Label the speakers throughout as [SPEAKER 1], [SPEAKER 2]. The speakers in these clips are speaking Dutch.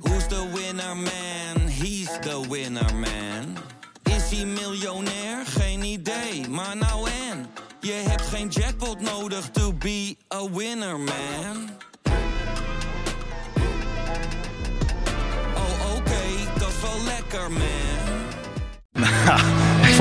[SPEAKER 1] Who's the winner man? He's the winner man. Is hij miljonair? Geen idee, maar nou en. Je hebt geen jackpot nodig to be a winner man. Oh oké, dat is wel lekker man.
[SPEAKER 2] Ik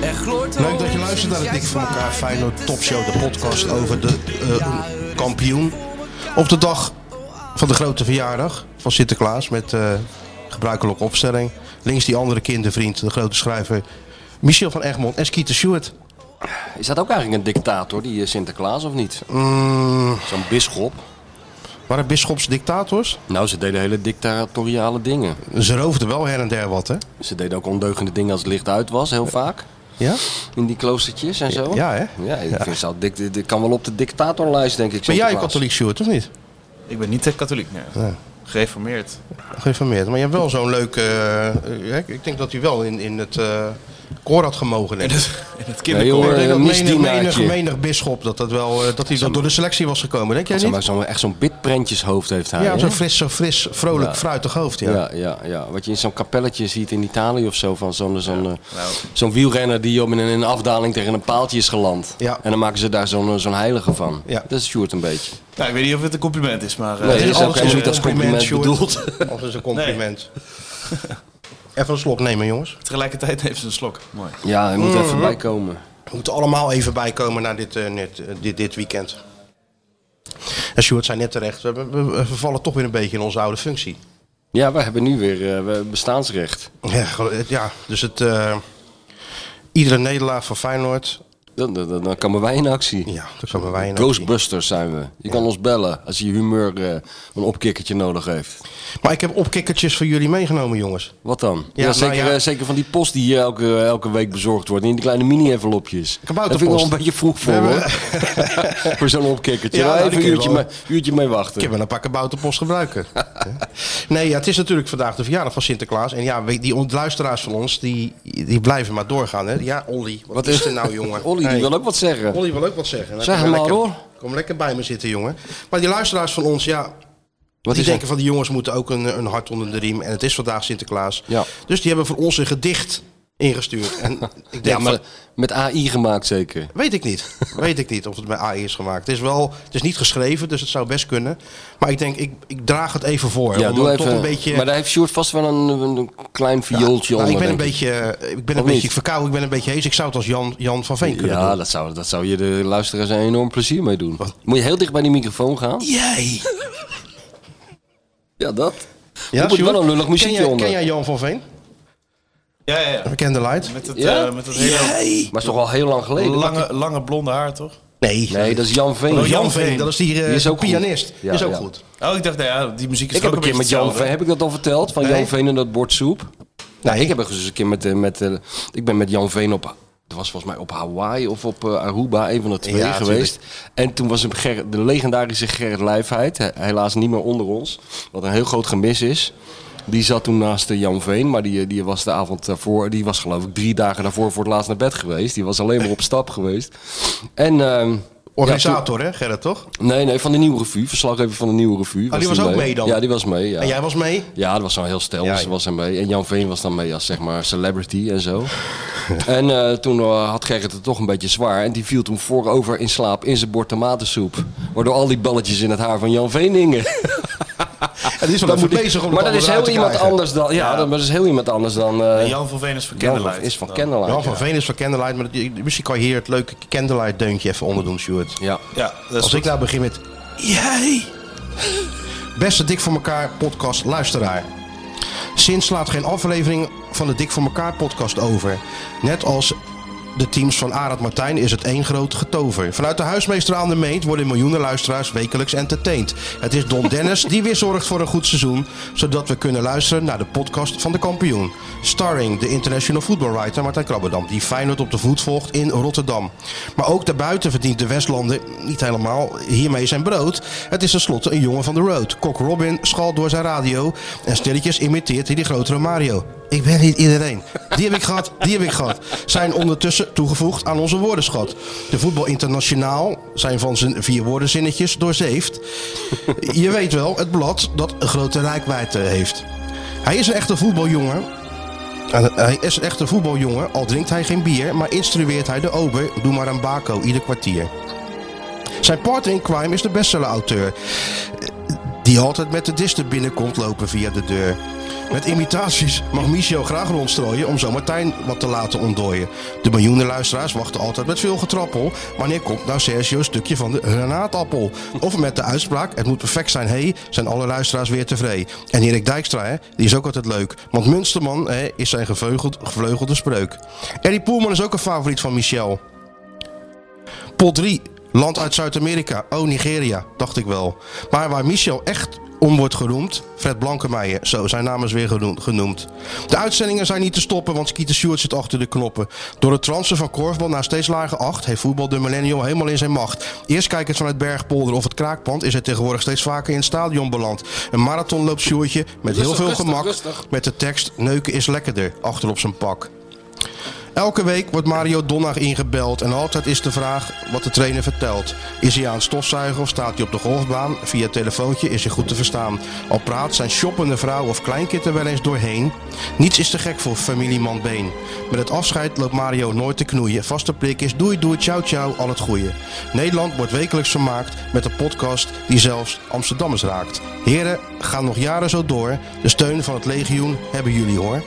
[SPEAKER 3] er gloort
[SPEAKER 4] Leuk dat je luistert naar het Dik van elkaar Feyenoord Topshow, de podcast over de eh, kampioen. Op de dag van de grote verjaardag van Sinterklaas met eh, gebruikelijke opstelling. Links die andere kindervriend, de grote schrijver Michel van Egmond en Skeeter Stewart.
[SPEAKER 5] Is dat ook eigenlijk een dictator, die eh, Sinterklaas of niet? Zo'n bisschop.
[SPEAKER 4] Waren bisschops dictators?
[SPEAKER 5] Nou, ze deden hele dictatoriale dingen.
[SPEAKER 4] Ze roofden wel her en der wat, hè?
[SPEAKER 5] Ze deden ook ondeugende dingen als het licht uit was, heel vaak.
[SPEAKER 4] Ja?
[SPEAKER 5] In die kloostertjes en zo.
[SPEAKER 4] Ja, hè?
[SPEAKER 5] Ja, ik vind ze al dik, dit- dit kan wel op de dictatorlijst, denk ik.
[SPEAKER 4] Ben jij
[SPEAKER 5] Sinterklaas.
[SPEAKER 4] katholiek, Stewart, of niet?
[SPEAKER 6] Ik ben niet eh, katholiek, nee. Gereformeerd.
[SPEAKER 4] Geïnformeerd. Maar je hebt wel zo'n leuke... eh, eh, ik denk dat hij wel in, in het eh, koor had gemogen, denk ik.
[SPEAKER 6] In het
[SPEAKER 5] Nee,
[SPEAKER 6] kinderkoor.
[SPEAKER 5] hoor, eh,
[SPEAKER 4] Ik denk dat
[SPEAKER 5] een
[SPEAKER 4] menig, menig,
[SPEAKER 5] misdienaartje.
[SPEAKER 4] menig bisschop dat, dat, wel, eh, dat hij dat door de selectie was gekomen, denk jij
[SPEAKER 5] Zeg maar,
[SPEAKER 4] niet?
[SPEAKER 5] zo'n, echt zo'n bitprentjeshoofd heeft hij.
[SPEAKER 4] Ja,
[SPEAKER 5] hè?
[SPEAKER 4] zo'n fris, zo fris, vrolijk,
[SPEAKER 5] Ja.
[SPEAKER 4] fruitig hoofd. Ja.
[SPEAKER 5] Ja, ja, ja, wat je in zo'n kapelletje ziet in Italië of zo. Van zo'n, zo'n, eh,
[SPEAKER 6] Nou.
[SPEAKER 5] zo'n wielrenner die op in een, in een afdaling tegen een paaltje is geland.
[SPEAKER 4] Ja.
[SPEAKER 5] En dan maken ze daar zo'n, eh, zo'n heilige van.
[SPEAKER 4] Ja.
[SPEAKER 5] Dat is Sjoerd een beetje.
[SPEAKER 6] Nou, ik weet niet of het een compliment is, maar... eh,
[SPEAKER 5] Nee,
[SPEAKER 4] Het
[SPEAKER 5] dat is ook
[SPEAKER 4] altijd
[SPEAKER 5] helemaal
[SPEAKER 4] een
[SPEAKER 5] niet als compliment
[SPEAKER 4] Sjoerd.
[SPEAKER 5] bedoeld.
[SPEAKER 4] Als is een compliment. Even een slok nemen, jongens.
[SPEAKER 6] Tegelijkertijd heeft ze een slok. Mooi.
[SPEAKER 5] Ja, hij moet even bijkomen.
[SPEAKER 4] We moeten allemaal even bijkomen naar dit, eh, net, eh, dit, dit weekend. En Sjoerd zei net terecht, we, we, we vervallen toch weer een beetje in onze oude functie.
[SPEAKER 5] Ja, we hebben nu weer eh, we- bestaansrecht.
[SPEAKER 4] Ja, gel- het- ja dus het... eh, Iedere nederlaag van Feyenoord,
[SPEAKER 5] Dan, dan, dan- dan komen wij in actie.
[SPEAKER 4] ja, dat komen wij in actie.
[SPEAKER 5] Ghostbusters zijn we. Je kan ons bellen als je humeur eh, een opkikkertje nodig heeft.
[SPEAKER 4] Maar ik heb opkikkertjes voor jullie meegenomen, jongens.
[SPEAKER 5] Wat dan?
[SPEAKER 4] Ja,
[SPEAKER 5] Ja,
[SPEAKER 4] nou
[SPEAKER 5] zeker,
[SPEAKER 4] ja.
[SPEAKER 5] eh, zeker van die post die hier elke, eh, elke week bezorgd wordt. In die kleine mini-envelopjes.
[SPEAKER 4] Kabouterpost.
[SPEAKER 5] Dat vind ik wel een beetje vroeg voor,
[SPEAKER 4] We hebben-
[SPEAKER 5] hoor. voor zo'n opkikkertje.
[SPEAKER 4] Ja,
[SPEAKER 5] Ja,
[SPEAKER 4] nou,
[SPEAKER 5] even
[SPEAKER 4] dat
[SPEAKER 5] een
[SPEAKER 4] kun je
[SPEAKER 5] uurtje,
[SPEAKER 4] wel.
[SPEAKER 5] mee, uurtje mee
[SPEAKER 4] Ik heb
[SPEAKER 5] wachten.
[SPEAKER 4] wel een paar kabouterpost gebruiken. nee, ja, het is natuurlijk vandaag de verjaardag van Sinterklaas. En ja, we- die ont- luisteraars van ons, die, die blijven maar doorgaan. Hè? Ja, Olly, wat, is er nou, jongen?
[SPEAKER 5] Olly, die
[SPEAKER 4] Hey.
[SPEAKER 5] wil ook wat zeggen.
[SPEAKER 4] Olly wil ook wat zeggen. Nou,
[SPEAKER 5] Zeg
[SPEAKER 4] kom
[SPEAKER 5] hem maar,
[SPEAKER 4] lekker,
[SPEAKER 5] hoor.
[SPEAKER 4] Kom lekker bij me zitten, jongen. Maar die luisteraars van ons, ja,
[SPEAKER 5] Wat
[SPEAKER 4] die
[SPEAKER 5] is er?
[SPEAKER 4] denken van die jongens moeten ook een, een hart onder de riem. En het is vandaag Sinterklaas.
[SPEAKER 5] Ja.
[SPEAKER 4] Dus die hebben voor ons een gedicht ingestuurd. En ik denk
[SPEAKER 5] Ja, maar
[SPEAKER 4] van,
[SPEAKER 5] met AI gemaakt zeker.
[SPEAKER 4] Weet ik niet. Weet ik niet of het bij AI is gemaakt. Het is wel, het is niet geschreven, dus het zou best kunnen. Maar ik denk, ik, ik draag het even voor.
[SPEAKER 5] Ja,
[SPEAKER 4] om
[SPEAKER 5] doe
[SPEAKER 4] dan
[SPEAKER 5] even.
[SPEAKER 4] toch een beetje.
[SPEAKER 5] Maar daar heeft Sjoerd vast wel een, een- een klein viooltje
[SPEAKER 4] Nou,
[SPEAKER 5] onder.
[SPEAKER 4] ik ben een
[SPEAKER 5] denk
[SPEAKER 4] beetje, eh, ik ben een
[SPEAKER 5] Of niet?
[SPEAKER 4] beetje verkouden, ik ben een beetje hees. Ik zou het als Jan, Jan van Veen kunnen
[SPEAKER 5] Ja,
[SPEAKER 4] doen.
[SPEAKER 5] dat zou, dat zou je de luisteraars een enorm plezier mee doen. Moet je heel dicht bij die microfoon gaan?
[SPEAKER 4] Jij!
[SPEAKER 5] Ja, dat.
[SPEAKER 4] Ja,
[SPEAKER 5] moet wel
[SPEAKER 4] Sjoerd?
[SPEAKER 5] een lullig muziekje
[SPEAKER 4] ken jij,
[SPEAKER 5] onder.
[SPEAKER 4] Ken jij Jan van Veen?
[SPEAKER 6] Ja, ja, ja.
[SPEAKER 4] Bekende light?
[SPEAKER 6] Met dat,
[SPEAKER 5] Ja?
[SPEAKER 6] eh, met dat hele
[SPEAKER 5] Maar is toch al heel lang geleden?
[SPEAKER 6] lange, lange blonde haar, toch?
[SPEAKER 4] Nee.
[SPEAKER 5] Nee, dat is Jan Veen.
[SPEAKER 4] Oh, Jan
[SPEAKER 6] Jan
[SPEAKER 4] Veen,
[SPEAKER 6] Veen.
[SPEAKER 4] dat is die, eh,
[SPEAKER 5] Die is ook
[SPEAKER 4] pianist.
[SPEAKER 5] goed.
[SPEAKER 4] Die
[SPEAKER 5] Ja,
[SPEAKER 4] is ook
[SPEAKER 5] ja.
[SPEAKER 4] goed.
[SPEAKER 6] Oh, ik dacht, nou ja, die muziek is
[SPEAKER 5] Ik heb
[SPEAKER 6] toch
[SPEAKER 5] een
[SPEAKER 6] ook
[SPEAKER 5] keer met Jan Veen,
[SPEAKER 6] hetzelfde.
[SPEAKER 5] heb ik dat al verteld? Van
[SPEAKER 4] Nee.
[SPEAKER 5] Jan Veen en dat bord soep?
[SPEAKER 4] Nee.
[SPEAKER 5] Ik heb er eens een keer met, eh, met eh, ik ben met Jan Veen op, dat was volgens mij op Hawaii of op eh, Aruba, een van de twee
[SPEAKER 4] Ja,
[SPEAKER 5] geweest. En toen was hem Gerrit- de legendarische Gerrit Lijfheid, he- helaas niet meer onder ons, wat een heel groot gemis is. Die zat toen naast eh, Jan Veen, maar die, eh, die was de avond daarvoor, die was geloof ik drie dagen daarvoor voor het laatst naar bed geweest. Die was alleen maar op stap geweest. En, ehm, ja, toen-
[SPEAKER 4] Organisator, hè, Gerrit, toch?
[SPEAKER 5] nee, nee, van de nieuwe revue, verslaggever van de nieuwe revue.
[SPEAKER 4] Oh, die was
[SPEAKER 5] hij
[SPEAKER 4] ook mee dan?
[SPEAKER 5] Ja, die was mee. Ja.
[SPEAKER 4] En jij was mee?
[SPEAKER 5] Ja, dat was zo'n heel stel.
[SPEAKER 4] Ja,
[SPEAKER 5] dus
[SPEAKER 4] ja.
[SPEAKER 5] was hij mee. En Jan Veen was dan mee als zeg maar celebrity en zo. en eh, toen eh, had Gerrit het toch een beetje zwaar. En die viel toen voorover in slaap in zijn bord tomatensoep. Waardoor al die balletjes in het haar van Jan Veen hingen.
[SPEAKER 4] Het is wel
[SPEAKER 5] Dan
[SPEAKER 4] even
[SPEAKER 5] moet ik-
[SPEAKER 4] bezig om
[SPEAKER 5] maar
[SPEAKER 4] het
[SPEAKER 5] dat is
[SPEAKER 4] allemaal eruit
[SPEAKER 5] heel
[SPEAKER 4] te
[SPEAKER 5] iemand
[SPEAKER 4] krijgen.
[SPEAKER 5] anders dan. Ja,
[SPEAKER 6] Ja.
[SPEAKER 5] Dat, maar dat is heel iemand anders dan. eh,
[SPEAKER 6] Jan van Veen is van
[SPEAKER 5] Jan
[SPEAKER 6] Candlelight.
[SPEAKER 5] is van
[SPEAKER 6] Dan-
[SPEAKER 5] Candlelight.
[SPEAKER 4] Jan van
[SPEAKER 5] ja.
[SPEAKER 4] Veen is van Candlelight, maar dat- misschien kan je hier het leuke Candlelight deuntje even onderdoen, Stuart.
[SPEAKER 5] Ja.
[SPEAKER 6] Ja, dat is
[SPEAKER 4] Als ik nou begin met
[SPEAKER 6] Jij!
[SPEAKER 4] Beste Dik voor elkaar podcast luisteraar. Sinds slaat geen aflevering van de Dik voor elkaar podcast over. Net als de teams van Arad Martijn is het één groot getover. Vanuit de huismeester aan de meent worden miljoenen luisteraars wekelijks entertained. Het is Don Dennis die weer zorgt voor een goed seizoen, zodat we kunnen luisteren naar de podcast van de kampioen. Starring de international footballwriter Martijn Krabberdam, die Feyenoord op de voet volgt in Rotterdam. Maar ook daarbuiten verdient de Westlander niet helemaal hiermee zijn brood. Het is tenslotte een jongen van de road. Kok Robin schalt door zijn radio en stilletjes imiteert hij de grotere Mario. Ik ben niet iedereen. Die heb ik gehad, die heb ik gehad. Zijn ondertussen toegevoegd aan onze woordenschat. De voetbal internationaal zijn van zijn vier woordenzinnetjes doorzeefd. Je weet wel, het blad dat een grote rijkwijde heeft. Hij is een echte voetbaljongen. Uh, Hij is een echte voetbaljongen, al drinkt hij geen bier, maar instrueert hij de ober. Doe maar een bako ieder kwartier. Zijn partner in crime is de bestseller-auteur. Die altijd met de disten binnenkomt lopen via de deur. Met imitaties mag Michel graag rondstrooien om zo Martijn wat te laten ontdooien. De miljoenen luisteraars wachten altijd met veel getrappel. Wanneer komt nou Sergio stukje van de granaatappel? Of met de uitspraak, het moet perfect zijn, hé, hey, zijn alle luisteraars weer tevreden. En Erik Dijkstra, hè, die is ook altijd leuk. Want Munsterman hè, is zijn gevleugeld, gevleugelde spreuk. Eddie Poelman is ook een favoriet van Michel. Pot 3, land uit Zuid-Amerika. Oh, Nigeria, dacht ik wel. Maar waar Michel echt om wordt geroemd, Fred Blankemeijer. Zo, zijn naam is weer genoemd- genoemd. De uitzendingen zijn niet te stoppen, want Skeeter Stewart zit achter de knoppen. Door het transfer van korfbal naar steeds lager 8... heeft voetbal de millennial helemaal in zijn macht. Eerst kijkend vanuit Bergpolder of het kraakpand... is hij tegenwoordig steeds vaker in het stadion beland. Een marathon loopt Sjoerdje met heel
[SPEAKER 5] Rustig,
[SPEAKER 4] veel
[SPEAKER 5] rustig,
[SPEAKER 4] gemak...
[SPEAKER 5] rustig.
[SPEAKER 4] met de tekst neuken is lekkerder achter op zijn pak. Elke week wordt Mario Donner ingebeld en altijd is de vraag wat de trainer vertelt. Is hij aan het stofzuigen of staat hij op de golfbaan? Via het telefoontje is hij goed te verstaan. Al praat zijn shoppende vrouw of kleinkind er wel eens doorheen. Niets is te gek voor familieman Been. Met het afscheid loopt Mario nooit te knoeien. Vaste prik is doei doei ciao ciao al het goeie. Nederland wordt wekelijks vermaakt met een podcast die zelfs Amsterdammers raakt. Heren, gaan nog jaren zo door. De steun van het legioen hebben jullie hoor.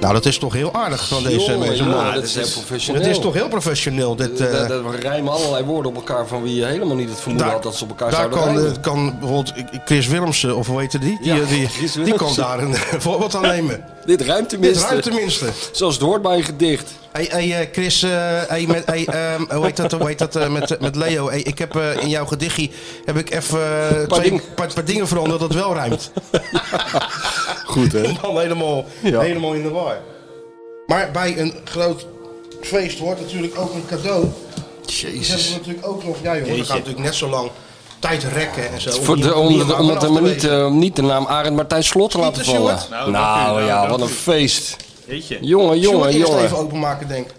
[SPEAKER 4] Nou, dat is toch heel aardig van deze,
[SPEAKER 5] Jongen,
[SPEAKER 4] deze
[SPEAKER 5] jongen,
[SPEAKER 4] man.
[SPEAKER 5] dat is heel professioneel.
[SPEAKER 4] Het is toch heel professioneel. Dit, eh,
[SPEAKER 5] Er er rijmen allerlei woorden op elkaar van wie je helemaal niet het vermoeden had dat ze op elkaar
[SPEAKER 4] daar
[SPEAKER 5] zouden
[SPEAKER 4] kan,
[SPEAKER 5] rijmen.
[SPEAKER 4] eh, kan bijvoorbeeld Chris Willemsen, of hoe heet die? Die,
[SPEAKER 5] Ja,
[SPEAKER 4] eh, die,
[SPEAKER 5] Chris
[SPEAKER 4] die kan
[SPEAKER 5] Willemsen.
[SPEAKER 4] daar een voorbeeld aan nemen.
[SPEAKER 5] Dit ruimt tenminste.
[SPEAKER 4] Dit ruimt tenminste.
[SPEAKER 5] Zoals het hoort bij een gedicht.
[SPEAKER 4] Hey, hey, eh, Chris, eh, hey, met, hey, ehm, hoe heet dat, hoe heet dat eh, met, met Leo? Hey, ik heb eh, in jouw gedichtje heb ik even eh, twee- paar,
[SPEAKER 5] dingen.
[SPEAKER 4] paar, dingen veranderd dat het wel ruimt.
[SPEAKER 5] Goed hè?
[SPEAKER 4] Dan helemaal,
[SPEAKER 5] Ja.
[SPEAKER 4] helemaal in de war. Maar bij een groot feest hoort natuurlijk ook een cadeau. Dus hebben we
[SPEAKER 5] Jezus.
[SPEAKER 4] natuurlijk ook nog, ja joh, we gaan natuurlijk net zo lang tijd rekken en zo.
[SPEAKER 5] Voor de, om,
[SPEAKER 4] om-
[SPEAKER 5] om, om het
[SPEAKER 4] af te
[SPEAKER 5] maar niet,
[SPEAKER 4] weten.
[SPEAKER 5] eh, niet de naam Arend Martijn Slot te laten
[SPEAKER 4] Sjoerd?
[SPEAKER 5] vallen.
[SPEAKER 6] Nou,
[SPEAKER 5] Nou,
[SPEAKER 6] dank u, nou,
[SPEAKER 5] ja,
[SPEAKER 6] dank
[SPEAKER 5] wat een
[SPEAKER 6] u.
[SPEAKER 5] feest.
[SPEAKER 6] Jeetje.
[SPEAKER 5] Jongen,
[SPEAKER 4] Zullen we
[SPEAKER 5] jongen,
[SPEAKER 4] eerst
[SPEAKER 5] jongen.
[SPEAKER 4] even openmaken, denk ik.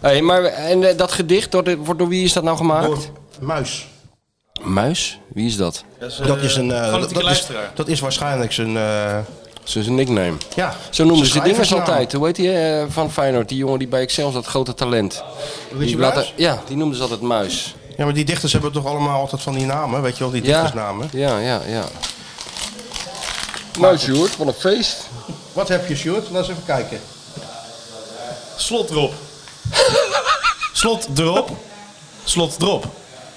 [SPEAKER 5] Hey, maar en, eh, dat gedicht, door, de- door wie is dat nou
[SPEAKER 4] Door
[SPEAKER 5] gemaakt?
[SPEAKER 4] Muis.
[SPEAKER 5] Muis? Wie is dat?
[SPEAKER 6] Dat is,
[SPEAKER 4] Dat is een... eh, dat,
[SPEAKER 6] Politieke
[SPEAKER 4] dat is,
[SPEAKER 6] luisteraar.
[SPEAKER 4] dat is waarschijnlijk zijn... eh,
[SPEAKER 5] Dat is een nickname.
[SPEAKER 4] ja.
[SPEAKER 5] Zo noemen ze
[SPEAKER 4] zijn
[SPEAKER 5] dingers
[SPEAKER 4] schrijversnaam.
[SPEAKER 5] altijd. Hoe heet die eh, van Feyenoord? Die jongen die bij Excel dat grote talent. Die
[SPEAKER 4] Muis?
[SPEAKER 5] laat- Ja, die noemden ze altijd Muis.
[SPEAKER 4] Ja, maar die dichters hebben toch allemaal altijd van die namen, weet je wel, die
[SPEAKER 5] Ja,
[SPEAKER 4] dichtersnamen.
[SPEAKER 5] ja, ja, ja. Muis, Sjoerd, wat een feest.
[SPEAKER 4] Wat heb je, Sjoerd? Laat eens even kijken.
[SPEAKER 6] Slot erop. Slot erop. Slot erop.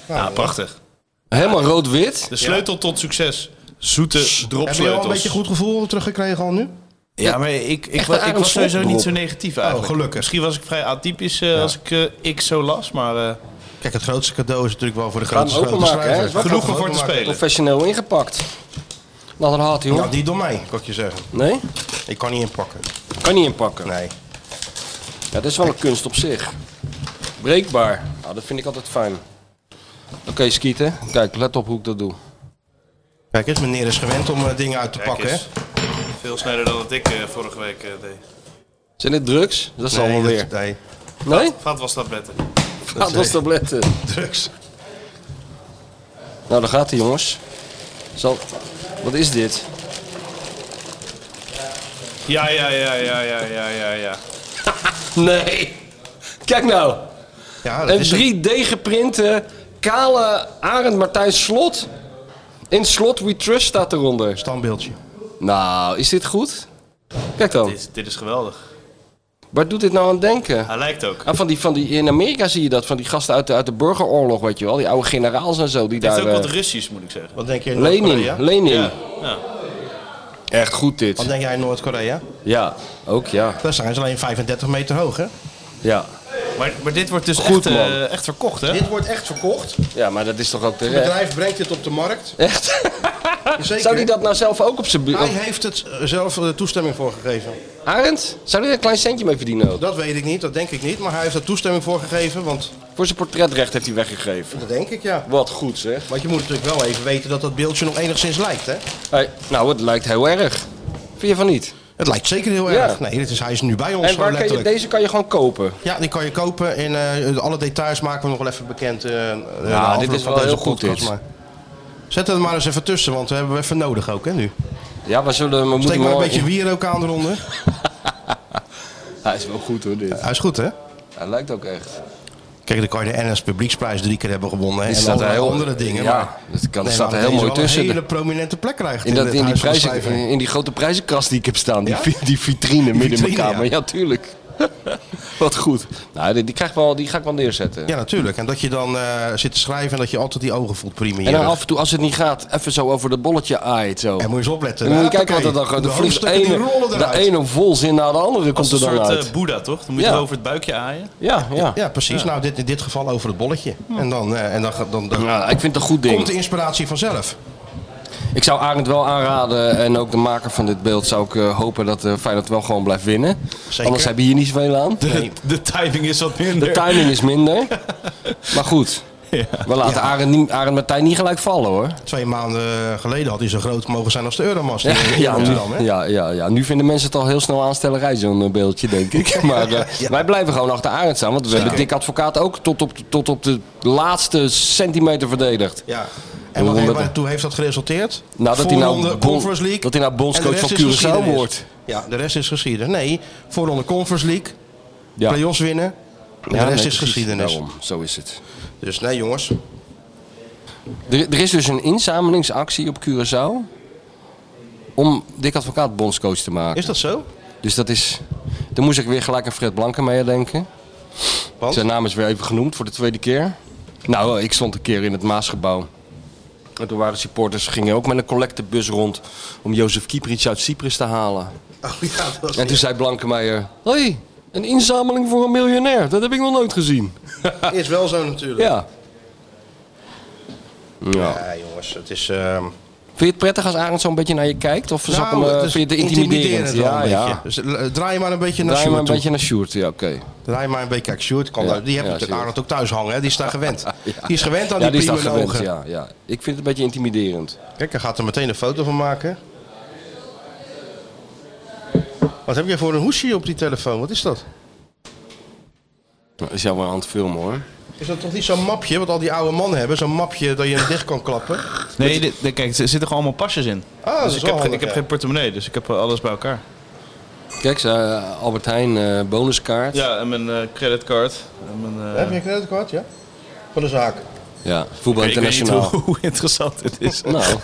[SPEAKER 6] Ja, prachtig.
[SPEAKER 5] Helemaal rood-wit.
[SPEAKER 6] De sleutel tot succes. Zoete
[SPEAKER 4] Heb je al een
[SPEAKER 6] dropsleutels.
[SPEAKER 4] beetje goed gevoel teruggekregen al nu?
[SPEAKER 6] Ja, maar ik, ik,
[SPEAKER 5] Echt
[SPEAKER 6] wa-
[SPEAKER 5] een
[SPEAKER 6] ik was
[SPEAKER 5] aardig
[SPEAKER 6] sowieso
[SPEAKER 5] slotdrop.
[SPEAKER 6] niet zo negatief eigenlijk.
[SPEAKER 4] gelukkig.
[SPEAKER 6] Oh, Misschien was ik vrij atypisch eh, als ik eh, ik zo las, maar eh,
[SPEAKER 4] Kijk, het grootste cadeau is natuurlijk wel voor de
[SPEAKER 5] hem
[SPEAKER 4] grootste grote
[SPEAKER 5] openmaken, hè?
[SPEAKER 4] schrijver.
[SPEAKER 5] Wat
[SPEAKER 6] genoeg om voor
[SPEAKER 4] Openmaken.
[SPEAKER 6] te spelen.
[SPEAKER 5] Professioneel ingepakt. Laat een haat, joh.
[SPEAKER 4] Nou, die door mij, kan ik je zeggen.
[SPEAKER 5] Nee?
[SPEAKER 4] Ik kan niet inpakken.
[SPEAKER 5] Kan niet inpakken.
[SPEAKER 4] Nee.
[SPEAKER 5] Ja, dat is wel een kunst op zich. Breekbaar. Nou, dat vind ik altijd fijn. Oké, skieten. Kijk, let op hoe ik dat doe.
[SPEAKER 4] Kijk eens, meneer is gewend om eh, dingen uit te
[SPEAKER 6] Kijk
[SPEAKER 4] pakken, hè?
[SPEAKER 6] eens. veel sneller dan dat ik eh, vorige week eh, deed.
[SPEAKER 5] Zijn dit drugs? Dat is allemaal
[SPEAKER 4] dat-
[SPEAKER 5] weer.
[SPEAKER 4] nee.
[SPEAKER 5] Nee?
[SPEAKER 6] Vat was tabletten.
[SPEAKER 5] Dat was tabletten.
[SPEAKER 4] Drugs.
[SPEAKER 5] Nou, daar gaat hij, jongens. Zal... Wat is dit?
[SPEAKER 6] Ja, ja, ja, ja, ja, ja, ja, ja.
[SPEAKER 5] Nee! Kijk nou!
[SPEAKER 4] Ja, dat
[SPEAKER 5] Een
[SPEAKER 4] is het.
[SPEAKER 5] 3D geprinte kale Arend Martijn Slot. In slot we trust staat eronder.
[SPEAKER 4] Standbeeldje.
[SPEAKER 5] Nou, is dit goed? Kijk dan.
[SPEAKER 6] Dit is, dit is geweldig.
[SPEAKER 5] Waar doet dit nou aan denken?
[SPEAKER 6] Hij lijkt ook.
[SPEAKER 5] Ah, van die, van die, in Amerika zie je dat, van die gasten uit de, uit de burgeroorlog, weet je wel. Die oude generaals en zo. Die
[SPEAKER 6] Het
[SPEAKER 5] daar,
[SPEAKER 6] heeft ook wat
[SPEAKER 5] eh,
[SPEAKER 6] Russisch, moet ik zeggen.
[SPEAKER 4] Wat denk jij in Noord-Korea?
[SPEAKER 5] Lenin, Lenin.
[SPEAKER 6] Ja, ja.
[SPEAKER 5] Echt goed
[SPEAKER 4] Wat
[SPEAKER 5] dit.
[SPEAKER 4] denk jij in Noord-Korea?
[SPEAKER 5] Ja, ook ja.
[SPEAKER 4] Daar zijn ze alleen 35 meter hoog, hè?
[SPEAKER 5] Ja,
[SPEAKER 6] Maar, maar dit wordt dus
[SPEAKER 5] Goed,
[SPEAKER 6] echt, eh,
[SPEAKER 5] man.
[SPEAKER 6] echt verkocht, hè?
[SPEAKER 4] Dit wordt echt verkocht. Het
[SPEAKER 5] ja maar dat is toch ook terecht.
[SPEAKER 4] bedrijf brengt dit op de markt.
[SPEAKER 5] Echt?
[SPEAKER 4] Zeker.
[SPEAKER 5] Zou die dat nou zelf ook op zijn buurt?
[SPEAKER 4] Hij heeft het eh, zelf eh, toestemming voor gegeven.
[SPEAKER 5] Arend? Zou die er een klein centje mee verdienen ook?
[SPEAKER 4] Dat weet ik niet, dat denk ik niet. Maar hij heeft er toestemming voor gegeven, want
[SPEAKER 5] Voor zijn portretrecht heeft hij weggegeven.
[SPEAKER 4] dat denk ik ja.
[SPEAKER 5] Wat goed zeg.
[SPEAKER 4] Want je moet natuurlijk wel even weten dat dat beeldje nog enigszins lijkt, hè?
[SPEAKER 5] Hey, nou, het lijkt heel erg. Vind je van niet?
[SPEAKER 4] Het lijkt zeker heel
[SPEAKER 5] Ja.
[SPEAKER 4] erg. Nee, dit is, hij is nu bij ons,
[SPEAKER 5] En
[SPEAKER 4] gewoon
[SPEAKER 5] waar kan je,
[SPEAKER 4] letterlijk.
[SPEAKER 5] deze kan je gewoon kopen.
[SPEAKER 4] Ja, die kan je kopen en eh, alle details maken we nog wel even bekend. eh
[SPEAKER 5] Nou, dit
[SPEAKER 4] ja,
[SPEAKER 5] is wel heel goed, dit.
[SPEAKER 4] Zet het maar eens even tussen, want we hebben hem even nodig ook, hè, nu.
[SPEAKER 5] Ja, we zullen... We
[SPEAKER 4] Steek
[SPEAKER 5] moeten
[SPEAKER 4] maar een
[SPEAKER 5] morgen-
[SPEAKER 4] beetje wier ook aan eronder.
[SPEAKER 5] Hij is wel goed hoor, dit.
[SPEAKER 4] Hij is goed, hè?
[SPEAKER 5] Hij lijkt ook echt.
[SPEAKER 4] Kijk, dan kan je de NS Publieksprijs drie keer hebben gewonnen. hè,
[SPEAKER 5] Die
[SPEAKER 4] En
[SPEAKER 5] staat er
[SPEAKER 4] allerlei
[SPEAKER 5] heel-
[SPEAKER 4] andere dingen.
[SPEAKER 5] ja,
[SPEAKER 4] maar-
[SPEAKER 5] dat kan-
[SPEAKER 4] Nee,
[SPEAKER 5] staat
[SPEAKER 4] maar
[SPEAKER 5] er heel
[SPEAKER 4] deze
[SPEAKER 5] mooi
[SPEAKER 4] wel
[SPEAKER 5] tussen.
[SPEAKER 4] Een hele prominente plek krijgt.
[SPEAKER 5] In, dat,
[SPEAKER 4] het
[SPEAKER 5] in, die
[SPEAKER 4] Huis van
[SPEAKER 5] prijzen,
[SPEAKER 4] Schrijver.
[SPEAKER 5] in die grote prijzenkast die ik heb staan. Die,
[SPEAKER 4] Ja?
[SPEAKER 5] vi- die vitrine midden in mijn
[SPEAKER 4] vitrine,
[SPEAKER 5] kamer. Ja, tuurlijk. Wat goed. Nou, die, die, krijg ik wel, die ga ik wel neerzetten.
[SPEAKER 4] Ja, natuurlijk. En dat je dan eh, zit te schrijven en dat je altijd die ogen voelt
[SPEAKER 5] en
[SPEAKER 4] primeren.
[SPEAKER 5] dan af en toe, als het niet gaat, even zo over de bolletje aait. Zo.
[SPEAKER 4] En moet je eens opletten.
[SPEAKER 5] En moet je
[SPEAKER 4] Hoppakee.
[SPEAKER 5] kijken wat er dan gaat.
[SPEAKER 4] De
[SPEAKER 5] Er vliegt de
[SPEAKER 4] hoofdstukken die
[SPEAKER 5] ene,
[SPEAKER 4] rollen
[SPEAKER 5] de
[SPEAKER 4] eruit.
[SPEAKER 5] ene volzin naar de andere
[SPEAKER 6] Als
[SPEAKER 5] komt
[SPEAKER 6] een
[SPEAKER 5] er dan
[SPEAKER 6] soort
[SPEAKER 5] uit.
[SPEAKER 6] eh, Boeddha, toch? Dan moet je
[SPEAKER 5] Ja.
[SPEAKER 6] er over het buikje aaien.
[SPEAKER 5] eh, ja, ja.
[SPEAKER 4] Ja, precies. Nou, dit, in dit geval over het bolletje. En dan, eh, en dan, ga- dan, dan
[SPEAKER 5] Ja, ik vind het een goed
[SPEAKER 4] komt de
[SPEAKER 5] ding.
[SPEAKER 4] inspiratie vanzelf.
[SPEAKER 5] Ik zou Arend wel aanraden en ook de maker van dit beeld zou ik eh, hopen dat eh Feyenoord wel gewoon blijft winnen.
[SPEAKER 4] Zeker.
[SPEAKER 5] Anders hebben we hier niet zoveel aan.
[SPEAKER 6] De, de timing is wat minder.
[SPEAKER 5] De timing is minder. Maar goed, we laten Arend, niet, Arend Martijn niet gelijk vallen hoor.
[SPEAKER 4] Twee maanden geleden had hij zo groot mogen zijn als de Euromast
[SPEAKER 5] Ja,
[SPEAKER 4] in, in
[SPEAKER 5] ja,
[SPEAKER 4] Amsterdam.
[SPEAKER 5] nu,
[SPEAKER 4] Hè?
[SPEAKER 5] ja, ja, ja, nu vinden mensen het al heel snel aanstellerij, zo'n eh, beeldje, denk ik. Maar eh, wij blijven gewoon achter Arend staan. Want we hebben Dick Advocaat ook tot op, tot op de laatste centimeter verdedigd.
[SPEAKER 4] Ja. En
[SPEAKER 5] Hoe
[SPEAKER 4] wat
[SPEAKER 5] honderd-
[SPEAKER 4] heeft, toe heeft dat geresulteerd?
[SPEAKER 5] Nou, dat hij nou
[SPEAKER 4] Voorronde
[SPEAKER 5] bon-
[SPEAKER 4] Conference League.
[SPEAKER 5] dat hij nou bondscoach
[SPEAKER 4] En de rest
[SPEAKER 5] van
[SPEAKER 4] is
[SPEAKER 5] Curaçao
[SPEAKER 4] geschiedenis.
[SPEAKER 5] wordt.
[SPEAKER 4] Ja, de rest is geschiedenis. Nee, voorronde Conference League,
[SPEAKER 5] Ja.
[SPEAKER 4] play-offs winnen. En de
[SPEAKER 5] nee,
[SPEAKER 4] rest is
[SPEAKER 5] precies.
[SPEAKER 4] geschiedenis.
[SPEAKER 5] Daarom, zo is het.
[SPEAKER 4] Dus nee jongens,
[SPEAKER 5] Er, er is dus een inzamelingsactie op Curaçao om Dick Advocaat bondscoach te maken.
[SPEAKER 4] is dat zo?
[SPEAKER 5] Dus dat is... Daar moest ik weer gelijk aan Fred Blankenmeijer denken.
[SPEAKER 4] Want?
[SPEAKER 5] Zijn naam is weer even genoemd voor de tweede keer. Nou, ik stond een keer in het Maasgebouw. En toen waren supporters, gingen ook met een collectebus rond om Jozef Kieprits uit Cyprus te halen.
[SPEAKER 4] Oh, ja, dat was
[SPEAKER 5] En toen zei Blankenmeijer, hé, hey, een inzameling voor een miljonair, dat heb ik nog nooit gezien.
[SPEAKER 4] is wel zo natuurlijk.
[SPEAKER 5] Ja. Ja.
[SPEAKER 4] Ja, jongens, het is... ehm,
[SPEAKER 5] Vind je het prettig als Arend zo'n beetje naar je kijkt? Of zal ik hem, eh,
[SPEAKER 4] Nou, het is
[SPEAKER 5] vind je het intimiderend?
[SPEAKER 4] wel
[SPEAKER 5] ja,
[SPEAKER 4] een
[SPEAKER 5] ja.
[SPEAKER 4] beetje. Dus, eh, draai maar een beetje naar
[SPEAKER 5] Draai maar
[SPEAKER 4] Sjoerd
[SPEAKER 5] een
[SPEAKER 4] toe.
[SPEAKER 5] beetje naar Sjoerd, ja, oké.
[SPEAKER 4] Draai maar een beetje. Kijk, Sjoerd kan
[SPEAKER 5] Ja,
[SPEAKER 4] daar- die heeft
[SPEAKER 5] ja,
[SPEAKER 4] natuurlijk
[SPEAKER 5] Sjoerd.
[SPEAKER 4] Arnold ook thuis hangen. Hè? Die is daar gewend. Die is gewend aan die,
[SPEAKER 5] Ja, die is daar
[SPEAKER 4] prima
[SPEAKER 5] gewend,
[SPEAKER 4] ogen.
[SPEAKER 5] ja, ja. Ik vind het een beetje intimiderend.
[SPEAKER 4] Kijk, hij gaat er meteen een foto van maken. Wat heb jij voor een hoesje op die telefoon? Wat is dat?
[SPEAKER 5] Dat is jou wel aan het filmen, hoor.
[SPEAKER 4] Is dat toch niet zo'n mapje wat al die oude mannen hebben? Zo'n mapje dat je hem dicht kan klappen?
[SPEAKER 6] Nee, dit- dit- kijk, er zitten gewoon allemaal pasjes in.
[SPEAKER 4] Ah, dat
[SPEAKER 6] dus
[SPEAKER 4] is
[SPEAKER 6] ik
[SPEAKER 4] wel
[SPEAKER 6] heb, ge-
[SPEAKER 4] handig,
[SPEAKER 6] ik heb
[SPEAKER 4] ja.
[SPEAKER 6] geen portemonnee, dus ik heb eh, alles bij elkaar.
[SPEAKER 5] Kijk, eh, Albert Heijn eh, bonuskaart.
[SPEAKER 6] Ja, en mijn eh, creditcard. En mijn, eh,
[SPEAKER 4] Heb je een creditcard, ja? Van de zaak.
[SPEAKER 5] Ja, voetbal
[SPEAKER 6] ik weet niet
[SPEAKER 5] internationaal.
[SPEAKER 6] hoe, hoe interessant dit is.
[SPEAKER 5] Nou,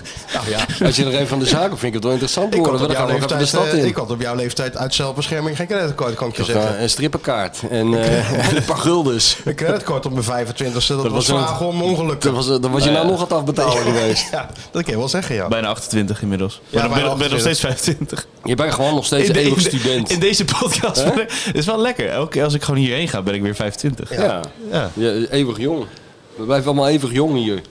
[SPEAKER 5] als je er even van de zaken vind ik het wel interessant worden.
[SPEAKER 4] op
[SPEAKER 5] Dan gaan
[SPEAKER 4] jouw
[SPEAKER 5] we nog even de
[SPEAKER 4] leeftijd,
[SPEAKER 5] stad
[SPEAKER 4] eh,
[SPEAKER 5] in.
[SPEAKER 4] ik had op jouw leeftijd uit zelfbescherming geen creditcard, kan ik je
[SPEAKER 5] Of,
[SPEAKER 4] zeggen.
[SPEAKER 5] eh, een strippenkaart en eh, een paar guldens.
[SPEAKER 4] Een creditcard op mijn 25e, dat, was
[SPEAKER 5] was een-
[SPEAKER 4] vragen om ongeluk.
[SPEAKER 5] Dan was, dan was je nou nog aan het afbetalen geweest.
[SPEAKER 4] Ja, dat kan je wel zeggen, ja.
[SPEAKER 6] Bijna 28 inmiddels.
[SPEAKER 4] Ja,
[SPEAKER 6] Ja,
[SPEAKER 4] bijna
[SPEAKER 6] ben, ben, nog
[SPEAKER 4] 28.
[SPEAKER 6] steeds 25.
[SPEAKER 5] Je bent gewoon nog steeds
[SPEAKER 6] de-
[SPEAKER 5] eeuwig
[SPEAKER 6] de-
[SPEAKER 5] student.
[SPEAKER 6] in deze podcast
[SPEAKER 5] Hè?
[SPEAKER 6] ben ik- is wel lekker. Elke keer als ik gewoon hierheen ga, ben ik weer Nou, 25.
[SPEAKER 5] Ja.
[SPEAKER 6] Ja.
[SPEAKER 5] Ja, eeuwig jong. We blijven allemaal eeuwig jong hier.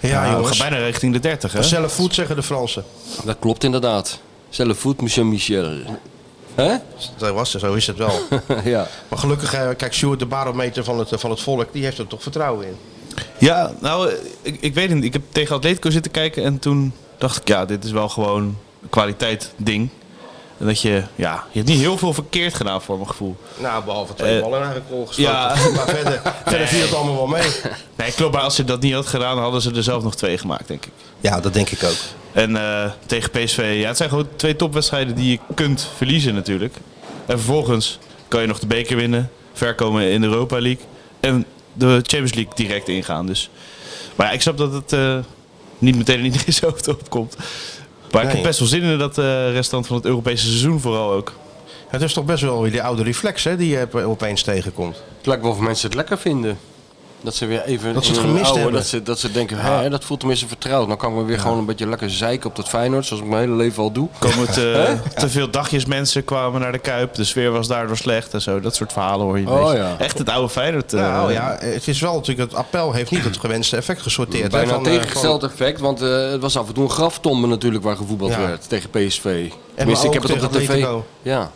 [SPEAKER 4] Ja,
[SPEAKER 6] Nou, we
[SPEAKER 4] jongens.
[SPEAKER 6] gaan bijna richting de 30, hè?
[SPEAKER 4] Zelf voet zeggen de Fransen.
[SPEAKER 5] Dat klopt inderdaad. Zelf voet, monsieur Michel. Hè?
[SPEAKER 4] Dat was het, zo is het wel.
[SPEAKER 5] ja.
[SPEAKER 4] maar gelukkig, eh, kijk, Sjoerd, de barometer van het, eh, van het volk, die heeft er toch vertrouwen in.
[SPEAKER 6] Ja, nou, eh, ik, ik weet het niet. Ik heb tegen Atletico zitten kijken en toen dacht ik, ja, dit is wel gewoon een kwaliteit ding. En dat je, ja, je hebt niet heel veel verkeerd gedaan voor mijn gevoel.
[SPEAKER 4] Nou, behalve twee
[SPEAKER 6] Eh,
[SPEAKER 4] ballen eigenlijk al geschoten.
[SPEAKER 6] ja.
[SPEAKER 4] Maar verder, verder viel het allemaal wel mee.
[SPEAKER 6] Nee, klopt, maar als ze dat niet had gedaan, hadden ze er zelf nog twee gemaakt, denk ik.
[SPEAKER 4] Ja, dat denk ik ook.
[SPEAKER 6] En eh, tegen PSV, ja, het zijn gewoon twee topwedstrijden die je kunt verliezen natuurlijk. En vervolgens kan je nog de beker winnen, ver komen in de Europa League en de Champions League direct ingaan. Dus. Maar ja, ik snap dat het eh, niet meteen in iedereen's hoofd opkomt. Maar ik
[SPEAKER 4] Nee.
[SPEAKER 6] heb best wel zin in dat eh, restant van het Europese seizoen vooral ook.
[SPEAKER 4] Het is toch best wel weer die oude reflex hè, die je op- opeens tegenkomt.
[SPEAKER 5] Het lijkt wel of mensen het lekker vinden. Dat ze weer even...
[SPEAKER 4] Dat ze het
[SPEAKER 5] in hun
[SPEAKER 4] gemist
[SPEAKER 5] oude-
[SPEAKER 4] hebben.
[SPEAKER 5] Dat ze, dat ze denken, hè, dat voelt tenminste vertrouwd. Dan kan ik me weer gewoon een beetje lekker zeiken op dat Feyenoord, zoals ik mijn hele leven al doe.
[SPEAKER 6] Komen het, eh, te veel dagjes mensen kwamen naar de Kuip. De sfeer was daardoor slecht en zo. Dat soort verhalen hoor je. een
[SPEAKER 5] Oh,
[SPEAKER 6] beetje.
[SPEAKER 5] ja.
[SPEAKER 6] Echt het oude Feyenoord. eh,
[SPEAKER 4] nou ja, het is wel natuurlijk, het appel heeft niet het gewenste effect gesorteerd. hè,
[SPEAKER 5] Bijna
[SPEAKER 4] van,
[SPEAKER 5] een
[SPEAKER 4] eh,
[SPEAKER 5] tegengesteld effect, want eh, het was af en toe een graftombe natuurlijk waar gevoetbald
[SPEAKER 4] Ja.
[SPEAKER 5] werd tegen PSV.
[SPEAKER 4] maar
[SPEAKER 5] Tenminste, ik
[SPEAKER 4] ook
[SPEAKER 5] heb het op de
[SPEAKER 4] tegen
[SPEAKER 5] tv.
[SPEAKER 4] Atletico.
[SPEAKER 5] Ja,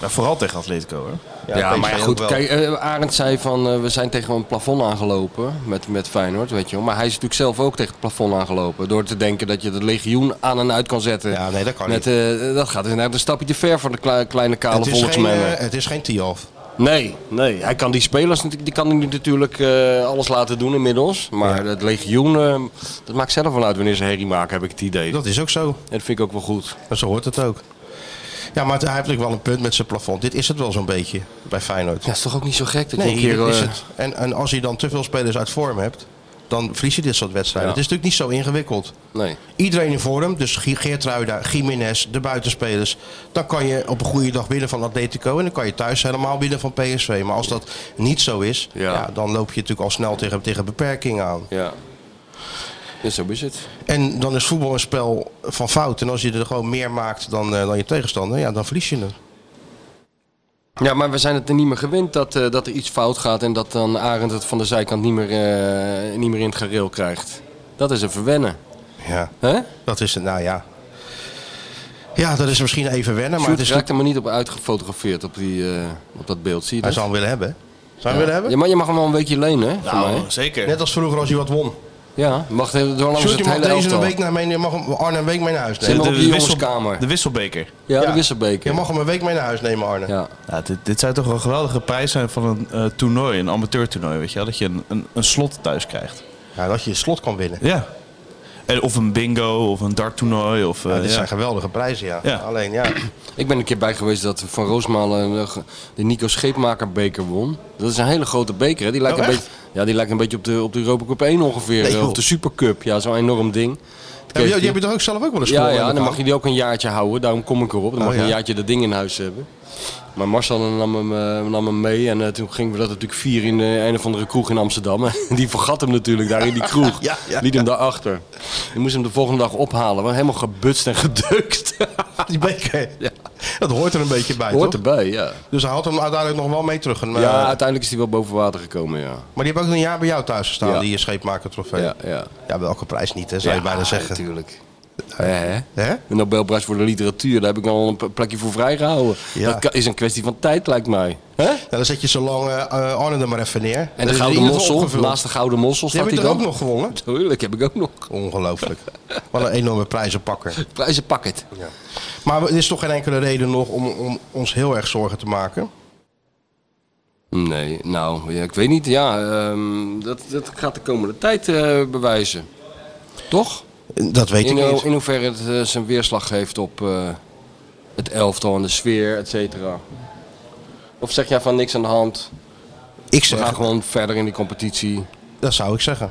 [SPEAKER 6] maar vooral tegen Atletico. Hoor.
[SPEAKER 4] van,
[SPEAKER 5] ja, maar ja,
[SPEAKER 4] PSV
[SPEAKER 5] goed.
[SPEAKER 4] ook wel.
[SPEAKER 5] Kijk, eh, Arend zei van eh, we zijn tegen een plafond aangelopen met, met Feyenoord, weet je wel. Maar hij is natuurlijk zelf ook tegen het plafond aangelopen. Door te denken dat je het legioen aan en uit kan zetten.
[SPEAKER 4] Ja, nee, dat kan
[SPEAKER 5] met, eh, dat gaat inderdaad een stapje te ver voor de kle- kleine kale
[SPEAKER 4] het, is geen,
[SPEAKER 5] volksmengen.
[SPEAKER 4] eh, het is geen Tialf.
[SPEAKER 5] Nee, nee, hij kan die spelers natu- die kan hij nu natuurlijk eh, alles laten doen inmiddels. Maar het legioen, eh, dat maakt zelf wel uit wanneer ze herrie maken, heb ik het idee.
[SPEAKER 4] Dat is ook zo.
[SPEAKER 5] En dat vind ik ook wel goed.
[SPEAKER 4] En zo hoort het ook. Ja, maar hij heeft natuurlijk wel een punt met zijn plafond. Dit is het wel zo'n beetje bij Feyenoord.
[SPEAKER 5] Ja, is toch ook niet zo gek dat je
[SPEAKER 4] Nee,
[SPEAKER 5] een keer...
[SPEAKER 4] dit is
[SPEAKER 5] eh,
[SPEAKER 4] het. En, en als je dan te veel spelers uit vorm hebt, dan verlies je dit soort wedstrijden.
[SPEAKER 5] Ja.
[SPEAKER 4] Het is natuurlijk niet zo ingewikkeld.
[SPEAKER 5] Nee.
[SPEAKER 4] Iedereen in vorm, dus G- Geertruida, Jiménez, de buitenspelers. Dan kan je op een goede dag winnen van Atletico en dan kan je thuis helemaal winnen van PSV. Maar als dat niet zo is, ja.
[SPEAKER 5] Ja.
[SPEAKER 4] dan loop je natuurlijk al snel tegen, tegen beperkingen aan.
[SPEAKER 5] Ja. ja, zo is het.
[SPEAKER 4] En dan is voetbal een spel van fout. En als je er gewoon meer maakt dan, eh, dan je tegenstander, ja, dan verlies je het.
[SPEAKER 5] Ja, maar we zijn het er niet meer gewend dat, eh, dat er iets fout gaat en dat dan Arend het van de zijkant niet meer, eh, niet meer in het gareel krijgt. Dat is een verwennen.
[SPEAKER 4] Ja,
[SPEAKER 5] Hè?
[SPEAKER 4] dat is het. Nou ja. Ja, dat is misschien even wennen, maar
[SPEAKER 5] Sjoerd
[SPEAKER 4] het is,
[SPEAKER 5] raakt er maar niet op uitgefotografeerd op, die, eh, op dat beeld, zie je
[SPEAKER 4] hij
[SPEAKER 5] dat?
[SPEAKER 4] zou hem willen hebben. hè? Zou hij hem willen hebben?
[SPEAKER 5] Ja, maar je mag hem wel een weekje lenen, hè?
[SPEAKER 4] Nou.
[SPEAKER 5] van mij.
[SPEAKER 6] zeker.
[SPEAKER 4] Net als vroeger als hij wat won.
[SPEAKER 5] Ja, eh, mag de, door langs
[SPEAKER 4] Sjoerd, je
[SPEAKER 5] het
[SPEAKER 4] mag
[SPEAKER 5] hele
[SPEAKER 4] deze een
[SPEAKER 5] elftal.
[SPEAKER 4] week naar mee, je mag hem Arne een week mee naar huis
[SPEAKER 5] Zit
[SPEAKER 4] nemen.
[SPEAKER 5] hem op die
[SPEAKER 6] wissel-
[SPEAKER 5] jongenskamer.
[SPEAKER 6] de wisselbeker.
[SPEAKER 5] Ja,
[SPEAKER 4] Ja.
[SPEAKER 5] de Wisselbeker.
[SPEAKER 4] Je mag hem een week mee naar huis nemen, Arne.
[SPEAKER 5] Ja.
[SPEAKER 6] Ja, dit, dit zou toch wel een geweldige prijs zijn van een eh, toernooi, een amateurtoernooi, weet je wel? Dat je een, een, een slot thuis krijgt.
[SPEAKER 4] Ja, dat je het slot kan winnen.
[SPEAKER 6] Ja. En, of een bingo, of een darttoernooi, of... eh,
[SPEAKER 4] Ja, dit
[SPEAKER 6] ja.
[SPEAKER 4] zijn geweldige prijzen, ja.
[SPEAKER 6] Ja.
[SPEAKER 4] Alleen, ja.
[SPEAKER 5] Ik ben een keer bij geweest dat Van Roosmalen eh, ge- de Nico Scheepmaker beker won. Dat is een hele grote beker. Hè? Die lijkt,
[SPEAKER 4] Oh,
[SPEAKER 5] een
[SPEAKER 4] echt?
[SPEAKER 5] beetje, ja, die lijkt een beetje op de, op de Europa Cup 1 ongeveer.
[SPEAKER 4] Nee,
[SPEAKER 5] eh,
[SPEAKER 4] joh.
[SPEAKER 5] of de Supercup. Ja, zo'n enorm ding.
[SPEAKER 4] Ja, maar je, je hebt je toch ook zelf ook wel eens
[SPEAKER 5] ja,
[SPEAKER 4] gewonnen
[SPEAKER 5] ja,
[SPEAKER 4] met
[SPEAKER 5] dan mag
[SPEAKER 4] elkaar?
[SPEAKER 5] je die ook een jaartje houden. Daarom kom ik erop. Dan mag je een
[SPEAKER 4] ja.
[SPEAKER 5] jaartje dat ding in huis hebben. Maar Marcel nam hem, eh, nam hem mee en eh, toen gingen we dat natuurlijk vier in eh, een of andere kroeg in Amsterdam. En die vergat hem natuurlijk daar in die kroeg.
[SPEAKER 4] Ja, ja,
[SPEAKER 5] Liet hem daarachter. Die moest hem de volgende dag ophalen. We helemaal gebutst en gedeukt.
[SPEAKER 4] Die beker. Dat hoort er een beetje bij,
[SPEAKER 5] Hoort
[SPEAKER 4] toch?
[SPEAKER 5] erbij, ja.
[SPEAKER 4] Dus hij had hem uiteindelijk nog wel mee terug. En, eh,
[SPEAKER 5] Ja, uiteindelijk is hij wel boven water gekomen, ja.
[SPEAKER 4] maar die hebben ook een jaar bij jou thuis gestaan,
[SPEAKER 5] Ja.
[SPEAKER 4] die scheepmaker trofee.
[SPEAKER 5] Ja,
[SPEAKER 4] Oh Ja.
[SPEAKER 5] ja.
[SPEAKER 4] welke prijs niet, hè, zou je bijna zeggen.
[SPEAKER 5] natuurlijk. Hè, hè?
[SPEAKER 4] Hè?
[SPEAKER 5] De Nobelprijs voor de literatuur, daar heb ik al een p- plekje voor vrijgehouden.
[SPEAKER 4] Ja.
[SPEAKER 5] Dat ka- is een kwestie van tijd, lijkt mij. Hè?
[SPEAKER 4] Nou, dan zet je zo lang eh, eh, Arne er maar even neer. Dan
[SPEAKER 5] En
[SPEAKER 4] is
[SPEAKER 5] de
[SPEAKER 4] er
[SPEAKER 5] Gouden
[SPEAKER 4] ieder geval
[SPEAKER 5] Mossel,
[SPEAKER 4] opgevuld.
[SPEAKER 5] naast de Gouden Mossel
[SPEAKER 4] Die
[SPEAKER 5] staat
[SPEAKER 4] heb
[SPEAKER 5] hij
[SPEAKER 4] je er ook
[SPEAKER 5] dan.
[SPEAKER 4] nog gewonnen?
[SPEAKER 5] Tuurlijk, heb ik ook nog.
[SPEAKER 4] Ongelooflijk. Wat een enorme prijzenpakker.
[SPEAKER 5] Prijzenpakket.
[SPEAKER 4] Maar er is toch geen enkele reden nog om, om ons heel erg zorgen te maken.
[SPEAKER 5] Nee, nou, ja, ik weet niet. Ja, ehm, dat, dat gaat de komende tijd eh, bewijzen. Toch?
[SPEAKER 4] Dat weet
[SPEAKER 5] In,
[SPEAKER 4] ik
[SPEAKER 5] ho-
[SPEAKER 4] niet.
[SPEAKER 5] in hoeverre het eh, zijn weerslag heeft op eh, het elftal en de sfeer, et cetera. Of zeg jij van niks aan de hand?
[SPEAKER 4] Ik
[SPEAKER 5] Ze gaan
[SPEAKER 4] zeg,
[SPEAKER 5] gewoon verder in die competitie.
[SPEAKER 4] dat zou ik zeggen.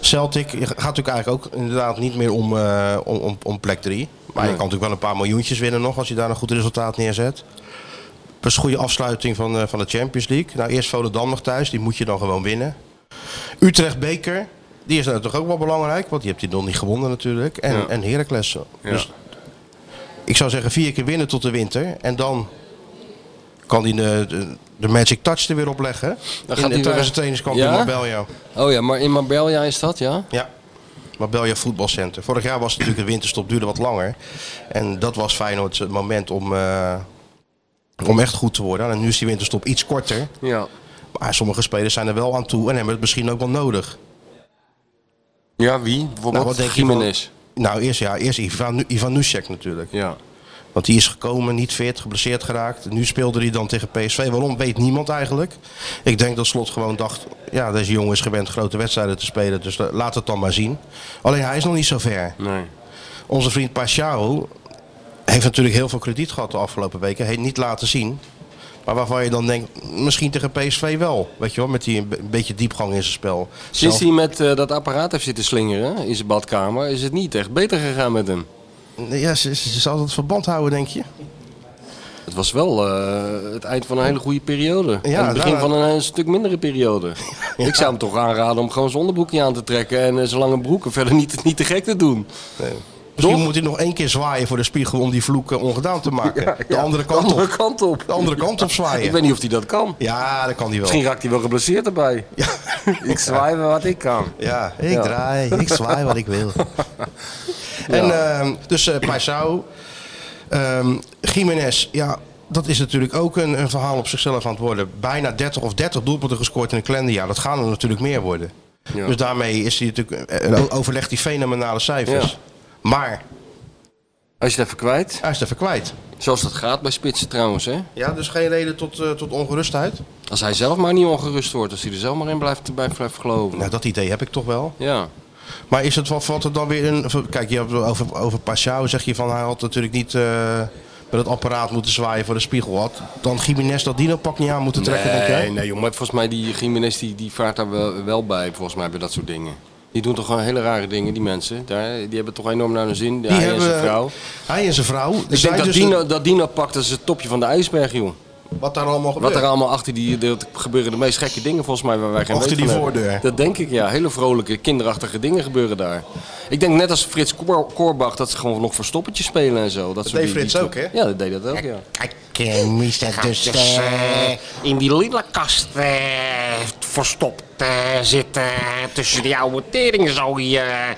[SPEAKER 4] Celtic gaat natuurlijk eigenlijk ook inderdaad niet meer om, eh, om, om, om plek 3. Maar je kan natuurlijk wel een paar miljoentjes winnen nog als je daar een goed resultaat neerzet. Dat is een goede afsluiting van, eh, van de Champions League. Nou, eerst Volendam nog thuis, die moet je dan gewoon winnen. Utrecht Beker, die is nou toch ook wel belangrijk, want die hebt die nog niet gewonnen natuurlijk. En,
[SPEAKER 5] Ja.
[SPEAKER 4] en Heracles. Dus ik zou zeggen vier keer winnen tot de winter. En dan kan hij de, de, de magic touch er weer op leggen.
[SPEAKER 5] Dan
[SPEAKER 4] in
[SPEAKER 5] gaat
[SPEAKER 4] de
[SPEAKER 5] hij weer-
[SPEAKER 4] thuistrainingskamp in
[SPEAKER 5] Ja?
[SPEAKER 4] Marbella.
[SPEAKER 5] Oh ja, maar in Marbella is dat, ja?
[SPEAKER 4] Ja. Marbella voetbalcenter. Vorig jaar was het natuurlijk de winterstop duurde wat langer. En dat was Feyenoord het moment om, eh, om echt goed te worden. En nu is die winterstop iets korter.
[SPEAKER 5] Ja.
[SPEAKER 4] Maar sommige spelers zijn er wel aan toe en hebben het misschien ook wel nodig.
[SPEAKER 5] Ja, wie? Bijvoorbeeld
[SPEAKER 4] Nou, wat denk je van-
[SPEAKER 5] Jiménez.
[SPEAKER 4] Nou, eerst, ja, eerst Ivan, Ivan Nusek natuurlijk.
[SPEAKER 5] Ja.
[SPEAKER 4] Want die is gekomen, niet fit, geblesseerd geraakt. Nu speelde hij dan tegen PSV. Waarom weet niemand eigenlijk. Ik denk dat Slot gewoon dacht, ja, deze jongen is gewend grote wedstrijden te spelen. Dus la- laat het dan maar zien. Alleen hij is nog niet zo ver.
[SPEAKER 5] Nee.
[SPEAKER 4] Onze vriend Pashao heeft natuurlijk heel veel krediet gehad de afgelopen weken. Heeft niet laten zien Maar waarvan je dan denkt, misschien tegen PSV wel. Weet je wel, met die een be- een beetje diepgang in zijn spel.
[SPEAKER 5] Sinds
[SPEAKER 4] Zelf-
[SPEAKER 5] hij met eh, dat apparaat heeft zitten slingeren in zijn badkamer, is het niet echt beter gegaan met hem.
[SPEAKER 4] Ja, ze, ze, ze zal dat verband houden, denk je?
[SPEAKER 5] Het was wel eh, het eind van een hele goede periode. en het begin
[SPEAKER 4] daar-
[SPEAKER 5] van een, eh, stuk mindere periode. Ik zou hem toch aanraden om gewoon zijn onderbroekje aan te trekken en eh, zijn lange broeken verder niet, niet te gek te doen.
[SPEAKER 4] Misschien
[SPEAKER 5] Toch?
[SPEAKER 4] moet hij nog één keer zwaaien voor de spiegel om die vloek eh, ongedaan te maken. de
[SPEAKER 5] Ja,
[SPEAKER 4] andere kant
[SPEAKER 5] de andere
[SPEAKER 4] op.
[SPEAKER 5] kant op.
[SPEAKER 4] De andere kant op
[SPEAKER 5] Ik weet
[SPEAKER 4] zwaaien.
[SPEAKER 5] niet of hij dat kan.
[SPEAKER 4] Ja, dat kan hij wel.
[SPEAKER 5] Misschien raakt hij wel geblesseerd erbij. ik zwaai wel wat ik kan.
[SPEAKER 4] Ja, ik
[SPEAKER 5] Ja.
[SPEAKER 4] draai, ik zwaai wat ik wil. En ehm, dus eh Paisao, ehm Jiménez, ja, dat is natuurlijk ook een, een verhaal op zichzelf aan het worden. Bijna 30 of 30 doelpunten gescoord in een kalenderjaar. Dat gaan er natuurlijk meer worden.
[SPEAKER 5] Ja.
[SPEAKER 4] Dus daarmee is hij natuurlijk, eh, eh, overlegt die fenomenale cijfers.
[SPEAKER 5] Ja.
[SPEAKER 4] Maar
[SPEAKER 5] Als je het even kwijt.
[SPEAKER 4] hij is het even kwijt.
[SPEAKER 5] Zoals dat gaat bij spitsen trouwens. Hè?
[SPEAKER 4] Ja, dus geen reden tot, eh, tot ongerustheid.
[SPEAKER 5] Als hij zelf maar niet ongerust wordt. Als hij er zelf maar in blijft, bij blijft geloven.
[SPEAKER 4] Nou, dat idee heb ik toch wel.
[SPEAKER 5] Ja.
[SPEAKER 4] Maar is het wat valt er dan weer een. Kijk, je hebt over, over Pashao zeg je van hij had natuurlijk niet eh met het apparaat moeten zwaaien voor de spiegel. Had dan Jiménez dat dino pak niet aan moeten trekken, denk jij?
[SPEAKER 5] Nee, nee joh, maar volgens mij die Jiménez die, die vaart daar wel, wel bij, volgens mij bij dat soort dingen. Die doen toch gewoon hele rare dingen, die mensen. Daar, die hebben toch enorm naar hun zin, die hij en zijn vrouw.
[SPEAKER 4] Hij en zijn vrouw.
[SPEAKER 5] Ik
[SPEAKER 4] Zij
[SPEAKER 5] denk dat
[SPEAKER 4] dus
[SPEAKER 5] Dino, dat Dino pakt, dat is het topje van de ijsberg, joh.
[SPEAKER 4] Wat daar allemaal gebeurt.
[SPEAKER 5] Wat er allemaal achter die, dat gebeuren de meest gekke dingen volgens mij waar wij geen
[SPEAKER 4] Achter
[SPEAKER 5] weet
[SPEAKER 4] die
[SPEAKER 5] van hebben.
[SPEAKER 4] voordeur.
[SPEAKER 5] Dat denk ik, ja. Hele vrolijke, kinderachtige dingen gebeuren daar. Ik denk net als Frits Kor- Korbach dat ze gewoon nog verstoppertjes spelen en zo. Dat, soort
[SPEAKER 4] deed
[SPEAKER 5] die-
[SPEAKER 4] Frits
[SPEAKER 5] die-
[SPEAKER 4] ook, hè?
[SPEAKER 5] Ja, dat deed dat ook, ja. eh,
[SPEAKER 4] Kijk, Mr. Dus.
[SPEAKER 7] eh, in die lillenkast verstopt eh, zitten tussen die oude teringen zo hier, eh.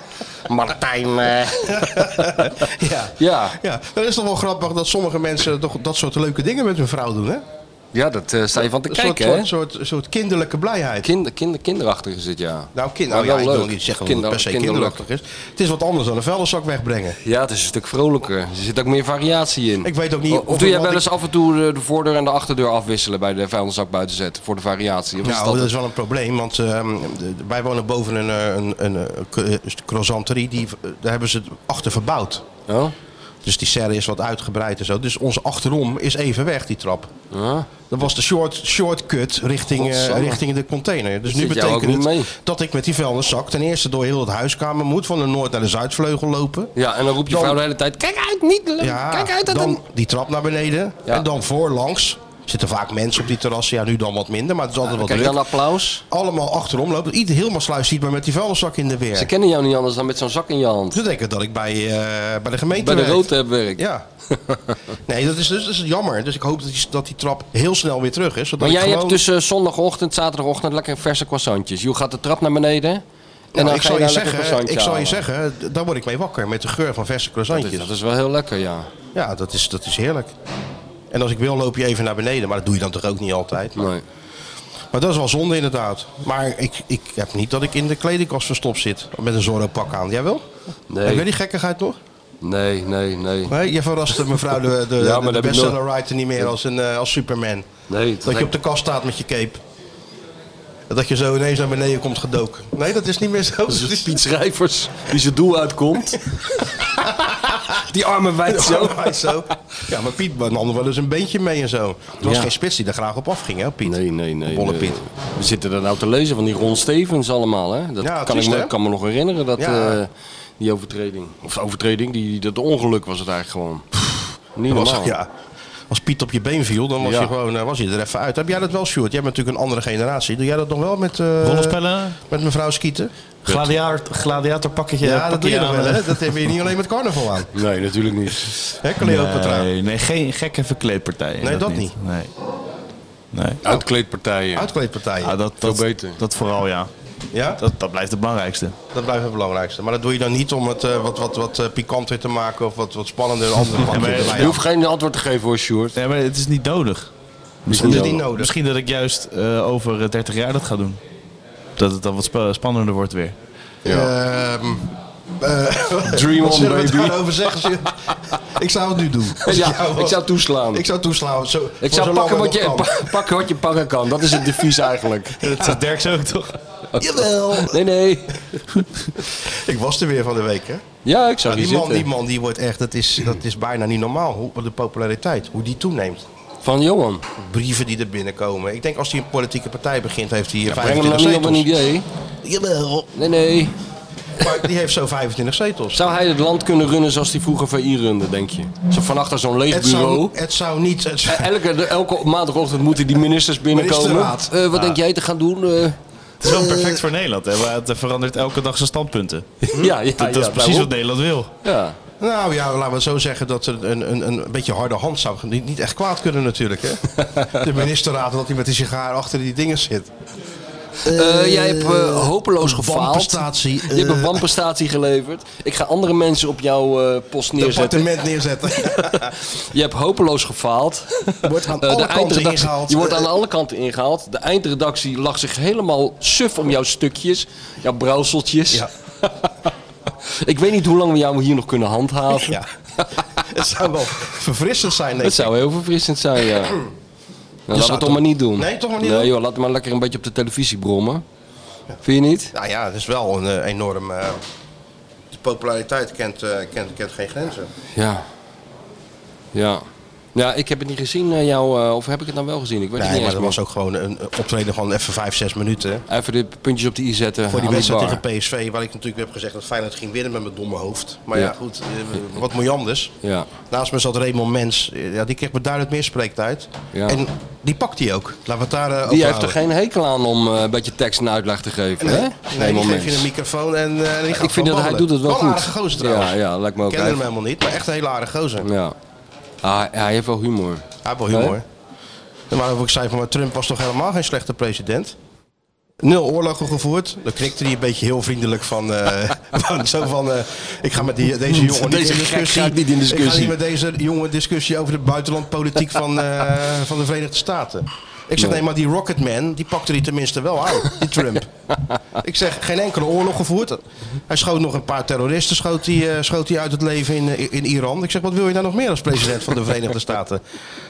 [SPEAKER 7] Martijn.
[SPEAKER 4] Ja.
[SPEAKER 5] Ja,
[SPEAKER 4] Ja, dat is toch wel grappig dat sommige mensen toch dat soort leuke dingen met hun vrouw doen, hè?
[SPEAKER 5] ja dat eh, sta je van te
[SPEAKER 4] Een soort,
[SPEAKER 5] kijken, hè?
[SPEAKER 4] soort, soort, soort kinderlijke blijheid.
[SPEAKER 5] Kinder, kinder, kinderachtig is het, ja.
[SPEAKER 4] nou, kind,
[SPEAKER 5] Maar
[SPEAKER 4] nou ja,
[SPEAKER 5] wel
[SPEAKER 4] ik wil
[SPEAKER 5] leuk.
[SPEAKER 4] niet zeggen dat het
[SPEAKER 5] Kinder-
[SPEAKER 4] per se
[SPEAKER 5] kinderlijk.
[SPEAKER 4] kinderachtig is. Het is wat anders dan een vuilniszak wegbrengen.
[SPEAKER 5] Ja, het is een stuk vrolijker. Er zit ook meer variatie in.
[SPEAKER 4] Ik weet ook niet
[SPEAKER 5] O-
[SPEAKER 4] of
[SPEAKER 5] Of doe jij
[SPEAKER 4] iemand-
[SPEAKER 5] wel eens af en toe de- de voordeur en de achterdeur afwisselen bij de vuilniszak buiten zetten voor de variatie? Of is
[SPEAKER 4] Nou,
[SPEAKER 5] Dus dat
[SPEAKER 4] dat,
[SPEAKER 5] het?
[SPEAKER 4] is wel een probleem, want ehm, de- de- wij wonen boven een, eh, een, een, eh, k- eh, croissanterie, die, eh, daar hebben ze het achter verbouwd.
[SPEAKER 5] Oh?
[SPEAKER 4] Dus die serre is wat uitgebreid en zo. Dus onze achterom is even weg, die trap.
[SPEAKER 5] Ja.
[SPEAKER 4] Dat was de short, shortcut richting, eh,
[SPEAKER 5] Godsamme.
[SPEAKER 4] richting de container. Dus nu
[SPEAKER 5] zit jou ook
[SPEAKER 4] betekent het
[SPEAKER 5] niet mee.
[SPEAKER 4] dat ik met die vuilniszak ten eerste door heel het huiskamer moet. Van de noord naar de zuidvleugel lopen.
[SPEAKER 5] Ja, en dan roept je
[SPEAKER 4] Dan-
[SPEAKER 5] vrouw de hele tijd: Kijk uit, niet lullen.
[SPEAKER 4] Ja,
[SPEAKER 5] Kijk uit, dat
[SPEAKER 4] dan
[SPEAKER 5] een-
[SPEAKER 4] die trap naar beneden.
[SPEAKER 5] Ja.
[SPEAKER 4] En dan voorlangs. Zitten vaak mensen op die terrassen. Ja, nu dan wat minder, maar het is altijd
[SPEAKER 5] Dan
[SPEAKER 4] wat
[SPEAKER 5] krijg je
[SPEAKER 4] druk.
[SPEAKER 5] dan applaus.
[SPEAKER 4] allemaal achterom lopen. Ieder helemaal sluis ziet maar met die vuilniszak in de weer.
[SPEAKER 5] Ze kennen jou niet anders dan met zo'n zak in je hand.
[SPEAKER 4] Ze denken dat ik bij, eh, bij de gemeente
[SPEAKER 5] Bij de
[SPEAKER 4] werk.
[SPEAKER 5] rood heb werk.
[SPEAKER 4] Ja. nee, dat is, dus, dat is jammer. Dus ik hoop dat die, dat die trap heel snel weer terug is. Zodat
[SPEAKER 5] Maar
[SPEAKER 4] ik
[SPEAKER 5] jij hebt dus-
[SPEAKER 4] gewoon-
[SPEAKER 5] tussen zondagochtend, zaterdagochtend lekker verse croissantjes. Je gaat de trap naar beneden. En
[SPEAKER 4] Nou,
[SPEAKER 5] dan
[SPEAKER 4] ik
[SPEAKER 5] ga je
[SPEAKER 4] zal
[SPEAKER 5] daar
[SPEAKER 4] je,
[SPEAKER 5] lekker
[SPEAKER 4] zeggen,
[SPEAKER 5] croissantje
[SPEAKER 4] ik zal je
[SPEAKER 5] halen.
[SPEAKER 4] zeggen, d- daar word ik mee wakker. Met de geur van verse
[SPEAKER 5] Dat
[SPEAKER 4] croissantjes.
[SPEAKER 5] is, dat is wel heel lekker, ja.
[SPEAKER 4] Ja, dat is, dat is heerlijk. En als ik wil, loop je even naar beneden. Maar dat doe je dan toch ook niet altijd. Maar,
[SPEAKER 5] Nee.
[SPEAKER 4] maar dat is wel zonde inderdaad. Maar ik, ik heb niet dat ik in de kledingkast verstopt zit. Met een Zorro pak aan. Jij wel?
[SPEAKER 5] Nee.
[SPEAKER 4] Heb jij die gekkigheid nog?
[SPEAKER 5] Nee, nee, nee.
[SPEAKER 4] Nee, je verraste mevrouw de, de,
[SPEAKER 5] Ja, maar
[SPEAKER 4] de
[SPEAKER 5] dat heb ik
[SPEAKER 4] bestseller writer niet meer als, een, eh, als Superman.
[SPEAKER 5] nee
[SPEAKER 4] Dat je op de kast staat met je cape. En Dat je zo ineens naar beneden komt gedoken. Nee, dat is niet meer zo.
[SPEAKER 5] Dat is Piet Schrijvers die zijn doel uitkomt. die arme wijd zo.
[SPEAKER 4] Ja, zo. Ja, maar Piet nam wel eens een beentje mee en zo. Er was
[SPEAKER 5] Ja.
[SPEAKER 4] geen spits die er graag op afging, hè, Piet?
[SPEAKER 5] Nee, nee, nee.
[SPEAKER 4] Bolle
[SPEAKER 5] nee.
[SPEAKER 4] Piet.
[SPEAKER 5] We zitten er nou te lezen van die Ron Stevens allemaal. Hè? Dat
[SPEAKER 4] Ja,
[SPEAKER 5] kan,
[SPEAKER 4] triest,
[SPEAKER 5] ik me,
[SPEAKER 4] hè?
[SPEAKER 5] kan me nog herinneren, dat,
[SPEAKER 4] Ja.
[SPEAKER 5] eh, die overtreding. Of de overtreding, die, dat ongeluk was het eigenlijk gewoon. Niet
[SPEAKER 4] Dat was-
[SPEAKER 5] normaal.
[SPEAKER 4] ja. Als Piet op je been viel, dan was,
[SPEAKER 5] Ja.
[SPEAKER 4] je gewoon, eh, was je er even uit. Heb jij dat wel, Sjoerd? Jij bent natuurlijk een andere generatie. Doe jij dat nog wel met, eh,
[SPEAKER 6] Rollenspellen,
[SPEAKER 4] met mevrouw Skieten?
[SPEAKER 6] gladiator, gladiatorpakketje.
[SPEAKER 4] Ja, dat doe je nog
[SPEAKER 6] aan,
[SPEAKER 4] wel,
[SPEAKER 6] eh.
[SPEAKER 4] hè? Dat heb je niet alleen met carnaval aan.
[SPEAKER 5] Nee, natuurlijk niet.
[SPEAKER 4] Hè, Cleopatra?
[SPEAKER 6] Nee, nee, geen gekke verkleedpartijen.
[SPEAKER 4] Nee, dat niet.
[SPEAKER 6] Nee. nee.
[SPEAKER 5] Uitkleedpartijen.
[SPEAKER 4] Uitkleedpartijen.
[SPEAKER 6] Ah, dat, dat,
[SPEAKER 5] beter.
[SPEAKER 6] dat vooral, ja.
[SPEAKER 4] ja?
[SPEAKER 6] Dat, dat blijft het belangrijkste.
[SPEAKER 4] Dat blijft het belangrijkste. Maar dat doe je dan niet om het eh, wat, wat, wat eh, pikanter te maken of wat, wat spannender andere pakje
[SPEAKER 6] maar-
[SPEAKER 4] erbij.
[SPEAKER 5] Je hoeft geen antwoord te geven hoor, Sjoerd.
[SPEAKER 6] Nee, maar het is niet nodig.
[SPEAKER 5] Misschien
[SPEAKER 4] is
[SPEAKER 5] wel.
[SPEAKER 4] niet nodig.
[SPEAKER 6] Misschien dat ik juist eh, over eh, 30 jaar dat ga doen. Dat het dan wat spa- spannender wordt weer.
[SPEAKER 4] Ehm, eh,
[SPEAKER 5] Dream
[SPEAKER 4] wat
[SPEAKER 5] on,
[SPEAKER 4] zullen we
[SPEAKER 5] baby.
[SPEAKER 4] daarover zeggen? Sjoerd? ik zou het nu doen. Als ik jou
[SPEAKER 5] Ja,
[SPEAKER 4] was.
[SPEAKER 5] ik zou toeslaan.
[SPEAKER 4] ik zou toeslaan. Zo,
[SPEAKER 5] Ik
[SPEAKER 4] voor
[SPEAKER 5] zou
[SPEAKER 4] zolang
[SPEAKER 5] pakken
[SPEAKER 4] het
[SPEAKER 5] wat, je,
[SPEAKER 4] nog kan.
[SPEAKER 5] pa- pakken wat je pakken kan. Dat is het devies eigenlijk.
[SPEAKER 6] Dat is Dirk ook toch?
[SPEAKER 4] Jawel.
[SPEAKER 5] Nee, nee.
[SPEAKER 4] Ik was er weer van de week, hè?
[SPEAKER 5] Ja, ik zou
[SPEAKER 4] Ah, Die
[SPEAKER 5] niet
[SPEAKER 4] man, die
[SPEAKER 5] zitten.
[SPEAKER 4] man die wordt echt, dat is, dat is bijna niet normaal. Hoe, de populariteit, hoe die toeneemt.
[SPEAKER 5] Van Johan.
[SPEAKER 4] Brieven die er binnenkomen. Ik denk als hij een politieke partij begint, heeft hij hier
[SPEAKER 5] Breng hem
[SPEAKER 4] 25
[SPEAKER 5] dan niet op een
[SPEAKER 4] zetels.
[SPEAKER 5] idee.
[SPEAKER 4] Jawel.
[SPEAKER 5] Nee, nee.
[SPEAKER 4] Maar die heeft zo 25 zetels.
[SPEAKER 5] Zou hij het land kunnen runnen zoals hij vroeger VI runde, denk je? Zo van achter zo'n leeg
[SPEAKER 4] Het
[SPEAKER 5] bureau. Eh,
[SPEAKER 4] zou, het zou niet... Het zou-
[SPEAKER 5] Elke, elke maandagochtend moeten die ministers binnenkomen.
[SPEAKER 4] Ministerraad.
[SPEAKER 5] Eh, wat denk jij te gaan doen? Eh,
[SPEAKER 6] Het is wel perfect voor Nederland. Hè? Want het verandert elke dag zijn standpunten.
[SPEAKER 4] Hm?
[SPEAKER 5] ja, ja,
[SPEAKER 6] Dat, dat is precies wat Nederland wil.
[SPEAKER 5] Ja.
[SPEAKER 4] Nou ja, laten we het zo zeggen dat er een, een, een beetje harde hand zou niet, niet echt kwaad kunnen natuurlijk. Hè? De ministerraad dat hij met die sigaar achter die dingen zit.
[SPEAKER 5] Eh, jij hebt eh, hopeloos gefaald.
[SPEAKER 4] wanprestatie,
[SPEAKER 5] Je hebt een
[SPEAKER 4] eh.
[SPEAKER 5] wanprestatie geleverd. Ik ga andere mensen op jouw eh, post neerzetten.
[SPEAKER 4] Departement neerzetten.
[SPEAKER 5] Je hebt hopeloos gefaald.
[SPEAKER 4] Wordt aan
[SPEAKER 5] Eh,
[SPEAKER 4] alle kanten
[SPEAKER 5] eindredactie-
[SPEAKER 4] ingehaald.
[SPEAKER 5] Je wordt aan alle kanten ingehaald. De eindredactie lag zich helemaal suf om jouw stukjes, jouw brouwseltjes.
[SPEAKER 4] Ja.
[SPEAKER 5] Ik weet niet hoe lang we jou hier nog kunnen handhaven.
[SPEAKER 4] ja. Het zou wel verfrissend zijn. denk
[SPEAKER 5] Dat
[SPEAKER 4] ik.
[SPEAKER 5] zou heel verfrissend zijn, ja. Nou, laten we het
[SPEAKER 4] zou
[SPEAKER 5] toch
[SPEAKER 4] toch-
[SPEAKER 5] maar niet doen.
[SPEAKER 4] Nee, toch maar niet
[SPEAKER 5] nee,
[SPEAKER 4] doen?
[SPEAKER 5] joh, laat maar lekker een beetje op de televisie brommen. Vind je niet?
[SPEAKER 4] Nou ja, het is wel een eh, enorm... eh, de populariteit kent, eh, kent, kent geen grenzen.
[SPEAKER 5] Ja. Ja. Ja, ik heb het niet gezien, eh, jou, eh, of heb ik het dan wel gezien? Ik weet het
[SPEAKER 4] Nee,
[SPEAKER 5] niet
[SPEAKER 4] maar
[SPEAKER 5] eens
[SPEAKER 4] dat
[SPEAKER 5] meer.
[SPEAKER 4] was ook gewoon een optreden van even 5, 6 minuten.
[SPEAKER 5] Even de puntjes op de i zetten
[SPEAKER 4] Voor die
[SPEAKER 5] aan
[SPEAKER 4] wedstrijd
[SPEAKER 5] bar.
[SPEAKER 4] tegen PSV, waar ik natuurlijk heb gezegd dat Feyenoord ging winnen met mijn domme hoofd. Maar ja,
[SPEAKER 5] Ja.
[SPEAKER 4] goed, eh, wat moet je anders?
[SPEAKER 5] Ja.
[SPEAKER 4] Naast me zat Raymond Mens. Eh, Ja, die kreeg me duidelijk meer spreektijd.
[SPEAKER 5] Ja.
[SPEAKER 4] En die pakt hij ook. Laten we het daar eh, over
[SPEAKER 5] Die heeft
[SPEAKER 4] houden.
[SPEAKER 5] er geen hekel aan om eh, een beetje tekst en uitleg te geven, hè?
[SPEAKER 4] Nee, die
[SPEAKER 5] Helemaal
[SPEAKER 4] geef je
[SPEAKER 5] mens.
[SPEAKER 4] een microfoon en eh, die gaat
[SPEAKER 5] Ik vind dat hij doet het wel
[SPEAKER 4] Een
[SPEAKER 5] goed.
[SPEAKER 4] aardige gozer trouwens.
[SPEAKER 5] Ja, ja, lijkt me ook.
[SPEAKER 4] Ik ken hem
[SPEAKER 5] Hij-
[SPEAKER 4] helemaal niet, maar echt een hele aardige gozer.
[SPEAKER 5] Ja. Ah, hij heeft wel humor.
[SPEAKER 4] Hij heeft wel humor.
[SPEAKER 5] Nee?
[SPEAKER 4] En Waarom ik zei van, maar Trump was toch helemaal geen slechte president? Nul oorlogen gevoerd. Dan knikte hij een beetje heel vriendelijk van, eh, van zo van, eh, ik ga met die, deze jongen niet
[SPEAKER 5] Deze
[SPEAKER 4] in
[SPEAKER 5] gek
[SPEAKER 4] discussie.
[SPEAKER 5] gaat niet in discussie.
[SPEAKER 4] Ik ga niet met deze jongen discussie over de buitenlandpolitiek van, eh, van de Verenigde Staten. Ik zeg, nee, maar die Rocketman, die pakte die tenminste wel aan, die Trump. ik zeg, geen enkele oorlog gevoerd. Hij schoot nog een paar terroristen schoot hij, eh, schoot hij uit het leven in, eh, in Iran. Ik zeg, wat wil je nou nog meer als president van de Verenigde Staten?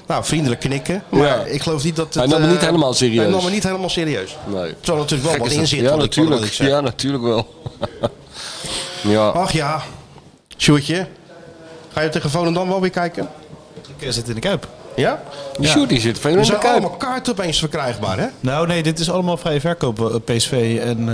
[SPEAKER 4] Nou, vriendelijk knikken, maar
[SPEAKER 5] Ja.
[SPEAKER 4] ik geloof niet dat... Het,
[SPEAKER 5] Hij nam het
[SPEAKER 4] eh,
[SPEAKER 5] niet helemaal serieus.
[SPEAKER 4] Hij nam het niet helemaal serieus.
[SPEAKER 5] Nee.
[SPEAKER 4] Het zal natuurlijk wel
[SPEAKER 5] Gek
[SPEAKER 4] wat
[SPEAKER 5] is dat.
[SPEAKER 4] in zitten.
[SPEAKER 5] Ja,
[SPEAKER 4] wat ik- wat
[SPEAKER 5] natuurlijk.
[SPEAKER 4] ik zeg.
[SPEAKER 5] Ja, natuurlijk wel. ja.
[SPEAKER 4] Ach ja, Sjoerdje. Ga je tegen Volendam wel weer kijken?
[SPEAKER 6] Ik eh, zit in de kuip.
[SPEAKER 4] Ja?
[SPEAKER 5] Die Sjoerd die zit veel in
[SPEAKER 4] Er
[SPEAKER 5] de
[SPEAKER 4] zijn
[SPEAKER 5] kuip.
[SPEAKER 4] allemaal kaarten opeens verkrijgbaar, hè?
[SPEAKER 6] Nou nee, dit is allemaal vrije verkoop. eh, PSV en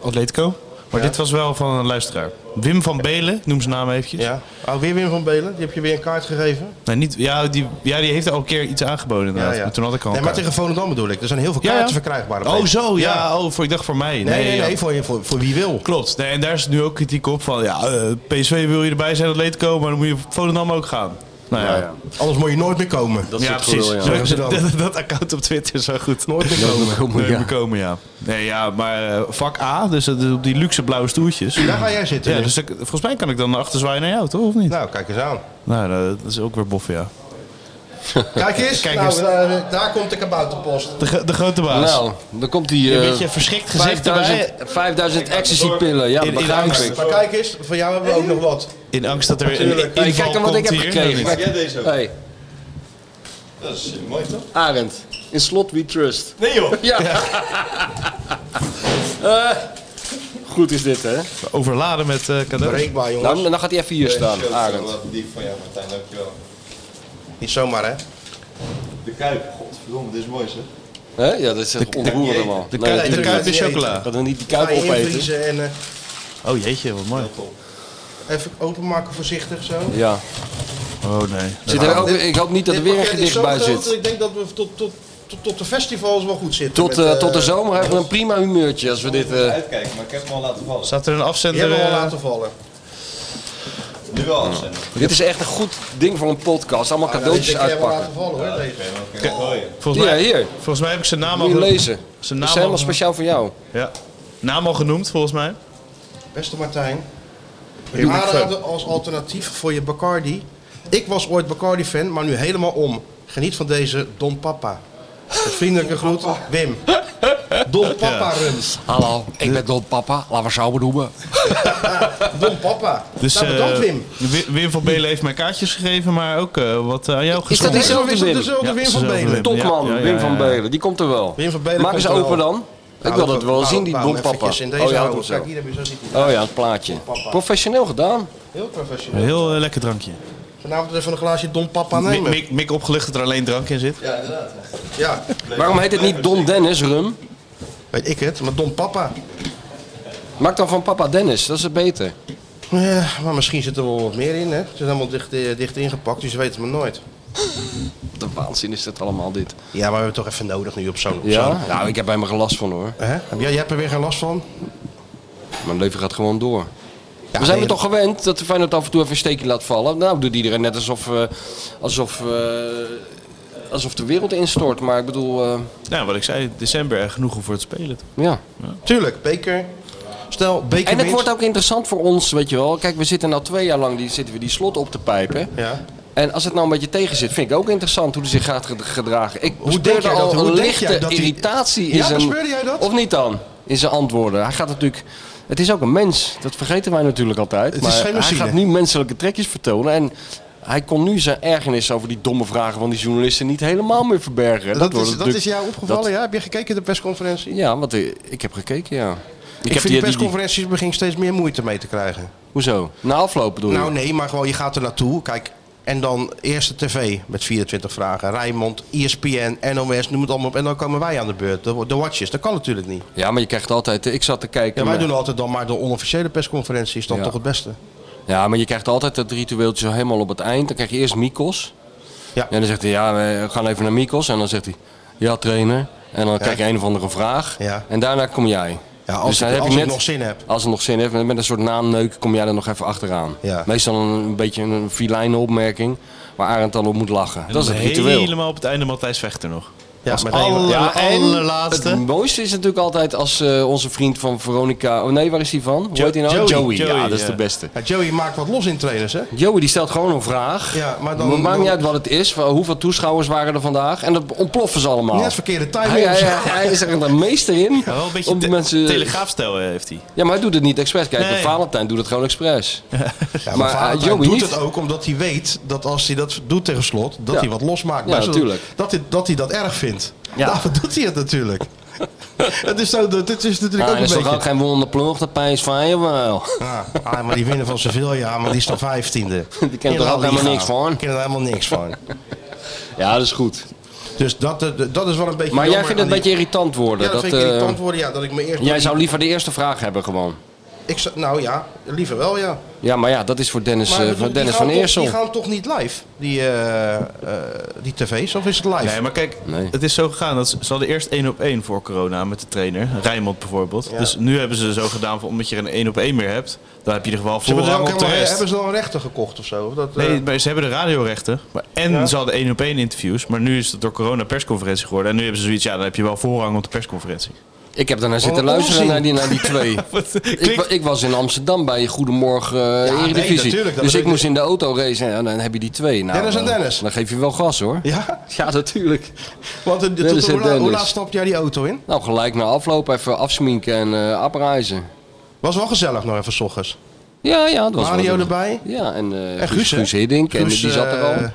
[SPEAKER 6] eh Atletico. Maar dit was wel van een luisteraar. Wim van Belen, noem zijn naam eventjes.
[SPEAKER 4] Ja. Oh, weer Wim van Belen. Die heb je weer een kaart gegeven. Nou
[SPEAKER 6] Nee, niet, ja, die, ja, die heeft al een keer iets aangeboden inderdaad.
[SPEAKER 4] ja.
[SPEAKER 6] Maar toen had ik al
[SPEAKER 4] Nee,
[SPEAKER 6] een
[SPEAKER 4] maar
[SPEAKER 6] kaart.
[SPEAKER 4] tegen Volendam bedoel ik. Er zijn heel veel
[SPEAKER 6] Ja,
[SPEAKER 4] kaarten
[SPEAKER 6] ja.
[SPEAKER 4] verkrijgbaar.
[SPEAKER 6] Oh
[SPEAKER 4] opeens.
[SPEAKER 6] zo, ja.
[SPEAKER 4] Ja.
[SPEAKER 6] Oh, voor, ik dacht voor mij.
[SPEAKER 4] Nee, nee, nee,
[SPEAKER 6] ja.
[SPEAKER 4] voor, je- voor, voor wie wil.
[SPEAKER 6] Klopt. Nee, en daar is nu ook kritiek op van, ja, eh, PSV wil je erbij zijn, Atletico, maar dan moet je voor Volendam ook gaan. Nou ja,
[SPEAKER 4] Anders moet je nooit meer komen.
[SPEAKER 6] ja, precies.
[SPEAKER 5] wel, ja.
[SPEAKER 6] Zo-
[SPEAKER 4] Zeggen ze dan.
[SPEAKER 6] dat, dat account op Twitter is zo goed. Nooit meer
[SPEAKER 5] komen, ja.
[SPEAKER 6] komen, ja. Nee, ja, maar eh, vak A, dus dat is op die luxe blauwe stoeltjes.
[SPEAKER 4] Daar ga jij zitten.
[SPEAKER 6] Ja,
[SPEAKER 4] nu.
[SPEAKER 6] dus ik- volgens mij kan ik dan achterzwaaien naar jou, toch? Of niet?
[SPEAKER 4] Nou, kijk eens aan.
[SPEAKER 6] Nou, nou, dat is ook weer bof, ja.
[SPEAKER 4] Kijk eens.
[SPEAKER 6] Kijk
[SPEAKER 4] nou,
[SPEAKER 6] eens.
[SPEAKER 4] Daar, daar komt de kabouterpost.
[SPEAKER 6] De, gro- de grote baas.
[SPEAKER 5] Nou, dan komt die eh,
[SPEAKER 6] een beetje verschrikt gezicht erbij.
[SPEAKER 5] 5000, 5000 ecstasy-pillen. Ja,
[SPEAKER 6] In-
[SPEAKER 5] dat
[SPEAKER 6] in
[SPEAKER 5] begrijp
[SPEAKER 6] angst.
[SPEAKER 5] ik.
[SPEAKER 4] Maar kijk eens, voor jou hebben we ook nog wat.
[SPEAKER 6] In angst dat er een
[SPEAKER 5] Hey,
[SPEAKER 6] inval
[SPEAKER 5] kijk dan wat ik
[SPEAKER 6] komt
[SPEAKER 5] heb
[SPEAKER 6] hier.
[SPEAKER 5] gekregen.
[SPEAKER 6] Nee,
[SPEAKER 5] jij deze Hey. Dat is mooi toch? Arend, in slot we trust. Nee joh. Ja. Eh, goed is dit hè?
[SPEAKER 6] niet. Overladen met eh, cadeaus.
[SPEAKER 4] Breekbaar, jongens.
[SPEAKER 5] Nou, dan gaat hij even hier staan, Arend.
[SPEAKER 8] Die van jou, Martijn, dankjewel.
[SPEAKER 4] Niet zomaar, hè?
[SPEAKER 8] De Kuip, godverdomme, dit is mooi zeg.
[SPEAKER 5] Hè? Ja, dat is echt ontroerend man.
[SPEAKER 6] De kuip, de
[SPEAKER 4] natuurlijk
[SPEAKER 6] kuip is
[SPEAKER 4] niet
[SPEAKER 6] chocola.
[SPEAKER 5] Dat we niet die
[SPEAKER 4] Ga
[SPEAKER 5] kuip
[SPEAKER 4] je
[SPEAKER 5] opeten.
[SPEAKER 4] invriezen en eh,
[SPEAKER 6] Oh jeetje, wat mooi.
[SPEAKER 4] even openmaken voorzichtig zo.
[SPEAKER 5] Ja.
[SPEAKER 6] Oh nee.
[SPEAKER 5] Zit er ook, ik hoop niet dat er
[SPEAKER 4] Dit
[SPEAKER 5] weer een
[SPEAKER 4] pakket is
[SPEAKER 5] gedicht
[SPEAKER 4] zo
[SPEAKER 5] bij
[SPEAKER 4] groot dat
[SPEAKER 5] zit.
[SPEAKER 4] Ik denk dat we tot, tot, tot, tot de festivals wel goed zitten.
[SPEAKER 5] Tot,
[SPEAKER 4] met,
[SPEAKER 5] eh,
[SPEAKER 4] eh,
[SPEAKER 5] tot de zomer hebben we een prima humeurtje als we dit... eh,
[SPEAKER 8] Uitkijken, maar ik heb hem al laten vallen.
[SPEAKER 6] Staat er een
[SPEAKER 4] Die
[SPEAKER 6] afzender?
[SPEAKER 4] hebben we al
[SPEAKER 6] eh,
[SPEAKER 4] laten vallen.
[SPEAKER 8] Nu wel afzenden.
[SPEAKER 5] dit is echt een goed ding voor een podcast. Allemaal cadeautjes
[SPEAKER 4] Die hebben eh, we al
[SPEAKER 5] uitpakken.
[SPEAKER 4] laten vallen hoor. deze.
[SPEAKER 6] volgens,
[SPEAKER 5] Ja,
[SPEAKER 6] mij,
[SPEAKER 5] hier.
[SPEAKER 6] volgens mij heb ik zijn naam al
[SPEAKER 5] Moet je
[SPEAKER 6] genoemd.
[SPEAKER 5] lezen.
[SPEAKER 6] Zijn
[SPEAKER 5] Dat is
[SPEAKER 6] naam
[SPEAKER 5] helemaal
[SPEAKER 6] al-
[SPEAKER 5] speciaal voor jou.
[SPEAKER 6] Ja. Naam al genoemd, volgens mij.
[SPEAKER 4] Beste Martijn. Ik aanraden als alternatief voor je Bacardi. Ik was ooit Bacardi-fan, maar nu helemaal om. Geniet van deze Don Papa. Met vriendelijke groet, Wim. Don Papa rum.
[SPEAKER 5] Hallo, ik ben Don Papa. Laten we zo noemen.
[SPEAKER 4] Don Papa.
[SPEAKER 6] Dus,
[SPEAKER 4] nou, bedankt
[SPEAKER 6] eh,
[SPEAKER 4] Wim.
[SPEAKER 6] Wi- Wim van Belen heeft mij kaartjes gegeven, maar ook eh, wat eh, aan jou
[SPEAKER 5] Is dat
[SPEAKER 6] geschonken.
[SPEAKER 5] diezelfde
[SPEAKER 4] Is dat
[SPEAKER 5] Wim?
[SPEAKER 4] dezelfde
[SPEAKER 6] Ja,
[SPEAKER 4] Wim van
[SPEAKER 6] dezelfde
[SPEAKER 4] Belen?
[SPEAKER 5] Topman,
[SPEAKER 6] Ja, ja, ja,
[SPEAKER 5] Wim van
[SPEAKER 6] ja.
[SPEAKER 5] Belen. Die komt er wel.
[SPEAKER 4] Wim van Belen
[SPEAKER 5] Maak eens
[SPEAKER 4] komt er
[SPEAKER 5] open
[SPEAKER 4] wel. Nou,
[SPEAKER 5] dan. Ik wil dat wel zien, die Don Papa.
[SPEAKER 4] In deze
[SPEAKER 5] oh ja,
[SPEAKER 4] houding.
[SPEAKER 5] dat zo.
[SPEAKER 4] Kijk, hier heb je zo ziet hij.
[SPEAKER 5] Oh ja, het plaatje.
[SPEAKER 4] Papa.
[SPEAKER 5] Professioneel gedaan.
[SPEAKER 4] Heel professioneel.
[SPEAKER 6] Heel eh, lekker drankje.
[SPEAKER 4] Vanavond even een glaasje Don Papa
[SPEAKER 6] Mik,
[SPEAKER 4] nemen.
[SPEAKER 6] Mik, Mik opgelucht dat er alleen drank in zit.
[SPEAKER 8] Ja, inderdaad. ja.
[SPEAKER 4] Ja,
[SPEAKER 5] Waarom heet het niet Don Dennis rum?
[SPEAKER 4] weet ik het, maar Don Papa.
[SPEAKER 5] Maak dan van papa Dennis, dat is het beter.
[SPEAKER 4] Ja, Eh, maar misschien zit er wel wat meer in, hè? Het is helemaal dicht, eh, dicht ingepakt, dus je weet het maar nooit.
[SPEAKER 5] Wat een waanzin is dit allemaal dit.
[SPEAKER 4] Ja, maar we hebben het toch even nodig nu op zo'n... op zo'n-
[SPEAKER 5] Ja? Nou, ik heb bij me gelast van hoor.
[SPEAKER 4] Hè? Heb jij, jij hebt er weer geen last van?
[SPEAKER 5] Mijn leven gaat gewoon door.
[SPEAKER 4] Ja,
[SPEAKER 5] we zijn
[SPEAKER 4] nee,
[SPEAKER 5] er toch gewend dat de Feyenoord af en toe even een steekje laat vallen. Nou doet iedereen net alsof, eh, alsof, eh, alsof de wereld instort. Maar ik bedoel, eh,
[SPEAKER 6] Nou, wat ik zei, december er genoeg om voor te spelen. toch?
[SPEAKER 5] ja.
[SPEAKER 4] Tuurlijk, beker. Stel, beker
[SPEAKER 5] En het
[SPEAKER 4] winst.
[SPEAKER 5] wordt ook interessant voor ons, weet je wel. Kijk, we zitten nou twee jaar lang die, zitten we die slot op te pijpen.
[SPEAKER 4] Ja.
[SPEAKER 5] En als het nou een beetje tegen zit, vind ik ook interessant hoe hij zich gaat ged- gedragen. Ik
[SPEAKER 4] Hoe denk
[SPEAKER 5] bespeurde
[SPEAKER 4] jij dat?
[SPEAKER 5] al
[SPEAKER 4] Hoe
[SPEAKER 5] een
[SPEAKER 4] denk jij
[SPEAKER 5] lichte
[SPEAKER 4] dat hij-
[SPEAKER 5] irritatie in
[SPEAKER 4] Ja,
[SPEAKER 5] zijn...
[SPEAKER 4] bespeurde jij dat?
[SPEAKER 5] Of niet dan? In zijn antwoorden. Hij gaat natuurlijk... Het is ook een mens. Dat vergeten wij natuurlijk altijd.
[SPEAKER 4] Het is
[SPEAKER 5] maar
[SPEAKER 4] geen machine.
[SPEAKER 5] Hij gaat nu menselijke trekjes vertonen en... Hij kon nu zijn ergernis over die domme vragen van die journalisten niet helemaal meer
[SPEAKER 4] Dat,
[SPEAKER 5] verbergen. wordt
[SPEAKER 4] is, dat
[SPEAKER 5] natuurlijk-
[SPEAKER 4] is jou opgevallen,
[SPEAKER 5] dat-
[SPEAKER 4] ja? Heb je gekeken de persconferentie?
[SPEAKER 5] Ja, want eh, ik heb gekeken, ja.
[SPEAKER 4] Ik,
[SPEAKER 5] heb
[SPEAKER 4] vind die
[SPEAKER 5] die- die- die-
[SPEAKER 4] persconferenties begin steeds meer moeite mee te krijgen.
[SPEAKER 5] Hoezo? Na afloop bedoel
[SPEAKER 4] Nou
[SPEAKER 5] je?
[SPEAKER 4] nee, maar gewoon je gaat er naartoe. Kijk, en dan eerste tv met 24 vragen. Rijnmond, E ESPN, NOS, noem het allemaal op. En dan komen wij aan de beurt. De, de watches, dat kan natuurlijk niet.
[SPEAKER 5] Ja, maar je krijgt altijd... eh, Ik zat te kijken...
[SPEAKER 4] Ja, wij
[SPEAKER 5] maar-
[SPEAKER 4] doen altijd dan maar de onofficiële persconferentie. Is dan
[SPEAKER 5] Ja.
[SPEAKER 4] toch het beste.
[SPEAKER 5] Ja, maar je krijgt altijd dat ritueeltje zo helemaal op het eind. Dan krijg je eerst Mikos.
[SPEAKER 4] Ja.
[SPEAKER 5] En dan zegt hij, ja, we gaan even naar Mikos. En dan zegt hij, ja, trainer. En dan krijg je een of andere vraag.
[SPEAKER 4] Ja.
[SPEAKER 5] En daarna kom jij. Dus
[SPEAKER 4] Ja, als
[SPEAKER 5] dan
[SPEAKER 4] ik-
[SPEAKER 5] heb
[SPEAKER 4] als
[SPEAKER 5] je
[SPEAKER 4] ik nog zin heb.
[SPEAKER 5] Als het nog zin heeft, met met een soort naamneuk kom jij er nog even achteraan.
[SPEAKER 4] Ja.
[SPEAKER 5] Meestal een, een beetje een filijne opmerking waar Arend dan op moet lachen. Dat is het ritueel.
[SPEAKER 6] Helemaal op het einde Matthijs Vechter nog.
[SPEAKER 4] Ja, maar
[SPEAKER 6] alle-
[SPEAKER 4] ja.
[SPEAKER 6] Ja, en
[SPEAKER 5] allerlaatste. Het mooiste is natuurlijk altijd als eh, onze vriend van Veronica... Oh nee, waar is die van? Hoe heet die nou?
[SPEAKER 6] Joey.
[SPEAKER 5] ja,
[SPEAKER 6] Joey,
[SPEAKER 5] dat is
[SPEAKER 6] ja.
[SPEAKER 5] de beste.
[SPEAKER 4] Ja, Joey maakt wat los in trainers, hè?
[SPEAKER 5] Joey die stelt gewoon een vraag.
[SPEAKER 4] Ja, maar dan-
[SPEAKER 5] maakt
[SPEAKER 4] dan-
[SPEAKER 5] niet uit wat het is, van hoeveel toeschouwers waren er vandaag. En dan ontploffen ze allemaal.
[SPEAKER 4] Net verkeerde timing.
[SPEAKER 5] Hij, hij, hij is er een meester in.
[SPEAKER 6] Ja, wel een beetje
[SPEAKER 5] om die
[SPEAKER 6] te-
[SPEAKER 5] mensen...
[SPEAKER 6] telegraafstijl eh, heeft hij.
[SPEAKER 5] Ja, maar hij doet het niet expres. Kijk,
[SPEAKER 6] Nee.
[SPEAKER 5] de Valentijn doet het gewoon expres.
[SPEAKER 4] Ja,
[SPEAKER 5] maar,
[SPEAKER 4] maar
[SPEAKER 5] eh,
[SPEAKER 4] Valentijn
[SPEAKER 5] Joey
[SPEAKER 4] doet
[SPEAKER 5] niet.
[SPEAKER 4] het ook omdat hij weet dat als hij dat doet tegen slot, dat
[SPEAKER 5] Ja.
[SPEAKER 4] hij wat losmaakt.
[SPEAKER 5] Ja,
[SPEAKER 4] Maar zo-
[SPEAKER 5] natuurlijk.
[SPEAKER 4] Dat hij, dat hij dat erg vindt.
[SPEAKER 5] Ja.
[SPEAKER 4] Daarvoor doet hij het natuurlijk. het is zo, dat- dit is natuurlijk
[SPEAKER 5] Nou,
[SPEAKER 4] ook
[SPEAKER 5] en
[SPEAKER 4] een
[SPEAKER 5] is toch
[SPEAKER 4] beetje...
[SPEAKER 5] ook geen wonder ploeg, dat PSV wel.
[SPEAKER 4] Ja, ah, maar die winnen van Sevilla, ja, maar die is dan vijftiende.
[SPEAKER 5] Die kennen er ook helemaal niks van.
[SPEAKER 4] Die kennen er helemaal niks van.
[SPEAKER 5] Ja, dat is goed.
[SPEAKER 4] Dus dat, eh, dat is wel een beetje
[SPEAKER 5] Maar jij
[SPEAKER 4] jammer
[SPEAKER 5] vindt het een
[SPEAKER 4] aan die-
[SPEAKER 5] beetje irritant worden.
[SPEAKER 4] Ja, dat, vind ik
[SPEAKER 5] eh,
[SPEAKER 4] irritant worden, ja, dat ik me eerst...
[SPEAKER 5] Jij zou liever de eerste vraag hebben gewoon.
[SPEAKER 4] Ik zou- nou ja, liever wel, ja.
[SPEAKER 5] Ja, maar ja, dat is voor Dennis,
[SPEAKER 4] Maar
[SPEAKER 5] eh,
[SPEAKER 4] bedoel,
[SPEAKER 5] voor
[SPEAKER 4] die
[SPEAKER 5] Dennis
[SPEAKER 4] gaan
[SPEAKER 5] van
[SPEAKER 4] toch-
[SPEAKER 5] Eersel.
[SPEAKER 4] Die gaan toch niet live, die, eh, eh, die tv's? Of is het live?
[SPEAKER 6] Nee, maar kijk,
[SPEAKER 5] Nee.
[SPEAKER 6] het is zo gegaan. Dat ze, ze hadden eerst 1 op 1 voor corona met de trainer. Rijnmond bijvoorbeeld. Dus nu hebben ze zo gedaan, van, omdat je er een 1 op 1 meer hebt. Dan heb je in ieder geval
[SPEAKER 4] Ze hebben, ze ook
[SPEAKER 6] voorrang op de
[SPEAKER 4] helemaal-
[SPEAKER 6] rest.
[SPEAKER 4] hebben ze dan een rechter gekocht of zo? Of dat, eh,
[SPEAKER 6] Nee, maar ze hebben de radiorechten. Maar, en ze hadden 1 op 1 interviews. Maar nu is het door corona persconferentie geworden. En nu hebben ze zoiets, ja, dan heb je wel voorrang op de persconferentie.
[SPEAKER 5] Ik heb daarna zitten
[SPEAKER 4] een
[SPEAKER 5] luisteren
[SPEAKER 4] onzin.
[SPEAKER 5] naar die, naar die twee. ik, wa-
[SPEAKER 6] Klinkt-
[SPEAKER 5] ik was in Amsterdam bij Goedemorgen eh,
[SPEAKER 4] nee,
[SPEAKER 5] Eredivisie.
[SPEAKER 4] natuurlijk, dat
[SPEAKER 5] dus
[SPEAKER 4] bedoel
[SPEAKER 5] ik
[SPEAKER 4] ik.
[SPEAKER 5] moest in de auto racen en dan heb je die twee. Nou,
[SPEAKER 4] Dennis en
[SPEAKER 5] eh,
[SPEAKER 4] Dennis.
[SPEAKER 5] Dan geef je wel gas hoor.
[SPEAKER 4] Ja?
[SPEAKER 5] Ja, natuurlijk.
[SPEAKER 4] Want eh,
[SPEAKER 5] Dennis
[SPEAKER 4] tot-
[SPEAKER 5] en
[SPEAKER 4] hoe, la- hoe
[SPEAKER 5] Dennis.
[SPEAKER 4] laat stapte jij die auto in?
[SPEAKER 5] Nou, gelijk na afloop even afsminken en eh abreizen.
[SPEAKER 4] Was wel gezellig nog even 's ochtends.
[SPEAKER 5] Ja, ja. Dat was
[SPEAKER 4] Mario
[SPEAKER 5] wel-
[SPEAKER 4] erbij.
[SPEAKER 5] Ja, en, eh
[SPEAKER 4] En
[SPEAKER 5] Guus,
[SPEAKER 4] Guus, hè?
[SPEAKER 5] Guus Hiddink. en
[SPEAKER 4] Guus,
[SPEAKER 5] die zat er
[SPEAKER 4] eh,
[SPEAKER 5] al.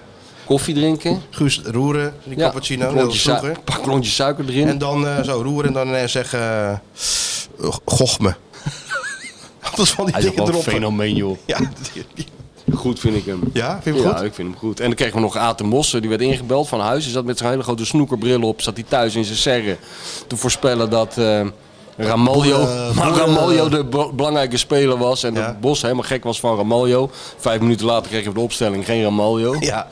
[SPEAKER 5] Koffie drinken.
[SPEAKER 4] Guus roeren, die
[SPEAKER 5] Ja,
[SPEAKER 4] cappuccino,
[SPEAKER 5] een
[SPEAKER 4] net als
[SPEAKER 5] klontje su-
[SPEAKER 4] vroeger.
[SPEAKER 5] een paar klontjes suiker erin.
[SPEAKER 4] En dan eh, zo roeren en dan eh, zeggen... eh, goch me. dat is van die
[SPEAKER 5] Hij is ook
[SPEAKER 4] dingen
[SPEAKER 5] wel een
[SPEAKER 4] erop.
[SPEAKER 5] fenomeen joh.
[SPEAKER 4] Ja, die- die-
[SPEAKER 5] Goed vind ik hem.
[SPEAKER 4] ja, vind je hem
[SPEAKER 5] ja,
[SPEAKER 4] goed?
[SPEAKER 5] ik vind hem goed. En dan kregen we nog Aten Mossen, die werd ingebeld van huis. Hij zat met zijn hele grote snoekerbril op, zat hij thuis in zijn serre te voorspellen dat eh Ramaljo,
[SPEAKER 4] Boer, eh,
[SPEAKER 5] maar
[SPEAKER 4] boer,
[SPEAKER 5] Ramaljo
[SPEAKER 4] eh,
[SPEAKER 5] de be- belangrijke speler was. En
[SPEAKER 4] Ja.
[SPEAKER 5] dat Bos helemaal gek was van Ramaljo. Vijf minuten later kregen we de opstelling, geen Ramaljo.
[SPEAKER 4] Ja.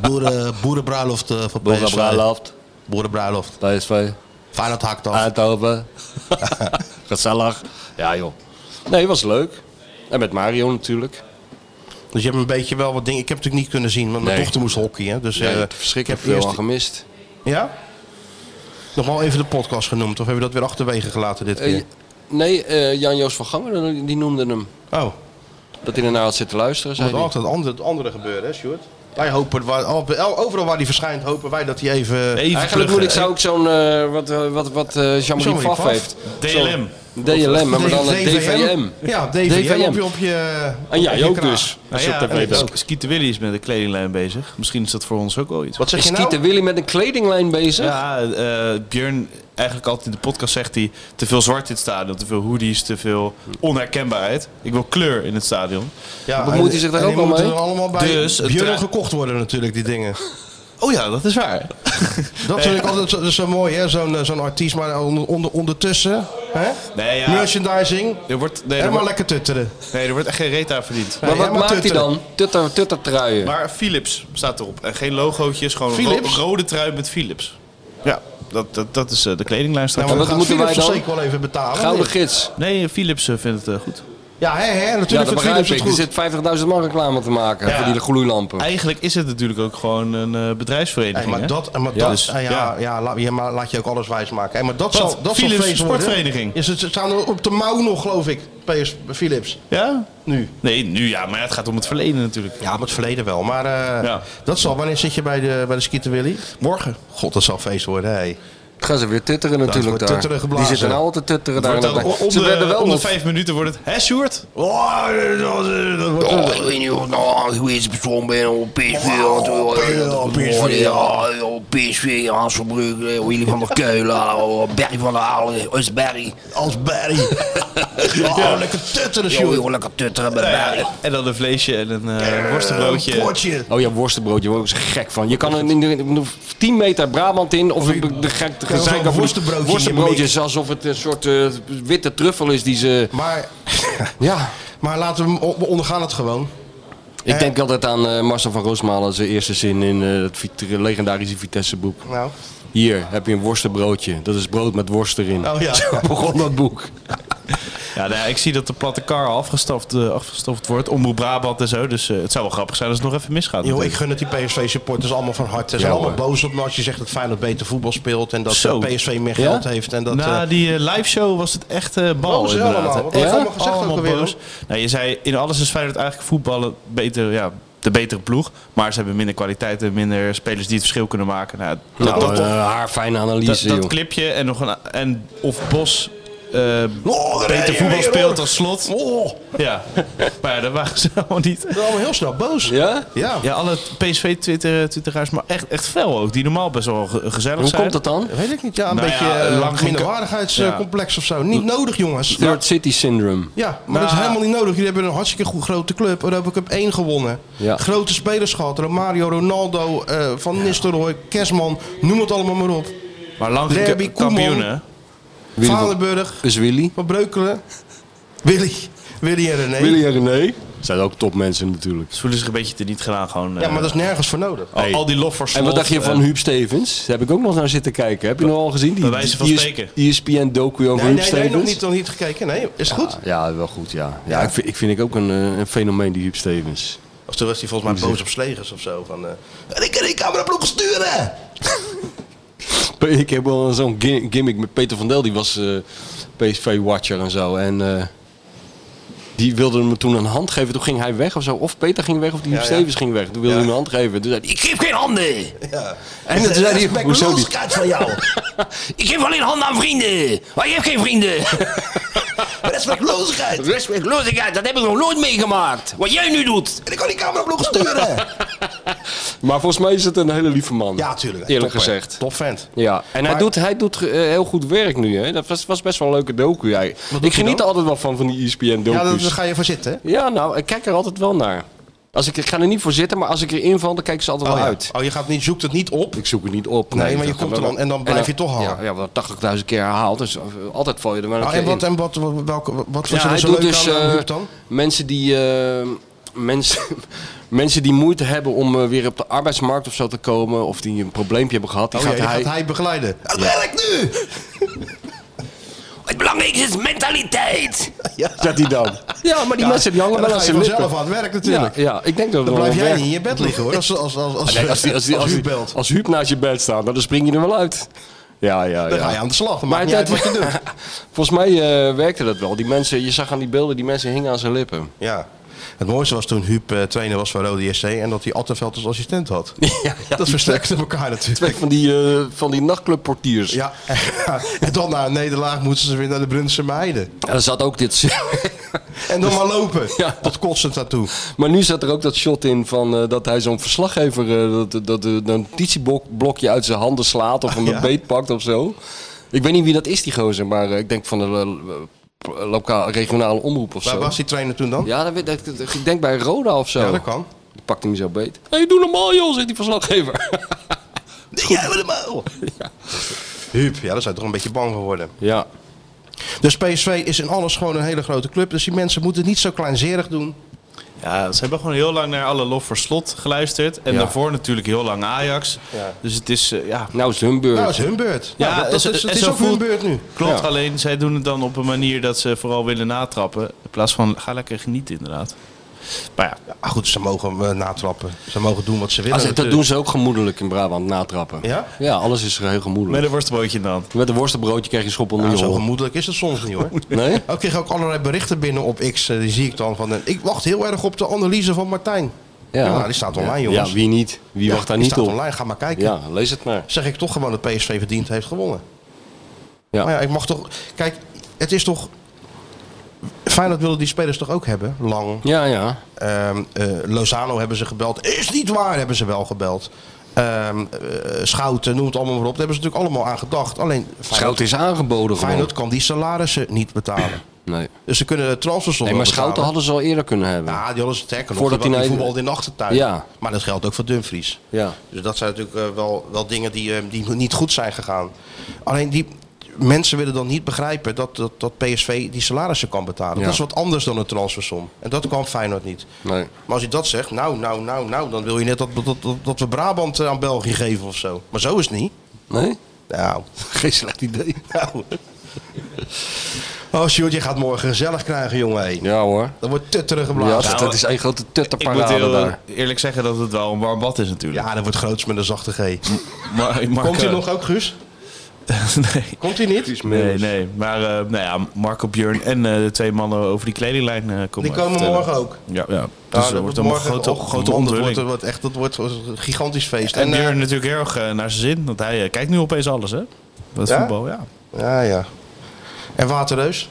[SPEAKER 4] Boeren, boerenbruiloft eh, van
[SPEAKER 5] Bora
[SPEAKER 4] PSV.
[SPEAKER 5] Brailoft,
[SPEAKER 4] Boerenbruiloft.
[SPEAKER 5] PSV,
[SPEAKER 4] Feyenoord hakt af.
[SPEAKER 5] Eindhoven. Gezellig. Ja joh. Nee, was leuk. En met Mario natuurlijk.
[SPEAKER 4] Dus je hebt een beetje wel wat dingen... Ik heb het natuurlijk niet kunnen zien, want mijn
[SPEAKER 5] Nee.
[SPEAKER 4] dochter moest hockeyen. Dus,
[SPEAKER 5] Ja,
[SPEAKER 4] eh,
[SPEAKER 5] verschrikkelijk
[SPEAKER 4] ik heb
[SPEAKER 5] veel
[SPEAKER 4] eerst-
[SPEAKER 5] aan gemist.
[SPEAKER 4] Ja? Nog wel even de podcast genoemd, of hebben we dat weer achterwege gelaten dit
[SPEAKER 5] Eh,
[SPEAKER 4] keer?
[SPEAKER 5] nee, eh, Jan-Joos van Gangen, die noemde hem.
[SPEAKER 4] Oh,
[SPEAKER 5] Dat hij ernaar had zitten luisteren,
[SPEAKER 4] er
[SPEAKER 5] zei
[SPEAKER 4] moet
[SPEAKER 5] hij.
[SPEAKER 4] altijd het andere, het andere gebeuren, hè, Sjoerd? Wij hopen, waar, al- overal waar hij verschijnt, hopen wij dat hij even...
[SPEAKER 6] Even
[SPEAKER 5] Eigenlijk
[SPEAKER 6] pluggen.
[SPEAKER 5] bedoel ik zou ook zo'n, eh, wat, eh, wat, wat eh, Jean-Marie
[SPEAKER 4] Jean-Marie
[SPEAKER 5] Pfaff
[SPEAKER 4] Pfaff.
[SPEAKER 5] heeft.
[SPEAKER 6] DLM.
[SPEAKER 5] DLM, maar dan het DVM.
[SPEAKER 4] Ja, DVM,
[SPEAKER 5] DVM.
[SPEAKER 4] Op, je, op je.
[SPEAKER 5] En
[SPEAKER 4] op
[SPEAKER 5] jij
[SPEAKER 4] je
[SPEAKER 5] ook
[SPEAKER 4] kraag.
[SPEAKER 5] dus. Als
[SPEAKER 6] Nou
[SPEAKER 5] je
[SPEAKER 6] ja,
[SPEAKER 5] op tv bent.
[SPEAKER 6] Sk- Skeeter Willy is met een kledinglijn bezig. Misschien is dat voor ons ook wel iets.
[SPEAKER 4] Wat zeg
[SPEAKER 5] Is
[SPEAKER 4] je
[SPEAKER 5] Skeeter
[SPEAKER 4] nou?
[SPEAKER 5] Willy met een kledinglijn bezig?
[SPEAKER 6] Ja, eh Björn, eigenlijk altijd in de podcast zegt hij... te veel zwart in het stadion, te veel hoodies, te veel onherkenbaarheid. Ik wil kleur in het stadion.
[SPEAKER 4] Ja,
[SPEAKER 5] bemoeit
[SPEAKER 4] en-
[SPEAKER 5] hij zich daar
[SPEAKER 4] en
[SPEAKER 5] ook
[SPEAKER 4] die
[SPEAKER 5] al
[SPEAKER 4] moeten
[SPEAKER 5] mee?
[SPEAKER 4] er allemaal bij
[SPEAKER 6] Dus
[SPEAKER 4] dus,
[SPEAKER 6] het
[SPEAKER 4] Björn
[SPEAKER 6] draai-
[SPEAKER 4] gekocht worden natuurlijk, die dingen.
[SPEAKER 6] Oh ja, dat is waar.
[SPEAKER 4] Dat vind ik altijd zo, zo mooi, hè? Zo'n eh, zo'n artiest, maar onder, onder, ondertussen. Hè?
[SPEAKER 6] Nee, ja.
[SPEAKER 4] Merchandising.
[SPEAKER 6] Er wordt, nee, er
[SPEAKER 4] Helemaal
[SPEAKER 6] wordt,
[SPEAKER 4] lekker tutteren.
[SPEAKER 6] nee, er wordt echt geen reet aan verdiend.
[SPEAKER 5] maar
[SPEAKER 4] ja,
[SPEAKER 5] wat
[SPEAKER 4] maar
[SPEAKER 5] maakt hij
[SPEAKER 4] tutteren.
[SPEAKER 5] dan? Tutter, tuttertruien.
[SPEAKER 6] Maar Philips staat erop. En geen logootjes, gewoon een
[SPEAKER 4] Philips?
[SPEAKER 6] ro- rode trui met Philips. Ja, dat, dat, dat is eh, de kledinglijn staat
[SPEAKER 4] Nou,
[SPEAKER 6] erop.
[SPEAKER 4] maar
[SPEAKER 5] wat
[SPEAKER 4] dan
[SPEAKER 5] moeten
[SPEAKER 4] moeten
[SPEAKER 5] wij
[SPEAKER 4] Philips
[SPEAKER 5] dan?
[SPEAKER 4] dan? zeker wel even betalen.
[SPEAKER 5] Gouden gids.
[SPEAKER 6] Nee, Philips eh, vindt het eh, goed.
[SPEAKER 4] Ja, hè, hè,
[SPEAKER 5] Ja,
[SPEAKER 4] natuurlijk
[SPEAKER 5] dat
[SPEAKER 4] vindt
[SPEAKER 5] begrijp
[SPEAKER 4] Philips
[SPEAKER 5] ik.
[SPEAKER 4] het
[SPEAKER 5] Er
[SPEAKER 4] goed.
[SPEAKER 5] zit 50.000 man reclame te maken
[SPEAKER 6] Ja.
[SPEAKER 5] voor die gloeilampen.
[SPEAKER 6] Eigenlijk is het natuurlijk ook gewoon een eh,
[SPEAKER 4] Hey,
[SPEAKER 6] bedrijfsvereniging.
[SPEAKER 4] maar
[SPEAKER 6] hè?
[SPEAKER 4] dat, maar
[SPEAKER 6] Ja,
[SPEAKER 4] dat
[SPEAKER 6] dus-
[SPEAKER 4] ja,
[SPEAKER 6] ja.
[SPEAKER 4] ja, la- ja, maar laat je ook alles wijs maken. Hey, maar dat
[SPEAKER 6] Wat?
[SPEAKER 4] zal, dat
[SPEAKER 6] Philips
[SPEAKER 4] zal feest
[SPEAKER 6] Sportvereniging.
[SPEAKER 4] Worden. Is het, het staan er op de mouw nog, geloof ik, PS, Philips.
[SPEAKER 6] Ja?
[SPEAKER 4] Nu.
[SPEAKER 6] Nee, nu ja, maar het gaat om het verleden natuurlijk.
[SPEAKER 4] Ja, maar het verleden wel. Maar eh,
[SPEAKER 6] Ja.
[SPEAKER 4] dat zal, wanneer zit je bij de, bij de Skeeter Willy?
[SPEAKER 6] Morgen.
[SPEAKER 4] God, dat zal feest worden, hé.
[SPEAKER 5] gaan ze weer tutteren natuurlijk
[SPEAKER 4] wordt
[SPEAKER 5] daar.
[SPEAKER 4] tutteren
[SPEAKER 5] die
[SPEAKER 4] geblazen.
[SPEAKER 5] zitten nou altijd te tutteren daar.
[SPEAKER 6] Wordt
[SPEAKER 5] aan
[SPEAKER 6] dan
[SPEAKER 5] de
[SPEAKER 6] om,
[SPEAKER 5] tijd. Ze
[SPEAKER 6] de,
[SPEAKER 5] werden wel
[SPEAKER 6] om de
[SPEAKER 5] nog-
[SPEAKER 6] vijf minuten wordt het... Hè, Sjoerd?
[SPEAKER 4] Oh, dat,
[SPEAKER 7] Oh, ik weet niet of nou, hoe is het persoon ben op PSV. want, eh,
[SPEAKER 4] ja, PSV,
[SPEAKER 7] oh,
[SPEAKER 4] ja.
[SPEAKER 7] ja, ja, PSV, Hasselbrug, eh, Willy van der Keulen, oh, Berry van der Halen, Osberry.
[SPEAKER 4] Als Barry. Oh, lekker tutteren,
[SPEAKER 7] Yo,
[SPEAKER 4] Sjoerd.
[SPEAKER 7] yo, lekker tutteren met
[SPEAKER 6] Ja,
[SPEAKER 7] Berry.
[SPEAKER 6] En dan een vleesje en een eh,
[SPEAKER 4] Een
[SPEAKER 6] worstenbroodje.
[SPEAKER 4] potje.
[SPEAKER 5] Oh ja, worstenbroodje, daar word ik zo gek van. Je kan er in de- in de 10 meter Brabant in, of de, de gek de gezeik over die
[SPEAKER 4] worstenbroodje in je
[SPEAKER 5] worstenbroodjes, alsof het een soort eh, witte truffel is die ze...
[SPEAKER 4] Maar,
[SPEAKER 5] Ja,
[SPEAKER 4] maar laten we hem op- we ondergaan het gewoon.
[SPEAKER 5] ik denk altijd aan eh, Marcel van Roosmalen, zijn eerste zin in eh, het Vit- legendarische Vitesse boek.
[SPEAKER 4] Nou.
[SPEAKER 5] Hier heb je een worstenbroodje, dat is brood met worst erin.
[SPEAKER 4] Oh ja.
[SPEAKER 5] Zo begon dat boek.
[SPEAKER 6] Ja, nou ja, ik zie dat de platte kar afgestoft, eh, afgestoft wordt. Omroep Brabant en zo. Dus eh, het zou wel grappig zijn als het nog even misgaat.
[SPEAKER 4] Yo, ik
[SPEAKER 6] natuurlijk.
[SPEAKER 4] gun het die PSV-supporters allemaal van harte. Ze zijn
[SPEAKER 5] Ja,
[SPEAKER 4] allemaal
[SPEAKER 5] hoor.
[SPEAKER 4] boos op me als je zegt dat Feyenoord beter voetbal speelt. En dat
[SPEAKER 6] Zo.
[SPEAKER 4] eh, PSV meer
[SPEAKER 5] Ja?
[SPEAKER 4] geld heeft. En dat,
[SPEAKER 6] Na
[SPEAKER 4] eh,
[SPEAKER 6] die eh, live show was het echt eh bal
[SPEAKER 4] Boos
[SPEAKER 6] inderdaad.
[SPEAKER 4] allemaal. Wat heeft
[SPEAKER 5] Ja?
[SPEAKER 4] allemaal gezegd ook
[SPEAKER 6] Allemaal
[SPEAKER 4] alweer?
[SPEAKER 6] boos.
[SPEAKER 4] hoor?
[SPEAKER 6] Nou, je zei, in alles is Feyenoord eigenlijk voetballen beter, ja, de betere ploeg. Maar ze hebben minder kwaliteit en minder spelers die het verschil kunnen maken. Nou, dat,
[SPEAKER 5] Nou,
[SPEAKER 6] dat,
[SPEAKER 5] eh, haar fijne
[SPEAKER 6] dat,
[SPEAKER 5] analyse,
[SPEAKER 6] dat
[SPEAKER 5] joh.
[SPEAKER 6] clipje en nog een... En of Bos eh,
[SPEAKER 4] Oh, daar
[SPEAKER 6] beter
[SPEAKER 4] rij je
[SPEAKER 6] voetbal
[SPEAKER 4] weer,
[SPEAKER 6] speelt
[SPEAKER 4] hoor.
[SPEAKER 6] dan Slot.
[SPEAKER 4] Oh, ze
[SPEAKER 6] Ja, maar ja, dat waren ze allemaal niet.
[SPEAKER 4] zijn allemaal heel snel boos.
[SPEAKER 5] Ja?
[SPEAKER 4] Ja.
[SPEAKER 6] Ja, alle PSV-twitteraars, eh, maar echt, echt fel ook. Die normaal best wel ge- gezellig
[SPEAKER 5] Hoe
[SPEAKER 6] zijn.
[SPEAKER 5] komt dat dan?
[SPEAKER 4] Weet ik niet. Ja, een
[SPEAKER 6] Nou
[SPEAKER 4] beetje
[SPEAKER 6] ja,
[SPEAKER 4] eh,
[SPEAKER 6] lang geen-
[SPEAKER 4] minderwaardigheidscomplex of zo. Niet nodig, jongens.
[SPEAKER 5] Third City Syndrome.
[SPEAKER 4] Ja, maar dat is
[SPEAKER 6] Nou.
[SPEAKER 4] helemaal niet nodig. Jullie hebben een hartstikke goe- grote club. Europa Cup 1 gewonnen.
[SPEAKER 5] Ja.
[SPEAKER 4] Grote spelers gehad. Romario, Ronaldo, eh, Van Nistelrooy, Kersman. Noem het allemaal maar op.
[SPEAKER 6] Maar lang geen
[SPEAKER 4] Derby,
[SPEAKER 6] ka- kampioen, hè?
[SPEAKER 5] Willy van-
[SPEAKER 4] Valenburg,
[SPEAKER 5] Is Willy?
[SPEAKER 4] Van Breukelen. Willy. Willy en René.
[SPEAKER 5] Willy en René? Zijn ook topmensen natuurlijk.
[SPEAKER 6] Ze voelen zich een beetje teniet gedaan. Gewoon,
[SPEAKER 4] Ja,
[SPEAKER 6] eh,
[SPEAKER 4] maar dat is nergens voor nodig.
[SPEAKER 5] Oh,
[SPEAKER 6] al, al die lof voor
[SPEAKER 5] En wat
[SPEAKER 6] Slot,
[SPEAKER 5] dacht je
[SPEAKER 6] eh,
[SPEAKER 5] van Huub Stevens? Daar heb ik ook nog naar zitten kijken. Heb je nog al gezien? Die,
[SPEAKER 6] Bij wijze van
[SPEAKER 5] die
[SPEAKER 6] spreken.
[SPEAKER 5] ESPN-docu over
[SPEAKER 4] Nee,
[SPEAKER 5] Huub
[SPEAKER 4] nee, nee,
[SPEAKER 5] Stevens?
[SPEAKER 4] nog niet, nog niet gekeken. Nee, is het goed?
[SPEAKER 5] Ja, wel goed, ja. Ja, Ik, vind, ik vind ik ook een, eh, een fenomeen, die Huub Stevens.
[SPEAKER 4] Of toen was hij volgens mij boos op Slegers of zo. Van, eh, ik kan die cameraploeg sturen!
[SPEAKER 5] Ik heb wel zo'n gi- gimmick met Peter van Del, die was eh, PSV-watcher en zo. En eh, die wilde me toen een hand geven. Toen ging hij weg of zo. Of Peter ging weg of die Huub
[SPEAKER 4] Ja, ja.
[SPEAKER 5] Stevens ging weg. Toen wilde hij me een hand geven. Toen zei hij,
[SPEAKER 7] Ik geef geen handen.
[SPEAKER 4] Ja.
[SPEAKER 5] En toen zei hij, hoezo die?
[SPEAKER 4] Loskaart van jou.
[SPEAKER 7] Ik geef alleen handen aan vrienden. Maar je hebt geen vrienden.
[SPEAKER 4] Respectloosheid.
[SPEAKER 7] Respectloosheid, dat heb ik nog nooit meegemaakt. Wat jij nu doet.
[SPEAKER 4] En ik kan die cameraploeg sturen!
[SPEAKER 5] Maar volgens mij is het een hele lieve man.
[SPEAKER 4] ja, tuurlijk.
[SPEAKER 5] Eerlijk
[SPEAKER 4] Topper.
[SPEAKER 5] gezegd.
[SPEAKER 4] Top vent.
[SPEAKER 5] Ja, en hij
[SPEAKER 4] Maar-
[SPEAKER 5] doet, hij doet eh, heel goed werk nu. Hè? Dat was, was best wel een leuke docu. Hij.
[SPEAKER 4] doet
[SPEAKER 5] Ik
[SPEAKER 4] hij
[SPEAKER 5] geniet er
[SPEAKER 4] dan?
[SPEAKER 5] altijd wel van, van die E
[SPEAKER 4] Ja, daar
[SPEAKER 5] ESPN-docu's. Ja,
[SPEAKER 4] ga je voor zitten, hè?
[SPEAKER 5] nou, ik kijk er altijd wel naar. Als ik, ik ga er niet voor zitten, maar als ik erin val, dan kijk ik ze altijd wel
[SPEAKER 4] ja.
[SPEAKER 5] uit.
[SPEAKER 4] oh, je gaat niet, zoekt het niet op.
[SPEAKER 5] Ik zoek het niet op.
[SPEAKER 4] Nee, maar
[SPEAKER 5] ik
[SPEAKER 4] je
[SPEAKER 5] dacht
[SPEAKER 4] komt er
[SPEAKER 5] wel-
[SPEAKER 4] dan en dan blijf je toch hangen.
[SPEAKER 5] Ja, ja want 80.000 keer herhaald, dus eh, altijd val je er maar een
[SPEAKER 4] Ah,
[SPEAKER 5] keer
[SPEAKER 4] en wat,
[SPEAKER 5] in.
[SPEAKER 4] en wat, wat- welke, wat was
[SPEAKER 5] Ja,
[SPEAKER 4] er
[SPEAKER 5] hij
[SPEAKER 4] zo
[SPEAKER 5] doet
[SPEAKER 4] leuk
[SPEAKER 5] dus
[SPEAKER 4] aan, aan
[SPEAKER 5] eh,
[SPEAKER 4] Huub dan? Oh
[SPEAKER 5] mensen die... eh, Mensen, mensen die moeite hebben om eh, weer op de arbeidsmarkt of zo te komen, of die een probleempje hebben gehad, die
[SPEAKER 4] Oh, ja,
[SPEAKER 5] gaat,
[SPEAKER 4] die
[SPEAKER 5] hij,
[SPEAKER 4] gaat hij begeleiden. Het werkt nu!
[SPEAKER 7] Het belangrijkste is mentaliteit.
[SPEAKER 5] Zet die dan. Ja, maar die mensen die hangen
[SPEAKER 4] En dan
[SPEAKER 5] wel aan
[SPEAKER 4] ga je
[SPEAKER 5] zijn lippen.
[SPEAKER 4] vanzelf aan het werk natuurlijk.
[SPEAKER 5] Ja, ja, ik denk dat
[SPEAKER 4] Dan
[SPEAKER 5] het wel
[SPEAKER 4] blijf jij
[SPEAKER 5] werkt.
[SPEAKER 4] niet in je bed liggen hoor, als, als, als, Ah, als,
[SPEAKER 5] Nee, als, die, als, die, als,
[SPEAKER 4] als Oh,
[SPEAKER 5] die-
[SPEAKER 4] Huub belt.
[SPEAKER 5] als Huub naast je bed staat, nou, dan spring je er wel uit. Ja, ja,
[SPEAKER 4] Dan ga je
[SPEAKER 5] ja.
[SPEAKER 4] aan de slag, dan maakt niet uit wat je doet.
[SPEAKER 5] Volgens mij eh, werkte dat wel. Die mensen, je zag aan die beelden, die mensen hingen aan zijn lippen.
[SPEAKER 4] Ja. Het mooiste was toen Huub eh, trainer was van Rode JC en dat hij Attenveld als assistent had.
[SPEAKER 5] Ja, ja,
[SPEAKER 4] dat
[SPEAKER 5] die
[SPEAKER 4] versterkte elkaar
[SPEAKER 5] Twee
[SPEAKER 4] natuurlijk.
[SPEAKER 5] van die, eh, van die nachtclubportiers. Ja.
[SPEAKER 4] Ja, en dan na een nederlaag moeten ze weer naar de Brunse Meiden.
[SPEAKER 5] Er zat ook dit.
[SPEAKER 4] En dan maar lopen,
[SPEAKER 5] Ja.
[SPEAKER 4] tot kotsend naartoe.
[SPEAKER 5] maar nu zat er ook dat shot in van eh, dat hij zo'n verslaggever. eh, dat dat eh, een notitieblokje uit zijn handen slaat of hem
[SPEAKER 4] ja.
[SPEAKER 5] een beet pakt of zo. Ik weet niet wie dat is, die gozer, maar eh, ik denk van de eh, lokaal, regionale omroep of
[SPEAKER 4] Waar
[SPEAKER 5] zo.
[SPEAKER 4] was die trainer toen dan?
[SPEAKER 5] Ja, dat weet, dat, dat- ik denk bij Roda of zo.
[SPEAKER 4] Ja, dat kan.
[SPEAKER 5] Die pakt hem zo beet. Hé, hey, doe normaal joh, zegt die verslaggever.
[SPEAKER 4] Ja, met de muil! Huub, ja, daar zijn we toch een beetje bang voor worden.
[SPEAKER 5] ja.
[SPEAKER 4] Dus PSV is in alles gewoon een hele grote club. Dus die mensen moeten het niet zo kleinzerig doen.
[SPEAKER 6] Ja, ze hebben gewoon heel lang naar alle lof voor slot geluisterd. En
[SPEAKER 4] Ja.
[SPEAKER 6] daarvoor natuurlijk heel lang Ajax. Dus het is, eh, ja,
[SPEAKER 5] Nou is het hun beurt.
[SPEAKER 4] Nou, het is hun beurt. Ja,
[SPEAKER 6] Ja,
[SPEAKER 4] dat,
[SPEAKER 6] en
[SPEAKER 4] dat
[SPEAKER 6] zo-
[SPEAKER 4] is, het
[SPEAKER 6] en
[SPEAKER 4] is
[SPEAKER 6] zo
[SPEAKER 4] ook hun
[SPEAKER 6] voelt-
[SPEAKER 4] beurt nu.
[SPEAKER 6] klopt.
[SPEAKER 5] Ja.
[SPEAKER 6] Alleen zij doen het dan op een manier dat ze vooral willen natrappen. In plaats van, ga lekker genieten inderdaad. Maar ja,
[SPEAKER 4] Ah, goed, ze mogen eh, natrappen. Ze mogen doen wat ze willen.
[SPEAKER 5] Ah, ze- dat
[SPEAKER 4] natuurlijk.
[SPEAKER 5] doen ze ook gemoedelijk in Brabant, natrappen.
[SPEAKER 4] Ja?
[SPEAKER 5] Ja, alles is heel gemoedelijk.
[SPEAKER 6] met een worstbroodje in de hand.
[SPEAKER 5] Met een worstenbroodje krijg je schop onder
[SPEAKER 4] Ja,
[SPEAKER 5] je
[SPEAKER 4] zo
[SPEAKER 5] hol.
[SPEAKER 4] gemoedelijk is het soms niet hoor.
[SPEAKER 5] Nee?
[SPEAKER 4] Ik kreeg ook allerlei berichten binnen op X. eh, Die zie ik dan van. eh, Ik wacht heel erg op de analyse van Martijn. Ja, nou, die staat online, jongens.
[SPEAKER 5] Ja, wie niet? Wie wacht daar
[SPEAKER 4] die
[SPEAKER 5] niet
[SPEAKER 4] staat
[SPEAKER 5] op?
[SPEAKER 4] online, ga maar kijken.
[SPEAKER 5] Ja, lees het maar.
[SPEAKER 4] Zeg ik toch gewoon dat PSV verdiend heeft gewonnen.
[SPEAKER 5] Ja.
[SPEAKER 4] Maar ja, ik mag toch. Kijk, het is toch. Feyenoord willen die spelers toch ook hebben? Lang.
[SPEAKER 5] Ja, ja.
[SPEAKER 4] Ehm, eh, Lozano hebben ze gebeld. Is niet waar, hebben ze wel gebeld. Ehm, eh, Schouten, noem het allemaal maar op. Daar hebben ze natuurlijk allemaal aan gedacht. Alleen Feyenoord,
[SPEAKER 5] Schout is aangeboden gewoon.
[SPEAKER 4] Feyenoord kan die salarissen niet betalen.
[SPEAKER 5] Nee.
[SPEAKER 4] Dus ze kunnen transfers nog
[SPEAKER 5] nee, maar
[SPEAKER 4] wel
[SPEAKER 5] Schouten
[SPEAKER 4] betalen.
[SPEAKER 5] hadden ze al eerder kunnen hebben.
[SPEAKER 4] Ja, die hadden ze trekken.
[SPEAKER 5] Voordat
[SPEAKER 4] Voordat die,
[SPEAKER 5] hij naar-
[SPEAKER 4] voetbalde in de achtertuin.
[SPEAKER 5] Ja.
[SPEAKER 4] Maar dat geldt ook voor Dumfries.
[SPEAKER 5] Ja.
[SPEAKER 4] Dus dat zijn natuurlijk eh, wel, wel dingen die, eh, die niet goed zijn gegaan. Alleen die mensen willen dan niet begrijpen dat, dat, dat PSV die salarissen kan betalen.
[SPEAKER 5] Ja.
[SPEAKER 4] Dat is wat anders dan een transfersom. En dat kan Feyenoord niet.
[SPEAKER 5] Nee.
[SPEAKER 4] Maar als je dat zegt, nou, nou, nou, nou, dan wil je net dat, dat, dat, dat we Brabant eh, aan België geven of zo. Maar zo is het niet.
[SPEAKER 5] Nee?
[SPEAKER 4] Nou,
[SPEAKER 5] Geen slecht idee.
[SPEAKER 4] nou. Oh, Sjoerd, je gaat morgen gezellig krijgen, jongen. hé.
[SPEAKER 5] Ja hoor.
[SPEAKER 4] Dan wordt tutteren
[SPEAKER 5] Ja,
[SPEAKER 4] geblazen.
[SPEAKER 5] dat, dat is één grote
[SPEAKER 6] Ik moet
[SPEAKER 5] tutterparade
[SPEAKER 6] heel eh,
[SPEAKER 5] daar.
[SPEAKER 6] eerlijk zeggen dat het wel een warm bad is natuurlijk.
[SPEAKER 4] Ja, dat wordt groots met een zachte G.
[SPEAKER 6] Maar, Marco-
[SPEAKER 4] Komt hij
[SPEAKER 5] eh,
[SPEAKER 4] nog ook, Guus?
[SPEAKER 6] nee.
[SPEAKER 4] Komt hij niet?
[SPEAKER 6] Nee, nee. Maar eh, nou ja, Marco Björn en eh, de twee mannen over die kledinglijn eh, komen.
[SPEAKER 4] Die komen
[SPEAKER 6] vertellen.
[SPEAKER 4] morgen ook.
[SPEAKER 6] Ja, ja.
[SPEAKER 4] Ja,
[SPEAKER 6] Dus er wordt allemaal een grote,
[SPEAKER 4] och,
[SPEAKER 6] grote
[SPEAKER 4] man, dat wordt,
[SPEAKER 6] onthulling.
[SPEAKER 4] dat wordt echt dat wordt een gigantisch feest.
[SPEAKER 6] En
[SPEAKER 4] eh,
[SPEAKER 6] Björn natuurlijk heel erg eh, naar zijn zin. Want hij eh, kijkt nu opeens alles, hè? Dat
[SPEAKER 4] Ja?
[SPEAKER 6] voetbal, ja.
[SPEAKER 4] ja, ja. En Waterreus?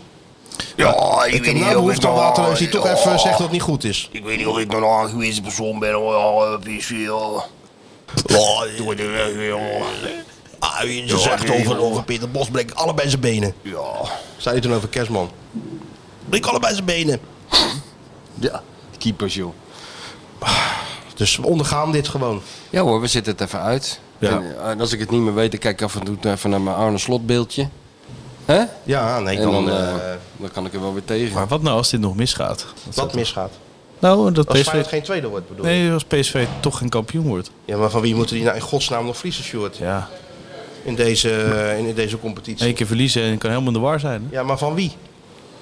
[SPEAKER 7] Ja, Ah, Oh, ik,
[SPEAKER 4] Ik
[SPEAKER 7] weet
[SPEAKER 4] heb
[SPEAKER 7] niet Oh.
[SPEAKER 4] nou
[SPEAKER 7] of
[SPEAKER 4] behoefte aan
[SPEAKER 7] nog-
[SPEAKER 4] Waterreus die toch
[SPEAKER 7] ja,
[SPEAKER 4] even zegt dat het niet goed is.
[SPEAKER 7] Ik weet niet of ik nog een aangewezen persoon ben. Oh ja, eh, PSV, ja. Ja, doe het weg, ja.
[SPEAKER 4] Ah,
[SPEAKER 7] ze zegt over- over
[SPEAKER 4] Peter Bos bleek allebei zijn benen.
[SPEAKER 7] Ja.
[SPEAKER 4] Zei hij toen over Kerstman. Bleek allebei zijn benen.
[SPEAKER 5] Ja.
[SPEAKER 4] eh,
[SPEAKER 5] Keepers joh.
[SPEAKER 4] Dus we ondergaan dit gewoon.
[SPEAKER 5] Ja hoor, we zitten het even uit.
[SPEAKER 6] Ja.
[SPEAKER 5] En, eh, en als ik het niet meer weet, dan kijk ik af en toe even naar mijn Arne Slot beeldje. Hè?
[SPEAKER 4] Ja, nee,
[SPEAKER 5] en dan,
[SPEAKER 4] dan,
[SPEAKER 5] eh,
[SPEAKER 4] eh
[SPEAKER 5] dan kan ik er wel weer tegen.
[SPEAKER 6] Maar wat nou als dit nog misgaat?
[SPEAKER 4] wat misgaat.
[SPEAKER 6] Nou, dat
[SPEAKER 4] Als Feyenoord
[SPEAKER 6] PSV...
[SPEAKER 4] geen tweede wordt, bedoel ik.
[SPEAKER 6] Nee, als PSV toch geen kampioen wordt.
[SPEAKER 4] Ja, maar van wie moeten die nou in godsnaam nog vriezen, Sjoerd?
[SPEAKER 6] Ja.
[SPEAKER 4] In deze, eh, in, in deze competitie.
[SPEAKER 6] Eén keer verliezen en kan helemaal in de war zijn. hè?
[SPEAKER 4] Ja, maar van wie?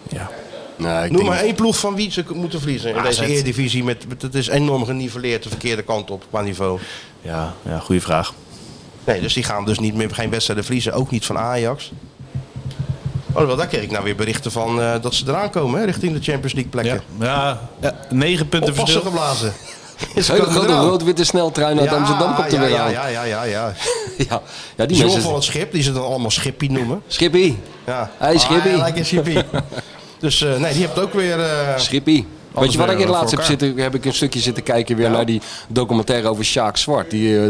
[SPEAKER 6] Ja.
[SPEAKER 5] Nee, ik
[SPEAKER 4] Noem
[SPEAKER 5] denk Ah,
[SPEAKER 4] maar één ploeg van wie ze k- moeten verliezen in
[SPEAKER 6] AZ.
[SPEAKER 4] deze Eredivisie. Met, met- het is enorm geniveleerd de verkeerde kant op qua niveau.
[SPEAKER 6] Ja, ja goede vraag.
[SPEAKER 4] Nee, dus die gaan dus niet meer geen wedstrijden verliezen. Ook niet van Ajax. Oh, wel, daar kreeg ik nou weer berichten van eh, dat ze eraan komen hè, richting de Champions League
[SPEAKER 6] Ja.
[SPEAKER 4] plekken.
[SPEAKER 6] ja. ja. Negen punten
[SPEAKER 4] Oppassen
[SPEAKER 6] verschil.
[SPEAKER 4] geblazen. Is
[SPEAKER 5] Een hele grote rood-witte sneltrein uit Amsterdam komt er
[SPEAKER 4] ja,
[SPEAKER 5] weer
[SPEAKER 4] ja,
[SPEAKER 5] aan.
[SPEAKER 4] ja, ja, ja, ja.
[SPEAKER 5] Ja, ja, die
[SPEAKER 4] John van
[SPEAKER 5] mensen...
[SPEAKER 4] het schip, die ze dan allemaal Schippie noemen.
[SPEAKER 5] Schippie,
[SPEAKER 4] Ja.
[SPEAKER 5] Hey, Schippie.
[SPEAKER 4] Ah, ja, lekker Schippie. dus eh, nee, die hebt ook weer... eh,
[SPEAKER 5] Schippie. Weet je wat
[SPEAKER 6] weer
[SPEAKER 5] ik in het laatst
[SPEAKER 6] voor
[SPEAKER 5] heb zitten, heb ik een stukje zitten kijken weer naar die documentaire over Sjaak Zwart, die eh,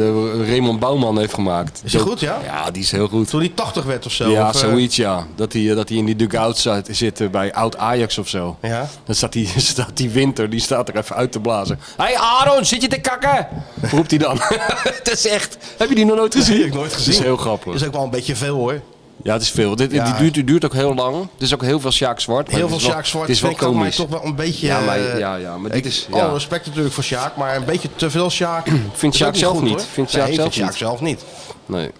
[SPEAKER 5] Raymond Bouwman heeft gemaakt.
[SPEAKER 4] Is die goed, ja?
[SPEAKER 5] Ja, die is heel goed.
[SPEAKER 4] toen die 80 werd of zo.
[SPEAKER 5] Ja,
[SPEAKER 4] of, eh,
[SPEAKER 5] zoiets ja. Dat hij, eh, dat hij in die dugout zat- zit eh, bij oud Ajax of zo.
[SPEAKER 4] Ja.
[SPEAKER 5] Dan staat die, staat die winter, die staat er even uit te blazen. Hé hey Aaron, zit je te kakken? Roept hij dan. Het is echt, heb je die nog nooit gezien?
[SPEAKER 4] die heb ik nooit gezien.
[SPEAKER 5] Het is heel grappig.
[SPEAKER 4] Is ook wel een beetje veel hoor.
[SPEAKER 5] Ja, het is veel. Dit,
[SPEAKER 4] Ja.
[SPEAKER 5] die duurt, die duurt ook heel lang. Er is ook heel veel Sjaak Zwart. maar
[SPEAKER 4] Heel
[SPEAKER 5] het
[SPEAKER 4] veel
[SPEAKER 5] is wel-
[SPEAKER 4] Sjaak Zwart
[SPEAKER 5] Het is wel
[SPEAKER 4] vind ik ook, maar
[SPEAKER 5] komisch.
[SPEAKER 4] toch wel een beetje...
[SPEAKER 5] Ja, maar-
[SPEAKER 4] eh,
[SPEAKER 5] ja, ja, maar dit
[SPEAKER 4] ik-
[SPEAKER 5] is- ja.
[SPEAKER 4] Alle respect natuurlijk voor Sjaak, maar een beetje te veel Sjaak. Vindt
[SPEAKER 5] Sjaak zelf niet. Vindt
[SPEAKER 4] Vindt
[SPEAKER 5] Sjaak
[SPEAKER 4] nee,
[SPEAKER 5] zelf
[SPEAKER 4] vindt Sjaak
[SPEAKER 5] niet.
[SPEAKER 4] zelf niet.
[SPEAKER 5] Nee.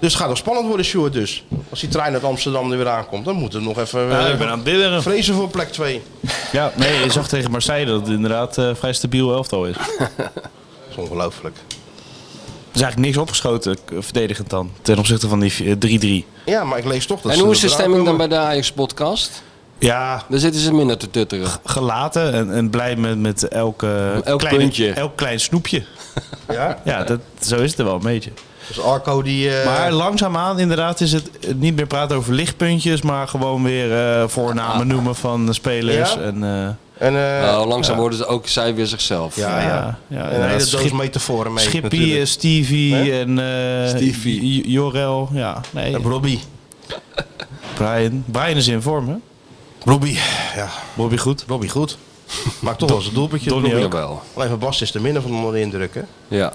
[SPEAKER 4] Dus het gaat nog spannend worden, Sjoerd dus. Als die trein uit Amsterdam er weer aankomt, dan moeten we nog even...
[SPEAKER 6] Ja,
[SPEAKER 4] eh,
[SPEAKER 6] ik ben aan het bidderen.
[SPEAKER 4] Vrezen voor plek 2.
[SPEAKER 6] Ja, nee, je zag tegen Marseille dat het inderdaad eh, vrij stabiel elftal is. Er
[SPEAKER 4] Dat is ongelooflijk.
[SPEAKER 6] is eigenlijk niks opgeschoten, k- verdedigend dan, ten opzichte van die v- eh, 3-3.
[SPEAKER 4] Ja, maar ik lees toch dat
[SPEAKER 5] En
[SPEAKER 4] ze
[SPEAKER 5] hoe is de
[SPEAKER 4] eraan
[SPEAKER 5] stemming dan
[SPEAKER 4] komen.
[SPEAKER 5] bij de Ajax podcast?
[SPEAKER 6] Ja,
[SPEAKER 5] Dan zitten ze minder te tutteren.
[SPEAKER 6] gelaten en, en blij met, met elke
[SPEAKER 5] Elk
[SPEAKER 6] kleine-
[SPEAKER 5] puntje.
[SPEAKER 6] elk klein snoepje.
[SPEAKER 4] Ja?
[SPEAKER 6] Ja, dat, zo is het er wel een beetje.
[SPEAKER 4] Dus Arco die... eh,
[SPEAKER 6] Maar langzaamaan inderdaad is het eh, niet meer praten over lichtpuntjes, maar gewoon weer eh,
[SPEAKER 5] Ah.
[SPEAKER 6] voornamen noemen van de spelers.
[SPEAKER 4] Ja?
[SPEAKER 6] En, eh,
[SPEAKER 4] en, eh,
[SPEAKER 5] Nou, langzaam worden ze ook zij weer zichzelf.
[SPEAKER 4] ja, ja.
[SPEAKER 6] ja, ja,
[SPEAKER 4] En een
[SPEAKER 6] ja,
[SPEAKER 4] hele
[SPEAKER 6] Schip-
[SPEAKER 4] doos metaforen mee
[SPEAKER 6] Schippie,
[SPEAKER 4] natuurlijk.
[SPEAKER 6] eh, Stevie
[SPEAKER 4] Hè?
[SPEAKER 6] en eh,
[SPEAKER 5] Stevie.
[SPEAKER 6] J- Jorel. Ja, nee.
[SPEAKER 4] En Robbie.
[SPEAKER 6] Brian. Brian is in vorm, hè?
[SPEAKER 4] Robbie, ja.
[SPEAKER 6] Bobby goed.
[SPEAKER 4] Robbie goed. Maakt toch wel eens een doelpuntje.
[SPEAKER 6] Donny
[SPEAKER 4] Robbie.
[SPEAKER 6] ook.
[SPEAKER 5] wel.
[SPEAKER 4] Alleen van Bas is er minder van onder de indruk, hè?
[SPEAKER 5] Ja.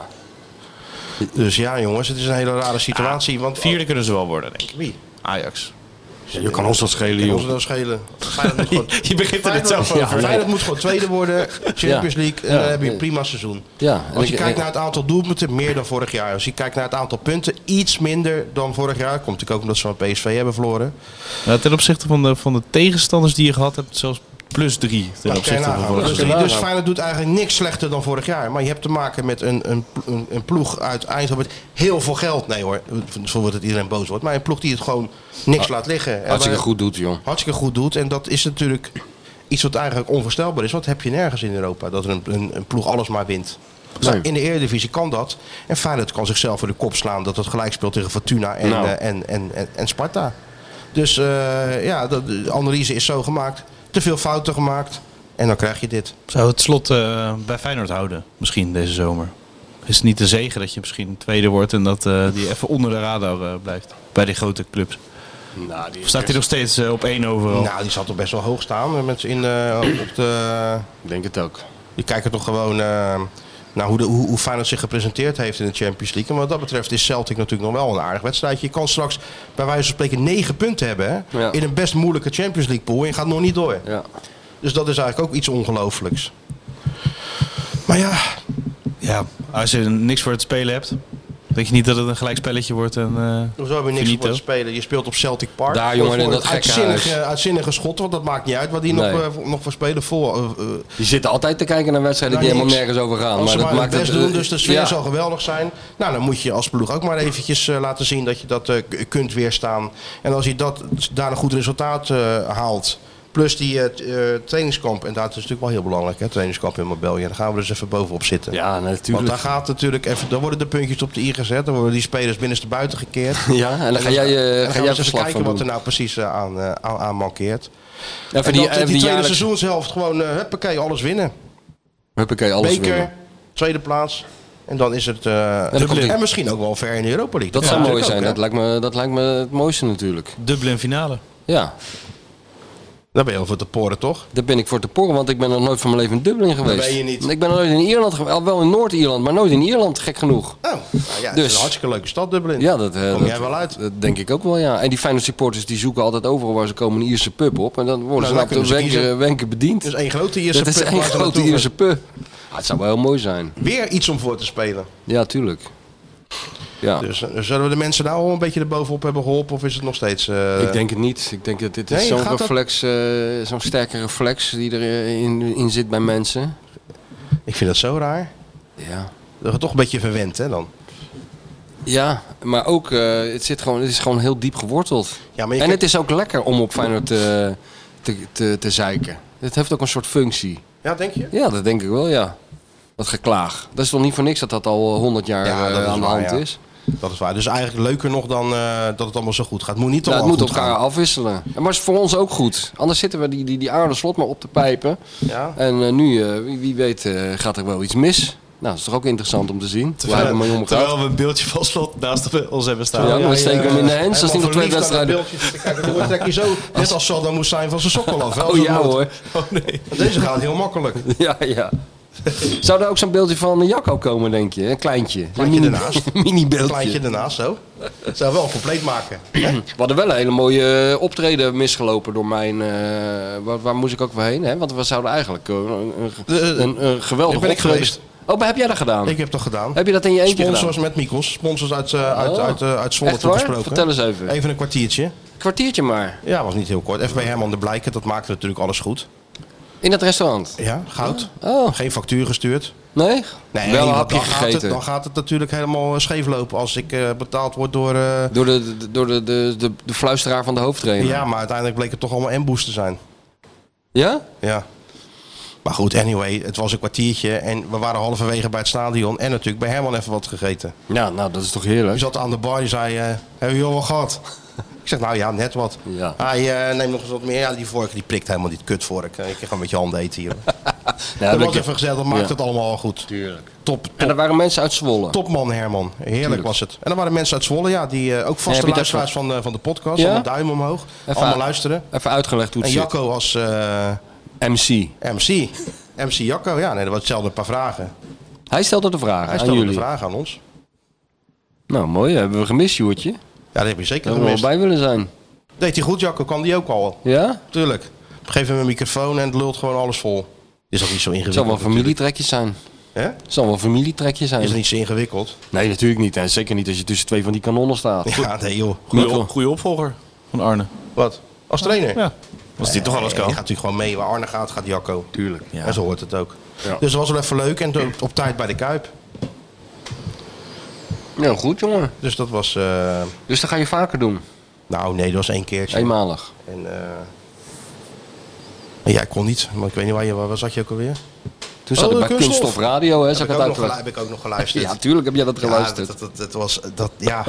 [SPEAKER 4] Dus ja, jongens, het is een hele rare situatie. Want
[SPEAKER 6] Vierde kunnen ze wel worden,
[SPEAKER 5] Ah.
[SPEAKER 6] denk ik.
[SPEAKER 4] Wie?
[SPEAKER 6] Ajax.
[SPEAKER 5] Je kan ons dat schelen,
[SPEAKER 4] Kan ons dat schelen? Feyenoord moet gewoon,
[SPEAKER 6] Je begint er net
[SPEAKER 4] Feyenoord,
[SPEAKER 6] zelf over.
[SPEAKER 4] Feyenoord moet gewoon tweede worden. Champions League. En
[SPEAKER 5] Ja.
[SPEAKER 4] dan heb je een prima seizoen.
[SPEAKER 5] Ja. en
[SPEAKER 4] Als je
[SPEAKER 5] ik-
[SPEAKER 4] kijkt naar het aantal doelpunten, meer dan vorig jaar. Als je kijkt naar het aantal punten, iets minder dan vorig jaar. Komt natuurlijk ook omdat ze van PSV hebben verloren.
[SPEAKER 6] Nou, ten opzichte van de, van de tegenstanders die je gehad hebt, zelfs plus drie. Ten
[SPEAKER 4] Nou, kan je
[SPEAKER 6] opzichte van
[SPEAKER 4] nagaan.
[SPEAKER 6] vorig
[SPEAKER 4] Dus,
[SPEAKER 6] jaar.
[SPEAKER 4] die- dus Feyenoord doet eigenlijk niks slechter dan vorig jaar. Maar je hebt te maken met een, een, een, een ploeg uit Eindhoven met heel veel geld. Nee hoor, voor dat iedereen boos wordt. Maar een ploeg die het gewoon
[SPEAKER 6] Ah,
[SPEAKER 4] niks laat liggen. En
[SPEAKER 5] Hartstikke
[SPEAKER 4] waar-
[SPEAKER 5] goed doet, joh.
[SPEAKER 4] hartstikke goed doet. En dat is natuurlijk iets wat eigenlijk onvoorstelbaar is. Want heb je nergens in Europa dat er een, een, een ploeg alles maar wint.
[SPEAKER 5] Nee.
[SPEAKER 4] In de Eredivisie kan dat. En Feyenoord kan zichzelf voor de kop slaan dat het gelijk speelt tegen Fortuna en,
[SPEAKER 5] Nou.
[SPEAKER 4] eh, en, en, en, en Sparta. Dus eh, ja, dat- de analyse is zo gemaakt. Te veel fouten gemaakt. En dan krijg je dit.
[SPEAKER 6] Zou het slot eh, bij Feyenoord houden, misschien deze zomer? Is het niet de zegen dat je misschien tweede wordt en dat eh, die even onder de radar eh, blijft bij die grote clubs?
[SPEAKER 5] Nou, die
[SPEAKER 6] Of staat hij nog steeds eh, op één overal?
[SPEAKER 4] Nou, die zal toch best wel hoog staan. eh, Met in, eh, op de,
[SPEAKER 5] Ik denk het ook.
[SPEAKER 4] die kijken toch gewoon eh, naar hoe, de, hoe, hoe Feyenoord zich gepresenteerd heeft in de Champions League. En wat dat betreft is Celtic natuurlijk nog wel een aardig wedstrijdje. Je kan straks bij wijze van spreken negen punten hebben hè,
[SPEAKER 5] Ja.
[SPEAKER 4] in een best moeilijke Champions League pool. En je gaat nog niet door.
[SPEAKER 5] Ja.
[SPEAKER 4] Dus dat is eigenlijk ook iets ongelooflijks. Maar ja,
[SPEAKER 6] Ja, als je niks voor het spelen hebt, denk je niet dat het een gelijkspelletje wordt? En, eh,
[SPEAKER 4] hoezo heb je niks
[SPEAKER 6] Finito.
[SPEAKER 4] voor te spelen? Je speelt op Celtic Park.
[SPEAKER 5] Daar, jongen,
[SPEAKER 4] Voor
[SPEAKER 5] in
[SPEAKER 4] het
[SPEAKER 5] dat gekke
[SPEAKER 4] uitzinnige,
[SPEAKER 5] huis.
[SPEAKER 4] uitzinnige schot, want dat maakt niet uit wat die
[SPEAKER 5] Nee.
[SPEAKER 4] nog, eh, voor- nog voor spelen. Vol, eh, eh,
[SPEAKER 5] Die zitten altijd te kijken naar wedstrijden
[SPEAKER 4] Nou,
[SPEAKER 5] die helemaal
[SPEAKER 4] niks.
[SPEAKER 5] nergens over
[SPEAKER 4] Als
[SPEAKER 5] gaan. Ah, maar
[SPEAKER 4] ze
[SPEAKER 5] dat
[SPEAKER 4] maar het
[SPEAKER 5] maakt
[SPEAKER 4] best
[SPEAKER 5] het,
[SPEAKER 4] doen,
[SPEAKER 5] eh,
[SPEAKER 4] dus de sfeer
[SPEAKER 5] ja.
[SPEAKER 4] zal geweldig zijn. Nou, dan moet je als ploeg ook maar eventjes eh, laten zien dat je dat eh, k- kunt weerstaan. En als je dat, daar een goed resultaat eh, haalt, plus die eh, t- eh, trainingskamp. En dat is natuurlijk wel heel belangrijk, hè, trainingskamp in Marbella. Daar gaan we dus even bovenop zitten.
[SPEAKER 5] Ja,
[SPEAKER 4] Want daar
[SPEAKER 5] natuurlijk.
[SPEAKER 4] gaat natuurlijk even, dan worden de puntjes op de i gezet. Dan worden die spelers binnenste buiten gekeerd.
[SPEAKER 5] Ja, en dan ga jij, eh,
[SPEAKER 4] Dan
[SPEAKER 5] ga
[SPEAKER 4] gaan
[SPEAKER 5] jij
[SPEAKER 4] we eens even
[SPEAKER 5] verslag
[SPEAKER 4] kijken
[SPEAKER 5] van
[SPEAKER 4] wat er
[SPEAKER 5] doen.
[SPEAKER 4] nou precies eh, aan, eh, aan, aan mankeert.
[SPEAKER 5] Ja, voor
[SPEAKER 4] en dat,
[SPEAKER 5] eh,
[SPEAKER 4] die tweede
[SPEAKER 5] jaarlijkse-
[SPEAKER 4] seizoenshelft gewoon, eh huppakee, alles winnen.
[SPEAKER 5] Huppakee, alles
[SPEAKER 4] Beker,
[SPEAKER 5] winnen.
[SPEAKER 4] tweede plaats. En dan is het. eh,
[SPEAKER 5] dan komt die-
[SPEAKER 4] en misschien ook wel ver in de Europa League.
[SPEAKER 5] Dat
[SPEAKER 4] Ja,
[SPEAKER 5] zou mooi
[SPEAKER 4] natuurlijk
[SPEAKER 5] zijn.
[SPEAKER 4] ook,
[SPEAKER 5] Dat
[SPEAKER 4] hè.
[SPEAKER 5] lijkt, me, dat lijkt me het mooiste natuurlijk.
[SPEAKER 6] Dublin finale.
[SPEAKER 5] Ja,
[SPEAKER 4] Daar ben je over te poren, toch?
[SPEAKER 5] daar ben ik voor te porren, want ik ben nog nooit van mijn leven in Dublin geweest.
[SPEAKER 4] ben je niet.
[SPEAKER 5] Ik ben nog nooit in Ierland geweest. Wel in Noord-Ierland, maar nooit in Ierland, gek genoeg.
[SPEAKER 4] Oh, nou ja, het is
[SPEAKER 5] Dus-
[SPEAKER 4] een hartstikke leuke stad, Dublin.
[SPEAKER 5] Ja, dat, eh,
[SPEAKER 4] Kom
[SPEAKER 5] dat-
[SPEAKER 4] jij wel uit?
[SPEAKER 5] dat denk ik ook wel, ja. En die fijne supporters die zoeken altijd overal waar ze komen een Ierse pub op. En dan worden
[SPEAKER 4] dan
[SPEAKER 5] ze nou
[SPEAKER 4] kunnen
[SPEAKER 5] op
[SPEAKER 4] ze
[SPEAKER 5] de wenken,
[SPEAKER 4] kiezen.
[SPEAKER 5] wenken bediend.
[SPEAKER 4] Dat is Dus één grote Ierse
[SPEAKER 5] dat is
[SPEAKER 4] pub
[SPEAKER 5] één
[SPEAKER 4] waar ze
[SPEAKER 5] grote
[SPEAKER 4] naartoe
[SPEAKER 5] Ierse pub. Ah, het zou wel heel mooi zijn.
[SPEAKER 4] gaan. Weer iets om voor te spelen.
[SPEAKER 5] Ja, tuurlijk. Ja,
[SPEAKER 4] Dus eh, zullen we de mensen nou al een beetje erbovenop hebben geholpen? Of is het nog steeds. eh,
[SPEAKER 5] ik denk het niet. Ik denk dat dit
[SPEAKER 4] Nee,
[SPEAKER 5] is zo'n
[SPEAKER 4] gaat dat-
[SPEAKER 5] reflex, eh, zo'n sterke reflex die erin in zit bij mensen.
[SPEAKER 4] ik vind dat zo raar.
[SPEAKER 5] Ja.
[SPEAKER 4] Dat is toch een beetje verwend, hè dan?
[SPEAKER 5] Ja, maar ook, eh, het, zit gewoon, het is gewoon heel diep geworteld.
[SPEAKER 4] Ja, maar
[SPEAKER 5] en
[SPEAKER 4] je kijkt-
[SPEAKER 5] het is ook lekker om op Feyenoord te, te, te, te zeiken. Het heeft ook een soort functie.
[SPEAKER 4] Ja, denk je?
[SPEAKER 5] Ja, dat denk ik wel, ja. Dat geklaag. Dat is toch niet voor niks dat dat al honderd jaar
[SPEAKER 4] Ja,
[SPEAKER 5] eh,
[SPEAKER 4] dat is
[SPEAKER 5] aan de
[SPEAKER 4] waar,
[SPEAKER 5] hand
[SPEAKER 4] ja.
[SPEAKER 5] is.
[SPEAKER 4] Dat is waar. Dus eigenlijk leuker nog dan eh, dat het allemaal zo goed gaat. Moet niet
[SPEAKER 5] Nou, het
[SPEAKER 4] allemaal
[SPEAKER 5] moet
[SPEAKER 4] goed
[SPEAKER 5] elkaar
[SPEAKER 4] gaan.
[SPEAKER 5] afwisselen. En Maar is voor ons ook goed. Anders zitten we die, die, die aarde slot maar op te pijpen.
[SPEAKER 4] Ja.
[SPEAKER 5] En eh, nu, eh, wie, wie weet, eh, gaat er wel iets mis. Nou, dat is toch ook interessant om te zien. Hoe hij ermee omgaat.
[SPEAKER 6] Terwijl we een beeldje van slot naast ons hebben staan.
[SPEAKER 5] Ja, maar we steken hem in de hands. Dat is niet op twee wedstrijden.
[SPEAKER 4] Dan trek je zo, net als Saddam Hussein van zijn sokkel af. hè, als
[SPEAKER 5] Oh
[SPEAKER 4] het
[SPEAKER 5] ja
[SPEAKER 4] moet.
[SPEAKER 5] hoor.
[SPEAKER 4] Want Deze gaat heel makkelijk.
[SPEAKER 5] Ja, ja. Zou er ook zo'n beeldje van Jacco komen, denk je? Een kleintje. Een
[SPEAKER 4] Kleintje ernaast.
[SPEAKER 5] mini
[SPEAKER 4] Een
[SPEAKER 5] beeldje.
[SPEAKER 4] kleintje ernaast zo. Dat zou wel compleet maken.
[SPEAKER 5] We hadden wel een hele mooie eh, optreden misgelopen door mijn... eh, waar, waar moest ik ook weer heen? Hè? Want we zouden eigenlijk eh, een, een,
[SPEAKER 4] eh,
[SPEAKER 5] een, een geweldig
[SPEAKER 4] ik ben ik
[SPEAKER 5] optreden-
[SPEAKER 4] geweest.
[SPEAKER 5] Oh, maar heb jij dat gedaan?
[SPEAKER 4] Ik heb dat gedaan.
[SPEAKER 5] Heb je dat in je eentje
[SPEAKER 4] Sponsors
[SPEAKER 5] gedaan?
[SPEAKER 4] met Mikos. Sponsors uit, eh uit,
[SPEAKER 5] Oh.
[SPEAKER 4] uit, eh, uit Zwolle
[SPEAKER 5] Echt waar?
[SPEAKER 4] toegesproken.
[SPEAKER 5] Vertel eens even.
[SPEAKER 4] Even een kwartiertje.
[SPEAKER 5] Kwartiertje maar.
[SPEAKER 4] Ja, was niet heel kort. Even bij Herman de Blijken. Dat maakte natuurlijk alles goed.
[SPEAKER 5] In dat restaurant.
[SPEAKER 4] Ja, goud.
[SPEAKER 5] Oh,
[SPEAKER 4] Geen factuur gestuurd.
[SPEAKER 5] nee?
[SPEAKER 4] Nee,
[SPEAKER 5] Wel een
[SPEAKER 4] want
[SPEAKER 5] hapje
[SPEAKER 4] dan Gaat
[SPEAKER 5] gegeten.
[SPEAKER 4] het, dan gaat het natuurlijk helemaal eh, scheef lopen als ik eh, betaald word door... eh,
[SPEAKER 5] Door, de, door de, de, de, de fluisteraar van de hoofdtrainer.
[SPEAKER 4] ja, maar uiteindelijk bleek het toch allemaal emboost te zijn.
[SPEAKER 5] Ja?
[SPEAKER 4] Ja. Maar goed, anyway, het was een kwartiertje en we waren halverwege bij het stadion en natuurlijk bij Herman even wat gegeten.
[SPEAKER 5] Ja, nou, dat is toch heerlijk.
[SPEAKER 4] Hij zat aan de bar en zei, eh, hebben jullie al wat gehad? Ik zeg, nou ja, net wat.
[SPEAKER 5] Ja.
[SPEAKER 4] Hij eh, neemt nog eens wat meer. Ja, die vork die prikt helemaal niet, kutvork. Eh, Ik ga gewoon met je handen eten hier.
[SPEAKER 5] Ja,
[SPEAKER 4] dat
[SPEAKER 5] dat
[SPEAKER 4] was
[SPEAKER 5] je-
[SPEAKER 4] even gezellig, dat maakt
[SPEAKER 5] Ja.
[SPEAKER 4] het allemaal al goed. Tuurlijk. Top,
[SPEAKER 5] En er
[SPEAKER 4] top,
[SPEAKER 5] waren mensen uit Zwolle.
[SPEAKER 4] topman Herman. Heerlijk was het. En dan waren mensen uit Zwolle, ja, die eh, ook
[SPEAKER 5] heb
[SPEAKER 4] vaste
[SPEAKER 5] je dat
[SPEAKER 4] luisteraars van, eh, van de podcast.
[SPEAKER 5] Ja?
[SPEAKER 4] Allemaal duim omhoog. allemaal luisteren.
[SPEAKER 5] Even uitgelegd hoe
[SPEAKER 4] En
[SPEAKER 5] het zit.
[SPEAKER 4] Jacco als... eh,
[SPEAKER 5] MC.
[SPEAKER 4] MC. MC Jacco, ja, nee, dat was hetzelfde een paar vragen.
[SPEAKER 5] Hij stelde de vraag
[SPEAKER 4] Hij
[SPEAKER 5] aan
[SPEAKER 4] stelde
[SPEAKER 5] jullie.
[SPEAKER 4] de vraag aan ons.
[SPEAKER 5] Nou, mooi. Hebben we gemist, Joertje.
[SPEAKER 4] Ja, dat heb je zeker
[SPEAKER 5] Daar hadden we wel
[SPEAKER 4] gemist.
[SPEAKER 5] bij willen zijn.
[SPEAKER 4] Deed hij goed, Jacco? Kan die ook al?
[SPEAKER 5] Ja?
[SPEAKER 4] Tuurlijk. Op een gegeven moment een microfoon en het lult gewoon alles vol. Is dat niet zo
[SPEAKER 5] Het zal
[SPEAKER 4] ingewikkeld?
[SPEAKER 5] wel familietrekjes zijn.
[SPEAKER 4] natuurlijk,
[SPEAKER 5] Het zal wel familietrekjes
[SPEAKER 4] hè?
[SPEAKER 5] zijn.
[SPEAKER 4] Is dat niet zo ingewikkeld?
[SPEAKER 5] Nee, natuurlijk niet. En zeker niet als je tussen twee van die kanonnen staat.
[SPEAKER 4] Ja, nee joh.
[SPEAKER 5] Goed,
[SPEAKER 6] Goeie,
[SPEAKER 5] hoor.
[SPEAKER 6] op- goeie opvolger van Arne.
[SPEAKER 4] Wat? Als trainer?
[SPEAKER 6] Ja. Als die toch alles
[SPEAKER 4] Je
[SPEAKER 6] kan.
[SPEAKER 4] gaat natuurlijk gewoon mee. Waar Arne gaat, gaat Jacco. Tuurlijk.
[SPEAKER 6] ja.
[SPEAKER 4] En zo hoort het ook. Dus dat was wel even leuk. En op- op tijd bij de Kuip.
[SPEAKER 5] Nou, goed, jongen.
[SPEAKER 4] Dus dat was... eh,
[SPEAKER 5] Dus dat ga je vaker doen.
[SPEAKER 4] nou nee, dat was één keertje.
[SPEAKER 5] Eenmalig.
[SPEAKER 4] En, eh en jij kon niet. Maar ik weet niet waar je... Waar zat je ook alweer?
[SPEAKER 5] Toen zat
[SPEAKER 4] Oh,
[SPEAKER 5] ik bij
[SPEAKER 4] kunststof.
[SPEAKER 5] Kunststof Radio, hè. Zag
[SPEAKER 4] Heb
[SPEAKER 5] ik
[SPEAKER 4] ik,
[SPEAKER 5] het
[SPEAKER 4] ook nog, gelu-
[SPEAKER 5] uitgelegd.
[SPEAKER 4] heb ik ook nog geluisterd.
[SPEAKER 5] Ja, tuurlijk heb jij dat geluisterd.
[SPEAKER 4] Ja, dat, dat, dat was, dat, ja.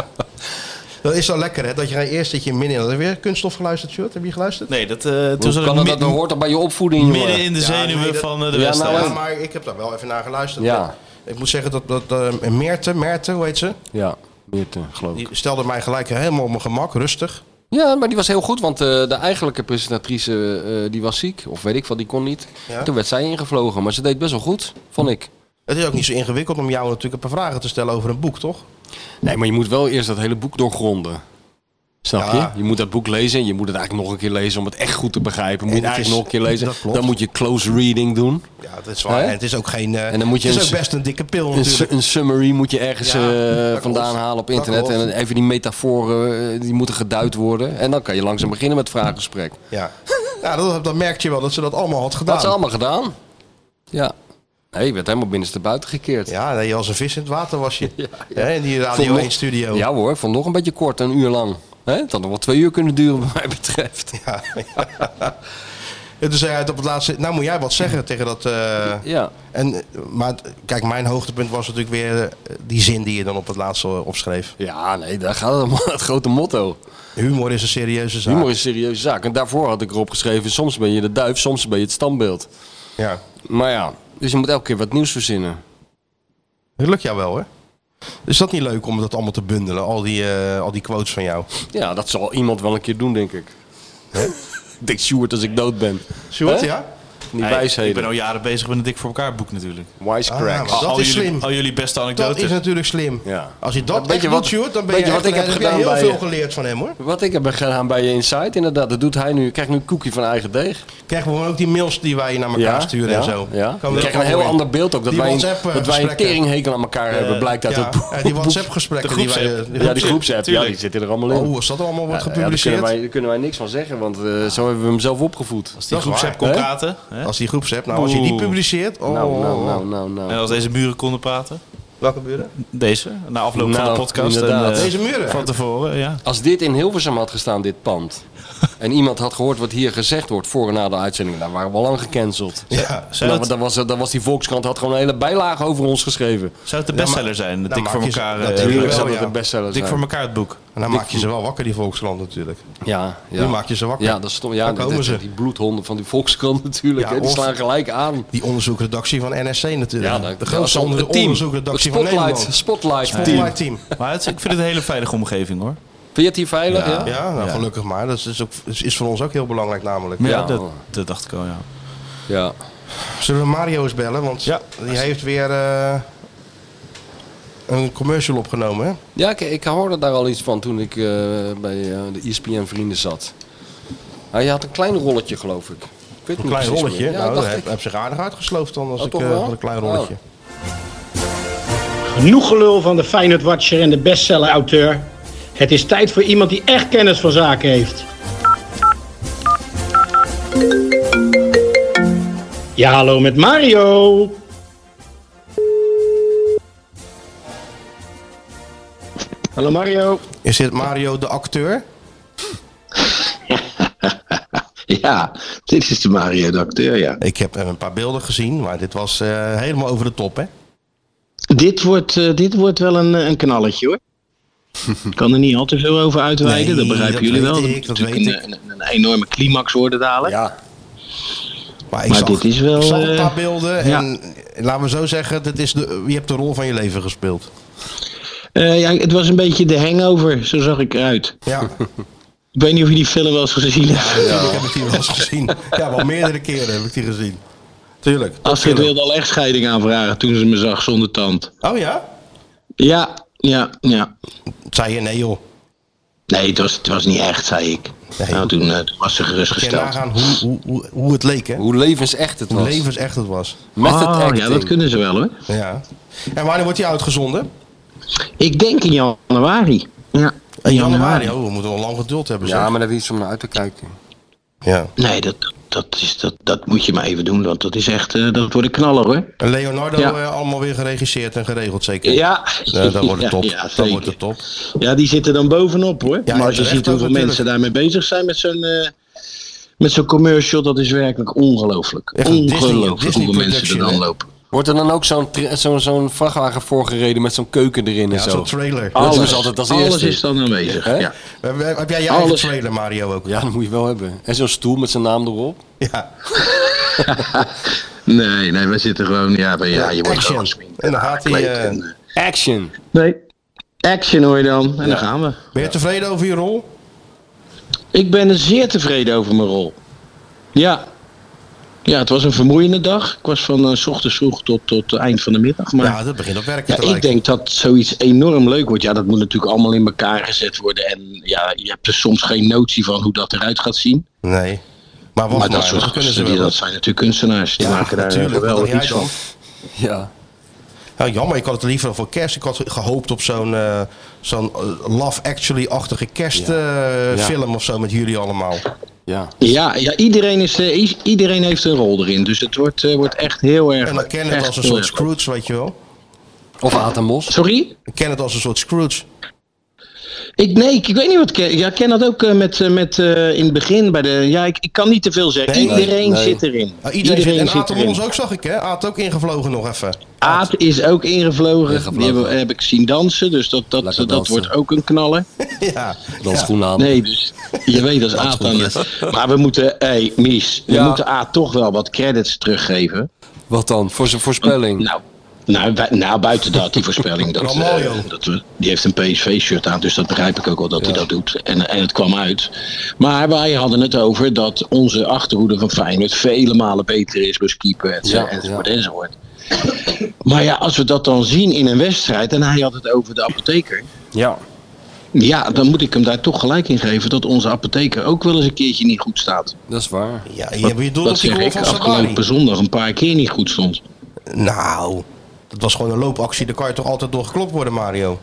[SPEAKER 4] dat is wel lekker, hè? Dat je nou eerst zit je midden in... Heb je weer kunststof geluisterd, Sjoerd? Heb je geluisterd?
[SPEAKER 6] Nee, dat, eh, toen
[SPEAKER 5] Hoe
[SPEAKER 6] zat
[SPEAKER 5] kan
[SPEAKER 6] ik
[SPEAKER 5] dat?
[SPEAKER 6] mi-
[SPEAKER 5] Dat hoort toch bij je opvoeding, jongen.
[SPEAKER 6] midden in de
[SPEAKER 4] Ja,
[SPEAKER 6] zenuwen
[SPEAKER 4] nee, dat-
[SPEAKER 6] van eh, de
[SPEAKER 5] Ja,
[SPEAKER 6] wedstrijd.
[SPEAKER 5] nou,
[SPEAKER 4] Ja, maar ik heb daar wel even naar geluisterd.
[SPEAKER 5] Ja.
[SPEAKER 4] Ik moet zeggen dat, dat eh Meerte, Meerte, hoe heet ze?
[SPEAKER 5] Ja, meer te geloof ik.
[SPEAKER 4] Die stelde mij gelijk helemaal op mijn gemak, rustig.
[SPEAKER 5] Ja, maar die was heel goed, want eh, de eigenlijke presentatrice eh, die was ziek. Of weet ik wat, die kon niet.
[SPEAKER 4] Ja.
[SPEAKER 5] Toen werd zij ingevlogen, maar ze deed best wel goed, vond ik.
[SPEAKER 4] Het is ook niet zo ingewikkeld om jou natuurlijk een paar vragen te stellen over een boek, toch?
[SPEAKER 5] Nee, maar je moet wel eerst dat hele boek doorgronden. Snap
[SPEAKER 4] Ja.
[SPEAKER 5] je? Je moet dat boek lezen en je moet het eigenlijk nog een keer lezen om het echt goed te begrijpen. Je moet
[SPEAKER 4] En
[SPEAKER 5] het
[SPEAKER 4] het
[SPEAKER 5] eigenlijk
[SPEAKER 4] is-
[SPEAKER 5] nog een keer lezen.
[SPEAKER 4] dat klopt.
[SPEAKER 5] Dan moet je close reading doen.
[SPEAKER 4] Ja, dat is waar.
[SPEAKER 5] Hè?
[SPEAKER 4] En het is ook geen... eh,
[SPEAKER 5] En dan moet je
[SPEAKER 4] het is
[SPEAKER 5] een
[SPEAKER 4] ook
[SPEAKER 5] s-
[SPEAKER 4] best een dikke pil
[SPEAKER 5] Een, su-
[SPEAKER 4] natuurlijk.
[SPEAKER 5] een summary moet je ergens
[SPEAKER 4] Ja,
[SPEAKER 5] eh,
[SPEAKER 4] dat
[SPEAKER 5] vandaan
[SPEAKER 4] klopt.
[SPEAKER 5] halen op
[SPEAKER 4] Dat
[SPEAKER 5] internet.
[SPEAKER 4] klopt.
[SPEAKER 5] En even die metaforen, eh, die moeten geduid worden. En dan kan je langzaam beginnen met het vraaggesprek.
[SPEAKER 4] Ja. ja, dat, dat merk je wel, dat ze dat allemaal had gedaan.
[SPEAKER 5] Wat ze allemaal gedaan. Ja. Nee, ik werd helemaal binnenstebuiten gekeerd.
[SPEAKER 4] Ja, nee, als een vis in het water was je. Hè, in die Radio
[SPEAKER 5] Vond nog-
[SPEAKER 4] 1 studio.
[SPEAKER 5] Ja hoor, van nog een beetje kort, een uur lang. Hè? Het had nog wel twee uur kunnen duren wat mij betreft.
[SPEAKER 4] Ja. En toen zei hij het op het laatste, nou moet jij wat zeggen tegen dat... eh,
[SPEAKER 5] Ja.
[SPEAKER 4] En, eh, maar het- kijk, mijn hoogtepunt was natuurlijk weer eh, die zin die je dan op het laatste opschreef.
[SPEAKER 5] Ja, nee, daar gaat het om. Het grote motto.
[SPEAKER 4] Humor is een serieuze zaak.
[SPEAKER 5] Humor is een serieuze zaak. En daarvoor had ik erop geschreven, soms ben je de duif, soms ben je het standbeeld.
[SPEAKER 4] Ja.
[SPEAKER 5] Maar ja, dus je moet elke keer wat nieuws verzinnen.
[SPEAKER 4] Dat lukt jou wel, hè? Is dat niet leuk om dat allemaal te bundelen, al die, eh, al die quotes van jou?
[SPEAKER 5] Ja, dat zal iemand wel een keer doen, denk ik. ik denk Stuart als ik dood ben.
[SPEAKER 4] Sjoerd,
[SPEAKER 5] Hè?
[SPEAKER 4] ja?
[SPEAKER 5] Van Die
[SPEAKER 6] Hey, ik ben
[SPEAKER 5] wijsheden.
[SPEAKER 6] al jaren bezig met het Dik voor elkaar boek natuurlijk.
[SPEAKER 5] Wisecracks.
[SPEAKER 4] Ah, maar dat
[SPEAKER 6] al
[SPEAKER 4] is
[SPEAKER 6] jullie,
[SPEAKER 4] slim.
[SPEAKER 6] Al jullie beste
[SPEAKER 4] Dat
[SPEAKER 6] anekdotes.
[SPEAKER 4] is natuurlijk slim.
[SPEAKER 5] Ja.
[SPEAKER 4] Als je
[SPEAKER 5] Weet
[SPEAKER 4] dat
[SPEAKER 5] je
[SPEAKER 4] echt
[SPEAKER 5] wat-
[SPEAKER 4] doet, Sjoerd, dan ben
[SPEAKER 5] weet
[SPEAKER 4] je,
[SPEAKER 5] je wat
[SPEAKER 4] echt-
[SPEAKER 5] ik heb
[SPEAKER 4] dan je
[SPEAKER 5] gedaan
[SPEAKER 4] heel
[SPEAKER 5] bij
[SPEAKER 4] veel
[SPEAKER 5] je?
[SPEAKER 4] geleerd van hem, hoor.
[SPEAKER 5] Wat ik heb gedaan bij je Insight, inderdaad, dat doet hij nu. Ik krijg nu een koekje van eigen deeg.
[SPEAKER 4] Krijgen we gewoon ook die mails die wij naar elkaar sturen
[SPEAKER 5] ja,
[SPEAKER 4] en zo.
[SPEAKER 5] Ja.
[SPEAKER 4] Komen
[SPEAKER 5] We
[SPEAKER 4] we
[SPEAKER 5] krijgen een
[SPEAKER 4] ook
[SPEAKER 5] heel
[SPEAKER 4] in.
[SPEAKER 5] ander beeld ook. Dat
[SPEAKER 4] Die
[SPEAKER 5] wij, een,
[SPEAKER 4] WhatsApp, eh,
[SPEAKER 5] dat wij een
[SPEAKER 4] gesprekken. Eh,
[SPEAKER 5] teringhekel aan elkaar hebben, blijkt uit
[SPEAKER 4] Ja,
[SPEAKER 5] het
[SPEAKER 4] ja, die
[SPEAKER 6] De
[SPEAKER 4] WhatsApp-gesprekken die wij...
[SPEAKER 6] groepsapp.
[SPEAKER 4] eh, de
[SPEAKER 5] Ja, die
[SPEAKER 4] groepsapp.
[SPEAKER 5] groepsapp, ja, die
[SPEAKER 6] tuurlijk.
[SPEAKER 5] zitten er allemaal in.
[SPEAKER 4] Oh, als dat allemaal wordt
[SPEAKER 5] Ja, daar, kunnen
[SPEAKER 4] gepubliceerd.
[SPEAKER 5] wij, daar kunnen wij niks van zeggen, want eh, zo hebben we hem zelf opgevoed.
[SPEAKER 6] Die
[SPEAKER 4] Dat is
[SPEAKER 6] groepsapp kon
[SPEAKER 5] waar, hè?
[SPEAKER 6] praten. Hè?
[SPEAKER 4] Als die groepsapp, nou als je die
[SPEAKER 6] Oeh.
[SPEAKER 4] publiceert... Oh,
[SPEAKER 5] Nou, nou,
[SPEAKER 4] oh,
[SPEAKER 5] nou,
[SPEAKER 4] oh.
[SPEAKER 5] nou, nou.
[SPEAKER 6] En als deze buren konden praten.
[SPEAKER 4] Welke buren?
[SPEAKER 6] Deze, na afloop van
[SPEAKER 5] Nou,
[SPEAKER 6] de podcast.
[SPEAKER 5] inderdaad.
[SPEAKER 6] eh,
[SPEAKER 4] Deze muren.
[SPEAKER 6] Van tevoren, ja.
[SPEAKER 5] Als dit in Hilversum had gestaan, dit pand, en iemand had gehoord wat hier gezegd wordt voor en na de uitzending, dan waren we al lang gecanceld.
[SPEAKER 4] Ja,
[SPEAKER 6] Zou
[SPEAKER 5] Dan,
[SPEAKER 6] het,
[SPEAKER 5] dan, was, dan was die Volkskrant had gewoon een hele bijlage over ons geschreven.
[SPEAKER 6] zou het de bestseller zijn?
[SPEAKER 4] nou
[SPEAKER 6] Dik voor
[SPEAKER 4] maak je ze-
[SPEAKER 6] elkaar.
[SPEAKER 4] natuurlijk
[SPEAKER 6] eh,
[SPEAKER 5] Tuurlijk
[SPEAKER 4] wel,
[SPEAKER 5] zou dat
[SPEAKER 4] ja.
[SPEAKER 5] een bestseller
[SPEAKER 6] Dik voor
[SPEAKER 5] zijn.
[SPEAKER 6] elkaar het boek.
[SPEAKER 4] en dan maak je ze wel wakker, die Volkskrant natuurlijk.
[SPEAKER 5] Ja, ja.
[SPEAKER 4] Nu maak je ze wakker.
[SPEAKER 5] Ja, dat is stom. Ja,
[SPEAKER 4] Dan
[SPEAKER 5] dat-
[SPEAKER 4] komen
[SPEAKER 5] dat-
[SPEAKER 4] ze.
[SPEAKER 5] die bloedhonden van die Volkskrant natuurlijk,
[SPEAKER 4] Ja,
[SPEAKER 5] hè, die
[SPEAKER 4] of-
[SPEAKER 5] slaan gelijk aan.
[SPEAKER 4] Die onderzoekredactie van NSC natuurlijk.
[SPEAKER 5] Ja, dat-
[SPEAKER 4] de
[SPEAKER 5] dat
[SPEAKER 4] grootste
[SPEAKER 5] is
[SPEAKER 4] onder-
[SPEAKER 5] het team.
[SPEAKER 4] onderzoekredactie van
[SPEAKER 5] Spotlight-
[SPEAKER 4] Nederland.
[SPEAKER 5] Spotlight,
[SPEAKER 4] Spotlight
[SPEAKER 5] team.
[SPEAKER 4] team.
[SPEAKER 6] Maar het, is- ik vind het een hele veilige omgeving hoor.
[SPEAKER 5] Vind je het hier veilig? Ja.
[SPEAKER 4] Ja, nou, gelukkig maar. Dat is, ook, is voor ons ook heel belangrijk namelijk.
[SPEAKER 6] Ja,
[SPEAKER 5] Ja.
[SPEAKER 6] dat, dat dacht ik al, ja.
[SPEAKER 5] Ja.
[SPEAKER 4] Zullen we Mario eens bellen? Want
[SPEAKER 6] Ja.
[SPEAKER 4] die heeft weer eh, een commercial opgenomen. Hè?
[SPEAKER 5] Ja, ik, ik hoorde daar al iets van toen ik eh, bij eh, de ESPN Vrienden zat. Hij had een klein rolletje, geloof ik. ik weet
[SPEAKER 4] Een klein rolletje.
[SPEAKER 5] Ja,
[SPEAKER 4] nou,
[SPEAKER 5] dacht
[SPEAKER 4] heb,
[SPEAKER 5] ik.
[SPEAKER 4] heb zich aardig uitgesloofd dan als
[SPEAKER 5] Oh,
[SPEAKER 4] ik
[SPEAKER 5] toch
[SPEAKER 4] eh,
[SPEAKER 5] wel?
[SPEAKER 4] had een klein rolletje.
[SPEAKER 9] Genoeg gelul van de Feyenoord Watcher en de bestseller auteur. Het is tijd voor iemand die echt kennis van zaken heeft. Ja, hallo met Mario. Hallo Mario.
[SPEAKER 4] Is dit Mario de acteur?
[SPEAKER 10] Ja, Dit is de Mario de acteur, ja.
[SPEAKER 4] Ik heb er een paar beelden gezien, maar dit was eh, helemaal over de top, hè?
[SPEAKER 10] Dit wordt, eh, dit wordt wel een, eh, een knalletje hoor. Ik kan er niet al te veel over uitweiden,
[SPEAKER 4] Nee,
[SPEAKER 10] dat begrijpen
[SPEAKER 4] dat
[SPEAKER 10] jullie
[SPEAKER 4] weet
[SPEAKER 10] wel.
[SPEAKER 4] ik,
[SPEAKER 10] moet
[SPEAKER 4] dat
[SPEAKER 10] natuurlijk
[SPEAKER 4] weet
[SPEAKER 10] een, een- een enorme climax worden dadelijk.
[SPEAKER 4] Ja. Maar, ik
[SPEAKER 10] Maar
[SPEAKER 4] zag-
[SPEAKER 10] dit is wel,
[SPEAKER 4] Ik zag een
[SPEAKER 10] eh,
[SPEAKER 4] paar beelden
[SPEAKER 10] ja.
[SPEAKER 4] en laten we zo zeggen, dit is de, je hebt de rol van je leven gespeeld.
[SPEAKER 10] Eh, ja, het was een beetje de hangover, zo zag ik eruit.
[SPEAKER 4] Ja.
[SPEAKER 10] ik weet niet of je die film wel eens gezien hebt.
[SPEAKER 4] Ja. Ik heb het hier wel eens gezien. Ja, wel meerdere keren heb ik die gezien. Tuurlijk.
[SPEAKER 10] Astrid wilde al echt scheiding aanvragen toen ze me zag zonder tand.
[SPEAKER 4] Oh ja?
[SPEAKER 10] Ja, ja, ja.
[SPEAKER 4] Zei je nee joh.
[SPEAKER 10] Nee, het was, het was niet echt, zei ik. Nou, toen, eh, toen was ze
[SPEAKER 4] Kun je
[SPEAKER 10] gerustgesteld.
[SPEAKER 4] nagaan hoe, hoe, hoe, hoe het leek hè?
[SPEAKER 5] Hoe levensecht het
[SPEAKER 4] Hoe Ah,
[SPEAKER 5] was.
[SPEAKER 4] levensecht het was.
[SPEAKER 5] Met het
[SPEAKER 10] Oh,
[SPEAKER 5] acting.
[SPEAKER 10] ja, dat kunnen ze wel hoor.
[SPEAKER 4] Ja. En wanneer wordt die uitgezonden?
[SPEAKER 10] Ik denk in januari. Ja, in januari.
[SPEAKER 4] Oh, we moeten wel lang geduld hebben
[SPEAKER 5] Ja,
[SPEAKER 4] zeg.
[SPEAKER 5] maar daar is iets om naar uit te kijken.
[SPEAKER 4] Ja.
[SPEAKER 10] Nee, dat, dat, is, dat, dat moet je maar even doen, want dat is echt, eh, dat wordt een knaller hoor.
[SPEAKER 4] En Leonardo
[SPEAKER 10] Ja.
[SPEAKER 4] eh, allemaal weer geregisseerd en geregeld zeker?
[SPEAKER 10] Ja,
[SPEAKER 4] Ja, dat wordt het top.
[SPEAKER 10] Ja,
[SPEAKER 4] dat
[SPEAKER 10] zeker.
[SPEAKER 4] wordt het top.
[SPEAKER 10] Ja, die zitten dan bovenop hoor.
[SPEAKER 4] Ja,
[SPEAKER 10] maar als je
[SPEAKER 4] terecht
[SPEAKER 10] ziet hoeveel
[SPEAKER 4] ook
[SPEAKER 10] mensen daarmee bezig zijn met zo'n eh, met zo'n commercial, dat is werkelijk ongelooflijk.
[SPEAKER 4] Echt een Disney-
[SPEAKER 10] Ongelooflijk
[SPEAKER 4] Disney
[SPEAKER 10] hoeveel mensen er
[SPEAKER 4] production,
[SPEAKER 10] dan
[SPEAKER 4] hè?
[SPEAKER 10] lopen.
[SPEAKER 5] Wordt er dan ook zo'n tra- zo'n zo'n vrachtwagen voorgereden met zo'n keuken erin en
[SPEAKER 4] Ja,
[SPEAKER 5] zo?
[SPEAKER 4] zo'n trailer.
[SPEAKER 10] Ah.
[SPEAKER 5] Dat is altijd als
[SPEAKER 10] alles
[SPEAKER 5] eerste.
[SPEAKER 10] is dan aanwezig.
[SPEAKER 5] Hè?
[SPEAKER 10] Ja.
[SPEAKER 4] Heb, heb jij je eigen
[SPEAKER 10] Alles.
[SPEAKER 4] trailer Mario ook?
[SPEAKER 5] Ja, dat moet je wel hebben. En zo'n stoel met zijn naam erop.
[SPEAKER 4] Ja.
[SPEAKER 10] Nee, nee, we zitten gewoon. Ja, maar ja je wordt
[SPEAKER 4] Action.
[SPEAKER 10] gewoon gesminkt.
[SPEAKER 4] En dan gaat hij...
[SPEAKER 10] aangekleed
[SPEAKER 4] eh,
[SPEAKER 10] en, eh,
[SPEAKER 5] Action.
[SPEAKER 10] Nee, action hoor je dan. En dan gaan we.
[SPEAKER 4] ben je tevreden over je rol?
[SPEAKER 10] Ik ben er zeer tevreden over mijn rol. Ja. Ja, het was een vermoeiende dag. Ik was van eh, s ochtends vroeg tot, tot eh, eind van de middag. Maar
[SPEAKER 4] Ja, dat begint op werken
[SPEAKER 10] Ja,
[SPEAKER 4] te lijken.
[SPEAKER 10] ik denk dat zoiets enorm leuk wordt. Ja, dat moet natuurlijk allemaal in elkaar gezet worden. En ja, je hebt er soms geen notie van hoe dat eruit gaat zien.
[SPEAKER 4] Nee. Maar wacht
[SPEAKER 10] maar
[SPEAKER 4] maar,
[SPEAKER 10] dat soort
[SPEAKER 4] dat kunnen ze
[SPEAKER 10] gasten,
[SPEAKER 4] wel.
[SPEAKER 10] die, dat zijn natuurlijk kunstenaars. Die
[SPEAKER 4] Ja,
[SPEAKER 10] maken daar eh,
[SPEAKER 4] natuurlijk,
[SPEAKER 10] wel
[SPEAKER 4] dat
[SPEAKER 10] wat
[SPEAKER 4] jij
[SPEAKER 10] iets van.
[SPEAKER 4] dan.
[SPEAKER 5] Ja.
[SPEAKER 4] Ja, jammer, ik had het liever voor kerst. Ik had gehoopt op zo'n eh, zo'n eh, Love Actually-achtige
[SPEAKER 5] Ja.
[SPEAKER 4] kerstfilm eh, of zo met jullie allemaal.
[SPEAKER 5] Ja.
[SPEAKER 10] Ja, ja iedereen, is, eh, i- iedereen heeft een rol erin. Dus het wordt, eh, wordt echt heel erg.
[SPEAKER 4] En dan kennen het
[SPEAKER 10] echt
[SPEAKER 4] als een
[SPEAKER 10] heel
[SPEAKER 4] soort
[SPEAKER 10] erg.
[SPEAKER 4] Scrooge, weet je wel.
[SPEAKER 5] Of Atemos.
[SPEAKER 10] Sorry?
[SPEAKER 4] Ik ken het als een soort Scrooge.
[SPEAKER 10] Ik, nee, ik, ik weet niet wat. Ken, ja, ik ken dat ook eh, met, eh, met eh, in het begin. Bij de, ja, ik, ik kan niet te veel zeggen.
[SPEAKER 4] Nee, nee,
[SPEAKER 10] iedereen
[SPEAKER 5] nee.
[SPEAKER 10] zit erin.
[SPEAKER 4] Ah, iedereen zit, en Aad de Mons ook, zag ik hè? Aad ook ingevlogen nog even.
[SPEAKER 10] Aad is ook ingevlogen.
[SPEAKER 5] Ingevlogen.
[SPEAKER 10] Die hebben- heb ik zien dansen, dus dat, dat,
[SPEAKER 5] Lekker
[SPEAKER 10] dat
[SPEAKER 5] dansen.
[SPEAKER 10] wordt ook een knaller.
[SPEAKER 4] ja.
[SPEAKER 5] Dan schoen aan.
[SPEAKER 10] Nee, dus je weet als Aad dan... Maar we moeten, hé hey, Mies, we
[SPEAKER 5] Ja.
[SPEAKER 10] moeten Aad toch wel wat credits teruggeven.
[SPEAKER 5] Wat dan? Voor zijn voorspelling.
[SPEAKER 10] Nou, nou, bu- nou buiten dat, die voorspelling. Dat,
[SPEAKER 4] Ramaljo.
[SPEAKER 10] eh, dat we- die heeft een PSV-shirt aan, dus dat begrijp ik ook wel dat hij dat doet. En, en het kwam uit. Maar wij hadden het over dat onze achterhoede van Feyenoord vele malen beter is, dus keeper, et cetera,
[SPEAKER 5] Ja,
[SPEAKER 10] enzovoort, enzovoort. Maar ja, als we dat dan zien in een wedstrijd, en hij had het over de apotheker.
[SPEAKER 5] Ja.
[SPEAKER 10] Ja, dan moet ik hem daar toch gelijk in geven dat onze apotheker ook wel eens een keertje niet goed staat.
[SPEAKER 5] Dat is waar.
[SPEAKER 4] Ja, je hebt je doel op
[SPEAKER 10] Dat
[SPEAKER 4] die
[SPEAKER 10] zeg
[SPEAKER 4] goal
[SPEAKER 10] ik
[SPEAKER 4] van Sabari.
[SPEAKER 10] afgelopen zondag een paar keer niet goed stond.
[SPEAKER 4] Nou, dat was gewoon een loopactie. Daar kan je toch altijd door geklopt worden, Mario?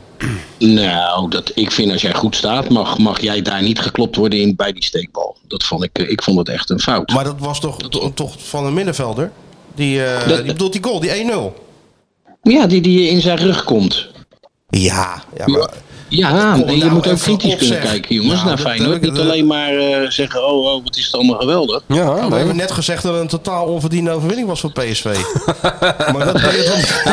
[SPEAKER 10] Nou, dat, ik vind als jij goed staat, mag, mag jij daar niet geklopt worden in, bij die steekbal. Dat vond ik, eh, ik vond het echt een fout.
[SPEAKER 4] Maar dat was toch, to- toch van een middenvelder? Die, eh
[SPEAKER 10] Dat-
[SPEAKER 4] die bedoelt die goal, die 1-0.
[SPEAKER 10] ja, die, die in zijn rug komt.
[SPEAKER 4] Ja, ja, maar
[SPEAKER 10] Ja,
[SPEAKER 4] Kom
[SPEAKER 10] en je
[SPEAKER 4] nou
[SPEAKER 10] moet ook
[SPEAKER 4] even
[SPEAKER 10] kritisch
[SPEAKER 4] op,
[SPEAKER 10] kunnen
[SPEAKER 4] zeg.
[SPEAKER 10] kijken, jongens,
[SPEAKER 4] Ja,
[SPEAKER 10] naar
[SPEAKER 4] dat-
[SPEAKER 10] Feyenoord.
[SPEAKER 4] dat-
[SPEAKER 10] Niet alleen maar eh, zeggen, oh, oh, wat is het allemaal geweldig.
[SPEAKER 5] Ja,
[SPEAKER 4] we
[SPEAKER 5] nee.
[SPEAKER 4] hebben net gezegd dat het een totaal onverdiende overwinning was voor PSV. maar dat kan je toch...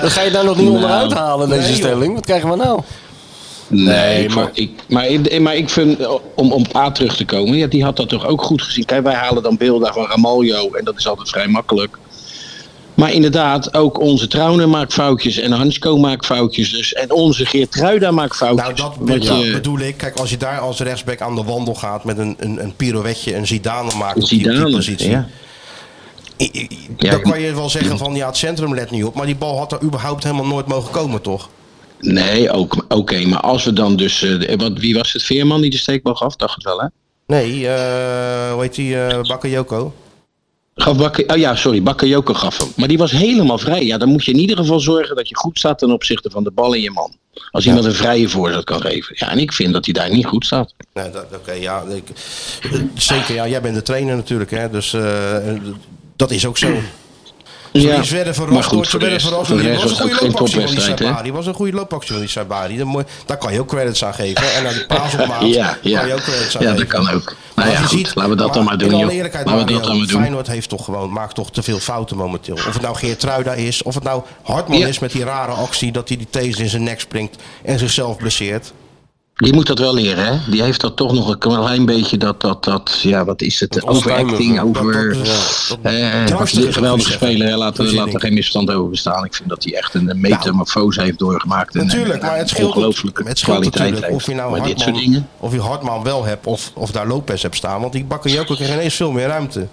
[SPEAKER 5] Dan ga je daar nog niet
[SPEAKER 10] Nou,
[SPEAKER 5] onderuit halen, deze
[SPEAKER 4] nee, joh.
[SPEAKER 5] stelling. Wat krijgen we nou?
[SPEAKER 10] Nee,
[SPEAKER 5] maar-
[SPEAKER 10] maar ik, maar, ik- maar ik vind, eh, om, om op A terug te komen, ja, die had dat toch ook goed gezien. Kijk, wij halen dan beelden van Ramaljo en dat is altijd vrij makkelijk. Maar inderdaad, ook onze Trauner maakt foutjes en Hansko maakt foutjes. Dus, en onze Geertruida maakt foutjes.
[SPEAKER 4] Nou, dat
[SPEAKER 10] Wat
[SPEAKER 4] bedoel,
[SPEAKER 10] je-
[SPEAKER 4] bedoel ik. Kijk, als je daar als rechtsback aan de wandel gaat met een, een, een pirouetje, een Zidane maakt op die- op die
[SPEAKER 10] Zidane,
[SPEAKER 4] positie.
[SPEAKER 10] ja.
[SPEAKER 4] I- i-
[SPEAKER 10] Ja,
[SPEAKER 4] dan
[SPEAKER 10] ik-
[SPEAKER 4] kan je wel zeggen van ja, het centrum let niet op. Maar die bal had er überhaupt helemaal nooit mogen komen, toch?
[SPEAKER 10] Nee, ook- oké, maar als we dan dus... eh, wat, wie was het? Veerman die de steekbal gaf? Dacht het wel, hè?
[SPEAKER 4] Nee, eh hoe heet die? eh Bakayoko?
[SPEAKER 10] Gaf Bakke, oh ja, sorry, Bakayoko gaf hem. Maar die was helemaal vrij. Ja, dan moet je in ieder geval zorgen dat je goed staat ten opzichte van de bal in je man. Als iemand een vrije voorzet kan geven. Ja, en ik vind dat hij daar niet goed staat.
[SPEAKER 4] Nee, dat- oké, ja. ik- eh, zeker, ja. Jij bent de trainer natuurlijk, hè. Dus eh, eh, dat is ook zo. Ja,
[SPEAKER 10] Ja,
[SPEAKER 4] die werden
[SPEAKER 10] maar
[SPEAKER 4] verrast,
[SPEAKER 10] goed,
[SPEAKER 4] goed, ze
[SPEAKER 10] voor de
[SPEAKER 4] werden
[SPEAKER 10] rest-
[SPEAKER 4] verrast.
[SPEAKER 10] voor de
[SPEAKER 4] maar die
[SPEAKER 10] rest
[SPEAKER 4] was een
[SPEAKER 10] was het
[SPEAKER 4] goede
[SPEAKER 10] ook geen
[SPEAKER 4] loopactie van die
[SPEAKER 10] topwedstrijd, hè?
[SPEAKER 4] Saibari. Die was een goede loopactie van die Saibari. Dat moet- Daar kan je ook credits aan geven. En aan die paas op maat
[SPEAKER 10] Ja, ja.
[SPEAKER 4] kan je ook credits aan
[SPEAKER 10] Ja, dat
[SPEAKER 4] geven.
[SPEAKER 10] kan ook.
[SPEAKER 4] Maar
[SPEAKER 10] Nou
[SPEAKER 4] als
[SPEAKER 10] ja,
[SPEAKER 4] je
[SPEAKER 10] goed, laten we dat
[SPEAKER 4] maar
[SPEAKER 10] dan maar doen,
[SPEAKER 4] In alle
[SPEAKER 10] joh.
[SPEAKER 4] eerlijkheid,
[SPEAKER 10] Laten we dat
[SPEAKER 4] Mario,
[SPEAKER 10] dan maar doen.
[SPEAKER 4] Feyenoord heeft toch gewoon, maakt toch te veel fouten momenteel. Of het nou Geertruida is, of het nou Hartman
[SPEAKER 10] Ja.
[SPEAKER 4] is met die rare actie... dat hij die taser in zijn nek springt en zichzelf blesseert.
[SPEAKER 10] Die moet dat wel leren, hè? Die heeft dat toch nog een klein beetje dat, dat, dat ja, wat is het? Overacting,
[SPEAKER 4] onstuimige.
[SPEAKER 10] over.
[SPEAKER 4] Dat- dat- ja, dat-
[SPEAKER 10] eh,
[SPEAKER 4] Drastisch,
[SPEAKER 10] een geweldige
[SPEAKER 4] moet ik zeggen.
[SPEAKER 10] speler, hè? laten we
[SPEAKER 4] Voorziening.
[SPEAKER 10] laten we geen misverstand over bestaan. Ik vind dat hij echt een een metamorfose heeft doorgemaakt. En,
[SPEAKER 4] Nou. Natuurlijk,
[SPEAKER 10] en-
[SPEAKER 4] maar het
[SPEAKER 10] en
[SPEAKER 4] scheelt,
[SPEAKER 10] ongelooflijke
[SPEAKER 4] het scheelt
[SPEAKER 10] kwaliteit
[SPEAKER 4] natuurlijk of je
[SPEAKER 10] heeft.
[SPEAKER 4] nou
[SPEAKER 10] Maar dit soort
[SPEAKER 4] Hartman,
[SPEAKER 10] dingen.
[SPEAKER 4] of je Hartman wel hebt of, of daar Lopez hebt staan. Want die bakken Joko krijgt ineens veel meer ruimte.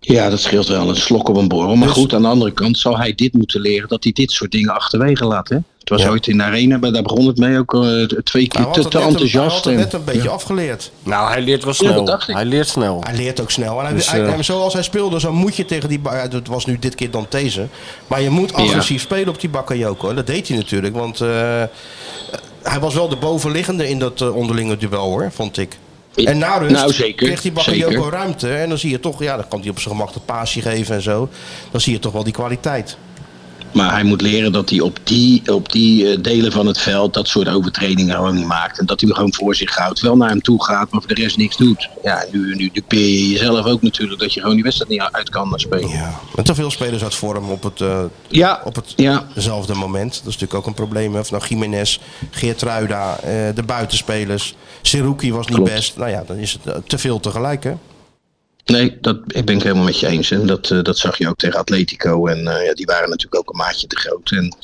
[SPEAKER 10] Ja, dat scheelt wel. Een slok op een borrel. Maar
[SPEAKER 4] Dus-
[SPEAKER 10] goed, aan de andere kant zal hij dit moeten leren dat hij dit soort dingen achterwege laat. Hè? Het was
[SPEAKER 4] Ja.
[SPEAKER 10] ooit in de arena, maar daar begon het mee ook eh, twee
[SPEAKER 4] Hij
[SPEAKER 10] keer
[SPEAKER 4] had
[SPEAKER 10] te,
[SPEAKER 4] het
[SPEAKER 10] te
[SPEAKER 4] net een-
[SPEAKER 10] enthousiast.
[SPEAKER 4] Hij had het
[SPEAKER 10] en-
[SPEAKER 4] net een beetje
[SPEAKER 10] Ja.
[SPEAKER 4] afgeleerd.
[SPEAKER 5] Nou, hij leert wel
[SPEAKER 10] Ja, dat
[SPEAKER 5] snel.
[SPEAKER 10] dacht ik.
[SPEAKER 5] hij leert snel.
[SPEAKER 4] Hij leert ook snel. En, hij,
[SPEAKER 5] Dus,
[SPEAKER 4] hij-
[SPEAKER 5] eh,
[SPEAKER 4] en zoals hij speelde, zo moet je tegen die... Ba- ja, Dat was nu dit keer dan deze. Maar je moet agressief spelen op die Bakayoko. En dat deed hij natuurlijk. Want eh, hij was wel de bovenliggende in dat eh, onderlinge duel, hoor, vond ik.
[SPEAKER 10] Ja,
[SPEAKER 4] En na rust
[SPEAKER 10] nou, zeker,
[SPEAKER 4] kreeg die Bakayoko
[SPEAKER 10] zeker.
[SPEAKER 4] ruimte. En dan zie je toch... Ja, dan kan hij op zijn gemak dat paasje geven en zo. Dan zie je toch wel die kwaliteit.
[SPEAKER 10] Maar hij moet leren dat hij op die, op die eh, delen van het veld dat soort overtredingen gewoon niet maakt. En dat hij hem gewoon voor zich houdt. Wel naar hem toe gaat, maar voor de rest niks doet. Ja, nu, nu dupeer je jezelf ook natuurlijk dat je gewoon die wedstrijd niet uit kan spelen.
[SPEAKER 4] Ja. En te veel spelers uit vorm op het... eh,
[SPEAKER 10] Ja,
[SPEAKER 4] op het
[SPEAKER 10] ja.
[SPEAKER 4] zelfde moment. Dat is natuurlijk ook een probleem. hè. Of nou Jiménez, Geertruida, eh de buitenspelers. Seruki was niet
[SPEAKER 10] Klopt.
[SPEAKER 4] best. Nou ja, dan is het eh, te veel tegelijk hè.
[SPEAKER 10] Nee, dat ik ben ik helemaal met je eens. En dat, eh, dat zag je ook tegen Atletico. En eh, ja, die waren natuurlijk ook een maatje te groot. En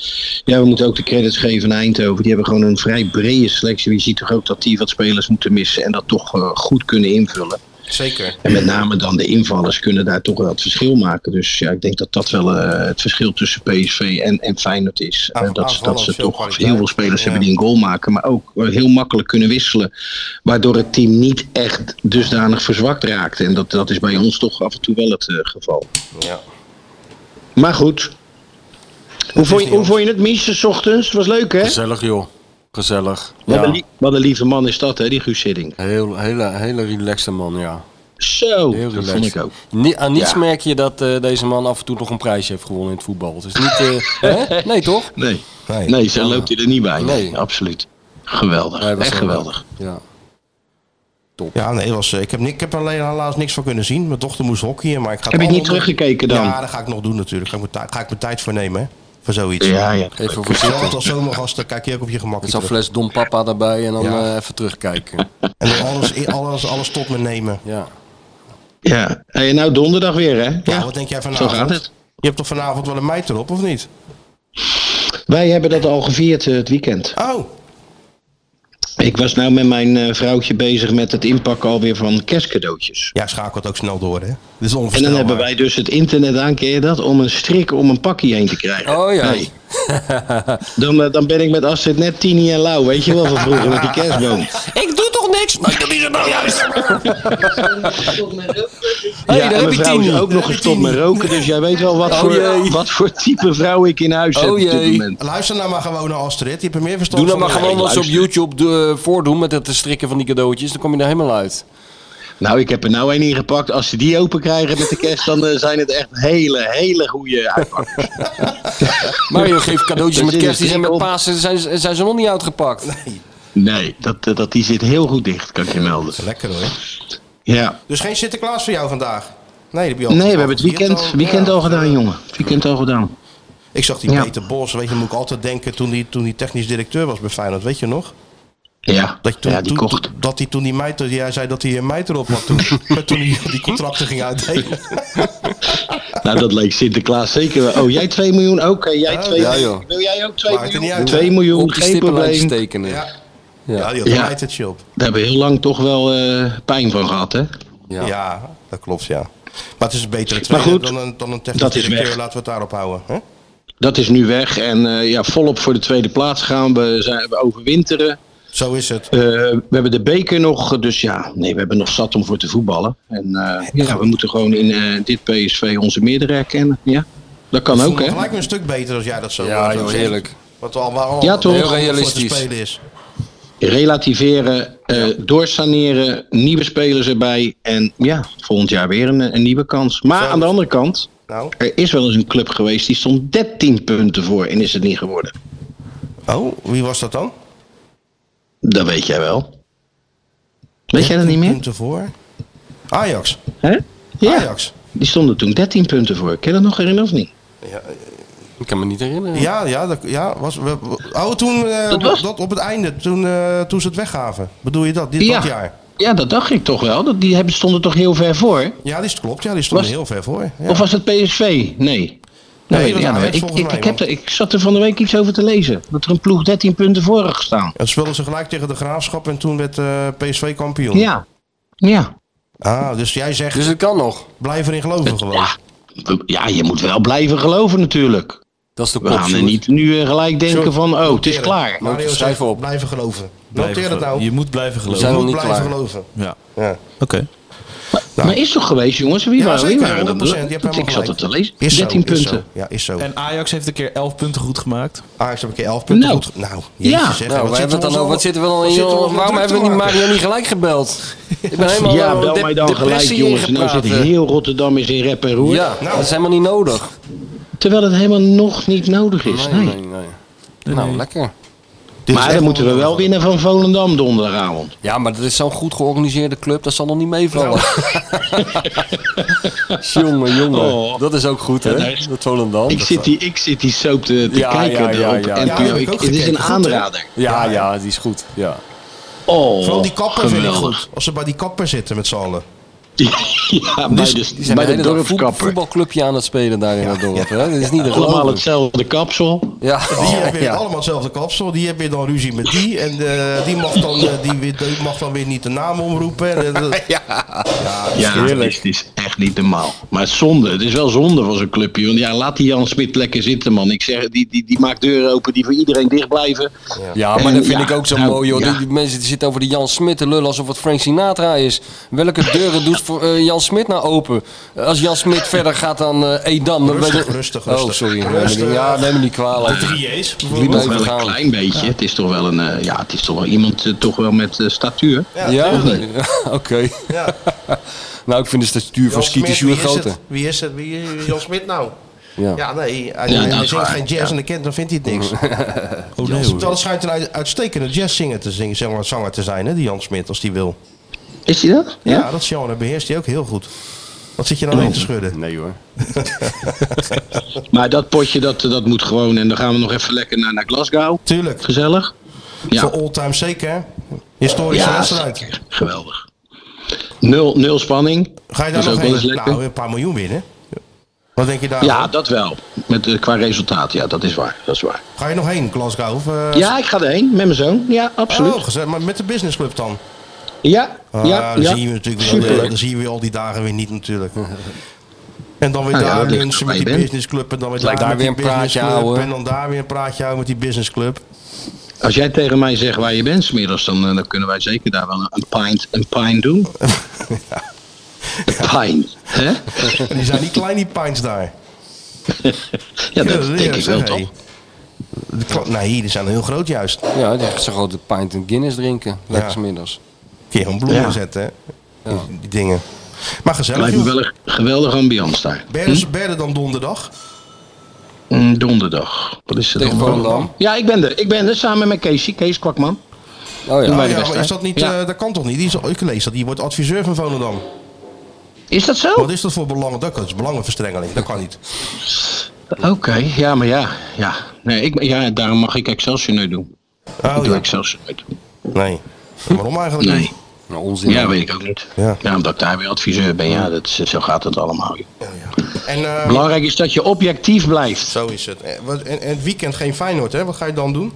[SPEAKER 10] ja, we moeten ook de credits geven aan Eindhoven. Die hebben gewoon een vrij brede selectie. Je ziet toch ook dat die wat spelers moeten missen en dat toch eh, goed kunnen invullen.
[SPEAKER 4] Zeker.
[SPEAKER 10] En met name dan de invallers kunnen daar toch wel het verschil maken. Dus ja, ik denk dat dat wel eh, het verschil tussen PSV en, en Feyenoord is. Eh, dat, ze- dat
[SPEAKER 4] aanvallend
[SPEAKER 10] ze
[SPEAKER 4] veel
[SPEAKER 10] toch
[SPEAKER 4] kwaliteit.
[SPEAKER 10] heel veel spelers
[SPEAKER 4] Ja.
[SPEAKER 10] hebben die een goal maken, maar ook eh, heel makkelijk kunnen wisselen. Waardoor het team niet echt dusdanig verzwakt raakt. En dat, dat is bij ons toch af en toe wel het eh, geval.
[SPEAKER 4] Ja.
[SPEAKER 10] Maar goed. Hoe vond, je, hoe vond je het, Mies, 's ochtends? Het was leuk, hè?
[SPEAKER 5] Gezellig, joh. Gezellig.
[SPEAKER 10] Wat,
[SPEAKER 5] Ja.
[SPEAKER 10] een lie- wat een lieve man is dat, hè, die Guus Hiddink.
[SPEAKER 5] Heel, hele, hele relaxte man, ja.
[SPEAKER 10] Zo,
[SPEAKER 5] Heel
[SPEAKER 10] dat
[SPEAKER 5] relaxed.
[SPEAKER 10] vond ik ook.
[SPEAKER 5] Ni- aan niets
[SPEAKER 10] Ja.
[SPEAKER 5] merk je dat eh, deze man af en toe nog een prijsje heeft gewonnen in het voetbal. Het is niet... eh, hè? Nee, toch?
[SPEAKER 10] Nee,
[SPEAKER 4] Nee.
[SPEAKER 10] nee zo loopt hij er niet bij. Nee,
[SPEAKER 5] Nee.
[SPEAKER 10] absoluut. Geweldig,
[SPEAKER 5] Hij was
[SPEAKER 10] echt
[SPEAKER 5] er-
[SPEAKER 10] geweldig.
[SPEAKER 5] Ja.
[SPEAKER 4] Ja, nee, was, eh, ik, heb, ni- ik heb er alleen helaas niks van kunnen zien. Mijn dochter moest hockeyen, maar ik ga
[SPEAKER 10] Heb
[SPEAKER 4] het
[SPEAKER 10] je het niet
[SPEAKER 4] allemaal nog-
[SPEAKER 10] teruggekeken dan?
[SPEAKER 4] Ja, dat ga ik nog doen natuurlijk. Ga ik mijn, tij- ga ik mijn tijd voor nemen, hè? Voor zoiets.
[SPEAKER 10] Ja, ja.
[SPEAKER 5] Even
[SPEAKER 4] Zelfs
[SPEAKER 5] voorzichtig.
[SPEAKER 4] als zomergasten kijk je ook op je gemak.
[SPEAKER 5] Met zo'n
[SPEAKER 4] terug.
[SPEAKER 5] fles Dom Papa erbij en dan
[SPEAKER 4] Ja.
[SPEAKER 5] eh, even terugkijken.
[SPEAKER 4] En dan alles, alles, alles tot me nemen.
[SPEAKER 5] Ja.
[SPEAKER 10] Ja. Hey, nou donderdag weer, hè?
[SPEAKER 4] Ja, wat denk jij
[SPEAKER 10] Zo
[SPEAKER 4] vanavond?
[SPEAKER 10] gaat het.
[SPEAKER 4] Je hebt toch vanavond wel een meid erop, of niet?
[SPEAKER 10] Wij hebben dat al gevierd eh, het weekend.
[SPEAKER 4] Oh,
[SPEAKER 10] Ik was nou met mijn eh, vrouwtje bezig met het inpakken alweer van kerstcadeautjes.
[SPEAKER 4] ja, schakelt ook snel door, hè? Dit is
[SPEAKER 10] En dan
[SPEAKER 4] onvoorstelbaar.
[SPEAKER 10] hebben wij dus het internet aan, ken je dat? Om een strik om een pakje heen te krijgen.
[SPEAKER 5] Oh ja.
[SPEAKER 10] Nee. Dan, eh, dan ben ik met Astrid net Tini en Lau, weet je wel, van vroeger met die kerstboom.
[SPEAKER 5] Ik doe toch niks? Nou, ik doe ze nou juist.
[SPEAKER 10] Hey,
[SPEAKER 5] daar heb
[SPEAKER 10] mijn
[SPEAKER 5] je
[SPEAKER 10] vrouw is
[SPEAKER 5] Tini.
[SPEAKER 10] ook nog gestopt met roken, dus jij weet wel wat,
[SPEAKER 5] Oh jee.
[SPEAKER 10] voor, wat voor type vrouw ik in huis
[SPEAKER 5] Oh
[SPEAKER 10] heb op dit
[SPEAKER 5] jee.
[SPEAKER 10] moment.
[SPEAKER 4] Luister nou maar gewoon naar Astrid. Die heeft meer verstand
[SPEAKER 10] Nou,
[SPEAKER 5] Doe dan
[SPEAKER 4] van
[SPEAKER 5] maar gewoon wat ze op
[SPEAKER 10] luister.
[SPEAKER 5] YouTube eh, voordoen met het strikken van die cadeautjes. Dan kom je er helemaal uit.
[SPEAKER 10] Nou, ik heb er nou één ingepakt. Als ze die open krijgen met de kerst, dan eh, zijn het echt hele, hele goede uitpakken.
[SPEAKER 5] Mario geeft cadeautjes
[SPEAKER 10] Er
[SPEAKER 5] met
[SPEAKER 10] zit een
[SPEAKER 5] kerst en
[SPEAKER 10] strik
[SPEAKER 5] met
[SPEAKER 10] op.
[SPEAKER 5] Pasen zijn, ze- zijn ze nog niet uitgepakt.
[SPEAKER 10] Nee, dat, eh, dat, die zit heel goed dicht, kan ik je melden.
[SPEAKER 4] Lekker hoor.
[SPEAKER 10] Ja.
[SPEAKER 4] Dus geen Sinterklaas voor jou vandaag? Nee, dat heb je al
[SPEAKER 10] Nee, we
[SPEAKER 4] gezien.
[SPEAKER 10] hebben het weekend, weekend
[SPEAKER 4] Ja.
[SPEAKER 10] al gedaan, jongen. Het weekend al gedaan.
[SPEAKER 4] Ik zag die
[SPEAKER 10] Ja.
[SPEAKER 4] Peter Bos, weet je, dan moet ik altijd denken toen hij toen die technisch directeur was bij Feyenoord, weet je nog?
[SPEAKER 10] Ja,
[SPEAKER 4] Dat, je toen,
[SPEAKER 10] ja die
[SPEAKER 4] toen-
[SPEAKER 10] kocht.
[SPEAKER 4] dat hij toen die meid, jij zei dat hij een meid erop had toen, Maar toen hij die contracten ging uitdelen.
[SPEAKER 10] Nou, dat leek Sinterklaas zeker wel. Oh, jij 2 miljoen? Oké, jij 2
[SPEAKER 5] ja, joh.
[SPEAKER 10] miljoen. Wil jij ook 2
[SPEAKER 4] Maakt er niet
[SPEAKER 10] miljoen?
[SPEAKER 4] uit,
[SPEAKER 10] 2
[SPEAKER 4] hè?
[SPEAKER 10] miljoen,
[SPEAKER 5] Op die
[SPEAKER 10] geen
[SPEAKER 5] stippenlijntjes
[SPEAKER 10] probleem. Daar
[SPEAKER 5] tekenen. Ja.
[SPEAKER 4] Ja. Ja, die had
[SPEAKER 10] Ja.
[SPEAKER 4] een meid het chip.
[SPEAKER 10] hebben we heel lang toch wel eh, pijn van gehad, hè?
[SPEAKER 4] Ja.
[SPEAKER 5] Ja.
[SPEAKER 4] dat klopt, ja. Maar het is een betere trainer
[SPEAKER 10] goed,
[SPEAKER 4] dan, een, dan een technisch
[SPEAKER 10] dat is
[SPEAKER 4] directeur,
[SPEAKER 10] weg.
[SPEAKER 4] laten we het daarop houden. Hè?
[SPEAKER 10] Dat is nu weg en eh, ja, volop voor de tweede plaats gaan. We, zijn, we overwinteren.
[SPEAKER 4] Zo is het.
[SPEAKER 10] Eh, we hebben de beker nog, dus ja, nee, we hebben nog zat om voor te voetballen. En eh, ja, we moeten gewoon in eh, dit PSV onze meerdere herkennen. Ja, dat kan
[SPEAKER 4] Ik
[SPEAKER 10] ook,
[SPEAKER 4] voel me
[SPEAKER 10] hè?
[SPEAKER 4] gelijk weer een stuk beter als jij dat zo
[SPEAKER 5] Ja,
[SPEAKER 4] zo
[SPEAKER 5] joh,
[SPEAKER 4] zegt.
[SPEAKER 5] heerlijk.
[SPEAKER 4] Wat we allemaal
[SPEAKER 10] Ja, toch?
[SPEAKER 4] allemaal voor te
[SPEAKER 5] Realistisch.
[SPEAKER 4] spelen is.
[SPEAKER 10] Relativeren, eh, doorsaneren, nieuwe spelers erbij. En ja, volgend jaar weer een, een nieuwe kans. Maar aan de andere kant,
[SPEAKER 4] Nou?
[SPEAKER 10] Er is wel eens een club geweest die stond 13 punten voor en is het niet geworden.
[SPEAKER 4] Oh, wie was dat dan?
[SPEAKER 10] Dat weet jij wel. Weet jij dat niet meer?
[SPEAKER 4] punten voor. Ajax.
[SPEAKER 10] Hè? Ja.
[SPEAKER 4] Ajax.
[SPEAKER 10] Die stonden toen 13 punten voor. Ken je dat nog herinneren of niet?
[SPEAKER 4] Ja,
[SPEAKER 5] Ik kan me niet herinneren.
[SPEAKER 4] ja, ja, dat, ja was, we, we- oh, toen, eh,
[SPEAKER 10] Dat
[SPEAKER 4] dat
[SPEAKER 10] was-
[SPEAKER 4] op het einde, toen, eh, toen ze het weggaven. Bedoel je dat, dit
[SPEAKER 10] ja.
[SPEAKER 4] dat jaar?
[SPEAKER 10] Ja, dat dacht ik toch wel. Dat, die hebben, stonden toch heel ver voor?
[SPEAKER 4] Ja, die is- klopt, ja, die stonden
[SPEAKER 10] Was-
[SPEAKER 4] heel ver voor. Ja.
[SPEAKER 10] Of was het PSV? Nee.
[SPEAKER 4] Nee,
[SPEAKER 10] Nee,
[SPEAKER 4] dat
[SPEAKER 10] ja,
[SPEAKER 4] was
[SPEAKER 10] nee,
[SPEAKER 4] Ajax
[SPEAKER 10] ik,
[SPEAKER 4] volgens
[SPEAKER 10] ik,
[SPEAKER 4] mij,
[SPEAKER 10] ik, heb
[SPEAKER 4] man.
[SPEAKER 10] er, ik zat er van de week iets over te lezen. Dat er een ploeg 13 punten voor had gestaan.
[SPEAKER 4] En speelden ze gelijk tegen de Graafschap en toen werd eh, PSV kampioen.
[SPEAKER 10] Ja. Ja.
[SPEAKER 4] Ah, dus jij zegt,
[SPEAKER 5] Dus het kan nog.
[SPEAKER 4] blijf erin geloven gewoon.
[SPEAKER 10] ja. Ja, je moet wel blijven geloven natuurlijk.
[SPEAKER 5] Dat is de
[SPEAKER 10] We
[SPEAKER 5] kop.
[SPEAKER 10] gaan er
[SPEAKER 5] Sjoerd.
[SPEAKER 10] niet nu eh, gelijk denken
[SPEAKER 4] Sjoerd,
[SPEAKER 10] van, oh, het is
[SPEAKER 4] noteren.
[SPEAKER 10] klaar.
[SPEAKER 5] Maar
[SPEAKER 4] Mario
[SPEAKER 5] schrijf
[SPEAKER 4] zegt,
[SPEAKER 5] op.
[SPEAKER 4] blijven geloven.
[SPEAKER 6] Blijven
[SPEAKER 4] Noteer het
[SPEAKER 6] gelo-
[SPEAKER 4] nou.
[SPEAKER 6] Je moet blijven
[SPEAKER 5] We
[SPEAKER 6] geloven.
[SPEAKER 5] zijn nog
[SPEAKER 4] moet
[SPEAKER 5] niet
[SPEAKER 4] blijven
[SPEAKER 5] klaar.
[SPEAKER 4] geloven.
[SPEAKER 6] Ja,
[SPEAKER 4] Ja.
[SPEAKER 6] oké.
[SPEAKER 10] Maar is toch geweest, jongens? Wie
[SPEAKER 4] Nou. Ja,
[SPEAKER 10] waren, wie
[SPEAKER 4] zeker,
[SPEAKER 10] waren dat?
[SPEAKER 4] 100%. Je hebt helemaal
[SPEAKER 10] Ik zat
[SPEAKER 4] gelijk.
[SPEAKER 10] het te lezen.
[SPEAKER 4] Is zo,
[SPEAKER 10] 13
[SPEAKER 4] is
[SPEAKER 10] punten.
[SPEAKER 4] zo. Ja, is zo.
[SPEAKER 6] En Ajax heeft een keer 11 punten goed gemaakt.
[SPEAKER 4] Ajax heb ik hier 11 punten
[SPEAKER 10] Nou.
[SPEAKER 4] goed. Nou, jeetje
[SPEAKER 10] Ja.
[SPEAKER 4] zeg,
[SPEAKER 5] Nou,
[SPEAKER 4] wat
[SPEAKER 5] waar hebben
[SPEAKER 4] zitten
[SPEAKER 5] we het
[SPEAKER 4] ons
[SPEAKER 5] dan
[SPEAKER 4] al-
[SPEAKER 5] over? Wat zitten we dan
[SPEAKER 4] wat
[SPEAKER 5] in?
[SPEAKER 4] zitten ons
[SPEAKER 5] joh?
[SPEAKER 4] al
[SPEAKER 5] Waarom
[SPEAKER 4] druk
[SPEAKER 5] hebben we
[SPEAKER 4] te
[SPEAKER 5] niet
[SPEAKER 4] maken?
[SPEAKER 5] Mario niet gelijk gebeld? Ik ben helemaal
[SPEAKER 10] Ja,
[SPEAKER 5] eh,
[SPEAKER 10] bel
[SPEAKER 5] de-
[SPEAKER 10] mij dan gelijk,
[SPEAKER 5] depressie
[SPEAKER 10] jongens. Nou zit
[SPEAKER 5] ingepraat, eh.
[SPEAKER 10] heel Rotterdam is in rep en roer.
[SPEAKER 5] Ja, dat is helemaal niet nodig.
[SPEAKER 10] Terwijl het helemaal nog niet nodig is.
[SPEAKER 5] Nee,
[SPEAKER 10] Nee.
[SPEAKER 5] nee, nee. Nou, lekker.
[SPEAKER 4] Dit is
[SPEAKER 10] Maar
[SPEAKER 4] echt
[SPEAKER 10] dan moeten we
[SPEAKER 4] onnodig.
[SPEAKER 10] wel winnen van Volendam donderdagavond.
[SPEAKER 5] Ja, maar dat is zo'n goed georganiseerde club, dat zal nog niet meevallen. jongen, jongen.
[SPEAKER 10] Oh.
[SPEAKER 5] Dat is ook goed, hè?
[SPEAKER 10] Ja, nee.
[SPEAKER 5] Dat Volendam.
[SPEAKER 10] Ik
[SPEAKER 5] dat-
[SPEAKER 10] zit die, ik zit die soap te, te
[SPEAKER 5] Ja,
[SPEAKER 10] kijken
[SPEAKER 5] ja, ja,
[SPEAKER 10] erop.
[SPEAKER 5] ja.
[SPEAKER 10] En
[SPEAKER 5] Ja,
[SPEAKER 10] toen-
[SPEAKER 4] heb ik
[SPEAKER 10] ik-
[SPEAKER 4] ook
[SPEAKER 10] het is
[SPEAKER 4] gekeken.
[SPEAKER 10] een
[SPEAKER 4] Goed, hè?
[SPEAKER 10] aanrader.
[SPEAKER 5] Ja, ja, die is goed. Ja.
[SPEAKER 10] Oh,
[SPEAKER 4] Vooral die kapper vind ik
[SPEAKER 10] geweldig.
[SPEAKER 4] goed. Als ze bij die kapper zitten met z'n allen.
[SPEAKER 10] ja, bij
[SPEAKER 5] Dus Die
[SPEAKER 10] de,
[SPEAKER 5] zijn
[SPEAKER 10] bij
[SPEAKER 5] de
[SPEAKER 10] de
[SPEAKER 5] hele dag voet-
[SPEAKER 10] dorpskapper.
[SPEAKER 5] voetbalclubje aan het spelen daar in het dorp. Hè? Dat is niet de
[SPEAKER 10] Allemaal
[SPEAKER 5] geloof.
[SPEAKER 10] hetzelfde kapsel.
[SPEAKER 5] Ja,
[SPEAKER 4] Die hebben weer
[SPEAKER 5] Oh, ja.
[SPEAKER 4] allemaal hetzelfde kapsel. Die hebben weer dan ruzie met die. En eh, die, mag dan, eh, die, weer- die mag dan weer niet de naam omroepen. En, eh, dat-
[SPEAKER 10] Ja, het is, het is echt niet normaal. Maar het is zonde, het is wel zonde van zo'n clubje. Want ja, laat die Jan Smit lekker zitten, man. Ik zeg, die, die, die maakt deuren open die voor iedereen dicht blijven.
[SPEAKER 5] Ja, maar dat vind
[SPEAKER 10] Ja,
[SPEAKER 5] ik ook zo
[SPEAKER 10] nou,
[SPEAKER 5] mooi, joh.
[SPEAKER 10] ja.
[SPEAKER 5] Die, die mensen die zitten over die Jan Smit te lullen alsof het Frank Sinatra is. Welke deuren doet voor, eh, Jan Smit nou open? Als Jan Smit verder gaat dan eh Edam... dan
[SPEAKER 4] Rustig,
[SPEAKER 5] weet ik-
[SPEAKER 4] rustig, rustig.
[SPEAKER 5] Oh, sorry. Neem me
[SPEAKER 4] Rustig.
[SPEAKER 5] niet- Ja, neem me niet kwalijk. De drie
[SPEAKER 6] Jees.
[SPEAKER 10] Nog wel
[SPEAKER 5] even
[SPEAKER 10] een
[SPEAKER 5] gaan.
[SPEAKER 10] klein beetje. Het is toch wel een, eh, ja, het is toch wel iemand eh, toch wel met eh, statuur.
[SPEAKER 5] Ja?
[SPEAKER 10] Of niet?
[SPEAKER 5] Oké.
[SPEAKER 4] ja.
[SPEAKER 5] Nou, ik vind de statuur
[SPEAKER 4] Jan
[SPEAKER 5] van Skeeter
[SPEAKER 4] Smit, wie
[SPEAKER 5] Sjoerd
[SPEAKER 4] is het?
[SPEAKER 5] groter.
[SPEAKER 4] Wie is het? Wie is Jan Smit nou?
[SPEAKER 5] Ja.
[SPEAKER 4] Ja, nee. Hij,
[SPEAKER 10] Ja,
[SPEAKER 4] hij
[SPEAKER 10] dat is
[SPEAKER 4] zingt
[SPEAKER 10] waar,
[SPEAKER 4] geen jazz
[SPEAKER 10] ja.
[SPEAKER 4] en dat kent, dan vindt hij het niks. oh, nee, Terwijl het schijnt een uit- uitstekende jazzzanger te, zingen, zeg maar, zanger te zijn, hè, die Jan Smit, als die wil.
[SPEAKER 10] Is die dat?
[SPEAKER 4] Ja, dat genre beheerst hij ook heel goed. Wat zit je
[SPEAKER 10] Oh.
[SPEAKER 4] nou heen te schudden?
[SPEAKER 5] Nee hoor.
[SPEAKER 10] Maar dat potje, dat, dat moet gewoon. En dan gaan we nog even lekker naar, naar Glasgow.
[SPEAKER 4] Tuurlijk.
[SPEAKER 10] Gezellig.
[SPEAKER 4] Voor
[SPEAKER 10] Ja,
[SPEAKER 4] all-time zeker. hè? Historische
[SPEAKER 10] ja
[SPEAKER 4] wedstrijd.
[SPEAKER 10] zeker. geweldig. Nul, nul spanning.
[SPEAKER 4] Ga je daar
[SPEAKER 10] Dat is
[SPEAKER 4] nog
[SPEAKER 10] ook wel eens
[SPEAKER 4] heen?
[SPEAKER 10] lekker.
[SPEAKER 4] Nou, een paar miljoen winnen. Wat denk je daar?
[SPEAKER 10] Ja, dat wel. Met, eh, qua resultaat, ja, dat is waar. Dat is waar.
[SPEAKER 4] Ga je nog heen, Glasgow? Of, eh,
[SPEAKER 10] Ja, ik ga erheen met mijn zoon. Ja, absoluut.
[SPEAKER 4] Oh, gezellig, maar met de businessclub dan?
[SPEAKER 10] Ja,
[SPEAKER 4] Ah,
[SPEAKER 10] ja,
[SPEAKER 4] dan,
[SPEAKER 10] ja.
[SPEAKER 4] Zien we natuurlijk weer,
[SPEAKER 10] Superleuk.
[SPEAKER 4] dan zien we al die dagen weer niet natuurlijk. En dan weer
[SPEAKER 10] Nou ja,
[SPEAKER 4] daar
[SPEAKER 10] dat ligt
[SPEAKER 4] lunchen
[SPEAKER 10] waar
[SPEAKER 4] met
[SPEAKER 10] je
[SPEAKER 4] die
[SPEAKER 10] bent.
[SPEAKER 4] businessclub. En dan weer daar,
[SPEAKER 5] Lijkt daar
[SPEAKER 4] met die
[SPEAKER 5] weer een praatje
[SPEAKER 4] businessclub,
[SPEAKER 5] houden.
[SPEAKER 4] En dan daar weer een praatje houden met die businessclub.
[SPEAKER 10] Als jij tegen mij zegt waar je bent smiddags, dan, eh, dan kunnen wij zeker daar wel een, een pint, een pint doen. Een pint, hè?
[SPEAKER 4] En die zijn die kleine die pints daar.
[SPEAKER 10] Ja, dat
[SPEAKER 4] is
[SPEAKER 10] denk ik wel toch.
[SPEAKER 4] De kla- nee, die zijn heel groot juist.
[SPEAKER 5] Ja, die gaat zo'n grote pint en Guinness drinken. Lekker
[SPEAKER 4] Ja.
[SPEAKER 5] 's middags.
[SPEAKER 4] Kun je een bloemen
[SPEAKER 10] Ja.
[SPEAKER 4] zetten, hè? Die, die dingen. Maar gezellig,
[SPEAKER 10] Lijkt me
[SPEAKER 4] joh.
[SPEAKER 10] wel een Hm? geweldige ambiance daar.
[SPEAKER 4] Berden, Berden dan donderdag.
[SPEAKER 10] Mm, donderdag. Wat is het
[SPEAKER 5] Tegen
[SPEAKER 10] dan?
[SPEAKER 5] Volendam.
[SPEAKER 10] Ja, ik ben er. Ik ben er samen met Casey, Kees Kwakman.
[SPEAKER 5] Oh
[SPEAKER 10] Doen
[SPEAKER 5] ja.
[SPEAKER 4] Oh
[SPEAKER 10] wij de
[SPEAKER 4] ja, maar
[SPEAKER 10] wedstrijd.
[SPEAKER 4] is dat niet,
[SPEAKER 10] Ja. Oh.
[SPEAKER 4] eh, dat kan toch niet? Die is, ik lees dat, die wordt adviseur van Volendam.
[SPEAKER 10] Is dat zo?
[SPEAKER 4] Wat is dat voor belangen? Dat is belangenverstrengeling, dat kan niet.
[SPEAKER 10] Oké, ja, maar ja. Ja. Nee, ik, ja, daarom mag ik Excelsior nu doen. ik
[SPEAKER 4] Oh
[SPEAKER 10] doe
[SPEAKER 4] ja,
[SPEAKER 10] Excelsior nooit.
[SPEAKER 4] nee.
[SPEAKER 10] Hm?
[SPEAKER 4] Waarom eigenlijk
[SPEAKER 10] Nee.
[SPEAKER 4] niet?
[SPEAKER 5] Nou, onzin.
[SPEAKER 10] Ja, weet ik ook niet.
[SPEAKER 4] Ja.
[SPEAKER 10] Ja. omdat ik daar weer adviseur ben. Ja, dat, is- zo gaat het allemaal. joh.
[SPEAKER 4] En, eh,
[SPEAKER 10] Belangrijk is dat je objectief blijft.
[SPEAKER 4] Zo is het. En, wat- en, en het weekend geen Feyenoord, hè? Wat ga je dan doen?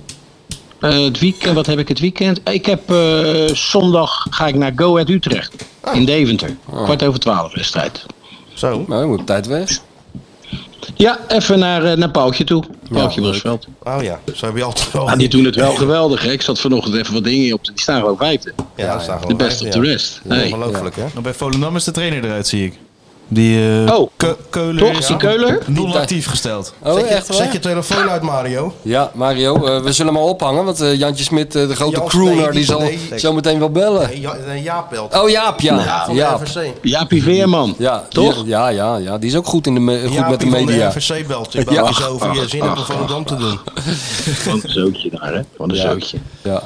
[SPEAKER 10] Eh, het weekend, wat heb ik het weekend? Ik heb eh, zondag ga ik naar Go Ahead Utrecht
[SPEAKER 4] Ah.
[SPEAKER 10] in Deventer.
[SPEAKER 5] Ah.
[SPEAKER 10] Kwart over twaalf wedstrijd.
[SPEAKER 4] Zo.
[SPEAKER 5] Nou, je moet op tijd weg.
[SPEAKER 10] Ja, even naar, eh, naar Pauwtje toe. Pauwtje Bosveld.
[SPEAKER 4] Oh ja, zo heb je altijd al.
[SPEAKER 10] Ja, die doen het wel geweldig. Hè? Ik zat vanochtend even wat dingen op. te- Die staan gewoon vijfde.
[SPEAKER 4] Ja, daar staan
[SPEAKER 10] De
[SPEAKER 4] gewoon
[SPEAKER 10] best
[SPEAKER 4] vijf,
[SPEAKER 10] of the
[SPEAKER 4] Oh, ja.
[SPEAKER 10] rest. Hey.
[SPEAKER 4] Ongelooflijk, hè?
[SPEAKER 6] Nou, bij Volendam is de trainer eruit, zie ik. Die eh,
[SPEAKER 10] Oh,
[SPEAKER 6] Ke- Keuler
[SPEAKER 10] toch?
[SPEAKER 6] is
[SPEAKER 10] Die Keuler?
[SPEAKER 6] nul actief gesteld.
[SPEAKER 5] Oh,
[SPEAKER 4] zet, je,
[SPEAKER 5] echt waar?
[SPEAKER 4] zet je telefoon uit, Mario.
[SPEAKER 5] Ja, Mario, eh, we zullen hem al ophangen, want eh, Jantje Smit, eh, de grote
[SPEAKER 4] Jan-
[SPEAKER 5] crooner,
[SPEAKER 4] nee, niet-
[SPEAKER 5] die zal
[SPEAKER 4] nee.
[SPEAKER 5] zo meteen wel bellen.
[SPEAKER 4] Nee, Ja, nee, Jaap belt.
[SPEAKER 5] Oh, Jaap, ja.
[SPEAKER 4] van
[SPEAKER 5] Jaap.
[SPEAKER 4] de RVC.
[SPEAKER 10] Jaapie Veerman.
[SPEAKER 5] Ja,
[SPEAKER 10] Toch?
[SPEAKER 5] die- Ja, ja, ja, die is ook goed, in de me- goed
[SPEAKER 4] Jaapie
[SPEAKER 5] met de
[SPEAKER 4] van de
[SPEAKER 5] media.
[SPEAKER 4] RVC belt. Ik
[SPEAKER 5] Ja.
[SPEAKER 4] bel eens over je zin om Volendam te doen.
[SPEAKER 10] Van een zootje daar, hè? Van een
[SPEAKER 5] Ja.
[SPEAKER 10] zootje.
[SPEAKER 5] Ja.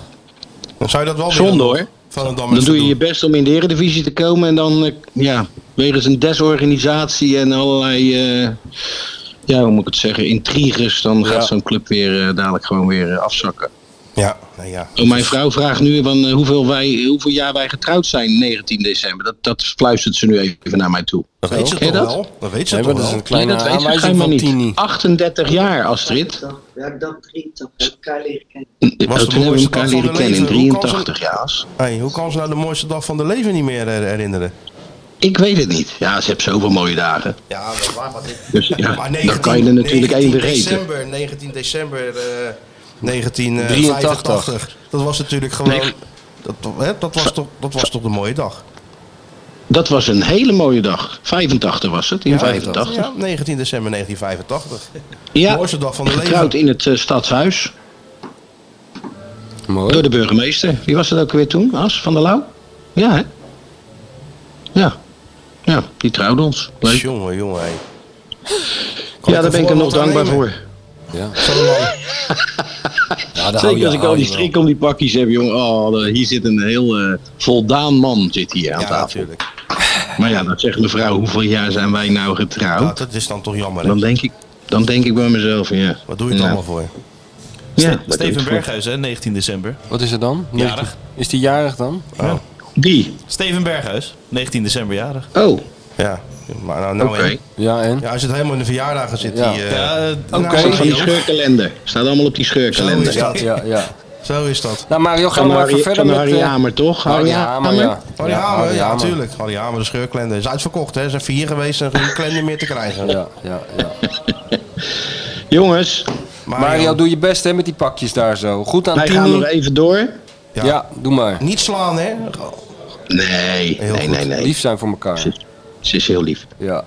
[SPEAKER 4] Dan zou je dat wel willen.
[SPEAKER 10] Zonde hoor.
[SPEAKER 4] Volendam
[SPEAKER 10] Dan
[SPEAKER 4] eens
[SPEAKER 10] doe je
[SPEAKER 4] doen.
[SPEAKER 10] je best om in de Eredivisie te komen en dan, eh, ja, wegens een desorganisatie en allerlei, eh, ja, hoe moet ik het zeggen, intriges, dan gaat zo'n club weer eh, dadelijk gewoon weer eh, afzakken.
[SPEAKER 4] Ja, nee, ja.
[SPEAKER 10] Oh, mijn vrouw vraagt nu van, eh, hoeveel, wij, hoeveel jaar wij getrouwd zijn 19 december. Dat, dat fluistert ze nu even naar mij toe.
[SPEAKER 4] Dat weet ze
[SPEAKER 10] Ken je
[SPEAKER 4] toch
[SPEAKER 10] dat?
[SPEAKER 4] wel? Dat weet ze
[SPEAKER 5] Nee, maar
[SPEAKER 4] toch
[SPEAKER 5] dat is
[SPEAKER 4] wel?
[SPEAKER 5] een kleine
[SPEAKER 10] nee, dat weet ze
[SPEAKER 5] aanwijzing
[SPEAKER 10] schijnbaar
[SPEAKER 5] van
[SPEAKER 10] niet.
[SPEAKER 5] Tini.
[SPEAKER 10] 38 jaar, Astrid.
[SPEAKER 11] We hebben dan 83 elkaar leren kennen.
[SPEAKER 10] Oh,
[SPEAKER 4] de
[SPEAKER 10] toen hebben we
[SPEAKER 4] mooiste
[SPEAKER 10] elkaar
[SPEAKER 4] dag van
[SPEAKER 10] leren
[SPEAKER 4] de
[SPEAKER 10] kennen in
[SPEAKER 4] leven. Hoe kan ze-
[SPEAKER 10] 83 jaar.
[SPEAKER 4] Hey, hoe kan ze nou de mooiste dag van de leven niet meer her- herinneren?
[SPEAKER 10] Ik weet het niet. Ja, ze heeft zoveel mooie dagen.
[SPEAKER 4] Ja, dat is waar. Maar, dit-
[SPEAKER 10] Dus ja,
[SPEAKER 4] maar
[SPEAKER 10] dan kan je er natuurlijk één
[SPEAKER 4] 19
[SPEAKER 10] vergeten.
[SPEAKER 4] december, 19 december eh
[SPEAKER 5] 83.
[SPEAKER 4] 1985. Dat was natuurlijk gewoon...
[SPEAKER 10] Nee.
[SPEAKER 4] Dat, hè, dat, was toch, dat was toch de mooie dag?
[SPEAKER 10] Dat was een hele mooie dag. 85 was het, in
[SPEAKER 4] Ja,
[SPEAKER 10] 85.
[SPEAKER 4] Ja, 19 december 1985.
[SPEAKER 10] Ja,
[SPEAKER 4] Mooiste dag van de
[SPEAKER 10] getrouwd
[SPEAKER 4] leven.
[SPEAKER 10] in het eh, stadshuis.
[SPEAKER 5] Mooi.
[SPEAKER 10] Door de burgemeester. Wie was dat ook weer toen? As van der Lauw? Ja, hè? Ja. Ja, die trouwde ons. Leuk.
[SPEAKER 4] Jongen, jongen. hé. Kan
[SPEAKER 10] Ja, daar ben ik hem nog
[SPEAKER 4] wat aan
[SPEAKER 10] dankbaar
[SPEAKER 4] nemen?
[SPEAKER 10] voor.
[SPEAKER 5] Ja.
[SPEAKER 4] Zo lang.
[SPEAKER 5] Ja, daar hou
[SPEAKER 10] Zeker
[SPEAKER 5] je-
[SPEAKER 10] als ik al
[SPEAKER 5] hou
[SPEAKER 10] die
[SPEAKER 5] je wel.
[SPEAKER 10] strik om die pakjes heb, jongen. Oh, de- hier zit een heel eh, voldaan man zit hier aan
[SPEAKER 4] Ja,
[SPEAKER 10] tafel.
[SPEAKER 4] natuurlijk.
[SPEAKER 10] Maar ja, dan zegt mevrouw, hoeveel jaar zijn wij nou
[SPEAKER 4] Ja,
[SPEAKER 10] getrouwd?
[SPEAKER 4] dat is dan toch jammer. hè?
[SPEAKER 10] Dan denk ik, dan denk ik bij mezelf, ja.
[SPEAKER 4] Wat doe je het
[SPEAKER 10] Ja.
[SPEAKER 4] allemaal voor?
[SPEAKER 10] Ja, wat doe je
[SPEAKER 6] Steven
[SPEAKER 10] het
[SPEAKER 6] Berghuis, hè, 19 december.
[SPEAKER 5] Wat is er dan?
[SPEAKER 6] Jarig.
[SPEAKER 5] 19 Is die jarig dan?
[SPEAKER 10] voor? Die.
[SPEAKER 6] Steven Berghuis, 19 december jarig.
[SPEAKER 10] Oh,
[SPEAKER 4] Ja, maar nou, nou
[SPEAKER 10] oké.
[SPEAKER 4] hè.
[SPEAKER 5] Ja, en?
[SPEAKER 4] Ja, hij zit helemaal in de verjaardagen zit
[SPEAKER 5] Ja.
[SPEAKER 4] hij. eh,
[SPEAKER 6] Ja, eh,
[SPEAKER 5] Oké.
[SPEAKER 10] Staat van die
[SPEAKER 4] Mario.
[SPEAKER 10] scheurkalender. Staat allemaal op die
[SPEAKER 4] Zo
[SPEAKER 10] scheurkalender.
[SPEAKER 4] is dat.
[SPEAKER 5] Ja, ja.
[SPEAKER 4] Zo is dat.
[SPEAKER 5] Nou Mario, ga
[SPEAKER 10] Van
[SPEAKER 5] maar
[SPEAKER 10] Harry,
[SPEAKER 5] even verder
[SPEAKER 10] van
[SPEAKER 5] met...
[SPEAKER 10] Harry
[SPEAKER 5] eh,
[SPEAKER 10] Hamer, toch?
[SPEAKER 5] Harry Hamer, ja.
[SPEAKER 4] Harry
[SPEAKER 5] Ja,
[SPEAKER 4] Hamer,
[SPEAKER 5] Harry
[SPEAKER 4] ja,
[SPEAKER 5] Hamer.
[SPEAKER 4] natuurlijk. Harry Hamer, de scheurklender. Is uitverkocht, hè? Ze zijn vier geweest en geen klender meer te krijgen.
[SPEAKER 5] Ja, ja, ja.
[SPEAKER 10] Jongens,
[SPEAKER 4] Mario,
[SPEAKER 5] Mario, doe je best hè, met die pakjes daar zo. Goed aan
[SPEAKER 10] wij gaan nog
[SPEAKER 5] Tini.
[SPEAKER 10] even door.
[SPEAKER 5] Ja. doe maar.
[SPEAKER 4] niet slaan, hè?
[SPEAKER 10] Nee,
[SPEAKER 4] Heel
[SPEAKER 10] nee,
[SPEAKER 4] goed.
[SPEAKER 10] nee, nee.
[SPEAKER 5] Lief zijn voor elkaar.
[SPEAKER 10] Ze is heel lief.
[SPEAKER 5] Ja.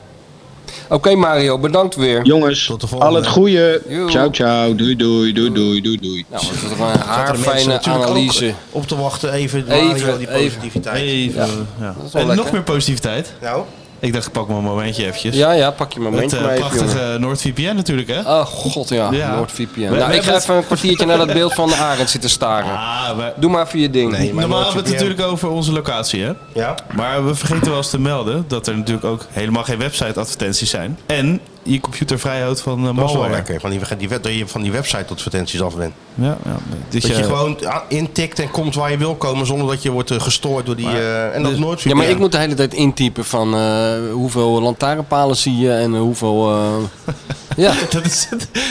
[SPEAKER 5] Oké Mario, bedankt weer.
[SPEAKER 10] Jongens,
[SPEAKER 4] Tot de volgende.
[SPEAKER 10] al het goede.
[SPEAKER 5] Joe.
[SPEAKER 10] Ciao, ciao. Doei, doei, doei, doei, doei, doei.
[SPEAKER 5] Nou, dat is toch een
[SPEAKER 4] Zaten de mensen
[SPEAKER 5] haarfijne
[SPEAKER 4] natuurlijk ook
[SPEAKER 5] analyse.
[SPEAKER 4] Op te wachten, even,
[SPEAKER 5] Even,
[SPEAKER 4] Mario, die
[SPEAKER 5] even.
[SPEAKER 4] positiviteit.
[SPEAKER 6] even, ja.
[SPEAKER 5] is wel
[SPEAKER 6] En
[SPEAKER 5] lekker.
[SPEAKER 6] nog meer positiviteit.
[SPEAKER 4] Nou,
[SPEAKER 6] Ik dacht, ik pak maar een momentje eventjes.
[SPEAKER 5] Ja, ja, pak je
[SPEAKER 6] Met
[SPEAKER 5] momentje
[SPEAKER 6] eh,
[SPEAKER 5] maar even, jongen.
[SPEAKER 6] prachtige NoordVPN natuurlijk, hè?
[SPEAKER 5] Oh god, ja.
[SPEAKER 6] Ja.
[SPEAKER 5] NoordVPN.
[SPEAKER 6] We-
[SPEAKER 5] nou,
[SPEAKER 6] we
[SPEAKER 5] ik ga
[SPEAKER 6] hebben-
[SPEAKER 5] even een kwartiertje naar dat beeld van de Arend zitten staren.
[SPEAKER 6] Ah, we-
[SPEAKER 5] Doe maar even je ding.
[SPEAKER 4] Nee, maar
[SPEAKER 6] Normaal hebben we het
[SPEAKER 4] NordVPN.
[SPEAKER 6] natuurlijk over onze locatie, hè?
[SPEAKER 4] ja.
[SPEAKER 6] Maar we vergeten wel eens te melden dat er natuurlijk ook helemaal geen website-advertenties zijn. En je computer vrij houdt van uh,
[SPEAKER 4] Dat is wel
[SPEAKER 6] malware.
[SPEAKER 4] lekker. Van die, die, web- dat je van die website advertenties af bent.
[SPEAKER 6] Ja, ja. Dus
[SPEAKER 4] Dat
[SPEAKER 6] je,
[SPEAKER 4] je gewoon ja, intikt en komt waar je wil komen zonder dat je wordt eh, gestoord door die... eh, en dat is nooit
[SPEAKER 5] Ja, maar ik moet de hele tijd intypen van eh, hoeveel lantaarnpalen zie je en hoeveel... eh, ja,
[SPEAKER 6] dat is,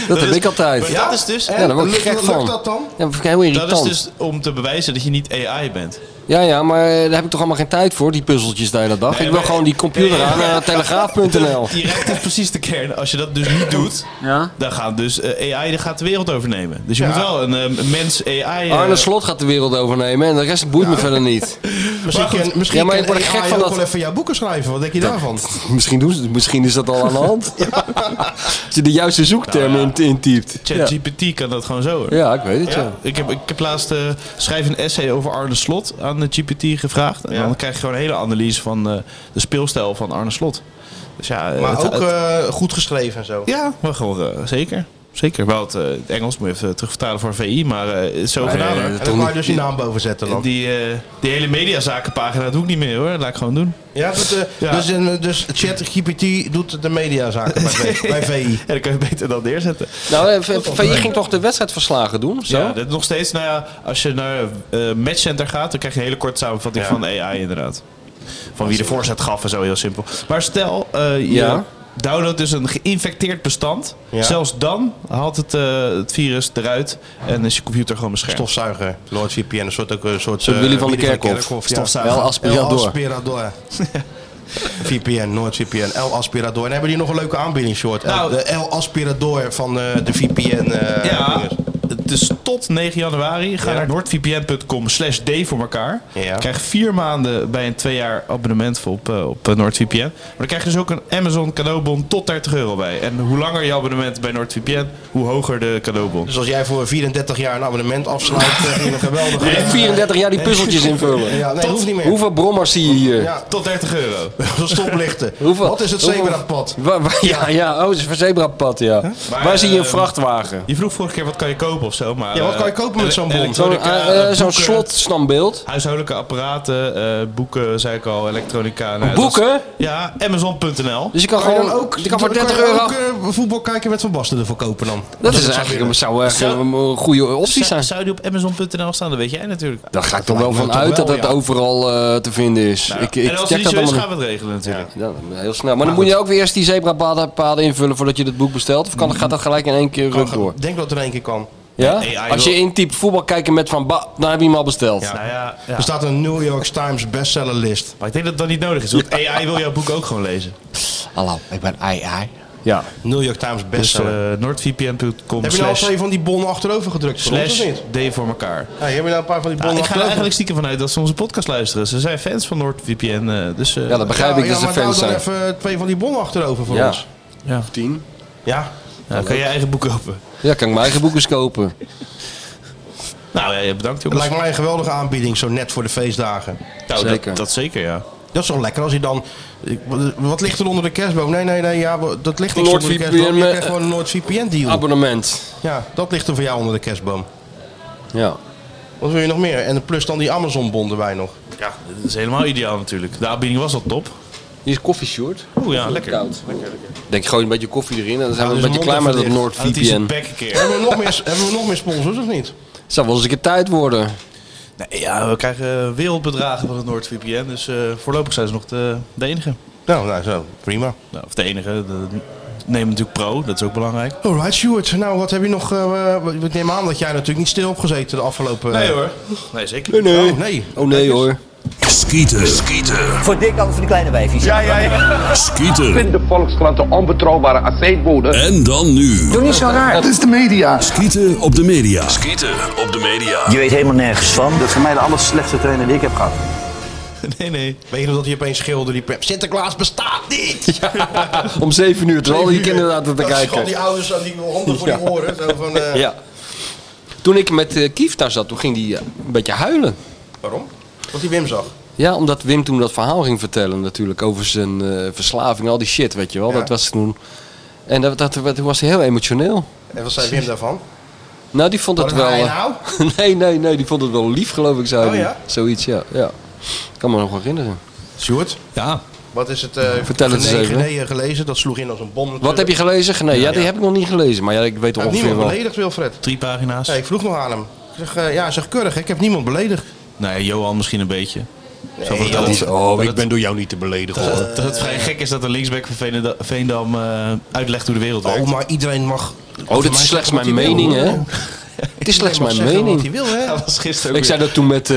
[SPEAKER 6] dat
[SPEAKER 5] heb
[SPEAKER 6] is-
[SPEAKER 5] ik altijd.
[SPEAKER 6] Maar
[SPEAKER 5] Ja?
[SPEAKER 6] dat is dus...
[SPEAKER 5] Ja, daar word ik
[SPEAKER 4] lukt-
[SPEAKER 5] gek
[SPEAKER 4] lukt
[SPEAKER 5] van.
[SPEAKER 4] dat dan?
[SPEAKER 5] Ja, dat vind ik heel irritant.
[SPEAKER 6] Dat is dus om te bewijzen dat je niet AI bent.
[SPEAKER 5] Ja, ja, maar eh, daar heb ik toch allemaal geen tijd voor, die puzzeltjes de hele dag.
[SPEAKER 6] Nee,
[SPEAKER 5] ik wil
[SPEAKER 6] maar-
[SPEAKER 5] gewoon die computer
[SPEAKER 6] Nee,
[SPEAKER 5] aan eh,
[SPEAKER 6] maar-
[SPEAKER 5] naar telegraaf.nl.
[SPEAKER 6] Je raakt dus precies de kern. Als je dat dus niet doet,
[SPEAKER 5] Ja?
[SPEAKER 6] dan gaat dus eh, AI dan gaat de wereld overnemen. Dus je moet wel een eh, mens AI... eh,
[SPEAKER 5] Arne Slot gaat de wereld overnemen en de rest boeit me verder niet.
[SPEAKER 4] Misschien,
[SPEAKER 6] Maar goed.
[SPEAKER 4] kan, misschien
[SPEAKER 5] Ja, maar
[SPEAKER 4] kan
[SPEAKER 5] ik word er
[SPEAKER 4] AI
[SPEAKER 5] gek van
[SPEAKER 4] ook
[SPEAKER 5] dat-
[SPEAKER 4] wel even jouw boeken schrijven. Wat denk je daarvan?
[SPEAKER 5] Misschien, doen ze, misschien is dat al aan de hand. Als je de juiste zoektermen in- intypt. Ja.
[SPEAKER 6] ChatGPT kan dat gewoon zo. hoor.
[SPEAKER 5] ja, ik weet het, ja.
[SPEAKER 6] Ja. Ik, heb, ik heb laatst eh, schrijf een essay over Arne Slot aan de GPT gevraagd. En dan krijg je gewoon een hele analyse van eh, de speelstijl van Arne Slot. Dus ja, eh,
[SPEAKER 4] Maar
[SPEAKER 6] het-
[SPEAKER 4] ook
[SPEAKER 6] het-
[SPEAKER 4] eh, goed geschreven en zo.
[SPEAKER 6] ja, maar gewoon, eh, zeker. Zeker. Wel het, eh, het Engels moet je even terugvertalen voor VI, maar eh, het is zo gedaan. hoor.
[SPEAKER 5] dat
[SPEAKER 4] en
[SPEAKER 5] toch
[SPEAKER 4] dan kan je
[SPEAKER 5] niet-
[SPEAKER 4] dus je naam boven zetten dan.
[SPEAKER 6] Die, eh, die hele mediazakenpagina doe ik niet meer hoor. Dat laat ik gewoon doen.
[SPEAKER 4] Ja, dat, eh,
[SPEAKER 6] Ja.
[SPEAKER 4] Dus, een- dus ChatGPT doet de mediazaken bij, bij VI.
[SPEAKER 6] Ja, dan kan je beter dat neerzetten.
[SPEAKER 5] Nou, eh, V- V- VI ging toch de wedstrijdverslagen doen? of Zo?
[SPEAKER 6] Ja, dat is nog steeds, nou ja, als je naar eh Matchcenter gaat, dan krijg je een hele korte samenvatting
[SPEAKER 4] Ja.
[SPEAKER 6] van AI inderdaad. Van wie de voorzet gaf en zo, heel simpel. Maar stel, eh, je
[SPEAKER 5] Ja.
[SPEAKER 6] downloadt dus een geïnfecteerd bestand.
[SPEAKER 4] Ja.
[SPEAKER 6] Zelfs dan haalt het, eh, het virus eruit en is je computer gewoon beschermd.
[SPEAKER 4] Stofzuiger, NoordVPN, een soort... Ook, een soort
[SPEAKER 5] Zo'n
[SPEAKER 4] eh,
[SPEAKER 5] Willy van de Kerkhof.
[SPEAKER 4] ja.
[SPEAKER 6] Stofzuiger.
[SPEAKER 5] El Aspirador.
[SPEAKER 4] El Aspirador. VPN, NoordVPN, El Aspirador. En hebben die nog een leuke aanbieding, short?
[SPEAKER 6] Nou-
[SPEAKER 4] de El Aspirador van eh, de VPN. eh,
[SPEAKER 6] Ja,
[SPEAKER 4] dinges.
[SPEAKER 6] dus tot 9 januari ga naar noordvpn.com slash d voor elkaar. Krijg vier maanden bij een twee jaar abonnement voor op, eh, op eh, NordVPN. Maar dan krijg je dus ook een Amazon cadeaubon tot 30 euro bij. En hoe langer je abonnement bij NordVPN, hoe hoger de cadeaubon.
[SPEAKER 4] Dus als jij voor 34 jaar een abonnement afsluit, eh, in een geweldige...
[SPEAKER 5] 34 jaar die puzzeltjes invullen.
[SPEAKER 4] Ja, nee,
[SPEAKER 5] Tot-
[SPEAKER 4] hoeft niet meer.
[SPEAKER 5] Hoeveel brommers zie je hier?
[SPEAKER 4] Ja,
[SPEAKER 6] tot 30 euro.
[SPEAKER 4] stoplichten.
[SPEAKER 5] Hoeveel-
[SPEAKER 4] Wat is het
[SPEAKER 5] hoeveel-
[SPEAKER 4] zebrapad?
[SPEAKER 5] Wa- wa- ja, ja, oh, het is een zebrapad, ja.
[SPEAKER 6] Maar,
[SPEAKER 5] Waar zie je een
[SPEAKER 6] eh,
[SPEAKER 5] vrachtwagen?
[SPEAKER 6] Je vroeg vorige keer wat kan je kopen of zo. Maar,
[SPEAKER 5] Ja, wat
[SPEAKER 6] eh,
[SPEAKER 5] kan je kopen met zo'n bon?
[SPEAKER 6] elektronica,
[SPEAKER 5] Zo'n, eh, eh, zo'n
[SPEAKER 6] boeken,
[SPEAKER 5] slotstandbeeld.
[SPEAKER 6] Huishoudelijke apparaten, eh, boeken, zei ik al, elektronica. nou,
[SPEAKER 5] Boeken?
[SPEAKER 6] dat is- Ja, amazon.nl.
[SPEAKER 5] Dus je kan
[SPEAKER 4] je
[SPEAKER 5] gewoon,
[SPEAKER 4] dan ook,
[SPEAKER 5] je kan voor
[SPEAKER 4] dan
[SPEAKER 5] 30
[SPEAKER 4] je
[SPEAKER 5] euro...
[SPEAKER 4] ook, eh, voetbal kijken met Van Basten ervoor kopen dan.
[SPEAKER 5] dat is
[SPEAKER 4] het
[SPEAKER 5] eigenlijk een,
[SPEAKER 4] willen.
[SPEAKER 5] zou echt
[SPEAKER 6] Zou-
[SPEAKER 5] een, een goede optie zijn.
[SPEAKER 6] Zou die op amazon.nl staan? Dat weet jij natuurlijk.
[SPEAKER 5] Daar ga ik toch wel
[SPEAKER 6] lijkt
[SPEAKER 5] van
[SPEAKER 6] me toch
[SPEAKER 5] uit dat
[SPEAKER 6] wel,
[SPEAKER 5] dat
[SPEAKER 6] ja. Nou,
[SPEAKER 5] overal eh, te vinden is. ik, ik
[SPEAKER 6] en als
[SPEAKER 5] check
[SPEAKER 6] die Nou,
[SPEAKER 5] dat
[SPEAKER 6] zo is,
[SPEAKER 5] allemaal
[SPEAKER 6] gaan we het regelen natuurlijk.
[SPEAKER 5] Ja, heel snel. Maar, dan moet je ook weer eerst die zebrapaden paden invullen voordat je het boek bestelt. Of kan, gaat dat gelijk in één keer ruk door?
[SPEAKER 4] Ik denk dat er één keer kan.
[SPEAKER 5] Ja?
[SPEAKER 4] Nee, AI
[SPEAKER 5] Als je
[SPEAKER 4] wil-
[SPEAKER 5] intypt voetbal kijken met Van Ba, dan heb je hem al besteld.
[SPEAKER 4] Er staat een New York Times bestsellerlist.
[SPEAKER 6] Nou Maar ik denk dat dat niet nodig is, want AI wil jouw boek ook gewoon lezen.
[SPEAKER 5] Hallo, ik ben AI.
[SPEAKER 6] Ja.
[SPEAKER 4] New York Times
[SPEAKER 6] Dus
[SPEAKER 4] bestseller.
[SPEAKER 6] eh, noordvpn.com
[SPEAKER 4] heb je nou al
[SPEAKER 6] slash,
[SPEAKER 4] twee van die bonnen achterover gedrukt? voor ons,
[SPEAKER 6] slash
[SPEAKER 4] of niet?
[SPEAKER 6] D voor elkaar.
[SPEAKER 4] Ja, heb je nou een paar van die
[SPEAKER 6] Ja,
[SPEAKER 4] bonnen
[SPEAKER 6] ik ga er
[SPEAKER 4] achterover?
[SPEAKER 6] eigenlijk stiekem vanuit dat ze onze podcast luisteren. Ze zijn fans van NordVPN. eh, dus, eh,
[SPEAKER 5] Ja, dat begrijp ik dat ze
[SPEAKER 4] maar nou
[SPEAKER 5] fans
[SPEAKER 4] dan
[SPEAKER 5] zijn.
[SPEAKER 4] even twee van die bonnen achterover voor
[SPEAKER 5] Ja.
[SPEAKER 4] ons.
[SPEAKER 6] Ja.
[SPEAKER 5] Tien.
[SPEAKER 4] Ja.
[SPEAKER 6] Ja, dan kan je je eigen boek kopen.
[SPEAKER 5] Ja, kan ik mijn eigen boek eens kopen.
[SPEAKER 6] Nou, ja,
[SPEAKER 4] Dat
[SPEAKER 6] bedankt jongens.
[SPEAKER 4] lijkt mij een geweldige aanbieding, zo net voor de feestdagen.
[SPEAKER 6] Nou, dat-
[SPEAKER 5] Zeker.
[SPEAKER 6] Dat, zeker, ja.
[SPEAKER 4] Dat is toch lekker als je dan... ik- wat- Wat ligt er onder de kerstboom? Nee, nee, nee, ja, dat ligt niks onder de
[SPEAKER 5] NordVPN,
[SPEAKER 4] kerstboom. Je
[SPEAKER 5] eh,
[SPEAKER 4] krijgt gewoon een NoordVPN
[SPEAKER 5] Hm.
[SPEAKER 6] Ah,
[SPEAKER 4] deal.
[SPEAKER 5] Abonnement.
[SPEAKER 4] Ja, dat ligt er voor jou onder de kerstboom.
[SPEAKER 5] Ja.
[SPEAKER 4] Wat wil je nog meer? En plus dan die Amazon-bon erbij nog.
[SPEAKER 6] Ja, dat is helemaal ideaal natuurlijk. De aanbieding was al top.
[SPEAKER 5] Hier is koffie short.
[SPEAKER 6] Oeh ja, Ah, lekker.
[SPEAKER 5] Koud. Denk gewoon een beetje koffie erin en dan zijn we een beetje klaar met dat
[SPEAKER 6] Houdt hij zijn
[SPEAKER 5] NordVPN.
[SPEAKER 6] bek Ah, een keer.
[SPEAKER 4] hebben, we nog meer, hebben we nog meer sponsors of niet?
[SPEAKER 5] Het zou wel eens een keer tijd worden.
[SPEAKER 6] Nee, ja, we krijgen eh, wereldbedragen van het NordVPN. Dus eh, voorlopig zijn ze nog de, de enige.
[SPEAKER 4] Nou, nou zo, prima.
[SPEAKER 6] Nou, of de enige. De, neem natuurlijk pro, dat is ook belangrijk.
[SPEAKER 4] Alright, Stuart. Nou, wat heb je nog... eh ik neem aan dat jij natuurlijk niet stil hebt gezeten de afgelopen... eh,
[SPEAKER 6] Nee hoor. Nee, zeker niet.
[SPEAKER 5] Nee.
[SPEAKER 4] Oh, nee.
[SPEAKER 5] Oh nee hoor.
[SPEAKER 12] Skieten. Skieten.
[SPEAKER 13] Voor dik altijd voor die kleine wijfjes. Ja, ja, ja.
[SPEAKER 12] Skieten.
[SPEAKER 13] Vind de Volkskrant een onbetrouwbare aceetbode.
[SPEAKER 12] En dan nu.
[SPEAKER 13] Doe niet zo raar. Dat is de media.
[SPEAKER 12] Skieten op de media.
[SPEAKER 13] Skieten op de media.
[SPEAKER 12] Je weet helemaal nergens van.
[SPEAKER 13] Dat is voor mij de aller slechtste trainer die ik heb gehad.
[SPEAKER 6] Nee, nee.
[SPEAKER 4] Weet je nog dat hij opeens schilderde die pep? Sinterklaas bestaat niet!
[SPEAKER 5] Om 7 uur, terwijl al die
[SPEAKER 4] Zeven uur.
[SPEAKER 5] kinderen zaten te
[SPEAKER 4] Dat is gewoon
[SPEAKER 5] kijken.
[SPEAKER 4] die ouders aan die handen voor die oren. Zo van, eh,
[SPEAKER 5] Ja. Toen ik met eh, Kief daar zat, toen ging die eh, een beetje huilen.
[SPEAKER 4] Waarom? Wat die Wim zag.
[SPEAKER 5] Ja, omdat Wim toen dat verhaal ging vertellen natuurlijk over zijn eh, verslaving, al die shit, weet je wel.
[SPEAKER 4] Ja.
[SPEAKER 5] Dat was toen... En dat, dat, dat- toen was hij heel emotioneel.
[SPEAKER 4] En wat zei Wim daarvan?
[SPEAKER 5] Nou, die vond het
[SPEAKER 4] Wat
[SPEAKER 5] wel...
[SPEAKER 4] hij
[SPEAKER 5] eh,
[SPEAKER 4] nou?
[SPEAKER 5] nee, nee, nee, die vond het wel lief, geloof ik, zei
[SPEAKER 4] Oh,
[SPEAKER 5] hij.
[SPEAKER 4] ja?
[SPEAKER 5] Zoiets, ja. ja. kan me nog herinneren.
[SPEAKER 4] Stuart,
[SPEAKER 6] Ja.
[SPEAKER 4] wat is het? eh
[SPEAKER 5] Vertel het eens
[SPEAKER 4] Genee-
[SPEAKER 5] even.
[SPEAKER 4] Genee gelezen, dat sloeg in als een bom.
[SPEAKER 5] Wat
[SPEAKER 4] natuurlijk.
[SPEAKER 5] heb je gelezen? Nee, ja,
[SPEAKER 4] Ja,
[SPEAKER 5] die
[SPEAKER 4] ja.
[SPEAKER 5] heb ik nog niet gelezen, maar ja, ik weet
[SPEAKER 4] Hij heeft
[SPEAKER 5] ongeveer
[SPEAKER 4] niemand
[SPEAKER 5] wel.
[SPEAKER 4] beledigd, Wilfred.
[SPEAKER 6] Drie pagina's.
[SPEAKER 4] Ja, ik vroeg nog aan hem. Ik zeg, eh, ja, hij zegt keurig, hè, ik heb niemand beledigd.
[SPEAKER 6] Nee, Nou Johan misschien een beetje.
[SPEAKER 4] Oh.
[SPEAKER 6] Zo
[SPEAKER 4] Nee,
[SPEAKER 6] vertelt
[SPEAKER 4] dat is-
[SPEAKER 6] hij.
[SPEAKER 4] oh, ik ben door jou niet te beledigen.
[SPEAKER 5] Oh,
[SPEAKER 4] hoor.
[SPEAKER 6] Dat het vrij gek is dat een linksback van Veenda- Veendam eh, uitlegt hoe de wereld werkt.
[SPEAKER 4] oh, maar iedereen mag...
[SPEAKER 5] Oh, dit is slechts mijn mening, hè? Het is slechts mijn
[SPEAKER 4] Wat
[SPEAKER 5] mening.
[SPEAKER 4] hij wil, hè?
[SPEAKER 6] Dat was gisteren ook
[SPEAKER 5] Ik
[SPEAKER 6] weer.
[SPEAKER 5] zei dat toen met, eh,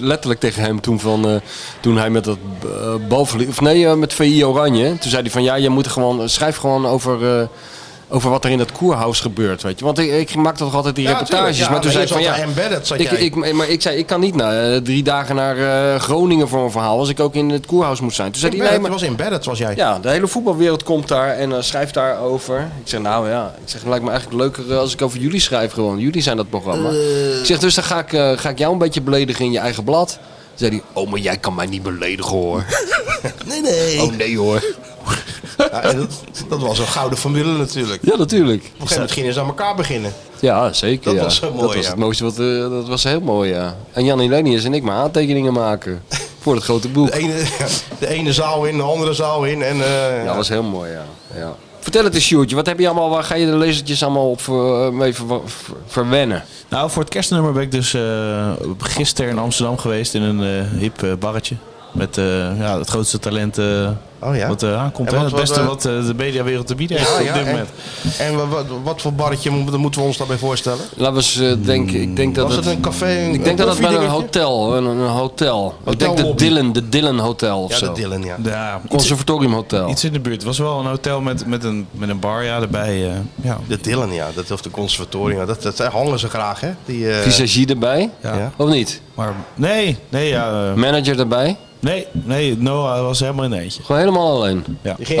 [SPEAKER 5] letterlijk tegen hem toen, van, eh, toen hij met dat eh, balverlies, of nee, eh, met VI Oranje. Toen zei hij van ja, je moet gewoon, schrijf gewoon over, eh, over wat er in dat koerhuis gebeurt, weet je. Want ik, ik maak toch altijd die
[SPEAKER 4] Ja,
[SPEAKER 5] reportages,
[SPEAKER 4] tuurlijk, ja,
[SPEAKER 5] maar toen
[SPEAKER 4] maar
[SPEAKER 5] zei
[SPEAKER 4] je
[SPEAKER 5] ik van
[SPEAKER 4] zat
[SPEAKER 5] ja,
[SPEAKER 4] daar embedded, zat
[SPEAKER 5] ik,
[SPEAKER 4] jij.
[SPEAKER 5] ik, maar ik zei ik kan niet naar, eh, drie dagen naar eh, Groningen voor een verhaal, als ik ook in het koerhuis moet zijn. Toen zei hij nee,
[SPEAKER 4] Embedded,
[SPEAKER 5] maar
[SPEAKER 4] was embedded, was jij.
[SPEAKER 5] ja, de hele voetbalwereld komt daar en eh, schrijft daarover. Ik zeg, nou ja, ik zeg, lijkt me eigenlijk leuker eh, als ik over jullie schrijf gewoon. Jullie zijn dat programma. Ik zeg, dus dan ga ik, eh, ga ik jou een beetje beledigen in je eigen blad. Toen zei hij, oh, maar jij kan mij niet beledigen hoor.
[SPEAKER 4] Nee, nee.
[SPEAKER 5] oh nee hoor.
[SPEAKER 4] Ja, en dat, dat was een gouden formule natuurlijk.
[SPEAKER 5] Ja, natuurlijk.
[SPEAKER 4] Op een gegeven moment gingen ze aan elkaar beginnen.
[SPEAKER 5] Ja, zeker.
[SPEAKER 4] Dat
[SPEAKER 5] ja.
[SPEAKER 4] was zo mooi,
[SPEAKER 5] Dat was
[SPEAKER 4] ja.
[SPEAKER 5] het mooiste wat, eh, dat was heel mooi, ja. En Jan Elenius en ik maar aantekeningen maken voor het grote boek.
[SPEAKER 4] De ene, de ene zaal in, de andere zaal in. En, eh,
[SPEAKER 5] Ja, dat was heel mooi, ja. ja. Vertel het eens, Sjoerdje. Wat heb je allemaal, waar ga je de lezertjes allemaal op eh, mee ver- ver- verwennen?
[SPEAKER 6] Nou, voor het kerstnummer ben ik dus eh, gisteren in Amsterdam geweest in een eh, hip eh, barretje. Met eh, ja, het grootste talent eh, wat eh, aankomt.
[SPEAKER 4] Oh, En
[SPEAKER 6] hè?
[SPEAKER 4] wat-
[SPEAKER 6] Het beste
[SPEAKER 4] wat, eh,
[SPEAKER 6] wat eh, de mediawereld te bieden heeft
[SPEAKER 4] Ja,
[SPEAKER 6] op
[SPEAKER 4] ja,
[SPEAKER 6] dit
[SPEAKER 4] en-
[SPEAKER 6] moment.
[SPEAKER 4] En wa- wat, wat voor barretje mo- moeten we ons daarbij voorstellen?
[SPEAKER 5] Laten we eens eh, denken. Ik denk dat
[SPEAKER 4] Was het een café, een-
[SPEAKER 5] ik denk dat het bij een
[SPEAKER 4] koffiedingetje?
[SPEAKER 5] hotel. Een, een hotel. Ik denk de
[SPEAKER 6] Hotellobby.
[SPEAKER 5] Dylan, de Dylan Hotel of zo.
[SPEAKER 4] ja.
[SPEAKER 6] ja
[SPEAKER 5] Conservatorium Hotel.
[SPEAKER 6] Iets in de buurt. Het was wel een hotel met, met, een, met een bar ja, erbij. eh, ja.
[SPEAKER 4] De Dylan, ja. Dat, of de conservatorium. Dat, dat hangen ze graag, hè? Die, eh
[SPEAKER 5] Visagie erbij? Of niet?
[SPEAKER 6] Maar, nee, nee. Ja, eh,
[SPEAKER 5] Manager erbij?
[SPEAKER 6] Nee, nee, Noah was helemaal in eentje.
[SPEAKER 5] Gewoon helemaal alleen.
[SPEAKER 6] Ja.
[SPEAKER 4] Die ging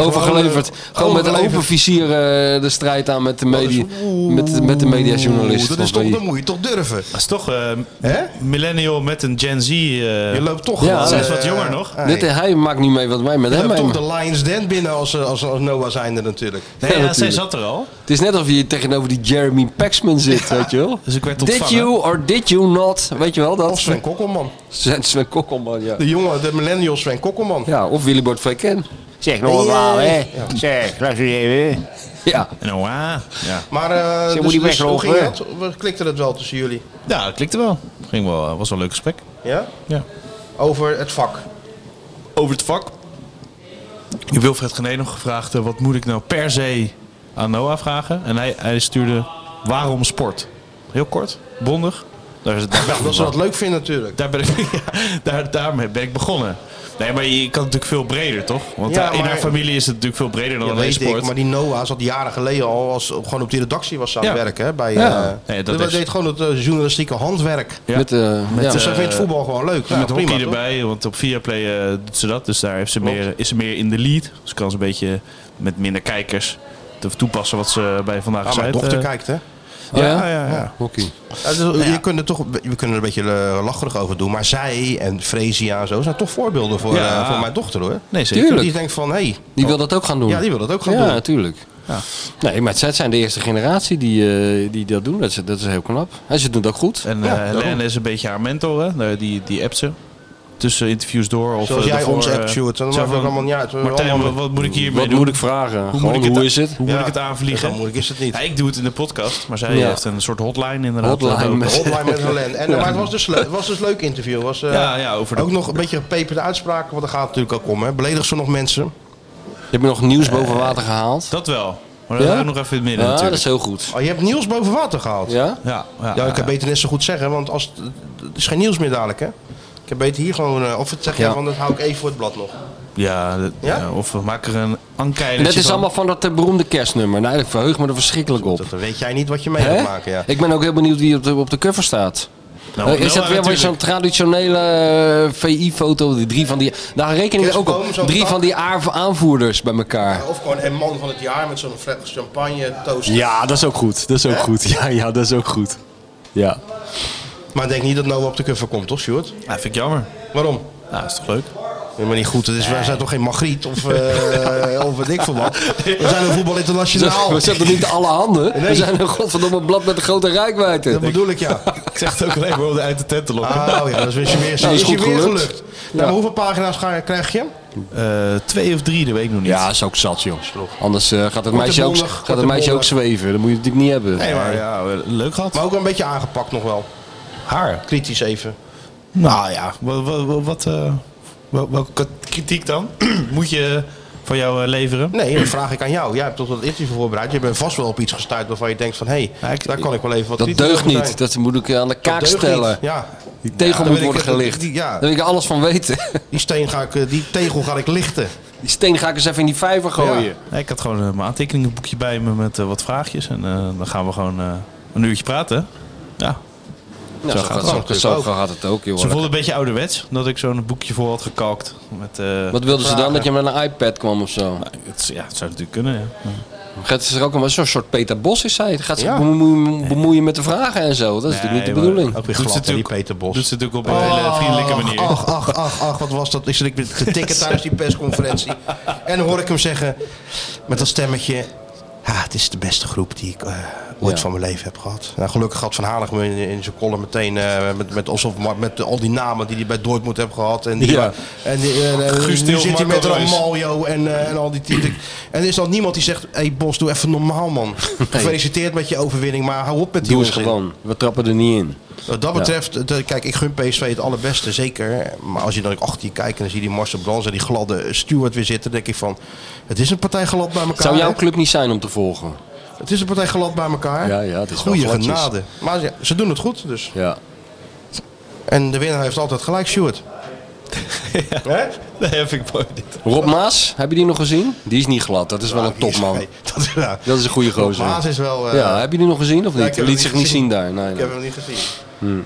[SPEAKER 4] gewoon,
[SPEAKER 5] Overgeleverd. Gewoon,
[SPEAKER 4] eh,
[SPEAKER 5] met
[SPEAKER 4] overgeleverd. Oh,
[SPEAKER 5] open vizier eh, de strijd aan met de, media,
[SPEAKER 4] oeh,
[SPEAKER 5] met, met de mediajournalist.
[SPEAKER 4] dat is
[SPEAKER 5] van
[SPEAKER 4] toch,
[SPEAKER 5] wie-
[SPEAKER 4] dan moet je toch durven.
[SPEAKER 6] Dat is toch eh, millennial met een Gen Z. eh,
[SPEAKER 4] Je loopt toch
[SPEAKER 5] Ja,
[SPEAKER 4] wel,
[SPEAKER 6] Zij is
[SPEAKER 4] eh,
[SPEAKER 6] wat jonger nog.
[SPEAKER 4] hey.
[SPEAKER 5] Dit, hij maakt niet mee wat wij met
[SPEAKER 4] Je
[SPEAKER 5] hem
[SPEAKER 4] loopt toch de
[SPEAKER 5] meemaken.
[SPEAKER 4] Lions Den binnen als, eh, als, als Noah zijnde natuurlijk.
[SPEAKER 6] Nee, ja, zij
[SPEAKER 5] natuurlijk.
[SPEAKER 6] zat er al.
[SPEAKER 5] Het is net alsof je tegenover die Jeremy Paxman zit, weet je wel.
[SPEAKER 6] Dus ik werd
[SPEAKER 5] Did
[SPEAKER 6] ontvangen.
[SPEAKER 5] you or did you not? Weet je wel dat?
[SPEAKER 4] Of Sven Kokkelman.
[SPEAKER 5] Sven, Sven Kokkelman, ja.
[SPEAKER 4] De jongen, de millennial Sven Kokkelman.
[SPEAKER 5] Ja, of Willibord Freken. Zeg nog
[SPEAKER 4] normaal, hè.
[SPEAKER 5] Zeg, luister even. Ja.
[SPEAKER 6] Nou, ah, ja.
[SPEAKER 4] Maar eh
[SPEAKER 5] Ze
[SPEAKER 4] dus,
[SPEAKER 5] moet die
[SPEAKER 4] dus hoe
[SPEAKER 5] wegrollen,
[SPEAKER 4] ging
[SPEAKER 5] hè?
[SPEAKER 4] dat? We- Klikte het wel tussen jullie?
[SPEAKER 6] ja, dat klikte wel. Ging wel eh, was wel een leuk gesprek.
[SPEAKER 4] Ja?
[SPEAKER 6] Ja.
[SPEAKER 4] Over het vak.
[SPEAKER 6] Over het vak. Ik heb Wilfred Gené nog gevraagd, eh, wat moet ik nou per se aan Noah vragen? En hij, hij stuurde, waarom sport? Heel kort, bondig. Daar, is- daar ben ik
[SPEAKER 4] Dat ze
[SPEAKER 6] van.
[SPEAKER 4] dat leuk vinden natuurlijk.
[SPEAKER 6] Daar ben ik, ja, daar, daarmee ben ik begonnen. Nee, maar je kan het natuurlijk veel breder, toch? Want
[SPEAKER 4] Ja,
[SPEAKER 6] daar- in
[SPEAKER 4] maar-
[SPEAKER 6] haar familie is het natuurlijk veel breder dan
[SPEAKER 4] Ja,
[SPEAKER 6] alleen
[SPEAKER 4] weet ik,
[SPEAKER 6] sport.
[SPEAKER 4] maar die Noah zat jaren geleden al als, gewoon op die redactie was aan
[SPEAKER 6] Ja.
[SPEAKER 4] het werken. Hè, bij,
[SPEAKER 6] Ja.
[SPEAKER 4] eh,
[SPEAKER 6] Nee, dat
[SPEAKER 4] dat
[SPEAKER 6] is-
[SPEAKER 4] deed gewoon het eh, journalistieke handwerk.
[SPEAKER 6] Ja.
[SPEAKER 5] Met, eh,
[SPEAKER 6] Met,
[SPEAKER 5] ja.
[SPEAKER 4] Dus zij
[SPEAKER 6] eh,
[SPEAKER 4] vindt voetbal gewoon leuk.
[SPEAKER 6] Ja,
[SPEAKER 4] Nou,
[SPEAKER 6] met hockey
[SPEAKER 4] prima, toch?
[SPEAKER 6] erbij, want op Viaplay eh, doet ze dat. Dus daar heeft ze meer, is ze meer in de lead. Dus kan ze een beetje met minder kijkers te- toepassen wat ze bij vandaag
[SPEAKER 4] Ah,
[SPEAKER 6] zei. Eh,
[SPEAKER 4] mijn dochter kijkt, hè?
[SPEAKER 6] Ja, Oh,
[SPEAKER 5] ja?
[SPEAKER 6] ja, ja. ja.
[SPEAKER 5] Hockey.
[SPEAKER 4] Ja, dus je kunt er toch, we kunnen er een beetje eh, lacherig over doen. Maar zij en Fresia en zo zijn toch voorbeelden voor,
[SPEAKER 6] Ja.
[SPEAKER 4] eh, voor mijn dochter, hoor.
[SPEAKER 6] Nee, zeker.
[SPEAKER 5] Tuurlijk.
[SPEAKER 4] Die denkt van, hé, hey,
[SPEAKER 5] Die wil dat ook gaan doen.
[SPEAKER 4] Ja, die wil dat ook gaan
[SPEAKER 5] ja,
[SPEAKER 4] doen.
[SPEAKER 5] Natuurlijk.
[SPEAKER 6] Ja.
[SPEAKER 5] Nee, maar het zijn de eerste generatie die, eh, die dat doen. Dat is, dat is heel knap. En ze doen het ook goed.
[SPEAKER 6] En
[SPEAKER 4] Ja,
[SPEAKER 6] eh,
[SPEAKER 4] daarom.
[SPEAKER 6] Helene is een beetje haar mentor, hè? Nou, Die, die appt ze. Tussen interviews door. Of
[SPEAKER 4] Zoals
[SPEAKER 6] eh,
[SPEAKER 4] jij
[SPEAKER 6] daarvoor,
[SPEAKER 4] ons
[SPEAKER 6] eh,
[SPEAKER 4] appt, Sjoerd. Dat
[SPEAKER 6] zo
[SPEAKER 4] maakt ook
[SPEAKER 6] van,
[SPEAKER 4] allemaal niet uit. We
[SPEAKER 6] Martijn,
[SPEAKER 4] allemaal-
[SPEAKER 6] wat, wat moet ik hiermee
[SPEAKER 5] Wat
[SPEAKER 6] doen?
[SPEAKER 5] moet ik vragen? Gewoon,
[SPEAKER 6] moet ik het
[SPEAKER 5] hoe
[SPEAKER 6] a-
[SPEAKER 5] is het?
[SPEAKER 6] Hoe
[SPEAKER 4] Ja.
[SPEAKER 6] moet ik het aanvliegen?
[SPEAKER 4] Zo moeilijk is het niet.
[SPEAKER 6] Ja, ik doe het in de podcast, maar zij
[SPEAKER 5] Ja.
[SPEAKER 6] heeft een soort hotline inderdaad.
[SPEAKER 5] Hotline
[SPEAKER 6] lopen.
[SPEAKER 5] met-
[SPEAKER 4] Hotline met Helene. En, Maar het was dus, le- het was dus leuk interview. Was, eh,
[SPEAKER 6] Ja, ja, over de-
[SPEAKER 4] Ook nog een beetje gepeperde uitspraken, want daar gaat het natuurlijk ook om. Hè. Beledigt ze nog mensen?
[SPEAKER 5] Je hebt nog nieuws boven water gehaald.
[SPEAKER 6] Dat wel. Maar dat
[SPEAKER 5] Ja?
[SPEAKER 6] hou ik nog even in het
[SPEAKER 5] Ja,
[SPEAKER 6] midden
[SPEAKER 5] dat
[SPEAKER 6] natuurlijk.
[SPEAKER 5] is heel goed.
[SPEAKER 4] Oh, je hebt nieuws boven water gehaald?
[SPEAKER 5] Ja?
[SPEAKER 6] Ja, ja,
[SPEAKER 4] Ja, ik
[SPEAKER 6] ja.
[SPEAKER 4] kan beter net zo goed zeggen, want als, het is geen nieuws meer dadelijk, hè? Ik heb beter hier gewoon... eh, of het zeg jij
[SPEAKER 5] Ja.
[SPEAKER 4] van, dat hou ik even voor het blad nog.
[SPEAKER 6] Ja, dat-
[SPEAKER 4] Ja?
[SPEAKER 6] ja, of we maken er een
[SPEAKER 5] En
[SPEAKER 6] ankeilertje
[SPEAKER 5] dat is
[SPEAKER 6] van.
[SPEAKER 5] allemaal van dat eh, beroemde kerstnummer. Nou, ik verheug me er verschrikkelijk op.
[SPEAKER 4] Dat weet jij niet wat je mee
[SPEAKER 5] Hè?
[SPEAKER 4] gaat maken, ja.
[SPEAKER 5] Ik ben ook heel benieuwd wie op de, op de cover staat.
[SPEAKER 6] Nou,
[SPEAKER 5] Eh,
[SPEAKER 6] Noah
[SPEAKER 5] is dat weer weer
[SPEAKER 6] natuurlijk.
[SPEAKER 5] zo'n traditionele VI-foto? Die drie van die. Daar reken ik ook op.
[SPEAKER 4] Kerstboom, zo'n
[SPEAKER 5] Drie
[SPEAKER 4] tak.
[SPEAKER 5] van die aar- aanvoerders bij elkaar.
[SPEAKER 4] Of gewoon een man van het jaar met zo'n fles champagne, toast.
[SPEAKER 5] Ja, dat is ook goed. Dat is ook goed. Ja, ja, dat is ook goed. Ja.
[SPEAKER 4] Maar ik denk niet dat Noah op de cover komt, toch, Sjoerd?
[SPEAKER 6] Ja, vind ik jammer.
[SPEAKER 4] Waarom?
[SPEAKER 6] Nou, is toch leuk?
[SPEAKER 4] Ja, maar niet goed. Het is, Wij zijn toch geen Magriet of, eh of weet ik veel wat. We zijn een voetbalinternationaal.
[SPEAKER 5] We zetten niet alle handen. We zijn een godverdomme blad met een grote
[SPEAKER 4] Dat
[SPEAKER 5] rijkwijde.
[SPEAKER 4] bedoel ik, ja.
[SPEAKER 6] Ik zeg het ook alleen maar om uit de tent te lokken.
[SPEAKER 4] Ah, oh ja, dat is weer, weer,
[SPEAKER 5] Nou, dat
[SPEAKER 4] is
[SPEAKER 5] is
[SPEAKER 4] je
[SPEAKER 5] goed
[SPEAKER 4] weer
[SPEAKER 5] gelukt.
[SPEAKER 4] gelukt. Nou, maar hoeveel pagina's ga, krijg je?
[SPEAKER 6] Eh, twee of drie, dat weet ik nog niet.
[SPEAKER 5] Ja, is ook zat, joh. Anders eh, gaat het meisje, ook,
[SPEAKER 4] bondig,
[SPEAKER 5] gaat
[SPEAKER 4] korte
[SPEAKER 5] het meisje ook
[SPEAKER 4] bondig.
[SPEAKER 5] zweven. Dat moet je natuurlijk niet hebben.
[SPEAKER 6] Nee, maar ja, leuk gehad.
[SPEAKER 4] Maar ook wel een beetje aangepakt nog wel.
[SPEAKER 6] haar?
[SPEAKER 4] Kritisch even.
[SPEAKER 6] Nou ja, wat, wat, eh, wel- welke kat- kritiek dan moet je van jou eh, leveren?
[SPEAKER 4] Nee, dat vraag ik aan jou. Jij hebt toch dat interview voorbereid. Je bent vast wel op iets gestuurd waarvan je denkt van... hé,
[SPEAKER 6] Ja,
[SPEAKER 4] hey,
[SPEAKER 6] ik-
[SPEAKER 4] daar kan ik wel even wat
[SPEAKER 5] Dat
[SPEAKER 4] kritisch
[SPEAKER 5] deugt
[SPEAKER 4] over zijn.
[SPEAKER 5] niet. Dat moet ik aan de
[SPEAKER 4] Dat
[SPEAKER 5] kaak
[SPEAKER 4] deugt
[SPEAKER 5] stellen.
[SPEAKER 4] niet. Ja,
[SPEAKER 5] Die tegel
[SPEAKER 4] Ja,
[SPEAKER 5] moet
[SPEAKER 4] dan wil
[SPEAKER 5] worden
[SPEAKER 4] ik-
[SPEAKER 5] gelicht.
[SPEAKER 4] die- ja.
[SPEAKER 5] Dat wil ik alles van weten.
[SPEAKER 4] die, steen ga ik, eh, die tegel ga ik lichten.
[SPEAKER 5] Die steen ga ik eens even in die vijver gooien.
[SPEAKER 6] Nee, ik had gewoon eh, mijn aantekeningenboekje bij me met eh, wat vraagjes. En eh, dan gaan we gewoon eh, een uurtje praten. Ja.
[SPEAKER 5] Ja, Nou, zo, gaat,
[SPEAKER 4] gaat
[SPEAKER 5] zo,
[SPEAKER 4] het
[SPEAKER 5] zo
[SPEAKER 4] ook.
[SPEAKER 5] gaat het ook, joh.
[SPEAKER 6] Ze voelde een beetje ouderwets dat ik zo'n boekje voor had gekalkt. Met, eh,
[SPEAKER 5] Wat wilden ze dan? Dat je met een iPad kwam of zo?
[SPEAKER 6] het, ja, het zou natuurlijk kunnen, ja.
[SPEAKER 5] Gaat ze er ook een zo'n soort Peter Bos is zij? Gaat ze
[SPEAKER 4] Ja.
[SPEAKER 5] bemoeien, bemoeien met de vragen en zo? Dat is natuurlijk niet de
[SPEAKER 6] Nee, maar
[SPEAKER 5] bedoeling.
[SPEAKER 4] Ook weer
[SPEAKER 6] Doet
[SPEAKER 4] glad,
[SPEAKER 6] ze
[SPEAKER 4] hè, die
[SPEAKER 6] natuurlijk-
[SPEAKER 4] Peter Bos.
[SPEAKER 6] Doet ze natuurlijk op een hele vriendelijke manier.
[SPEAKER 4] Ach, ach, ach, ach, wat was dat? Ik zit ik te tikken tijdens die persconferentie. En dan hoor ik hem zeggen, met dat stemmetje... ja, het is de beste groep die ik eh, ooit
[SPEAKER 5] Ja.
[SPEAKER 4] van mijn leven heb gehad. Nou, gelukkig had Van Hanig me in, in zijn column meteen eh, met, met, alsof, maar met al die namen die hij bij Dortmund heeft gehad. En die,
[SPEAKER 5] Ja.
[SPEAKER 4] en, die- en, eh,
[SPEAKER 5] Guus
[SPEAKER 4] nu
[SPEAKER 5] Til,
[SPEAKER 4] zit hij
[SPEAKER 5] Marco
[SPEAKER 4] met
[SPEAKER 5] Reus.
[SPEAKER 4] Ramaljo en, eh, en al die typen. en er is dan niemand die zegt, hé hey, Bos, doe even normaal man. Gefeliciteerd met je overwinning, maar hou op met die
[SPEAKER 5] Doe eens
[SPEAKER 4] onzin.
[SPEAKER 5] gewoon. We trappen er niet in.
[SPEAKER 4] Wat dat
[SPEAKER 5] Ja.
[SPEAKER 4] betreft, de- kijk, ik gun PSV het allerbeste, zeker. Maar als je dan ook achter je kijkt en dan zie je die Marcel Brands en die gladde Stuart weer zitten, denk ik van, het is een partij glad bij elkaar.
[SPEAKER 5] Zou jouw
[SPEAKER 4] hè?
[SPEAKER 5] club niet zijn om te volgen?
[SPEAKER 4] Het is een partij glad bij elkaar.
[SPEAKER 5] Ja, ja, het is wel
[SPEAKER 4] Goeie
[SPEAKER 5] gladjes.
[SPEAKER 4] genade. Maar ja, ze doen het goed, dus.
[SPEAKER 5] Ja.
[SPEAKER 4] En de winnaar heeft altijd gelijk, Stuart. Hè?
[SPEAKER 6] Nee, heb ik mooi niet.
[SPEAKER 5] Rob Maas, heb je die nog gezien? Die is niet glad, dat is wel een topman.
[SPEAKER 4] Ah, dat, is,
[SPEAKER 5] een goede gozer.
[SPEAKER 4] Maas is wel, eh,
[SPEAKER 5] ja, heb je die nog gezien of
[SPEAKER 4] Nee,
[SPEAKER 5] niet?
[SPEAKER 4] ik heb hem
[SPEAKER 5] Liet zich niet
[SPEAKER 4] gezien.
[SPEAKER 5] zien daar. Nee,
[SPEAKER 4] Ik
[SPEAKER 5] nee.
[SPEAKER 4] heb hem niet gezien.
[SPEAKER 5] Hm.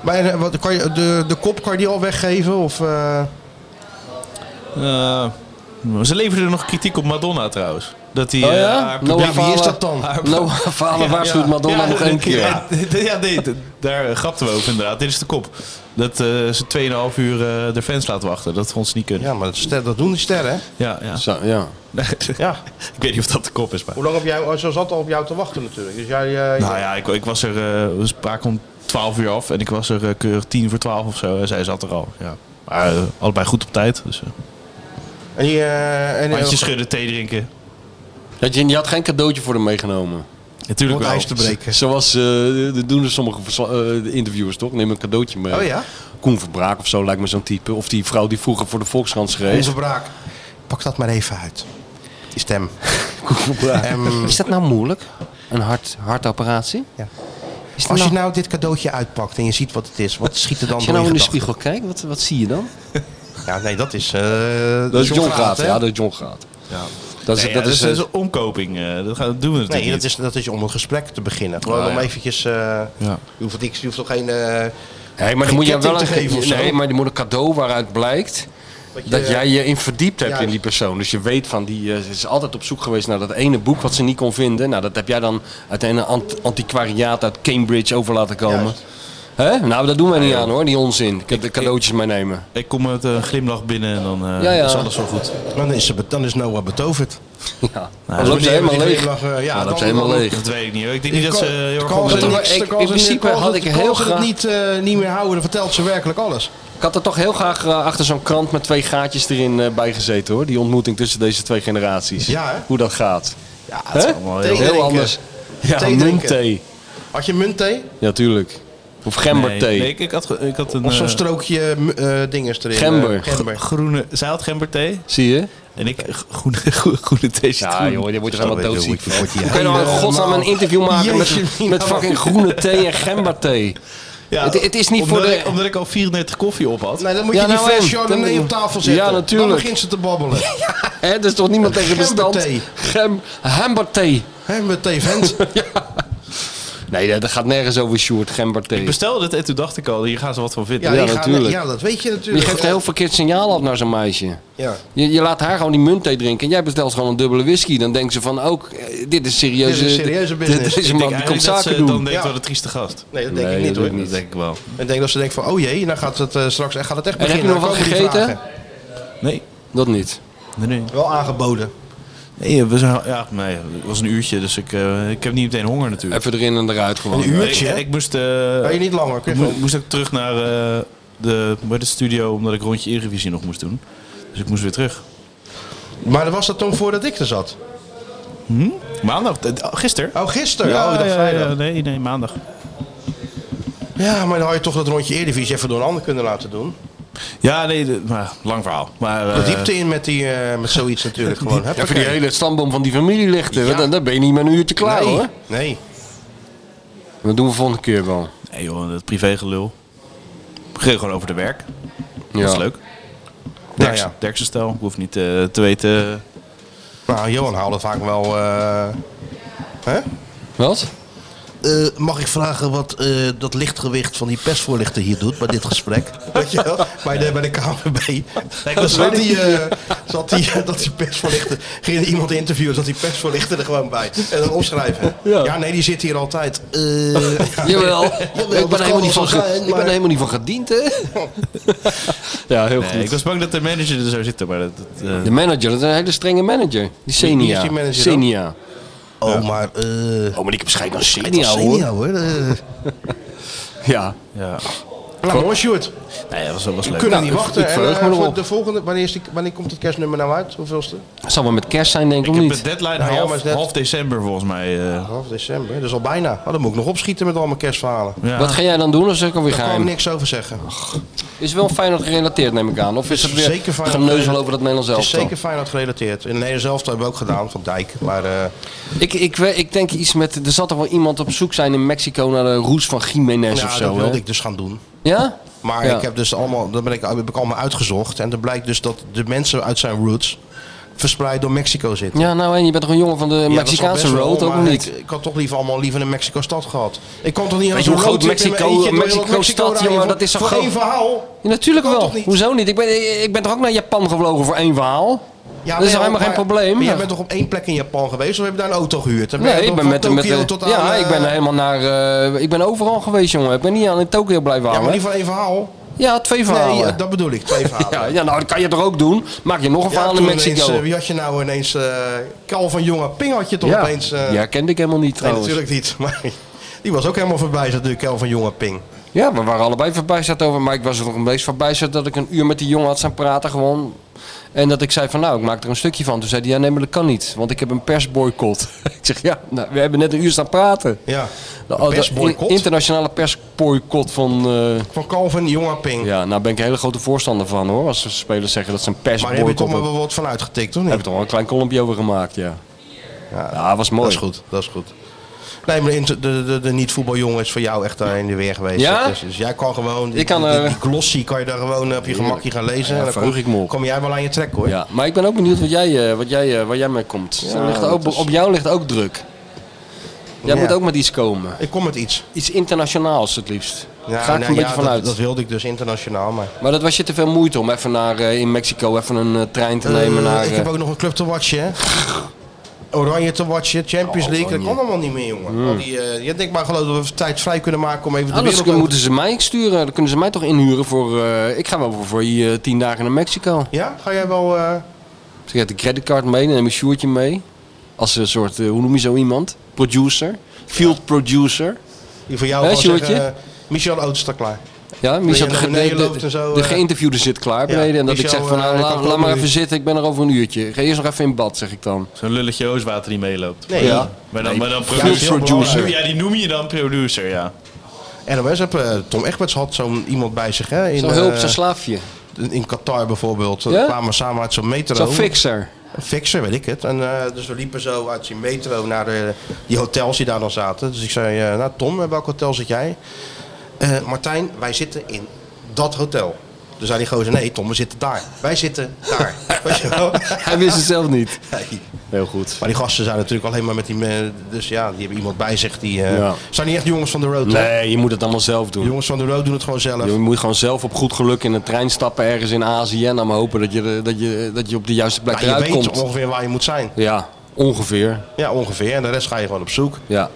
[SPEAKER 4] Maar eh, wat, kan je, de, de kop kan je die al weggeven? Of, eh,
[SPEAKER 6] Eh, ze leverden nog kritiek op Madonna trouwens. Dat die,
[SPEAKER 5] Oh
[SPEAKER 6] eh,
[SPEAKER 5] ja?
[SPEAKER 6] haar-
[SPEAKER 5] Noah Falen-
[SPEAKER 6] Haar-
[SPEAKER 5] Noah Falen waarschuwt Madonna nog één keer.
[SPEAKER 6] Ja, ja, nee, d- daar eh, grapten we over inderdaad. Dit is de kop. Dat eh, ze 2,5 uur eh, de fans laten wachten. Dat vond ze niet kunnen.
[SPEAKER 4] Ja, maar dat, doen die sterren, hè?
[SPEAKER 6] Ja, ja.
[SPEAKER 5] ja.
[SPEAKER 6] Ik weet niet of dat de kop is, maar...
[SPEAKER 4] Hoe lang op jou, oh, zo zat al op jou te wachten natuurlijk. Dus jij, eh,
[SPEAKER 6] Nou ja, ik, ik was er... eh, we spraken om 12 uur af en ik was er eh, keurig 10 voor 12 of zo. En zij zat er al, ja. Maar eh, allebei goed op tijd, dus... eh,
[SPEAKER 4] En die, eh, en,
[SPEAKER 6] Handjes schudden, thee drinken.
[SPEAKER 5] Dat je, je had geen cadeautje voor hem meegenomen.
[SPEAKER 6] Natuurlijk Om het wel. ijs te breken.
[SPEAKER 5] Z- Zoals eh, dat doen er sommige versla- eh, interviewers toch? Neem een cadeautje mee.
[SPEAKER 4] Oh ja?
[SPEAKER 5] Koen Verbraak of zo lijkt me zo'n type. Of die vrouw die vroeger voor de Volkskrant schreef.
[SPEAKER 4] Overbraak. Pak dat maar even uit. Die stem. Ehm,
[SPEAKER 5] Is dat nou moeilijk? Een hart, hartoperatie?
[SPEAKER 4] Ja.
[SPEAKER 5] Is dat
[SPEAKER 4] Als je
[SPEAKER 5] nou-
[SPEAKER 4] nou dit cadeautje uitpakt en je ziet wat het is, wat schiet er dan
[SPEAKER 5] Als je
[SPEAKER 4] door
[SPEAKER 5] nou in de
[SPEAKER 4] gedachten?
[SPEAKER 5] spiegel kijkt, wat, wat zie je dan?
[SPEAKER 4] Ja, nee, dat is... eh,
[SPEAKER 5] Dat is John
[SPEAKER 4] Graat,
[SPEAKER 5] Graat,
[SPEAKER 4] hè?
[SPEAKER 5] ja, dat is John Graat.
[SPEAKER 6] Ja.
[SPEAKER 5] Dat is,
[SPEAKER 4] Nee, ja,
[SPEAKER 5] dat is, eh,
[SPEAKER 6] een omkoping. eh, dat gaan, doen we natuurlijk
[SPEAKER 4] Nee, dat
[SPEAKER 6] niet.
[SPEAKER 4] is, dat is om een gesprek te beginnen. Gewoon
[SPEAKER 6] Ah,
[SPEAKER 4] om
[SPEAKER 6] ja.
[SPEAKER 4] eventjes... eh,
[SPEAKER 6] Ja.
[SPEAKER 4] je, hoeft niks, je hoeft toch geen... eh
[SPEAKER 5] Nee, maar dan moet je wel een,
[SPEAKER 4] te geven of zo.
[SPEAKER 5] nee, maar je moet een cadeau waaruit blijkt dat,
[SPEAKER 4] je-
[SPEAKER 5] jij je in verdiept hebt in
[SPEAKER 4] Juist.
[SPEAKER 5] die persoon. Dus je weet van die eh, ze is altijd op zoek geweest naar dat ene boek wat ze niet kon vinden. Nou, dat heb jij dan uit een ant- antiquariaat uit Cambridge over laten komen. Hè? Nou, dat doen wij niet aan hoor, die onzin. Ik heb de cadeautjes meenemen.
[SPEAKER 6] Ik kom met een glimlach binnen en dan eh,
[SPEAKER 5] Ja, ja.
[SPEAKER 6] is alles wel goed.
[SPEAKER 4] Dan is, ze, be- dan is Noah betoverd.
[SPEAKER 5] Ja,
[SPEAKER 6] Nou,
[SPEAKER 5] dan
[SPEAKER 6] dus
[SPEAKER 5] loopt ze
[SPEAKER 6] die-
[SPEAKER 5] helemaal
[SPEAKER 6] die
[SPEAKER 5] leeg.
[SPEAKER 4] glimlach, eh, ja,
[SPEAKER 5] Dan loopt
[SPEAKER 4] dan-
[SPEAKER 5] ze helemaal
[SPEAKER 4] dan-
[SPEAKER 5] leeg.
[SPEAKER 6] Dat weet ik niet hoor. Ik denk niet
[SPEAKER 4] De
[SPEAKER 6] dat ze
[SPEAKER 4] kal-
[SPEAKER 6] eh, heel
[SPEAKER 4] de
[SPEAKER 6] erg
[SPEAKER 4] kal-
[SPEAKER 6] op-
[SPEAKER 4] ze
[SPEAKER 5] Maar
[SPEAKER 4] niks,
[SPEAKER 5] ik-
[SPEAKER 4] de kal-
[SPEAKER 5] in
[SPEAKER 4] ze-
[SPEAKER 5] principe
[SPEAKER 4] de kal-
[SPEAKER 5] had
[SPEAKER 4] ze-
[SPEAKER 5] ik
[SPEAKER 4] de
[SPEAKER 5] heel
[SPEAKER 4] kal- ze het
[SPEAKER 5] graag-
[SPEAKER 4] niet, eh, niet meer houden, dan vertelt ze werkelijk alles.
[SPEAKER 5] Ik had er toch heel graag eh, achter zo'n krant met twee gaatjes erin eh, bij gezeten hoor. Die ontmoeting tussen deze twee generaties.
[SPEAKER 4] Ja, hè?
[SPEAKER 5] Hoe dat gaat.
[SPEAKER 4] Ja,
[SPEAKER 5] het is Hè? allemaal heel- Heel anders. Ja,
[SPEAKER 4] Thee drinken.
[SPEAKER 5] muntthee.
[SPEAKER 4] Had je muntthee?
[SPEAKER 5] Ja, tuurlijk. Of gemberthee.
[SPEAKER 6] Nee, nee, ik, ik had, ge- ik had een...
[SPEAKER 4] Of zo'n
[SPEAKER 6] eh,
[SPEAKER 4] strookje eh dinges erin. eh,
[SPEAKER 5] Gember.
[SPEAKER 4] gember.
[SPEAKER 6] groene... Zij had gemberthee.
[SPEAKER 5] Zie je?
[SPEAKER 6] En ik g- groene, groene, groene thee
[SPEAKER 5] Ja,
[SPEAKER 6] citroen.
[SPEAKER 5] joh, je wordt er helemaal doodziek van. Hoe
[SPEAKER 4] die
[SPEAKER 5] kun je nou in
[SPEAKER 4] helemaal-
[SPEAKER 5] godsnaam een interview maken
[SPEAKER 4] Jeetje,
[SPEAKER 5] met,
[SPEAKER 4] Mina,
[SPEAKER 5] met
[SPEAKER 4] wat-
[SPEAKER 5] fucking groene thee en gemberthee?
[SPEAKER 6] Ja,
[SPEAKER 5] Het, het is niet
[SPEAKER 6] omdat
[SPEAKER 5] voor de...
[SPEAKER 6] Ik, omdat ik al 34 koffie op had.
[SPEAKER 4] Nee, dan moet
[SPEAKER 5] Ja,
[SPEAKER 4] je die
[SPEAKER 5] nou
[SPEAKER 4] fles
[SPEAKER 5] en?
[SPEAKER 4] Chardonnay
[SPEAKER 5] Dan-
[SPEAKER 4] op tafel zetten.
[SPEAKER 5] Ja,
[SPEAKER 4] Dan
[SPEAKER 5] natuurlijk.
[SPEAKER 4] begint ze te babbelen.
[SPEAKER 5] Hè, er is toch niemand tegen bestand?
[SPEAKER 4] Gemberthee.
[SPEAKER 5] Gem, gemberthee.
[SPEAKER 4] Hé, met thee, vent.
[SPEAKER 5] Nee, dat- dat gaat nergens over, Sjoerd. Gemberthee.
[SPEAKER 6] Ik bestelde het en toen dacht ik al, hier gaan ze wat van vinden.
[SPEAKER 4] Ja,
[SPEAKER 5] Ja,
[SPEAKER 4] die gaan-
[SPEAKER 5] natuurlijk.
[SPEAKER 4] ja, dat weet je
[SPEAKER 5] Je
[SPEAKER 4] natuurlijk.
[SPEAKER 5] geeft een heel verkeerd signaal af naar zo'n meisje.
[SPEAKER 4] Ja.
[SPEAKER 5] Je, je laat haar gewoon die muntthee drinken. En jij bestelt gewoon een dubbele whisky. Dan denkt ze van ook, eh, dit is serieuze,
[SPEAKER 4] Dit is een serieuze business.
[SPEAKER 5] dit- Deze
[SPEAKER 6] Ik
[SPEAKER 5] man
[SPEAKER 6] denk
[SPEAKER 5] die
[SPEAKER 6] eigenlijk
[SPEAKER 5] komt
[SPEAKER 6] dat
[SPEAKER 5] zaken
[SPEAKER 6] ze
[SPEAKER 5] doen.
[SPEAKER 6] dan denkt
[SPEAKER 4] Ja.
[SPEAKER 6] wel een trieste gast.
[SPEAKER 4] Nee, dat denk
[SPEAKER 5] Nee,
[SPEAKER 4] ik niet
[SPEAKER 5] dat
[SPEAKER 4] hoor.
[SPEAKER 5] doe ik
[SPEAKER 6] Dat denk ik wel.
[SPEAKER 4] Ik denk dat ze denkt van, oh jee, dan gaat het eh, straks echt, gaat het echt
[SPEAKER 5] En heb je
[SPEAKER 4] beginnen.
[SPEAKER 5] nog
[SPEAKER 4] Dan
[SPEAKER 5] wat
[SPEAKER 4] komen die
[SPEAKER 5] gegeten?
[SPEAKER 4] vragen.
[SPEAKER 6] Nee,
[SPEAKER 5] Dat niet.
[SPEAKER 6] nee, nee.
[SPEAKER 4] Wel aangeboden.
[SPEAKER 6] Nee, we zijn, ja, nee, het was een uurtje, dus ik, eh, ik heb niet meteen honger natuurlijk.
[SPEAKER 5] Even erin en eruit gewoon.
[SPEAKER 4] Een uurtje?
[SPEAKER 6] Ik,
[SPEAKER 4] hè?
[SPEAKER 6] ik moest, eh,
[SPEAKER 4] Ben je niet langer?
[SPEAKER 6] ik
[SPEAKER 4] kun je
[SPEAKER 6] moest,
[SPEAKER 4] gewoon-
[SPEAKER 6] moest ook terug naar eh, de, bij de studio, omdat ik rondje Eredivisie nog moest doen. Dus ik moest weer terug.
[SPEAKER 4] Maar was dat toen voordat ik er zat?
[SPEAKER 6] Maandag, eh, gisteren.
[SPEAKER 4] Oh, gisteren. oh, ik dacht
[SPEAKER 6] ja,
[SPEAKER 4] vrijdag.
[SPEAKER 6] ja, nee, nee, maandag.
[SPEAKER 4] Ja, maar dan had je toch dat rondje Eredivisie even door een ander kunnen laten doen.
[SPEAKER 6] Ja, nee, de- maar, lang verhaal. Maar,
[SPEAKER 4] De
[SPEAKER 6] eh,
[SPEAKER 4] diepte in met, die, eh, met zoiets natuurlijk gewoon.
[SPEAKER 5] Ja, voor
[SPEAKER 4] Huppakee.
[SPEAKER 5] die hele stamboom van die familie lichten.
[SPEAKER 4] Ja.
[SPEAKER 5] Dan, dan ben je niet met een uurtje klaar
[SPEAKER 4] nee,
[SPEAKER 5] hoor.
[SPEAKER 4] Nee.
[SPEAKER 5] Dat doen we volgende keer wel.
[SPEAKER 6] Nee joh, dat privégelul. We gingen gewoon over de werk. Dat
[SPEAKER 5] Ja.
[SPEAKER 6] is leuk.
[SPEAKER 4] Nou
[SPEAKER 6] Derksen,
[SPEAKER 4] ja.
[SPEAKER 6] Derksen stijl. Ik hoef niet eh, te weten.
[SPEAKER 4] Nou, Johan haalde vaak wel... eh, hè?
[SPEAKER 5] Wat?
[SPEAKER 4] Eh, mag ik vragen wat eh, dat lichtgewicht van die persvoorlichter hier doet bij dit gesprek? Weet je wel? Bij de, bij de KVB.
[SPEAKER 6] dat
[SPEAKER 4] zat
[SPEAKER 6] weet ik
[SPEAKER 4] die, eh, zat die, dat die persvoorlichter. Ging iemand interviewen, zat die persvoorlichter er gewoon bij. En dan opschrijven. Ja, nee, die zit hier altijd. Eh, ja,
[SPEAKER 5] Jawel. ik
[SPEAKER 4] dat
[SPEAKER 5] ben,
[SPEAKER 4] kan
[SPEAKER 5] er helemaal
[SPEAKER 4] wel
[SPEAKER 5] niet van
[SPEAKER 4] zo
[SPEAKER 5] ge-
[SPEAKER 4] zijn,
[SPEAKER 5] ik ben
[SPEAKER 4] maar-
[SPEAKER 5] er helemaal niet van gediend hè. ja, heel
[SPEAKER 6] Nee, ik
[SPEAKER 5] goed.
[SPEAKER 6] was bang dat de manager er zou zitten, maar dat... dat, eh,
[SPEAKER 5] De manager, dat is een hele strenge manager. Die
[SPEAKER 4] Wie- wie is
[SPEAKER 5] Senia.
[SPEAKER 4] die manager dan?
[SPEAKER 5] Senia.
[SPEAKER 4] Oh, maar... eh
[SPEAKER 5] oh, maar ik heb schijt aan
[SPEAKER 4] Het was
[SPEAKER 5] senior,
[SPEAKER 4] senior,
[SPEAKER 5] hoor. Eh,
[SPEAKER 4] hoor.
[SPEAKER 5] ja.
[SPEAKER 6] ja.
[SPEAKER 4] Laat maar hoor, Sjoerd.
[SPEAKER 6] Nee, dat was, dat was
[SPEAKER 4] We
[SPEAKER 6] leuk.
[SPEAKER 4] kunnen
[SPEAKER 5] Nou,
[SPEAKER 4] niet
[SPEAKER 5] ik-
[SPEAKER 4] wachten.
[SPEAKER 5] ik
[SPEAKER 4] En,
[SPEAKER 5] verheug
[SPEAKER 4] eh,
[SPEAKER 5] me
[SPEAKER 4] voor
[SPEAKER 5] erop.
[SPEAKER 4] de volgende, wanneer, is die, wanneer komt het kerstnummer nou uit? Hoeveelste?
[SPEAKER 5] Het zal wel met kerst zijn, denk ik,
[SPEAKER 6] Ik
[SPEAKER 5] of
[SPEAKER 6] heb
[SPEAKER 5] niet?
[SPEAKER 6] de deadline
[SPEAKER 4] Nou ja, maar
[SPEAKER 6] half,
[SPEAKER 4] is net-
[SPEAKER 6] half december volgens mij. eh.
[SPEAKER 4] Half december, dat is al bijna. Oh, dan moet ik nog opschieten met al mijn kerstverhalen.
[SPEAKER 6] Ja.
[SPEAKER 5] Wat ga jij dan doen of zeg ik alweer
[SPEAKER 4] Daar kan ik
[SPEAKER 5] geheim?
[SPEAKER 4] niks over zeggen.
[SPEAKER 5] Is wel Feyenoord gerelateerd, neem ik aan. Of is het weer
[SPEAKER 4] Zeker Feyenoord
[SPEAKER 5] geneuzel
[SPEAKER 4] gerelateerd.
[SPEAKER 5] over dat Nederlands
[SPEAKER 4] Het is
[SPEAKER 5] elftal?
[SPEAKER 4] zeker Feyenoord gerelateerd. In Nederland zelf hebben we ook gedaan, van Dijk. Maar eh,
[SPEAKER 5] Ik, ik, we- ik denk iets met... Er zal toch wel iemand op zoek zijn in Mexico naar de roes van Jiménez
[SPEAKER 4] ja,
[SPEAKER 5] of
[SPEAKER 4] dat
[SPEAKER 5] zo,
[SPEAKER 4] wilde
[SPEAKER 5] hè?
[SPEAKER 4] ik dus gaan doen.
[SPEAKER 5] Ja?
[SPEAKER 4] Maar
[SPEAKER 5] Ja.
[SPEAKER 4] ik heb dus allemaal, dat ben ik, heb ik allemaal uitgezocht. En dan blijkt dus dat de mensen uit zijn roots verspreid door Mexico zitten.
[SPEAKER 5] Ja, nou en je bent toch een jongen van de
[SPEAKER 4] Ja, dat is al
[SPEAKER 5] Mexicaanse
[SPEAKER 4] best wel,
[SPEAKER 5] road ook
[SPEAKER 4] maar
[SPEAKER 5] nog niet?
[SPEAKER 4] Ik, ik had toch liever allemaal liever een Mexico-stad gehad. Ik kon toch niet aan
[SPEAKER 5] Weet je
[SPEAKER 4] zo'n
[SPEAKER 5] hoe groot
[SPEAKER 4] roadtrip in mijn
[SPEAKER 5] Mexico,
[SPEAKER 4] eentje door heel dat
[SPEAKER 5] Mexico
[SPEAKER 4] Mexico
[SPEAKER 5] stad,
[SPEAKER 4] rijden
[SPEAKER 5] jongen,
[SPEAKER 4] voor-
[SPEAKER 5] dat is zo
[SPEAKER 4] voor
[SPEAKER 5] groot.
[SPEAKER 4] één verhaal.
[SPEAKER 5] Ja, natuurlijk
[SPEAKER 4] Dat kan
[SPEAKER 5] wel.
[SPEAKER 4] toch niet?
[SPEAKER 5] Hoezo niet? Ik ben, ik ben toch ook naar Japan gevlogen voor één verhaal?
[SPEAKER 4] Ja,
[SPEAKER 5] dat is
[SPEAKER 4] maar-
[SPEAKER 5] helemaal geen
[SPEAKER 4] maar-
[SPEAKER 5] probleem.
[SPEAKER 4] Maar jij bent toch op één plek in Japan geweest of heb je daar een auto gehuurd? Dan
[SPEAKER 5] Nee,
[SPEAKER 4] je
[SPEAKER 5] ik
[SPEAKER 4] dan
[SPEAKER 5] ben
[SPEAKER 4] van
[SPEAKER 5] met, met
[SPEAKER 4] Tokio
[SPEAKER 5] de-
[SPEAKER 4] tot aan,
[SPEAKER 5] Ja, ik ben
[SPEAKER 4] eh,
[SPEAKER 5] helemaal naar... eh, ik ben overal geweest, jongen. Ik ben niet aan in Tokio blijven
[SPEAKER 4] Ja,
[SPEAKER 5] hangen.
[SPEAKER 4] maar niet van één verhaal.
[SPEAKER 5] Ja, twee verhalen.
[SPEAKER 4] Nee, eh, dat bedoel ik, twee verhalen.
[SPEAKER 5] ja, ja, nou, dat kan je toch ook doen? Maak je nog een
[SPEAKER 4] Ja,
[SPEAKER 5] verhaal in
[SPEAKER 4] toen ineens,
[SPEAKER 5] Mexico.
[SPEAKER 4] eh, wie had je nou ineens? eh Karl van Jonge Ping had je toch
[SPEAKER 5] ja.
[SPEAKER 4] opeens? eh,
[SPEAKER 5] ja, kende ik helemaal niet
[SPEAKER 4] nee,
[SPEAKER 5] trouwens.
[SPEAKER 4] natuurlijk niet. Maar die was ook helemaal voorbij, natuurlijk, Karl van Jonge Ping.
[SPEAKER 5] Ja, we waren allebei verbijsterd over. Maar ik was er nog een beetje verbijsterd dat ik een uur met die jongen had staan praten gewoon. En dat ik zei van nou, ik maak er een stukje van. Toen zei hij, ja nee, maar dat kan niet. Want ik heb een persboycott. ik zeg, ja, nou, we hebben net een uur staan praten.
[SPEAKER 4] Ja,
[SPEAKER 5] De, de
[SPEAKER 4] persboycott?
[SPEAKER 5] internationale persboycott van... eh,
[SPEAKER 4] van Karl van Jonge Ping.
[SPEAKER 5] ja, nou ben ik een hele grote voorstander van hoor. Als de spelers zeggen dat ze een
[SPEAKER 4] maar daar heb je
[SPEAKER 5] persboycott
[SPEAKER 4] toch maar
[SPEAKER 5] hebben.
[SPEAKER 4] wel wat van uitgetikt, of
[SPEAKER 5] Heb
[SPEAKER 4] niet?
[SPEAKER 5] ik toch wel een klein kolompje over gemaakt, ja.
[SPEAKER 4] Ja,
[SPEAKER 5] Ja, was mooi.
[SPEAKER 4] Dat is goed, dat is goed. Nee, maar de, inter- de, de, de niet-voetbaljongen is voor jou echt daar in de weer geweest.
[SPEAKER 5] Ja?
[SPEAKER 4] Dat is- dus jij kan gewoon, die,
[SPEAKER 5] Ik kan,
[SPEAKER 4] die, die-
[SPEAKER 5] eh,
[SPEAKER 4] die glossy kan je daar gewoon op je gemakje gaan lezen.
[SPEAKER 5] Ja,
[SPEAKER 4] en dan
[SPEAKER 5] verheug
[SPEAKER 4] kom,
[SPEAKER 5] ik me op.
[SPEAKER 4] kom jij wel aan je trek hoor.
[SPEAKER 5] Ja, maar ik ben ook benieuwd wat jij, eh, wat jij, eh, waar jij mee komt. Er ligt
[SPEAKER 4] dat
[SPEAKER 5] ook,
[SPEAKER 4] is-
[SPEAKER 5] Op jou ligt ook druk. Jij
[SPEAKER 4] Ja.
[SPEAKER 5] moet ook met iets komen.
[SPEAKER 4] Ik kom met iets.
[SPEAKER 5] Iets internationaals het liefst.
[SPEAKER 4] Ja,
[SPEAKER 5] Ga ik
[SPEAKER 4] nou
[SPEAKER 5] een beetje
[SPEAKER 4] ja, dat-
[SPEAKER 5] vanuit.
[SPEAKER 4] Dat wilde ik dus internationaal, maar...
[SPEAKER 5] Maar dat was je te veel moeite om even naar, eh, in Mexico even een eh, trein te nemen
[SPEAKER 4] Eh,
[SPEAKER 5] naar...
[SPEAKER 4] ik
[SPEAKER 5] eh,
[SPEAKER 4] heb ook nog een club te watchen, hè. Oranje te watchen,
[SPEAKER 5] Oh,
[SPEAKER 4] Champions League, dat kan allemaal niet meer, jongen.
[SPEAKER 5] Hmm.
[SPEAKER 4] Al die, eh, je denkt maar geloof dat we tijd vrij kunnen maken om even de
[SPEAKER 5] Anders
[SPEAKER 4] wereld... over-
[SPEAKER 5] moeten ze mij sturen. Dan kunnen ze mij toch inhuren voor... eh, ik ga wel voor hier eh, tien dagen naar Mexico.
[SPEAKER 4] Ja, ga jij wel... eh,
[SPEAKER 5] Dus ik heb de creditcard mee, dan neem ik Sjoertje mee. Als een soort, eh, hoe noem je zo iemand? Producer. Field producer.
[SPEAKER 4] die voor jou
[SPEAKER 5] Hè,
[SPEAKER 4] gewoon
[SPEAKER 5] Sjoerdje?
[SPEAKER 4] zeggen, eh, Michel Oud staat klaar.
[SPEAKER 5] Ja,
[SPEAKER 4] Dat je
[SPEAKER 5] Michel, de,
[SPEAKER 4] naar
[SPEAKER 5] ge-
[SPEAKER 4] beneden
[SPEAKER 5] de, de-
[SPEAKER 4] loopt en zo,
[SPEAKER 5] de
[SPEAKER 4] eh.
[SPEAKER 5] geïnterviewde zit klaar
[SPEAKER 4] Ja,
[SPEAKER 5] beneden. en dat ik
[SPEAKER 4] Michel,
[SPEAKER 5] zeg van,
[SPEAKER 4] eh,
[SPEAKER 5] nou,
[SPEAKER 4] hij
[SPEAKER 5] laat,
[SPEAKER 4] kan
[SPEAKER 5] laat
[SPEAKER 4] lopen
[SPEAKER 5] maar even
[SPEAKER 4] nu.
[SPEAKER 5] zitten, ik ben er over een uurtje. Ik Ga eerst nog even in bad, zeg ik dan.
[SPEAKER 6] Zo'n lulletje ooswater die meeloopt.
[SPEAKER 4] Nee.
[SPEAKER 5] Ja.
[SPEAKER 6] Maar dan, maar dan
[SPEAKER 5] Ja, dat is heel
[SPEAKER 6] producer.
[SPEAKER 5] belangrijk.
[SPEAKER 6] Ja, die noem je dan producer, ja.
[SPEAKER 4] NOS heb eh, Tom Egberts had zo'n iemand bij zich, hè? In,
[SPEAKER 5] Zo'n hulp,
[SPEAKER 4] eh,
[SPEAKER 5] zo'n slaafje.
[SPEAKER 4] in Qatar bijvoorbeeld.
[SPEAKER 5] Ja?
[SPEAKER 4] We kwamen we samen uit zo'n metro.
[SPEAKER 5] Zo'n fixer.
[SPEAKER 4] Een fixer, weet ik het. En, eh, dus we liepen zo uit die metro naar de, die hotels die daar dan zaten. Dus ik zei, eh, nou Tom, in welk hotel zit jij? Eh, Martijn, wij zitten in dat hotel. Toen zei die gozer, nee Tom, we zitten daar. Wij zitten daar. Weet je wel?
[SPEAKER 5] Hij wist het zelf niet.
[SPEAKER 4] Nee.
[SPEAKER 5] Heel goed.
[SPEAKER 4] Maar die gasten zijn natuurlijk alleen maar met die... eh, Dus ja, die hebben iemand bij zich. Die eh,
[SPEAKER 5] Ja.
[SPEAKER 4] zijn niet echt jongens van de road. hè?
[SPEAKER 5] Nee, je moet het allemaal zelf
[SPEAKER 4] De
[SPEAKER 5] doen.
[SPEAKER 4] jongens van de road doen het gewoon zelf.
[SPEAKER 5] Je moet gewoon zelf op goed geluk in een trein stappen ergens in Azië. En dan maar hopen dat je, dat je, dat je op de juiste plek
[SPEAKER 4] Ja, je
[SPEAKER 5] eruit
[SPEAKER 4] weet
[SPEAKER 5] komt.
[SPEAKER 4] ongeveer waar je moet zijn.
[SPEAKER 5] Ja, ongeveer.
[SPEAKER 4] Ja, ongeveer. En de rest ga je gewoon op zoek.
[SPEAKER 5] Ja.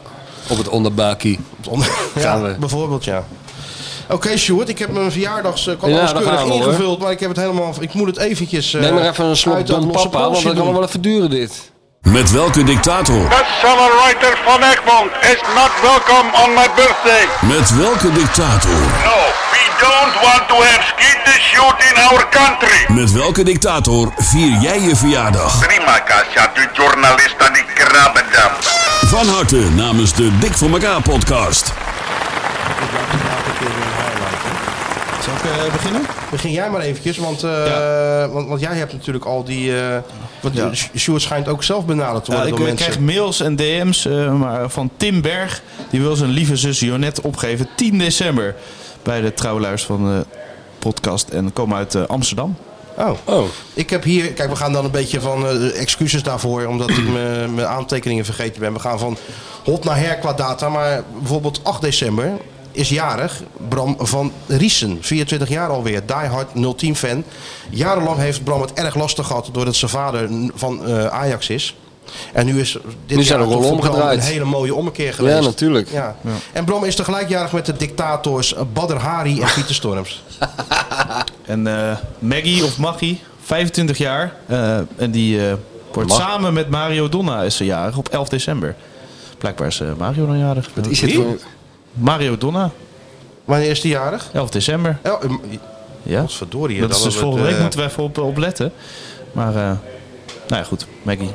[SPEAKER 5] Op het onderbuikie.
[SPEAKER 4] Om-
[SPEAKER 5] Gaan
[SPEAKER 4] ja,
[SPEAKER 5] we.
[SPEAKER 4] bijvoorbeeld, ja. Oké, Sjoerd, ik heb mijn verjaardags... eh, Ik had
[SPEAKER 5] Ja,
[SPEAKER 4] alles
[SPEAKER 5] daar
[SPEAKER 4] keurig
[SPEAKER 5] gaan we, hoor.
[SPEAKER 4] ingevuld, maar ik heb het helemaal... Ik moet het eventjes... eh,
[SPEAKER 5] Neem maar even een slok
[SPEAKER 4] uit dat
[SPEAKER 5] Don
[SPEAKER 4] losse
[SPEAKER 5] Papa, want
[SPEAKER 4] polsje
[SPEAKER 5] dat kan nog
[SPEAKER 4] doen.
[SPEAKER 5] wel even duren dit.
[SPEAKER 12] Met welke dictator?
[SPEAKER 14] Accelerator van Egmond is not welcome on my birthday.
[SPEAKER 12] Met welke dictator?
[SPEAKER 14] No, we don't want to have skeeter shoot in our country.
[SPEAKER 12] Met welke dictator vier jij je verjaardag?
[SPEAKER 14] Prima, Kasia, de journalist aan die krabbendam.
[SPEAKER 12] Van harte namens de Dik voor elkaar podcast.
[SPEAKER 6] Zal ik eh, beginnen?
[SPEAKER 4] Begin jij maar eventjes, want, eh, want, want jij hebt natuurlijk al die... eh, want
[SPEAKER 6] Ja.
[SPEAKER 4] Sch- Sjoerd schijnt ook zelf benaderd te
[SPEAKER 6] Ja,
[SPEAKER 4] worden
[SPEAKER 6] ik
[SPEAKER 4] door
[SPEAKER 6] eh,
[SPEAKER 4] mensen.
[SPEAKER 6] krijg mails en DM's eh, maar van Tim Berg. Die wil zijn lieve zus Jonette opgeven 10 december. Bij de trouwluis van de podcast. En komen uit eh, Amsterdam.
[SPEAKER 4] Oh.
[SPEAKER 5] Oh.
[SPEAKER 4] Ik heb hier, kijk, we gaan dan een beetje van eh, excuses daarvoor, omdat ik mijn mijn aantekeningen vergeten ben. We gaan van hot naar her qua data, maar bijvoorbeeld 8 december is jarig Bram van Riesen, 24 jaar alweer, die hard 010 fan. Jarenlang heeft Bram het erg lastig gehad doordat zijn vader n- van eh, Ajax is. En nu is dit
[SPEAKER 5] Nu zijn
[SPEAKER 4] jaar
[SPEAKER 5] de
[SPEAKER 4] toch
[SPEAKER 5] rollen
[SPEAKER 4] voor Bram
[SPEAKER 5] omgedraaid.
[SPEAKER 4] een hele mooie ommekeer geweest.
[SPEAKER 5] Ja, natuurlijk.
[SPEAKER 4] Ja. En Bram is tegelijkjarig met de dictators Badr Hari en Pieter Storms.
[SPEAKER 6] En eh, Maggie of Maggie, 25 jaar. eh, en die eh, binnenkort. Samen met Mario Donna is ze jarig op 11 december. Blijkbaar is eh, Mario dan jarig. Wat
[SPEAKER 5] is dit voor-
[SPEAKER 6] Mario Donna.
[SPEAKER 4] Wanneer is die jarig? Oh,
[SPEAKER 6] 11 december. ja.
[SPEAKER 4] Godverdorie.
[SPEAKER 6] Dat
[SPEAKER 4] dan
[SPEAKER 6] is dus
[SPEAKER 4] hebben we
[SPEAKER 6] volgende
[SPEAKER 4] het,
[SPEAKER 6] week,
[SPEAKER 4] eh,
[SPEAKER 6] moeten we even op, op letten. Maar, eh, nou ja, goed. Maggie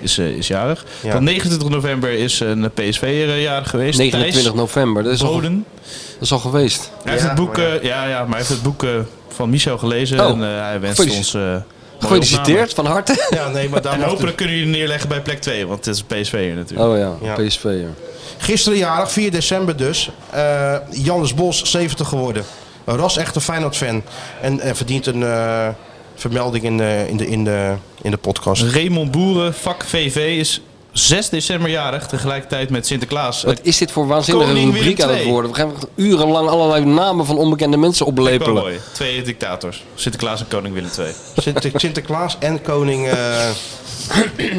[SPEAKER 6] is, eh, is jarig.
[SPEAKER 5] Ja.
[SPEAKER 6] Dan 29 november is eh, een PSV-jarig geweest.
[SPEAKER 5] 29
[SPEAKER 6] Thijs
[SPEAKER 5] november, dat is, al,
[SPEAKER 6] Boden.
[SPEAKER 5] dat is al geweest.
[SPEAKER 6] Hij heeft het boek, eh, ja, ja, maar hij heeft het boek eh, van Michel gelezen
[SPEAKER 5] Oh.
[SPEAKER 6] en eh, hij wenst
[SPEAKER 5] Gefeliciteerd.
[SPEAKER 6] ons. eh, mooie
[SPEAKER 5] Gefeliciteerd,
[SPEAKER 6] opname.
[SPEAKER 5] van harte.
[SPEAKER 4] Ja, nee, maar
[SPEAKER 6] En
[SPEAKER 4] daar dus-
[SPEAKER 6] hopelijk kunnen jullie neerleggen bij plek 2, want het is een PSV'er natuurlijk.
[SPEAKER 5] Oh ja, PSV'er.
[SPEAKER 4] Gisteren jarig, 4 december dus. eh Jannes Bos, 70 geworden. Een ras echte Feyenoord-fan. En eh, verdient een eh, vermelding in de, in, de, in, de, in de podcast.
[SPEAKER 5] Oh.
[SPEAKER 6] Raymond Boeren, vak VV, is 6 december jarig, tegelijkertijd met Sinterklaas.
[SPEAKER 5] Wat is dit voor waanzinnige
[SPEAKER 6] Koning Willem
[SPEAKER 5] rubriek aan het
[SPEAKER 6] II.
[SPEAKER 5] worden? We gaan urenlang allerlei namen van onbekende mensen oplepelen.
[SPEAKER 6] Cowboy, twee dictators. Sinterklaas en koning Willem II.
[SPEAKER 4] Sinter- Sinterklaas en koning... eh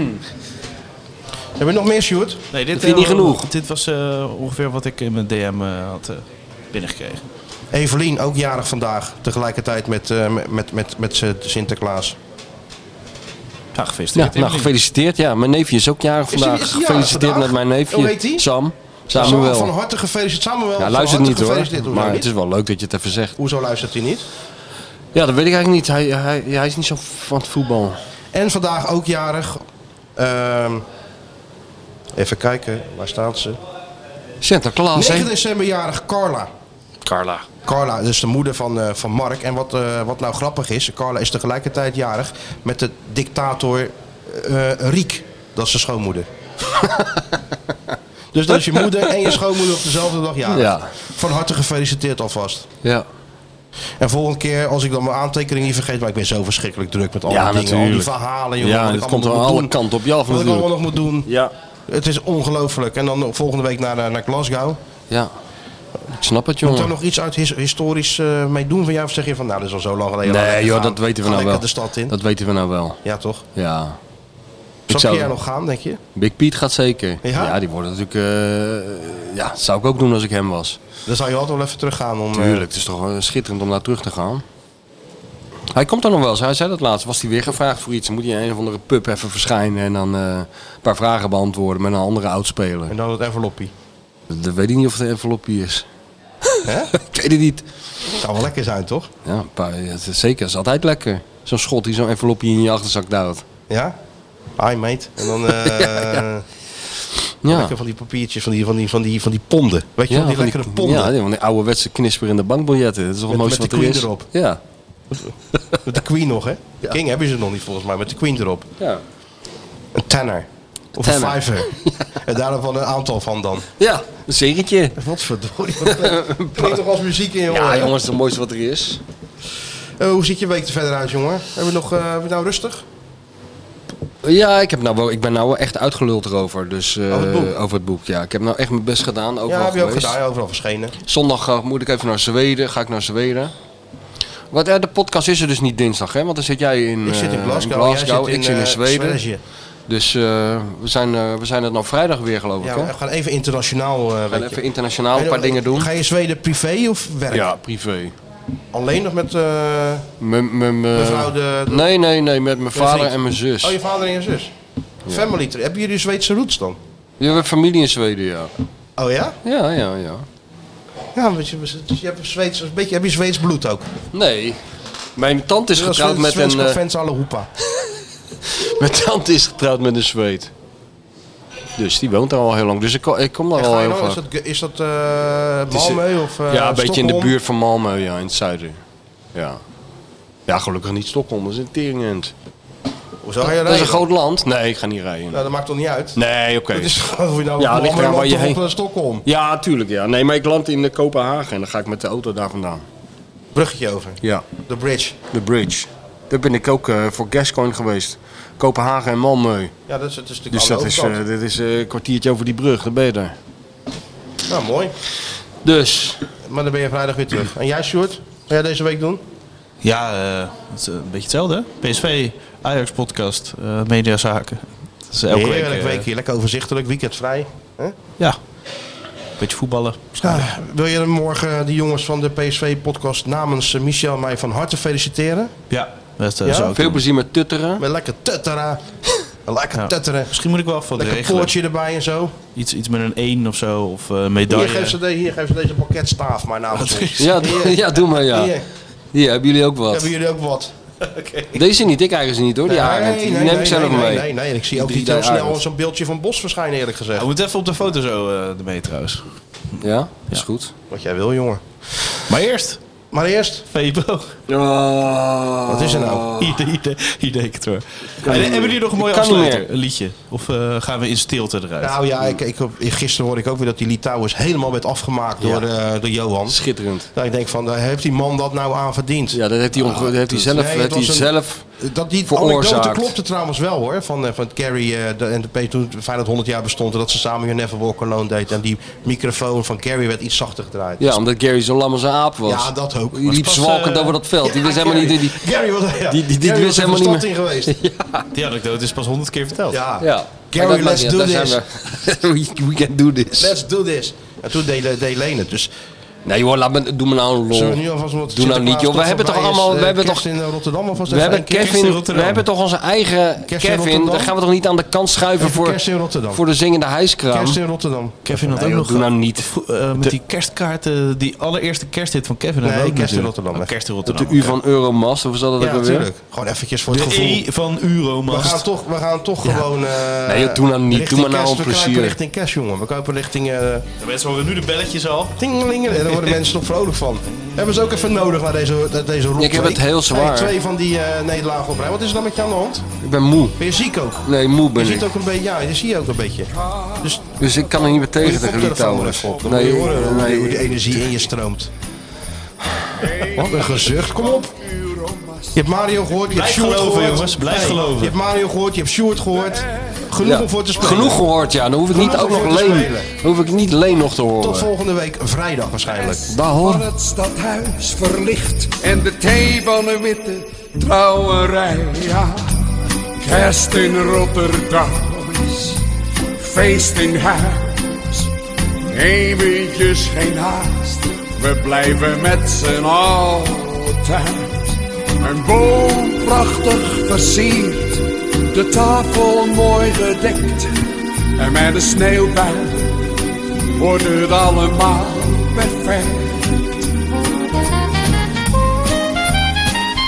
[SPEAKER 4] Hebben we nog meer, Sjoerd?
[SPEAKER 6] Nee, dit,
[SPEAKER 4] vind je niet
[SPEAKER 6] eh,
[SPEAKER 4] genoeg?
[SPEAKER 6] Dit was eh, ongeveer wat ik in mijn DM eh, had eh, binnengekregen.
[SPEAKER 4] Evelien, ook jarig vandaag. Tegelijkertijd met, eh, met, met, met, met z'n Sinterklaas.
[SPEAKER 6] Ja,
[SPEAKER 5] Ja, nou, gefeliciteerd. Ja, mijn neefje is ook jarig
[SPEAKER 4] die-
[SPEAKER 5] vandaag.
[SPEAKER 4] is die jarig
[SPEAKER 5] gefeliciteerd
[SPEAKER 4] vandaag?
[SPEAKER 5] met mijn neefje.
[SPEAKER 4] Hoe heet die?
[SPEAKER 5] Sam.
[SPEAKER 4] Samuel, Van
[SPEAKER 5] Samuel.
[SPEAKER 4] harte gefeliciteerd. Samuel,
[SPEAKER 5] Ja,
[SPEAKER 4] van
[SPEAKER 5] luistert
[SPEAKER 4] harte
[SPEAKER 5] niet
[SPEAKER 4] gefeliciteerd.
[SPEAKER 5] hoor.
[SPEAKER 4] Hoezo
[SPEAKER 5] Maar
[SPEAKER 4] niet?
[SPEAKER 5] het is wel leuk dat je het even zegt.
[SPEAKER 4] Hoezo luistert hij niet?
[SPEAKER 5] Ja, dat weet ik eigenlijk niet. Hij, hij, hij is niet zo van het voetbal.
[SPEAKER 4] En vandaag ook jarig. Ehm, even kijken, waar staat ze?
[SPEAKER 5] Sinterklaas,
[SPEAKER 4] 9
[SPEAKER 5] hè?
[SPEAKER 4] december jarig Carla.
[SPEAKER 5] Carla.
[SPEAKER 4] Carla, dat is de moeder van, eh, van Mark. En wat, eh, wat nou grappig is, Carla is tegelijkertijd jarig met de dictator eh, Riek. Dat is zijn schoonmoeder. dus dat is je moeder en je schoonmoeder op dezelfde dag jarig.
[SPEAKER 5] Ja.
[SPEAKER 4] Van harte gefeliciteerd alvast.
[SPEAKER 5] Ja.
[SPEAKER 4] En volgende keer, als ik dan mijn aantekening niet vergeet, maar ik ben zo verschrikkelijk druk met al die
[SPEAKER 5] Ja,
[SPEAKER 4] dingen, al die
[SPEAKER 5] natuurlijk.
[SPEAKER 4] verhalen. Joh,
[SPEAKER 5] Ja,
[SPEAKER 4] wat ik
[SPEAKER 5] het
[SPEAKER 4] allemaal
[SPEAKER 5] komt
[SPEAKER 4] moet
[SPEAKER 5] aan alle
[SPEAKER 4] doen.
[SPEAKER 5] kanten op je
[SPEAKER 4] Wat
[SPEAKER 5] af
[SPEAKER 4] ik
[SPEAKER 5] natuurlijk.
[SPEAKER 4] allemaal nog moet doen.
[SPEAKER 5] Ja.
[SPEAKER 4] Het is ongelooflijk. En dan volgende week naar, eh, naar Glasgow.
[SPEAKER 5] Ja. Ik snap het,
[SPEAKER 4] Moet er
[SPEAKER 5] jongen.
[SPEAKER 4] nog iets uit his- historisch eh, mee doen van jou? Of zeg je van, nou, dat is al zo lang geleden. Laat
[SPEAKER 5] Nee,
[SPEAKER 4] lekker
[SPEAKER 5] joh,
[SPEAKER 4] gaan.
[SPEAKER 5] dat weten
[SPEAKER 4] Ga
[SPEAKER 5] we nou
[SPEAKER 4] lekker
[SPEAKER 5] wel.
[SPEAKER 4] de stad in.
[SPEAKER 5] Dat weten we nou wel.
[SPEAKER 4] Ja, toch?
[SPEAKER 5] Ja.
[SPEAKER 4] Zou,
[SPEAKER 5] zou-
[SPEAKER 4] jij nog gaan, denk je?
[SPEAKER 5] Big Pete gaat zeker.
[SPEAKER 4] Ja?
[SPEAKER 5] Ja, die worden natuurlijk... eh, ja, dat zou ik ook doen als ik hem was.
[SPEAKER 4] Dan zou je altijd wel even teruggaan om... eh,
[SPEAKER 5] Tuurlijk, het is toch wel schitterend om naar terug te gaan. Hij komt er nog wel eens. Hij zei dat laatst. Was hij weer gevraagd voor iets? Dan moet hij in een of andere pub even verschijnen en dan eh, een paar vragen beantwoorden met een andere oudspeler.
[SPEAKER 4] En dan het enveloppie.
[SPEAKER 5] Dat weet ik niet of het een enveloppie is.
[SPEAKER 4] Hè?
[SPEAKER 5] ik weet het niet.
[SPEAKER 4] Zou wel lekker zijn, toch?
[SPEAKER 5] Ja, een paar, ja, het is zeker. Dat is altijd lekker. Zo'n schot die zo'n enveloppie in je achterzak duwt.
[SPEAKER 4] Ja? Hi, mate. En dan... eh
[SPEAKER 5] Ja, Ja.
[SPEAKER 4] Lekker van die papiertjes, van die, van die, van die, van die ponden. Weet je wel, die
[SPEAKER 5] van
[SPEAKER 4] lekkere ponden.
[SPEAKER 5] Ja, van die ouderwetse knisperende bankbiljetten. Dat is toch het
[SPEAKER 4] Met-
[SPEAKER 5] mooiste
[SPEAKER 4] met
[SPEAKER 5] wat
[SPEAKER 4] de
[SPEAKER 5] er
[SPEAKER 4] queen
[SPEAKER 5] is.
[SPEAKER 4] erop.
[SPEAKER 5] Ja.
[SPEAKER 4] Met de Queen nog, hè? King hebben ze nog niet, volgens mij. Met de Queen erop.
[SPEAKER 5] Ja.
[SPEAKER 4] Een tenner. Of
[SPEAKER 5] Tenner.
[SPEAKER 4] een vijver. En daar van een aantal van dan.
[SPEAKER 5] Ja, een zegentje.
[SPEAKER 4] Wat verdorie. wat- Klinkt toch als muziek in je
[SPEAKER 5] Ja,
[SPEAKER 4] oren?
[SPEAKER 5] jongens, het is het mooiste wat er is.
[SPEAKER 4] Eh, hoe ziet je week er verder uit, jongen? Hebben we nog eh, hebben we nou rustig?
[SPEAKER 5] Ja, ik, heb nou wel, ik ben nou wel echt uitgeluld erover. Dus, eh,
[SPEAKER 4] Over het boek?
[SPEAKER 5] Over het boek, ja. Ik heb nou echt mijn best gedaan. Overal
[SPEAKER 4] ja, heb je ook
[SPEAKER 5] geweest.
[SPEAKER 4] gedaan. Overal verschenen.
[SPEAKER 5] Zondag eh, moet ik even naar Zweden. Ga ik naar Zweden. Wat, eh, de podcast is er dus niet dinsdag, hè? Want dan zit jij in,
[SPEAKER 4] Ik zit in
[SPEAKER 5] eh,
[SPEAKER 4] Glasgow, jij zit
[SPEAKER 5] ik
[SPEAKER 4] in,
[SPEAKER 5] zit in
[SPEAKER 4] eh,
[SPEAKER 5] Zweden.
[SPEAKER 4] Sverige.
[SPEAKER 5] Dus eh, we, zijn, eh, we zijn het nou vrijdag weer, geloof ik,
[SPEAKER 4] Ja,
[SPEAKER 5] hè?
[SPEAKER 4] we gaan even internationaal. eh,
[SPEAKER 5] gaan
[SPEAKER 4] weet je.
[SPEAKER 5] even internationaal een
[SPEAKER 4] Hey,
[SPEAKER 5] paar dingen doen.
[SPEAKER 4] Ga je Zweden privé of werk?
[SPEAKER 5] Ja, privé.
[SPEAKER 4] Alleen nog met eh
[SPEAKER 5] Mijn- mijn- mijn-
[SPEAKER 4] mevrouw de... de-
[SPEAKER 5] Nee, nee, nee. Met mijn
[SPEAKER 4] de
[SPEAKER 5] vader
[SPEAKER 4] vriend?
[SPEAKER 5] en mijn zus.
[SPEAKER 4] Oh, je vader en je zus.
[SPEAKER 5] Dus- Ja.
[SPEAKER 4] Family trip. Hebben jullie Zweedse roots dan?
[SPEAKER 5] Je hebt familie in Zweden, ja.
[SPEAKER 4] Oh ja?
[SPEAKER 5] Ja, ja, ja.
[SPEAKER 4] Ja, want je, dus je hebt Zweeds, een beetje, heb je Zweeds bloed ook?
[SPEAKER 5] Nee. Mijn tante is getrouwd met een... eh,
[SPEAKER 4] fans alle hoepa.
[SPEAKER 5] Mijn tante is getrouwd met een Zweed. Dus die woont daar al heel lang. Dus ik kom, ik kom daar
[SPEAKER 4] En
[SPEAKER 5] al
[SPEAKER 4] ga je
[SPEAKER 5] heel
[SPEAKER 4] nou-
[SPEAKER 5] vaak.
[SPEAKER 4] is dat, is dat eh,
[SPEAKER 5] Het is-
[SPEAKER 4] Malmö of eh,
[SPEAKER 5] Ja, een beetje in de
[SPEAKER 4] Stockholm?
[SPEAKER 5] buurt van Malmö, ja, in het zuiden. Ja. Ja, gelukkig niet Stockholm, dat is een teringend.
[SPEAKER 4] Hoezo ga je
[SPEAKER 5] Dat is een
[SPEAKER 4] rijden?
[SPEAKER 5] groot land. Nee, ik ga niet rijden.
[SPEAKER 4] Nou, dat maakt toch niet uit?
[SPEAKER 5] Nee, oké.
[SPEAKER 4] Het is gewoon of je nou
[SPEAKER 5] Ja,
[SPEAKER 4] ja,
[SPEAKER 5] ligt eraan waar je
[SPEAKER 4] of
[SPEAKER 5] heen-
[SPEAKER 4] eh, Stockholm.
[SPEAKER 5] Ja, tuurlijk, ja. Nee, maar ik land in eh, Kopenhagen en dan ga ik met de auto daar vandaan.
[SPEAKER 4] Bruggetje over.
[SPEAKER 5] Ja.
[SPEAKER 4] De bridge.
[SPEAKER 5] De bridge. Daar ben ik ook eh, voor Gascoin geweest. Kopenhagen en Malmö.
[SPEAKER 4] Ja, dat is, dat is natuurlijk
[SPEAKER 5] Dus
[SPEAKER 4] aan de
[SPEAKER 5] dat is,
[SPEAKER 4] overkant.
[SPEAKER 5] eh, dit is eh, een kwartiertje over die brug, dan ben je daar.
[SPEAKER 4] Nou, mooi.
[SPEAKER 5] Dus.
[SPEAKER 4] Maar dan ben je vrijdag weer terug. En jij, Sjoerd? Wat ga jij deze week doen?
[SPEAKER 6] Ja, eh, het is een beetje hetzelfde. hè? PSV, Ajax podcast, eh, mediazaken. Dat is elke week.
[SPEAKER 4] Heerlijk
[SPEAKER 6] eh,
[SPEAKER 4] weekje. Lekker overzichtelijk. Weekend vrij. Hè?
[SPEAKER 6] ja. Beetje voetballen.
[SPEAKER 4] Ah, wil je dan morgen de jongens van de PSV-podcast namens eh, Michel en mij van harte feliciteren?
[SPEAKER 6] Ja, dat eh,
[SPEAKER 4] Ja?
[SPEAKER 6] zou ik
[SPEAKER 5] Veel
[SPEAKER 6] doen.
[SPEAKER 5] plezier met tutteren.
[SPEAKER 4] Met lekker tuttera. Lekker tetteren.
[SPEAKER 6] Misschien moet ik wel van
[SPEAKER 4] Lekker poortje erbij en zo.
[SPEAKER 6] Iets, iets met een 1 of zo, of eh medaille.
[SPEAKER 4] Hier geef, ze de, hier geef ze deze pakketstaaf maar namens
[SPEAKER 15] Ja,
[SPEAKER 4] Hier.
[SPEAKER 15] ja, doe maar ja.
[SPEAKER 4] Hier.
[SPEAKER 15] Hier, hebben jullie ook wat?
[SPEAKER 4] Hebben jullie ook wat?
[SPEAKER 15] Deze niet, ik eigenlijk niet hoor, die arend. Die neem ik zelf
[SPEAKER 4] nee,
[SPEAKER 15] mee.
[SPEAKER 4] Nee, nee, nee, ik zie ook
[SPEAKER 15] Die
[SPEAKER 4] niet heel
[SPEAKER 15] drie
[SPEAKER 4] snel
[SPEAKER 15] arends.
[SPEAKER 4] zo'n beeldje van Bos verschijnen eerlijk gezegd.
[SPEAKER 6] Hij moet even op de foto zo eh ermee trouwens.
[SPEAKER 15] Ja, is goed.
[SPEAKER 4] Wat jij wil, jongen.
[SPEAKER 6] Maar eerst.
[SPEAKER 4] Maar eerst.
[SPEAKER 6] Febo.
[SPEAKER 4] Wat is er
[SPEAKER 15] Oh.
[SPEAKER 4] nou?
[SPEAKER 6] Idee, idee, idee, het hoor.
[SPEAKER 4] kan
[SPEAKER 6] En, eh,
[SPEAKER 4] niet
[SPEAKER 6] hebben
[SPEAKER 4] meer.
[SPEAKER 6] jullie nog een mooie
[SPEAKER 4] Ik kan niet
[SPEAKER 6] afsluiter? Een liedje? Of eh, gaan we in stilte eruit?
[SPEAKER 4] Nou ja, ik, ik, gisteren hoorde ik ook weer dat die Litouwers helemaal werd afgemaakt door, eh, door Johan. Nou,
[SPEAKER 15] Schitterend.
[SPEAKER 4] ik denk van, daar heeft die man dat nou aan verdiend? Ja,
[SPEAKER 15] dat heeft hij, onge- dat heeft hij zelf, heeft hij zelf
[SPEAKER 4] dat die anekdote
[SPEAKER 15] veroorzaakt.
[SPEAKER 4] klopte trouwens wel hoor. Van, eh, van Carrie eh, de- en de P toen Feyenoord 100 jaar bestond. En dat ze samen Your Never Walk Alone deed. En die microfoon van Carrie werd iets zachter gedraaid.
[SPEAKER 15] Ja, omdat Gary zo lam als een aap was.
[SPEAKER 4] Ja, dat ook.
[SPEAKER 15] Die liep
[SPEAKER 4] Pas,
[SPEAKER 15] zwalkend
[SPEAKER 4] eh,
[SPEAKER 15] over dat veld. Die
[SPEAKER 4] ja,
[SPEAKER 15] wist helemaal niet...
[SPEAKER 4] Gary.
[SPEAKER 15] Die,
[SPEAKER 4] Gary was, ja.
[SPEAKER 15] die, die, die
[SPEAKER 4] Gary
[SPEAKER 15] wist
[SPEAKER 4] was
[SPEAKER 15] helemaal niet
[SPEAKER 4] in
[SPEAKER 15] meer...
[SPEAKER 4] geweest.
[SPEAKER 6] Die anekdote is pas honderd keer verteld.
[SPEAKER 4] Ja.
[SPEAKER 15] Ja.
[SPEAKER 4] Gary,
[SPEAKER 15] Maar dat
[SPEAKER 4] let's
[SPEAKER 15] maakt
[SPEAKER 4] do
[SPEAKER 15] niet uit,
[SPEAKER 4] this.
[SPEAKER 15] daar zijn we. we, we can do this.
[SPEAKER 4] Let's do this. En toen deed, deed Leen het. Dus
[SPEAKER 15] Nee joh, laat me, doe me nou een lol.
[SPEAKER 4] Zullen we nu alvast wat
[SPEAKER 15] doe nou niet joh, we hebben toch allemaal... we hebben toch,
[SPEAKER 4] kerst in eh, Rotterdam alvast
[SPEAKER 15] we
[SPEAKER 4] even
[SPEAKER 15] hebben
[SPEAKER 4] een kerst in
[SPEAKER 15] Kevin, we
[SPEAKER 4] Rotterdam.
[SPEAKER 15] hebben toch onze eigen
[SPEAKER 4] Kerst in
[SPEAKER 15] Kevin.
[SPEAKER 4] Rotterdam.
[SPEAKER 15] Dan gaan we toch niet aan de kant schuiven
[SPEAKER 4] Even
[SPEAKER 15] voor,
[SPEAKER 4] kerst in Rotterdam.
[SPEAKER 15] voor de zingende hijskraam.
[SPEAKER 4] Kerst in Rotterdam.
[SPEAKER 6] Kevin had
[SPEAKER 15] Nee,
[SPEAKER 6] ook
[SPEAKER 15] joh,
[SPEAKER 6] nog...
[SPEAKER 15] doe nou niet.
[SPEAKER 6] Vo- eh, met die kerstkaarten, die allereerste kersthit van Kevin.
[SPEAKER 15] Nee,
[SPEAKER 6] hebben we ook
[SPEAKER 15] Kerst in
[SPEAKER 6] natuurlijk.
[SPEAKER 15] Rotterdam,
[SPEAKER 6] Oh, kerst in
[SPEAKER 15] Op de
[SPEAKER 6] Rotterdam.
[SPEAKER 15] U van Euromast, of is dat
[SPEAKER 4] Ja,
[SPEAKER 15] ook alweer?
[SPEAKER 4] natuurlijk. Gewoon eventjes voor het
[SPEAKER 6] De
[SPEAKER 4] gevoel.
[SPEAKER 6] E van Euromast.
[SPEAKER 4] We gaan toch, we gaan toch gewoon... eh,
[SPEAKER 15] Nee, joh, doe nou niet. Doe
[SPEAKER 4] richting
[SPEAKER 15] maar nou
[SPEAKER 4] kerst.
[SPEAKER 15] een
[SPEAKER 4] We
[SPEAKER 15] plezier.
[SPEAKER 4] kruipen richting kerst, jongen. We kruipen richting... eh
[SPEAKER 6] De mensen horen nu de belletjes al.
[SPEAKER 4] tingelingelen. Daar worden mensen toch vrolijk van. Hebben ze ook even nodig naar deze, naar deze rotweek.
[SPEAKER 15] Ik heb het heel zwaar.
[SPEAKER 4] Hey, twee van die eh nederlagen op rij. Wat is er dan met je aan de hand?
[SPEAKER 15] Ik ben moe.
[SPEAKER 4] Ben je ziek ook?
[SPEAKER 15] Nee, moe ben
[SPEAKER 4] je
[SPEAKER 15] ik.
[SPEAKER 4] ziet ook een beetje... Ja, je ziet je ook een beetje. Dus
[SPEAKER 15] Dus ik kan er niet meer tegen
[SPEAKER 4] Doe je
[SPEAKER 15] tegen die
[SPEAKER 4] koptelefoon
[SPEAKER 15] touwen.
[SPEAKER 4] even op. Dan moet je horen hoe die- hoe die energie in je stroomt. Wat een gezucht. Kom op. Je hebt Mario gehoord, je hebt
[SPEAKER 6] Blijf
[SPEAKER 4] Sjoerd
[SPEAKER 6] geloven,
[SPEAKER 4] gehoord.
[SPEAKER 6] jongens, blijf
[SPEAKER 4] Nee,
[SPEAKER 6] geloven.
[SPEAKER 4] Je hebt Mario gehoord, je hebt Sjoerd gehoord. Genoeg
[SPEAKER 15] Ja,
[SPEAKER 4] om voor te spelen.
[SPEAKER 15] Genoeg gehoord, ja. Dan hoef ik niet
[SPEAKER 4] Genoeg
[SPEAKER 15] ook
[SPEAKER 4] om
[SPEAKER 15] nog
[SPEAKER 4] voor te
[SPEAKER 15] leen.
[SPEAKER 4] spelen.
[SPEAKER 15] Dan hoef ik niet leen nog te
[SPEAKER 4] Tot
[SPEAKER 15] horen.
[SPEAKER 4] volgende week vrijdag waarschijnlijk.
[SPEAKER 15] Daar hoor.
[SPEAKER 5] Van het stadhuis verlicht en de thee van een witte trouwerij. Ja, kerst in Rotterdam is feest in huis. Eventjes geen haast, we blijven met z'n allen thuis. Een boom prachtig versierd, de tafel mooi gedekt. En met een sneeuwbui wordt het allemaal perfect.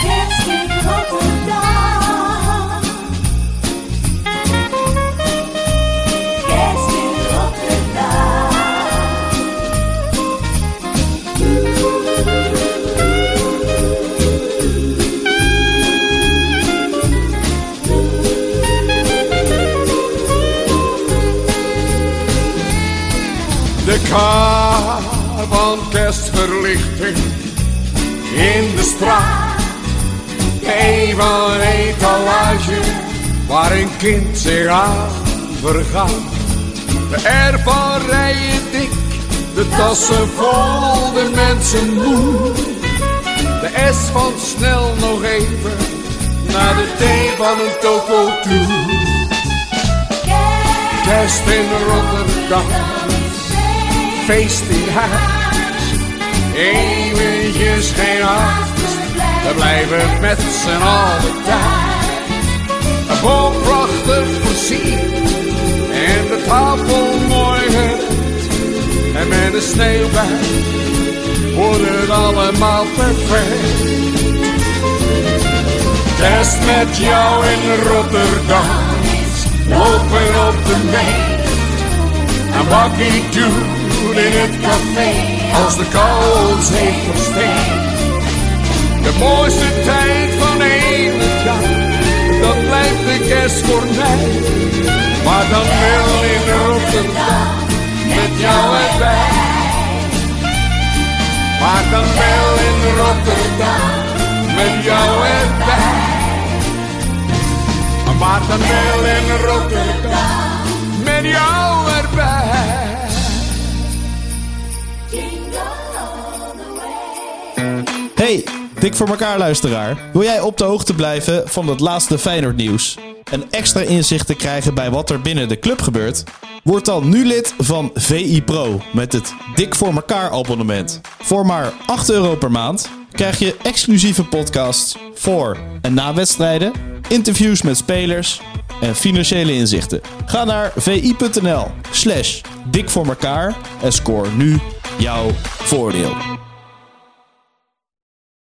[SPEAKER 16] Kerst in Rotterdam. Kerst in Rotterdam.
[SPEAKER 5] De kar van kerstverlichting in de straat. De een van een etalage waar een kind zich aan vergaat. De ervan rijden dik, de tassen vol, de mensen moe. De S van snel nog even naar de T van een toko toe. Kerst in Rotterdam feest in huis. Eventjes geen haast, we blijven met z'n allen thuis. Een boom prachtig versierd en de tafel mooi gedekt. En met een sneeuwbui wordt het allemaal perfect. Kerst met jou in Rotterdam, lopen op de mee. En bakkie doen in het café, als de kou ons heeft versteend. De mooiste tijd van één jaar, dat blijft de kerstkornij. Maar dan wel in Rotterdam, met jou erbij. Maar dan wel in Rotterdam, met jou erbij. Maar dan wel in Rotterdam, met jou erbij.
[SPEAKER 6] Hey, dik voor elkaar luisteraar. Wil jij op de hoogte blijven van het laatste Feyenoord nieuws? En extra inzicht te krijgen bij wat er binnen de club gebeurt? Word dan nu lid van VI Pro met het Dik voor elkaar abonnement. Voor maar 8 euro per maand krijg je exclusieve podcasts voor en na wedstrijden, interviews met spelers en financiële inzichten. Ga naar vi.nl slash dik voor elkaar en score nu jouw voordeel.